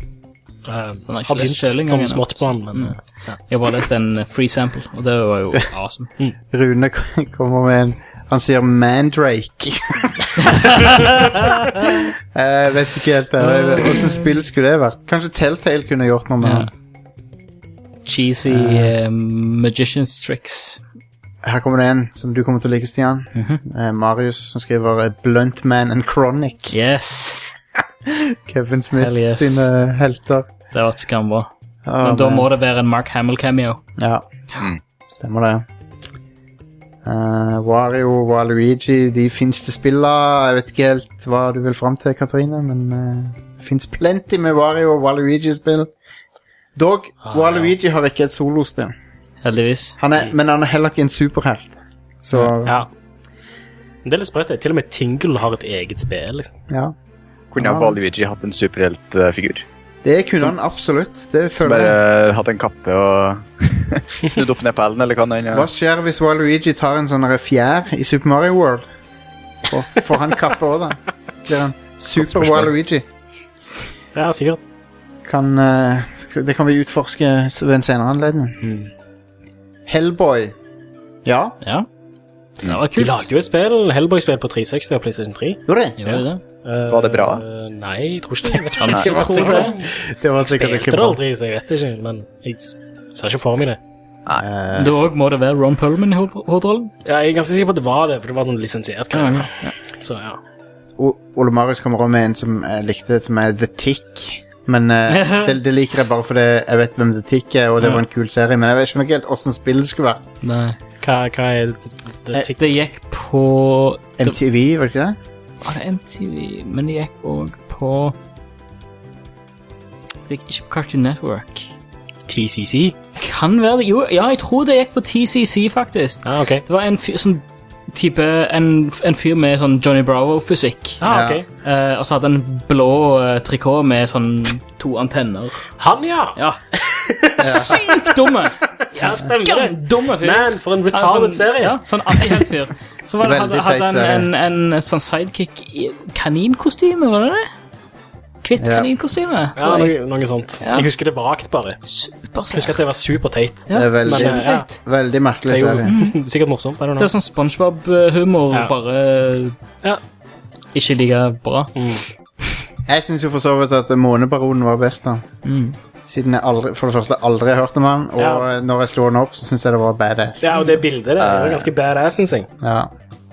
Speaker 2: Eh,
Speaker 4: Den har jeg
Speaker 2: har
Speaker 4: ikke lest
Speaker 2: begynt
Speaker 4: selv engang
Speaker 2: sånn
Speaker 4: ennå.
Speaker 2: smått på den, men
Speaker 4: Mm. Jeg har bare lest en eh, free sample, og det var jo awesome.
Speaker 1: Rune k- kommer med en Han sier Mandrake. Eh, jeg vet ikke helt det. Jeg vet- Hvordan spill skulle det vært? Kanskje Telltale kunne gjort noe med
Speaker 4: Eh. Ja.
Speaker 1: han.
Speaker 4: Cheesy eh, magician's tricks.
Speaker 1: Her kommer det en som du kommer til å like, Stian.
Speaker 4: Mhm.
Speaker 1: Eh, Marius som skriver eh, Blunt Man and Chronic.
Speaker 4: Yes!
Speaker 1: Kevin Smith
Speaker 4: Hell yes.
Speaker 1: sine helter. Ah,
Speaker 4: Det har vært skambra.
Speaker 1: Å,
Speaker 4: Men da
Speaker 1: man.
Speaker 4: må det være en Mark Hamill-cameo.
Speaker 1: Ja. Stemmer det. Eh, Wario og Waluigi, de fins til spilla. Jeg vet ikke helt hva du vil fram til, Katrine, men eh, det fins plenty med Wario og Waluigi-spill. Dog, Waluigi har ikke et solospill.
Speaker 4: Heldigvis.
Speaker 1: Han er, men han er heller ikke en superhelt. Så ja.
Speaker 2: Ja. Men Det er litt sprøtt. det. Til og med Tingle har et eget spill. liksom.
Speaker 3: Kunne
Speaker 1: Ja.
Speaker 3: ja. Valuigi hatt en superheltfigur?
Speaker 1: Det kunne han absolutt. Det
Speaker 3: Som
Speaker 1: føler jeg.
Speaker 3: bare hatt en kappe og snudd opp ned på hælen, eller hva nå enn
Speaker 1: Hva
Speaker 3: ja.
Speaker 1: skjer hvis Waluigi tar en sånn her fjær i Super Mario World? Og får han kappe òg, da? Blir han Super-Waluigi?
Speaker 2: Ja, sikkert.
Speaker 1: kan, eh, det kan vi utforske s- ved en senere anledning. Hellboy. Ja,
Speaker 4: Ja. Det var
Speaker 2: De
Speaker 4: kult.
Speaker 2: lagde jo et spill, Hellboy-spill på 360 og PlayStation 3.
Speaker 1: gjorde det?
Speaker 4: Jo, det.
Speaker 2: Eh,
Speaker 3: Var det bra?
Speaker 2: eh, nei, jeg tror ikke det. Jeg
Speaker 1: Det var
Speaker 2: tror
Speaker 1: sikkert,
Speaker 2: det.
Speaker 1: det var sikkert
Speaker 2: Spilte
Speaker 1: ikke
Speaker 2: det
Speaker 1: bra.
Speaker 2: aldri, så jeg vet ikke. Men jeg s- ser ikke for meg det.
Speaker 1: Eh,
Speaker 4: Da òg må det være Ron Perlman i ho- hovedrollen.
Speaker 2: Ja, jeg er ganske sikker på at det var det, for det var sånn lisensiert.
Speaker 4: Ja,
Speaker 2: greie.
Speaker 4: ja.
Speaker 2: Så ja.
Speaker 1: O- Ole Marius kommer også med en som jeg likte, som er The Tick. Men eh, det, det liker jeg bare fordi jeg vet hvem The Tick er, og det var en kul serie. Men jeg vet- skjønner ikke helt åssen spillet skulle være.
Speaker 4: Nei.
Speaker 2: Hva, hva er det? det,
Speaker 1: Eh,
Speaker 2: det
Speaker 4: Det gikk på det,
Speaker 1: MTV, var det ikke det?
Speaker 4: Var det MTV? Men det gikk òg på Det gikk ikke på Cartoon Network.
Speaker 2: TCC?
Speaker 4: Kan være det. Jo, ja, jeg tror det gikk på TCC, faktisk.
Speaker 2: Ah, ok.
Speaker 4: Det var en fyr, sånn type En, en fyr med sånn Johnny Bravo-fysikk.
Speaker 2: Ah, ok.
Speaker 4: Eh, og så hadde han en blå eh, trikot med sånn to antenner.
Speaker 2: Han, ja!
Speaker 4: Ja. Sykt dumme!
Speaker 2: Ja, stemmer det.
Speaker 4: Gamdumme fyr.
Speaker 2: Man, for en
Speaker 4: Ja,
Speaker 2: retarded serie.
Speaker 4: Ja, sånn antihelt fyr. Så var det, hadde,
Speaker 1: Veldig
Speaker 4: hadde
Speaker 1: teit
Speaker 4: han en, en, sånn sidekick i kaninkostyme, var det det? Kvitt
Speaker 1: Ja.
Speaker 4: kaninkostyme,
Speaker 2: Ja,
Speaker 4: tror jeg.
Speaker 2: noe, noe sånt.
Speaker 4: Ja.
Speaker 2: Jeg husker det vagt, bare. Jeg husker
Speaker 4: Supersært.
Speaker 2: at det var superteit.
Speaker 4: Ja,
Speaker 1: Det er veldig-
Speaker 4: kjempeteit.
Speaker 1: Veldig merkelig
Speaker 2: eh, Det er
Speaker 1: serie.
Speaker 2: jo Mm. sikkert morsomt. I don't
Speaker 4: Det
Speaker 2: know.
Speaker 4: er sånn SpongeBob-humor,
Speaker 2: Ja.
Speaker 4: bare
Speaker 2: Ja. Mm,
Speaker 4: ikke like bra.
Speaker 1: Jeg syns jo for så vidt at Månebaronen var best, da. Siden jeg aldri, for det første aldri har hørt om han, og
Speaker 2: Mm. Ja.
Speaker 1: eh, når jeg slo den opp, så syns jeg det var badass.
Speaker 2: Ja, og det bildet der er ganske badass, syns jeg.
Speaker 1: Ja.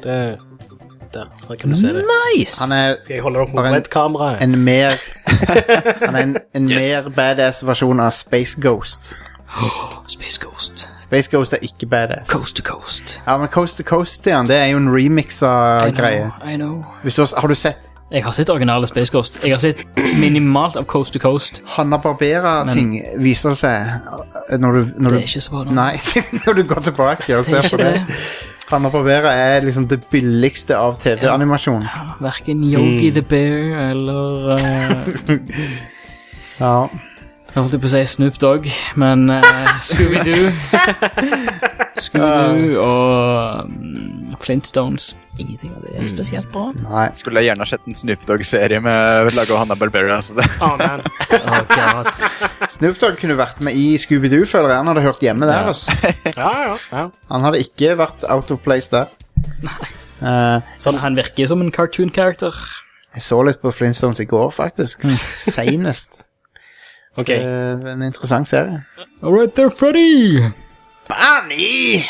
Speaker 2: Det, der, der kan du se det.
Speaker 4: Nice!
Speaker 1: Han er
Speaker 2: Skal jeg holde det opp mot
Speaker 1: Bare en-
Speaker 2: webkameraet?
Speaker 1: en mer Han er en, en mer badass versjon av Space Ghost.
Speaker 4: Space Ghost.
Speaker 1: Space Ghost er ikke badass.
Speaker 4: Coast to coast.
Speaker 1: Ja, men Coast to Coast Stian, det er jo en remix av
Speaker 4: I
Speaker 1: greie.
Speaker 4: know, I know.
Speaker 1: Hvis du har, har du sett
Speaker 4: Jeg har sett originale Space Ghost. Jeg har sett minimalt av Coast to Coast.
Speaker 1: Hanna Barbera-ting viser det seg eh, når du, når
Speaker 4: Det
Speaker 1: du
Speaker 4: er ikke så bra. nå.
Speaker 1: Nei, når du går tilbake og ser
Speaker 4: ikke
Speaker 1: på det.
Speaker 4: det.
Speaker 1: Hanna Barbera er liksom det billigste av TV-animasjon.
Speaker 4: Hverken Yogi
Speaker 2: Mm.
Speaker 4: the Bear eller eh,
Speaker 1: Ja.
Speaker 4: Jeg holdt på å si Snoop Dogg, men eh, Scooby-Doo Scooby-Doo og mm, Flintstones. Mm. Ingenting av det er spesielt bra.
Speaker 1: Nei.
Speaker 3: Skulle jeg gjerne ha sett en Snoop Dogg-serie med laget av Hanna Barbera. Så det.
Speaker 2: Å, Ah, man.
Speaker 4: Oh, God.
Speaker 1: Snoop Dogg kunne vært med i Scooby-Doo, føler jeg. Han hadde hørt hjemme der. Altså.
Speaker 2: Ja, ja, ja.
Speaker 1: Han hadde ikke vært out of place der. Eh,
Speaker 4: Sånn, han virker som en cartoon character.
Speaker 1: jeg så litt på Flintstones i går, faktisk. Seinest.
Speaker 2: OK.
Speaker 1: Eh, en interessant serie.
Speaker 4: All right there, Freddy!
Speaker 1: Eh,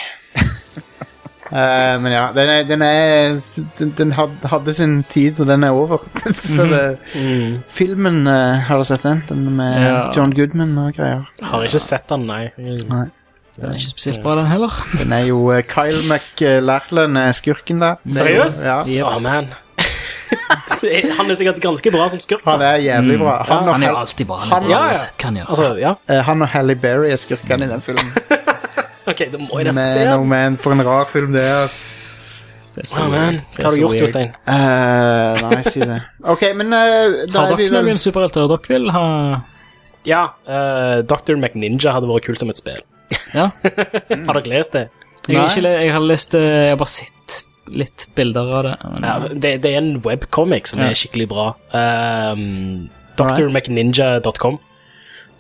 Speaker 1: men ja, den, er, den, er, den, den had- hadde sin tid, og den er over. så det,
Speaker 2: Mm.
Speaker 1: filmen eh, Har du sett den? Den med
Speaker 4: Ja.
Speaker 1: John Goodman og greier.
Speaker 2: Har ikke sett den, nei.
Speaker 1: Nei.
Speaker 4: Den er ikke spesielt bra, den heller.
Speaker 1: Den er jo eh, Kyle McLachlan er skurken der.
Speaker 2: Seriøst?
Speaker 1: Ja.
Speaker 2: Å, man. han er sikkert ganske bra som skurk.
Speaker 1: Han
Speaker 2: da.
Speaker 1: er jævlig bra. Han, og
Speaker 4: Han er jo
Speaker 1: Hal-
Speaker 4: alltid bra. Han
Speaker 1: han-
Speaker 2: ja,
Speaker 4: er bra
Speaker 2: ja.
Speaker 4: uansett hva han gjør.
Speaker 2: Altså, ja.
Speaker 1: eh, han og Halle Berry er skurkene i den filmen.
Speaker 2: Ok, da må jeg nesten se
Speaker 1: Man, oh
Speaker 2: den.
Speaker 1: man, for en rar film det er. ass.
Speaker 4: Det er så
Speaker 2: Å, man.
Speaker 4: weird. Det er
Speaker 2: Hva har
Speaker 4: så
Speaker 2: du gjort,
Speaker 4: weird.
Speaker 2: Jostein?
Speaker 1: Eh, nei, si det. Ok, men eh, da
Speaker 4: Har
Speaker 1: er vi
Speaker 4: dere
Speaker 1: vel
Speaker 4: noen superhelter dere vil ha?
Speaker 2: Ja, eh, Dr. McNinja hadde vært kult som et spill.
Speaker 4: Ja.
Speaker 2: Har dere lest det?
Speaker 4: Jeg, har
Speaker 1: Nei.
Speaker 4: ikke, le- jeg har lest eh, Jeg har bare sett litt bilder av det. Men, eh,
Speaker 2: Ja, det, det er en webcomic som
Speaker 4: Ja.
Speaker 2: er skikkelig bra. Um,
Speaker 1: Alright.
Speaker 2: DrMcNinja.com.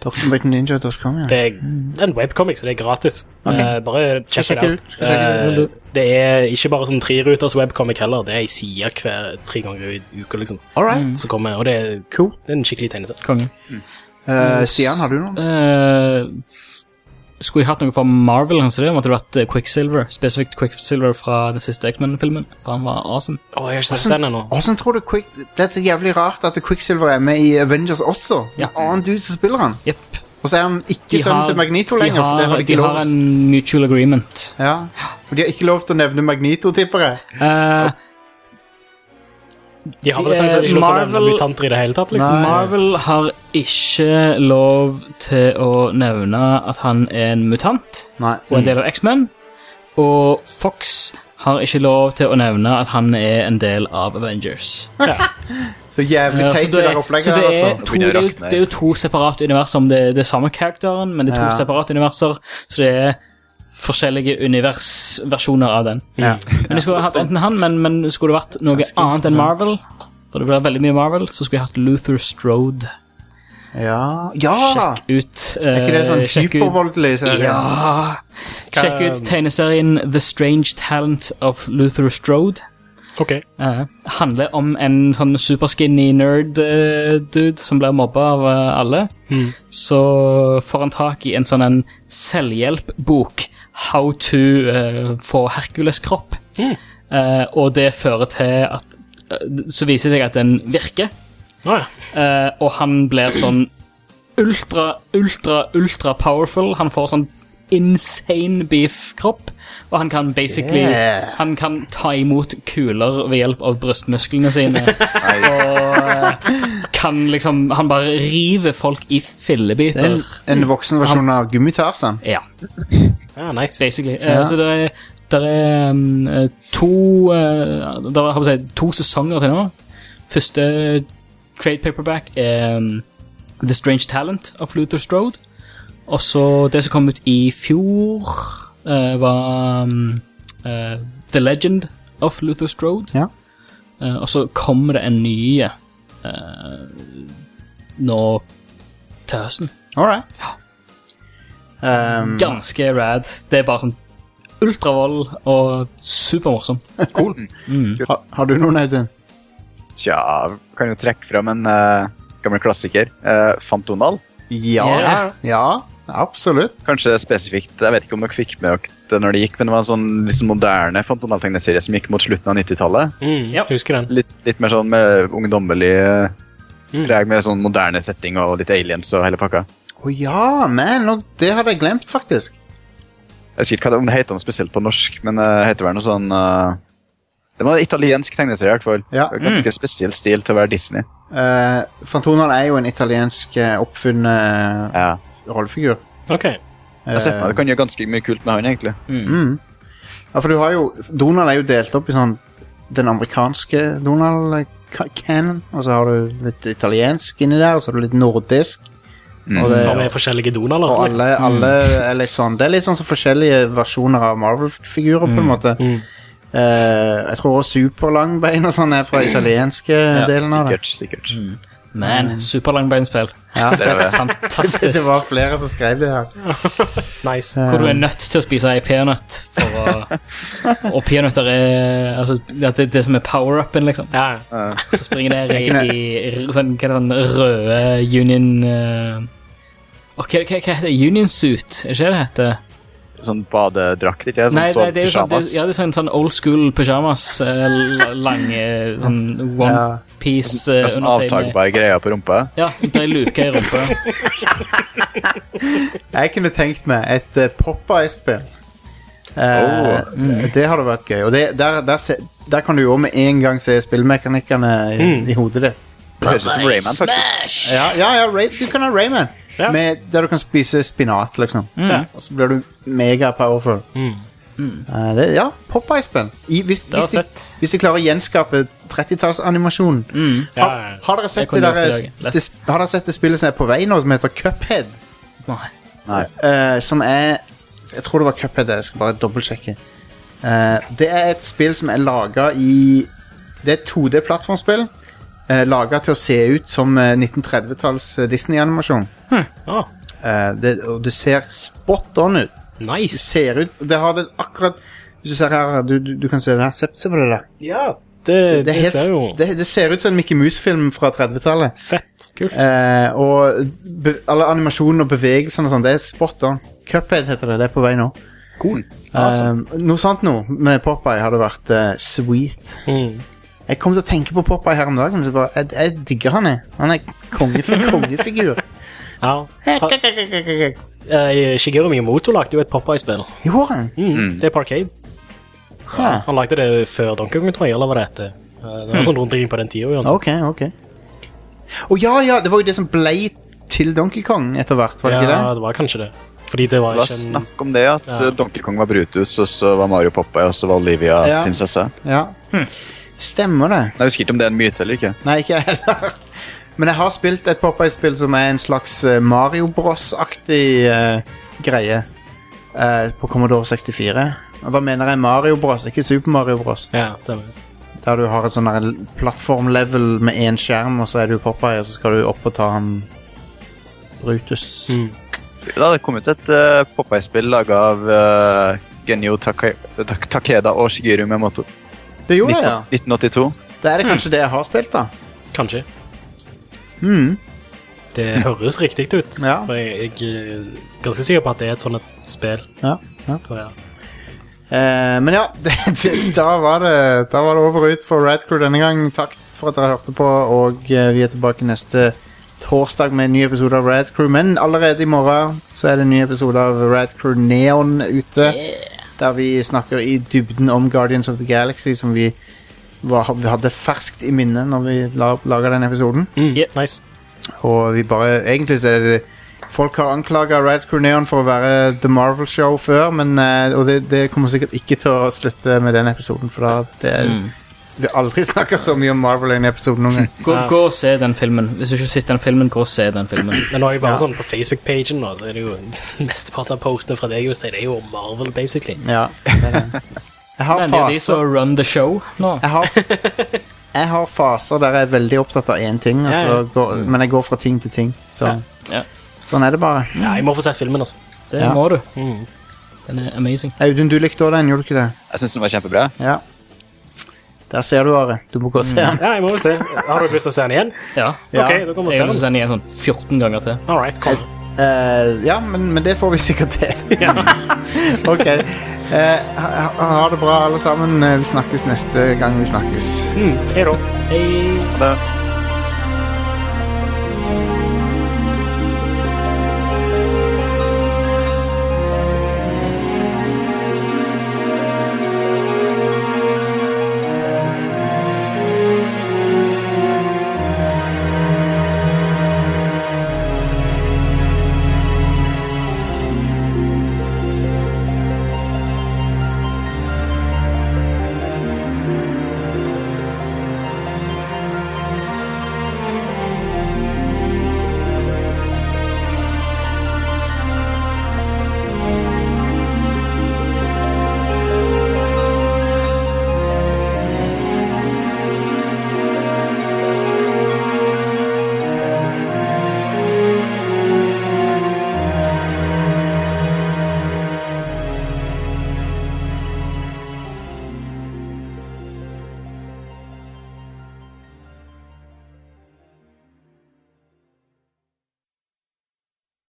Speaker 1: DrBaconNinja.com, ja.
Speaker 2: Det er det er en webcomic, så det er gratis. Eh, bare
Speaker 1: Skal sjekke
Speaker 2: check it
Speaker 1: det
Speaker 2: out.
Speaker 1: ut, skal sjekke det ut.
Speaker 2: Eh, det er ikke bare sånn treruters webcomic heller. Det er ei side hver tre ganger i uka, liksom.
Speaker 1: All right.
Speaker 2: Så kommer, og det er,
Speaker 1: Cool.
Speaker 2: det er en skikkelig tegneserie.
Speaker 4: konge.
Speaker 1: Eh, Stian, har du noen?
Speaker 4: Eh, skulle jeg hatt noe fra Marvel, kanskje det? Måtte det vært eh, Quicksilver. Spesifikt Quicksilver fra den siste X-Men-filmen. For han var awesome.
Speaker 2: Å, jeg har ikke sett den ennå.
Speaker 1: Hvordan tror du Quick... Det er så jævlig rart at Quicksilver er med i Avengers også.
Speaker 4: Ja.
Speaker 1: En annen dude som spiller han.
Speaker 4: Jepp.
Speaker 1: Og så er han
Speaker 4: De
Speaker 1: ikke sønnen
Speaker 4: har-
Speaker 1: til Magnito
Speaker 4: de
Speaker 1: lenger, for det
Speaker 4: har-
Speaker 1: har de
Speaker 4: De
Speaker 1: ikke lov
Speaker 4: har
Speaker 1: til.
Speaker 4: en mutual agreement.
Speaker 1: Ja. Og de har ikke lov til å nevne Magnito, tipper jeg.
Speaker 4: Eh,
Speaker 2: De har
Speaker 4: de
Speaker 2: vel sagt
Speaker 4: er
Speaker 2: at de ikke lov til å
Speaker 4: Marvel-
Speaker 2: nevne mutanter i det hele tatt, liksom.
Speaker 1: Nei.
Speaker 4: Marvel har ikke lov til å nevne at han er en mutant.
Speaker 1: Nei.
Speaker 4: og en del av X-Men. Og Fox har ikke lov til å nevne at han er en del av Avengers.
Speaker 1: Så jævlig
Speaker 4: Eh, så
Speaker 1: teit
Speaker 4: det
Speaker 1: det
Speaker 4: er-
Speaker 1: der
Speaker 4: så
Speaker 1: opplegget
Speaker 4: det
Speaker 1: her,
Speaker 4: er
Speaker 1: altså.
Speaker 4: to- det er jo- det er jo to separate universer. om Det det er samme karakteren, men det er to
Speaker 1: Ja.
Speaker 4: separate universer. Så det er forskjellige universversjoner av den.
Speaker 1: Ja.
Speaker 4: Men jeg skulle ha hatt enten han, men, men skulle det vært noe annet enn Marvel, for det blir veldig mye Marvel, så skulle jeg hatt Luther Strode
Speaker 1: Ja. ja. Ah!
Speaker 4: ut. eh,
Speaker 1: Er ikke det sånn hypervoldelig? Så er det-
Speaker 4: Ja Sjekk ut
Speaker 2: Hva-
Speaker 4: tegneserien The Strange Talent of Luther Strode.
Speaker 2: Ok.
Speaker 4: Eh, handler om en sånn superskinny nerd-dude eh, som blir mobba av eh, alle. Så får han tak i en sånn en selvhjelpbok. How to eh, få Hercules-kropp.
Speaker 2: Hmm.
Speaker 4: Eh, og det fører til at eh, Så viser det seg at den virker.
Speaker 2: Å ja.
Speaker 4: Eh, og han blir sånn ultra, ultra, ultra powerful. Han får sånn insane beef-kropp, og han kan basically
Speaker 1: Yeah.
Speaker 4: Han kan ta imot kuler ved hjelp av brystmusklene sine. og eh, kan liksom Han bare river folk i
Speaker 1: Det er
Speaker 4: fillebiter.
Speaker 1: en, en voksen versjon av Gummitarsen.
Speaker 4: Ja,
Speaker 2: ja. Nice.
Speaker 4: basically. Eh, Så det er, der er mm, eh, to uh, der, har jeg si, to sesonger til nå. Første trade paperback er mm, The Strange Talent of Luther Strode. Og så det som kom ut i fjor, eh, var mm, eh, The Legend of Luther Strode.
Speaker 1: Ja.
Speaker 4: Eh, og så kommer det en ny eh, nå til høsten.
Speaker 1: All right. Um,
Speaker 4: Ganske rad. Det er bare sånn ultravold og supermorsomt.
Speaker 1: har, har du noen, Audun?
Speaker 3: Tja, kan jo trekke fram en eh, gammel klassiker. eh, Fantonal.
Speaker 1: Ja.
Speaker 4: Ja.
Speaker 1: Ja, absolutt.
Speaker 3: Kanskje spesifikt, jeg vet ikke om dere fikk med dere det når det gikk, men det var en sånn liksom moderne Fantonal-tegneserie som gikk mot slutten av 90-tallet.
Speaker 2: Mm,
Speaker 4: Ja.
Speaker 2: Husker den.
Speaker 3: Litt, litt mer sånn med ungdommelig eh,
Speaker 2: Mm.
Speaker 3: preg, med sånn moderne setting og litt aliens og hele pakka.
Speaker 1: Å ja, man! nå- Det hadde jeg glemt, faktisk.
Speaker 3: Jeg husker ikke hva det, om det heter noe spesielt på norsk, men eh, det heter vel noe sånn eh, Det var en italiensk tegneserie, i hvert fall.
Speaker 1: Ja.
Speaker 3: Det var Ganske spesiell stil til å være Disney.
Speaker 1: Eh, Fantonal er jo en italiensk eh, oppfunnet
Speaker 3: Ja.
Speaker 1: rollefigur.
Speaker 2: Ok.
Speaker 3: Jeg ser for meg det kan gjøre ganske mye kult med han, egentlig.
Speaker 1: Mm. Ja, for du har jo Donald er jo delt opp i sånn den amerikanske Donald-canon, og så har du litt italiensk inni der, og så har du litt nordisk.
Speaker 3: Mm.
Speaker 1: Og, det,
Speaker 2: Hva med forskjellige donaler?
Speaker 1: og
Speaker 2: liksom?
Speaker 1: alle, alle er litt sånn Det er litt sånn som forskjellige versjoner av Marvel-figurer, på en måte.
Speaker 2: Mm.
Speaker 1: Eh, jeg tror også Superlangbein og sånn er fra italienske delen av det.
Speaker 3: Sikkert, sikkert.
Speaker 4: Men superlangbeinspill.
Speaker 1: Ja.
Speaker 3: Det er det.
Speaker 4: Fantastisk.
Speaker 1: Det var flere som skrev det her.
Speaker 2: Nice.
Speaker 4: Hvor du er nødt til å spise ei peanøtt for å Og peanøtter er altså, det, det, det som er power-upen, liksom.
Speaker 2: Ja.
Speaker 4: Så springer det i, i sånn, hva er det, sånn røde union eh, og hva, hva, hva heter det? Union suit, er ikke det det heter?
Speaker 3: Sånn badedrakt, ikke sant?
Speaker 4: Nei,
Speaker 3: Sånn
Speaker 4: nei, det er jo sånn, det,
Speaker 3: pyjamas.
Speaker 4: ja, det er sånn, sånn old school pyjamas. eh, l- Lange sånn one
Speaker 1: Ja.
Speaker 4: peace
Speaker 3: Det er sånn avtagbar greie på rumpa.
Speaker 4: Ja, det er en luke i rumpa.
Speaker 1: Jeg kunne tenkt meg et uh, Popeye-spill.
Speaker 2: Oh,
Speaker 1: Eh, Det hadde vært gøy. Og det, der, der, se, der kan du jo med en gang se spillmekanikkene i,
Speaker 2: Hmm.
Speaker 1: i hodet ditt.
Speaker 3: Det høres ut som Rayman, faktisk.
Speaker 1: Ja, ja, ja Ray, du kan ha Rayman.
Speaker 2: Ja.
Speaker 1: Med, der du kan spise spinat, liksom. Og så blir du mega-powerful. Eh, det, ja, Popeye-spill. I- Hvis,
Speaker 2: Hmm. var
Speaker 1: hvis, de-
Speaker 2: fett.
Speaker 1: hvis de klarer å gjenskape 30-tallsanimasjonen.
Speaker 4: Mm.
Speaker 2: Ja, ja.
Speaker 1: Har, har, dere sett det
Speaker 4: kunne
Speaker 1: der,
Speaker 4: gjort det i dag.
Speaker 1: det, har dere sett det spillet som er på vei nå, som heter Cuphead?
Speaker 4: Nei.
Speaker 3: Nei.
Speaker 1: Eh, som er Jeg tror det var Cuphead, jeg skal bare dobbeltsjekke. Eh, det er et spill som er laga i Det er et 2D-plattformspill. Uh, laga til å se ut som eh, 1930-talls eh, Disney-animasjon.
Speaker 4: Hm.
Speaker 2: Ah,
Speaker 1: Eh, det, og det ser spot on ut. Det
Speaker 2: nice.
Speaker 1: ser ut Det har den akkurat Hvis du ser her, du, du, du kan se det her. Se, se på det der.
Speaker 2: Ja, det, det,
Speaker 1: er helt-
Speaker 2: ser jo
Speaker 1: det, det ser ut som en Mickey Mouse-film fra 30-tallet.
Speaker 2: fett kult.
Speaker 1: Eh, og be, alle animasjonene og bevegelsene og sånn, det er spot on. Cuphead heter det. Det er på vei nå.
Speaker 2: Cool.
Speaker 1: Um, noe sånt nå med Popeye hadde vært eh, sweet.
Speaker 2: Mm.
Speaker 1: Jeg kom til å tenke på Popeye her om dagen. Så bare, jeg, jeg digger han, jeg. Han er kongef kongefigur.
Speaker 2: Ja. Eh, Shigeru Miyamoto lagde jo et Popeye-spill.
Speaker 1: Gjorde han?
Speaker 2: Mm. Det er Parkade.
Speaker 1: Hæ.
Speaker 2: Han lagde det før Donkey Kong, tror jeg, eller var det etter? Eh, Det
Speaker 1: Mm.
Speaker 2: var sånn rundt omkring på den tida. uansett.
Speaker 1: Ok, ok. Å ja, ja, det var jo det som ble til Donkey Kong etter hvert, var det ikke
Speaker 2: Ja,
Speaker 1: det?
Speaker 2: det var kanskje det. Fordi det
Speaker 3: Det
Speaker 2: var
Speaker 3: var
Speaker 2: ikke en
Speaker 3: snakk om det, at
Speaker 2: Ja.
Speaker 3: eh, Donkey Kong var Brutus, og så var Mario Poppa, og så var Olivia
Speaker 1: Ja.
Speaker 3: prinsesse.
Speaker 1: Ja. Stemmer det.
Speaker 3: Jeg husker ikke om det er en myte eller ikke.
Speaker 1: Nei, ikke jeg heller. Men jeg har spilt et Popeye-spill som er en slags eh, Mario Bros-aktig eh, greie eh, på Commodore 64. Og da mener jeg Mario Bros, ikke Super Mario Bros.
Speaker 2: Ja, stemmer.
Speaker 1: Der du har et sånn der plattformlevel med én skjerm, og så er du Popeye, og så skal du opp og ta han Brutus.
Speaker 2: Mm.
Speaker 3: Det hadde kommet et uh, Poppa-spill laga av eh, Genyo Taka Tak Takeda og Shigeru Miyamoto.
Speaker 1: Det gjorde
Speaker 3: 19
Speaker 1: jeg, ja.
Speaker 3: 1982.
Speaker 1: Da
Speaker 2: Mm.
Speaker 1: er det kanskje det jeg har spilt, da.
Speaker 2: Kanskje.
Speaker 1: Mm.
Speaker 2: Det høres riktig ut.
Speaker 1: Ja.
Speaker 2: For jeg, jeg er ganske sikker på at det er et sånt et spill.
Speaker 1: Ja, ja.
Speaker 2: Så ja.
Speaker 1: Eh, men ja, det, det, da, var det, da var det over og ut for Radcrew denne gang. Takk for at dere hørte på, og eh, vi er tilbake neste torsdag med en ny episode av Radcrew. Men allerede i morgen så er det en ny episode av Radcrew Neon ute. Der vi snakker i dybden om Guardians of the Galaxy, som vi, var, vi hadde ferskt i minne når vi la, laga den episoden.
Speaker 2: Yeah, nice.
Speaker 1: Og vi bare, egentlig så er det Folk har anklaget Red Crew Neon for å være The Marvel Show før men, eh, Og det, det kommer sikkert ikke til å slutte med den episoden For da det, Vi har aldri snakket så mye om Marvel i en episode noen gang
Speaker 4: Gå, gå og se den filmen. Hvis du ikke har sett den filmen, gå og se den filmen.
Speaker 2: Men nå er jeg bare sånn på Facebook-pagen, nå, så er det jo mesteparten av postene fra deg Jostein, det er jo Marvel, basically.
Speaker 1: Ja det er det. Jeg har
Speaker 4: Men det er jo de
Speaker 1: faser
Speaker 4: som run the show nå.
Speaker 1: jeg har, jeg har faser der jeg er veldig opptatt av en ting og så går, Men jeg går fra ting til ting så.
Speaker 4: Ja.
Speaker 1: Sånn er det bare
Speaker 2: Ja, jeg må få sett filmen, altså.
Speaker 4: Det
Speaker 1: Ja.
Speaker 4: må du.
Speaker 2: Mm.
Speaker 4: Den er amazing.
Speaker 1: Audun, du likte også den, gjorde du ikke det?
Speaker 3: Jeg syns den var kjempebra.
Speaker 1: Ja Der ser du, Are Du må gå og se den
Speaker 2: Ja, jeg må vel se. Har dere lyst til å se den igjen?
Speaker 4: Ja.
Speaker 1: Ja.
Speaker 2: Ok, da kommer vi
Speaker 4: Jeg vil
Speaker 2: og
Speaker 4: se
Speaker 2: se den.
Speaker 4: den igjen sånn 14 ganger til.
Speaker 2: All right, kom.
Speaker 1: Eh, ja, men, men det får vi sikkert til. ok. Eh, ha, ha- ha det bra, alle sammen. Eh, Vi snakkes neste gang vi snakkes.
Speaker 2: Mm, hei da.
Speaker 3: Det.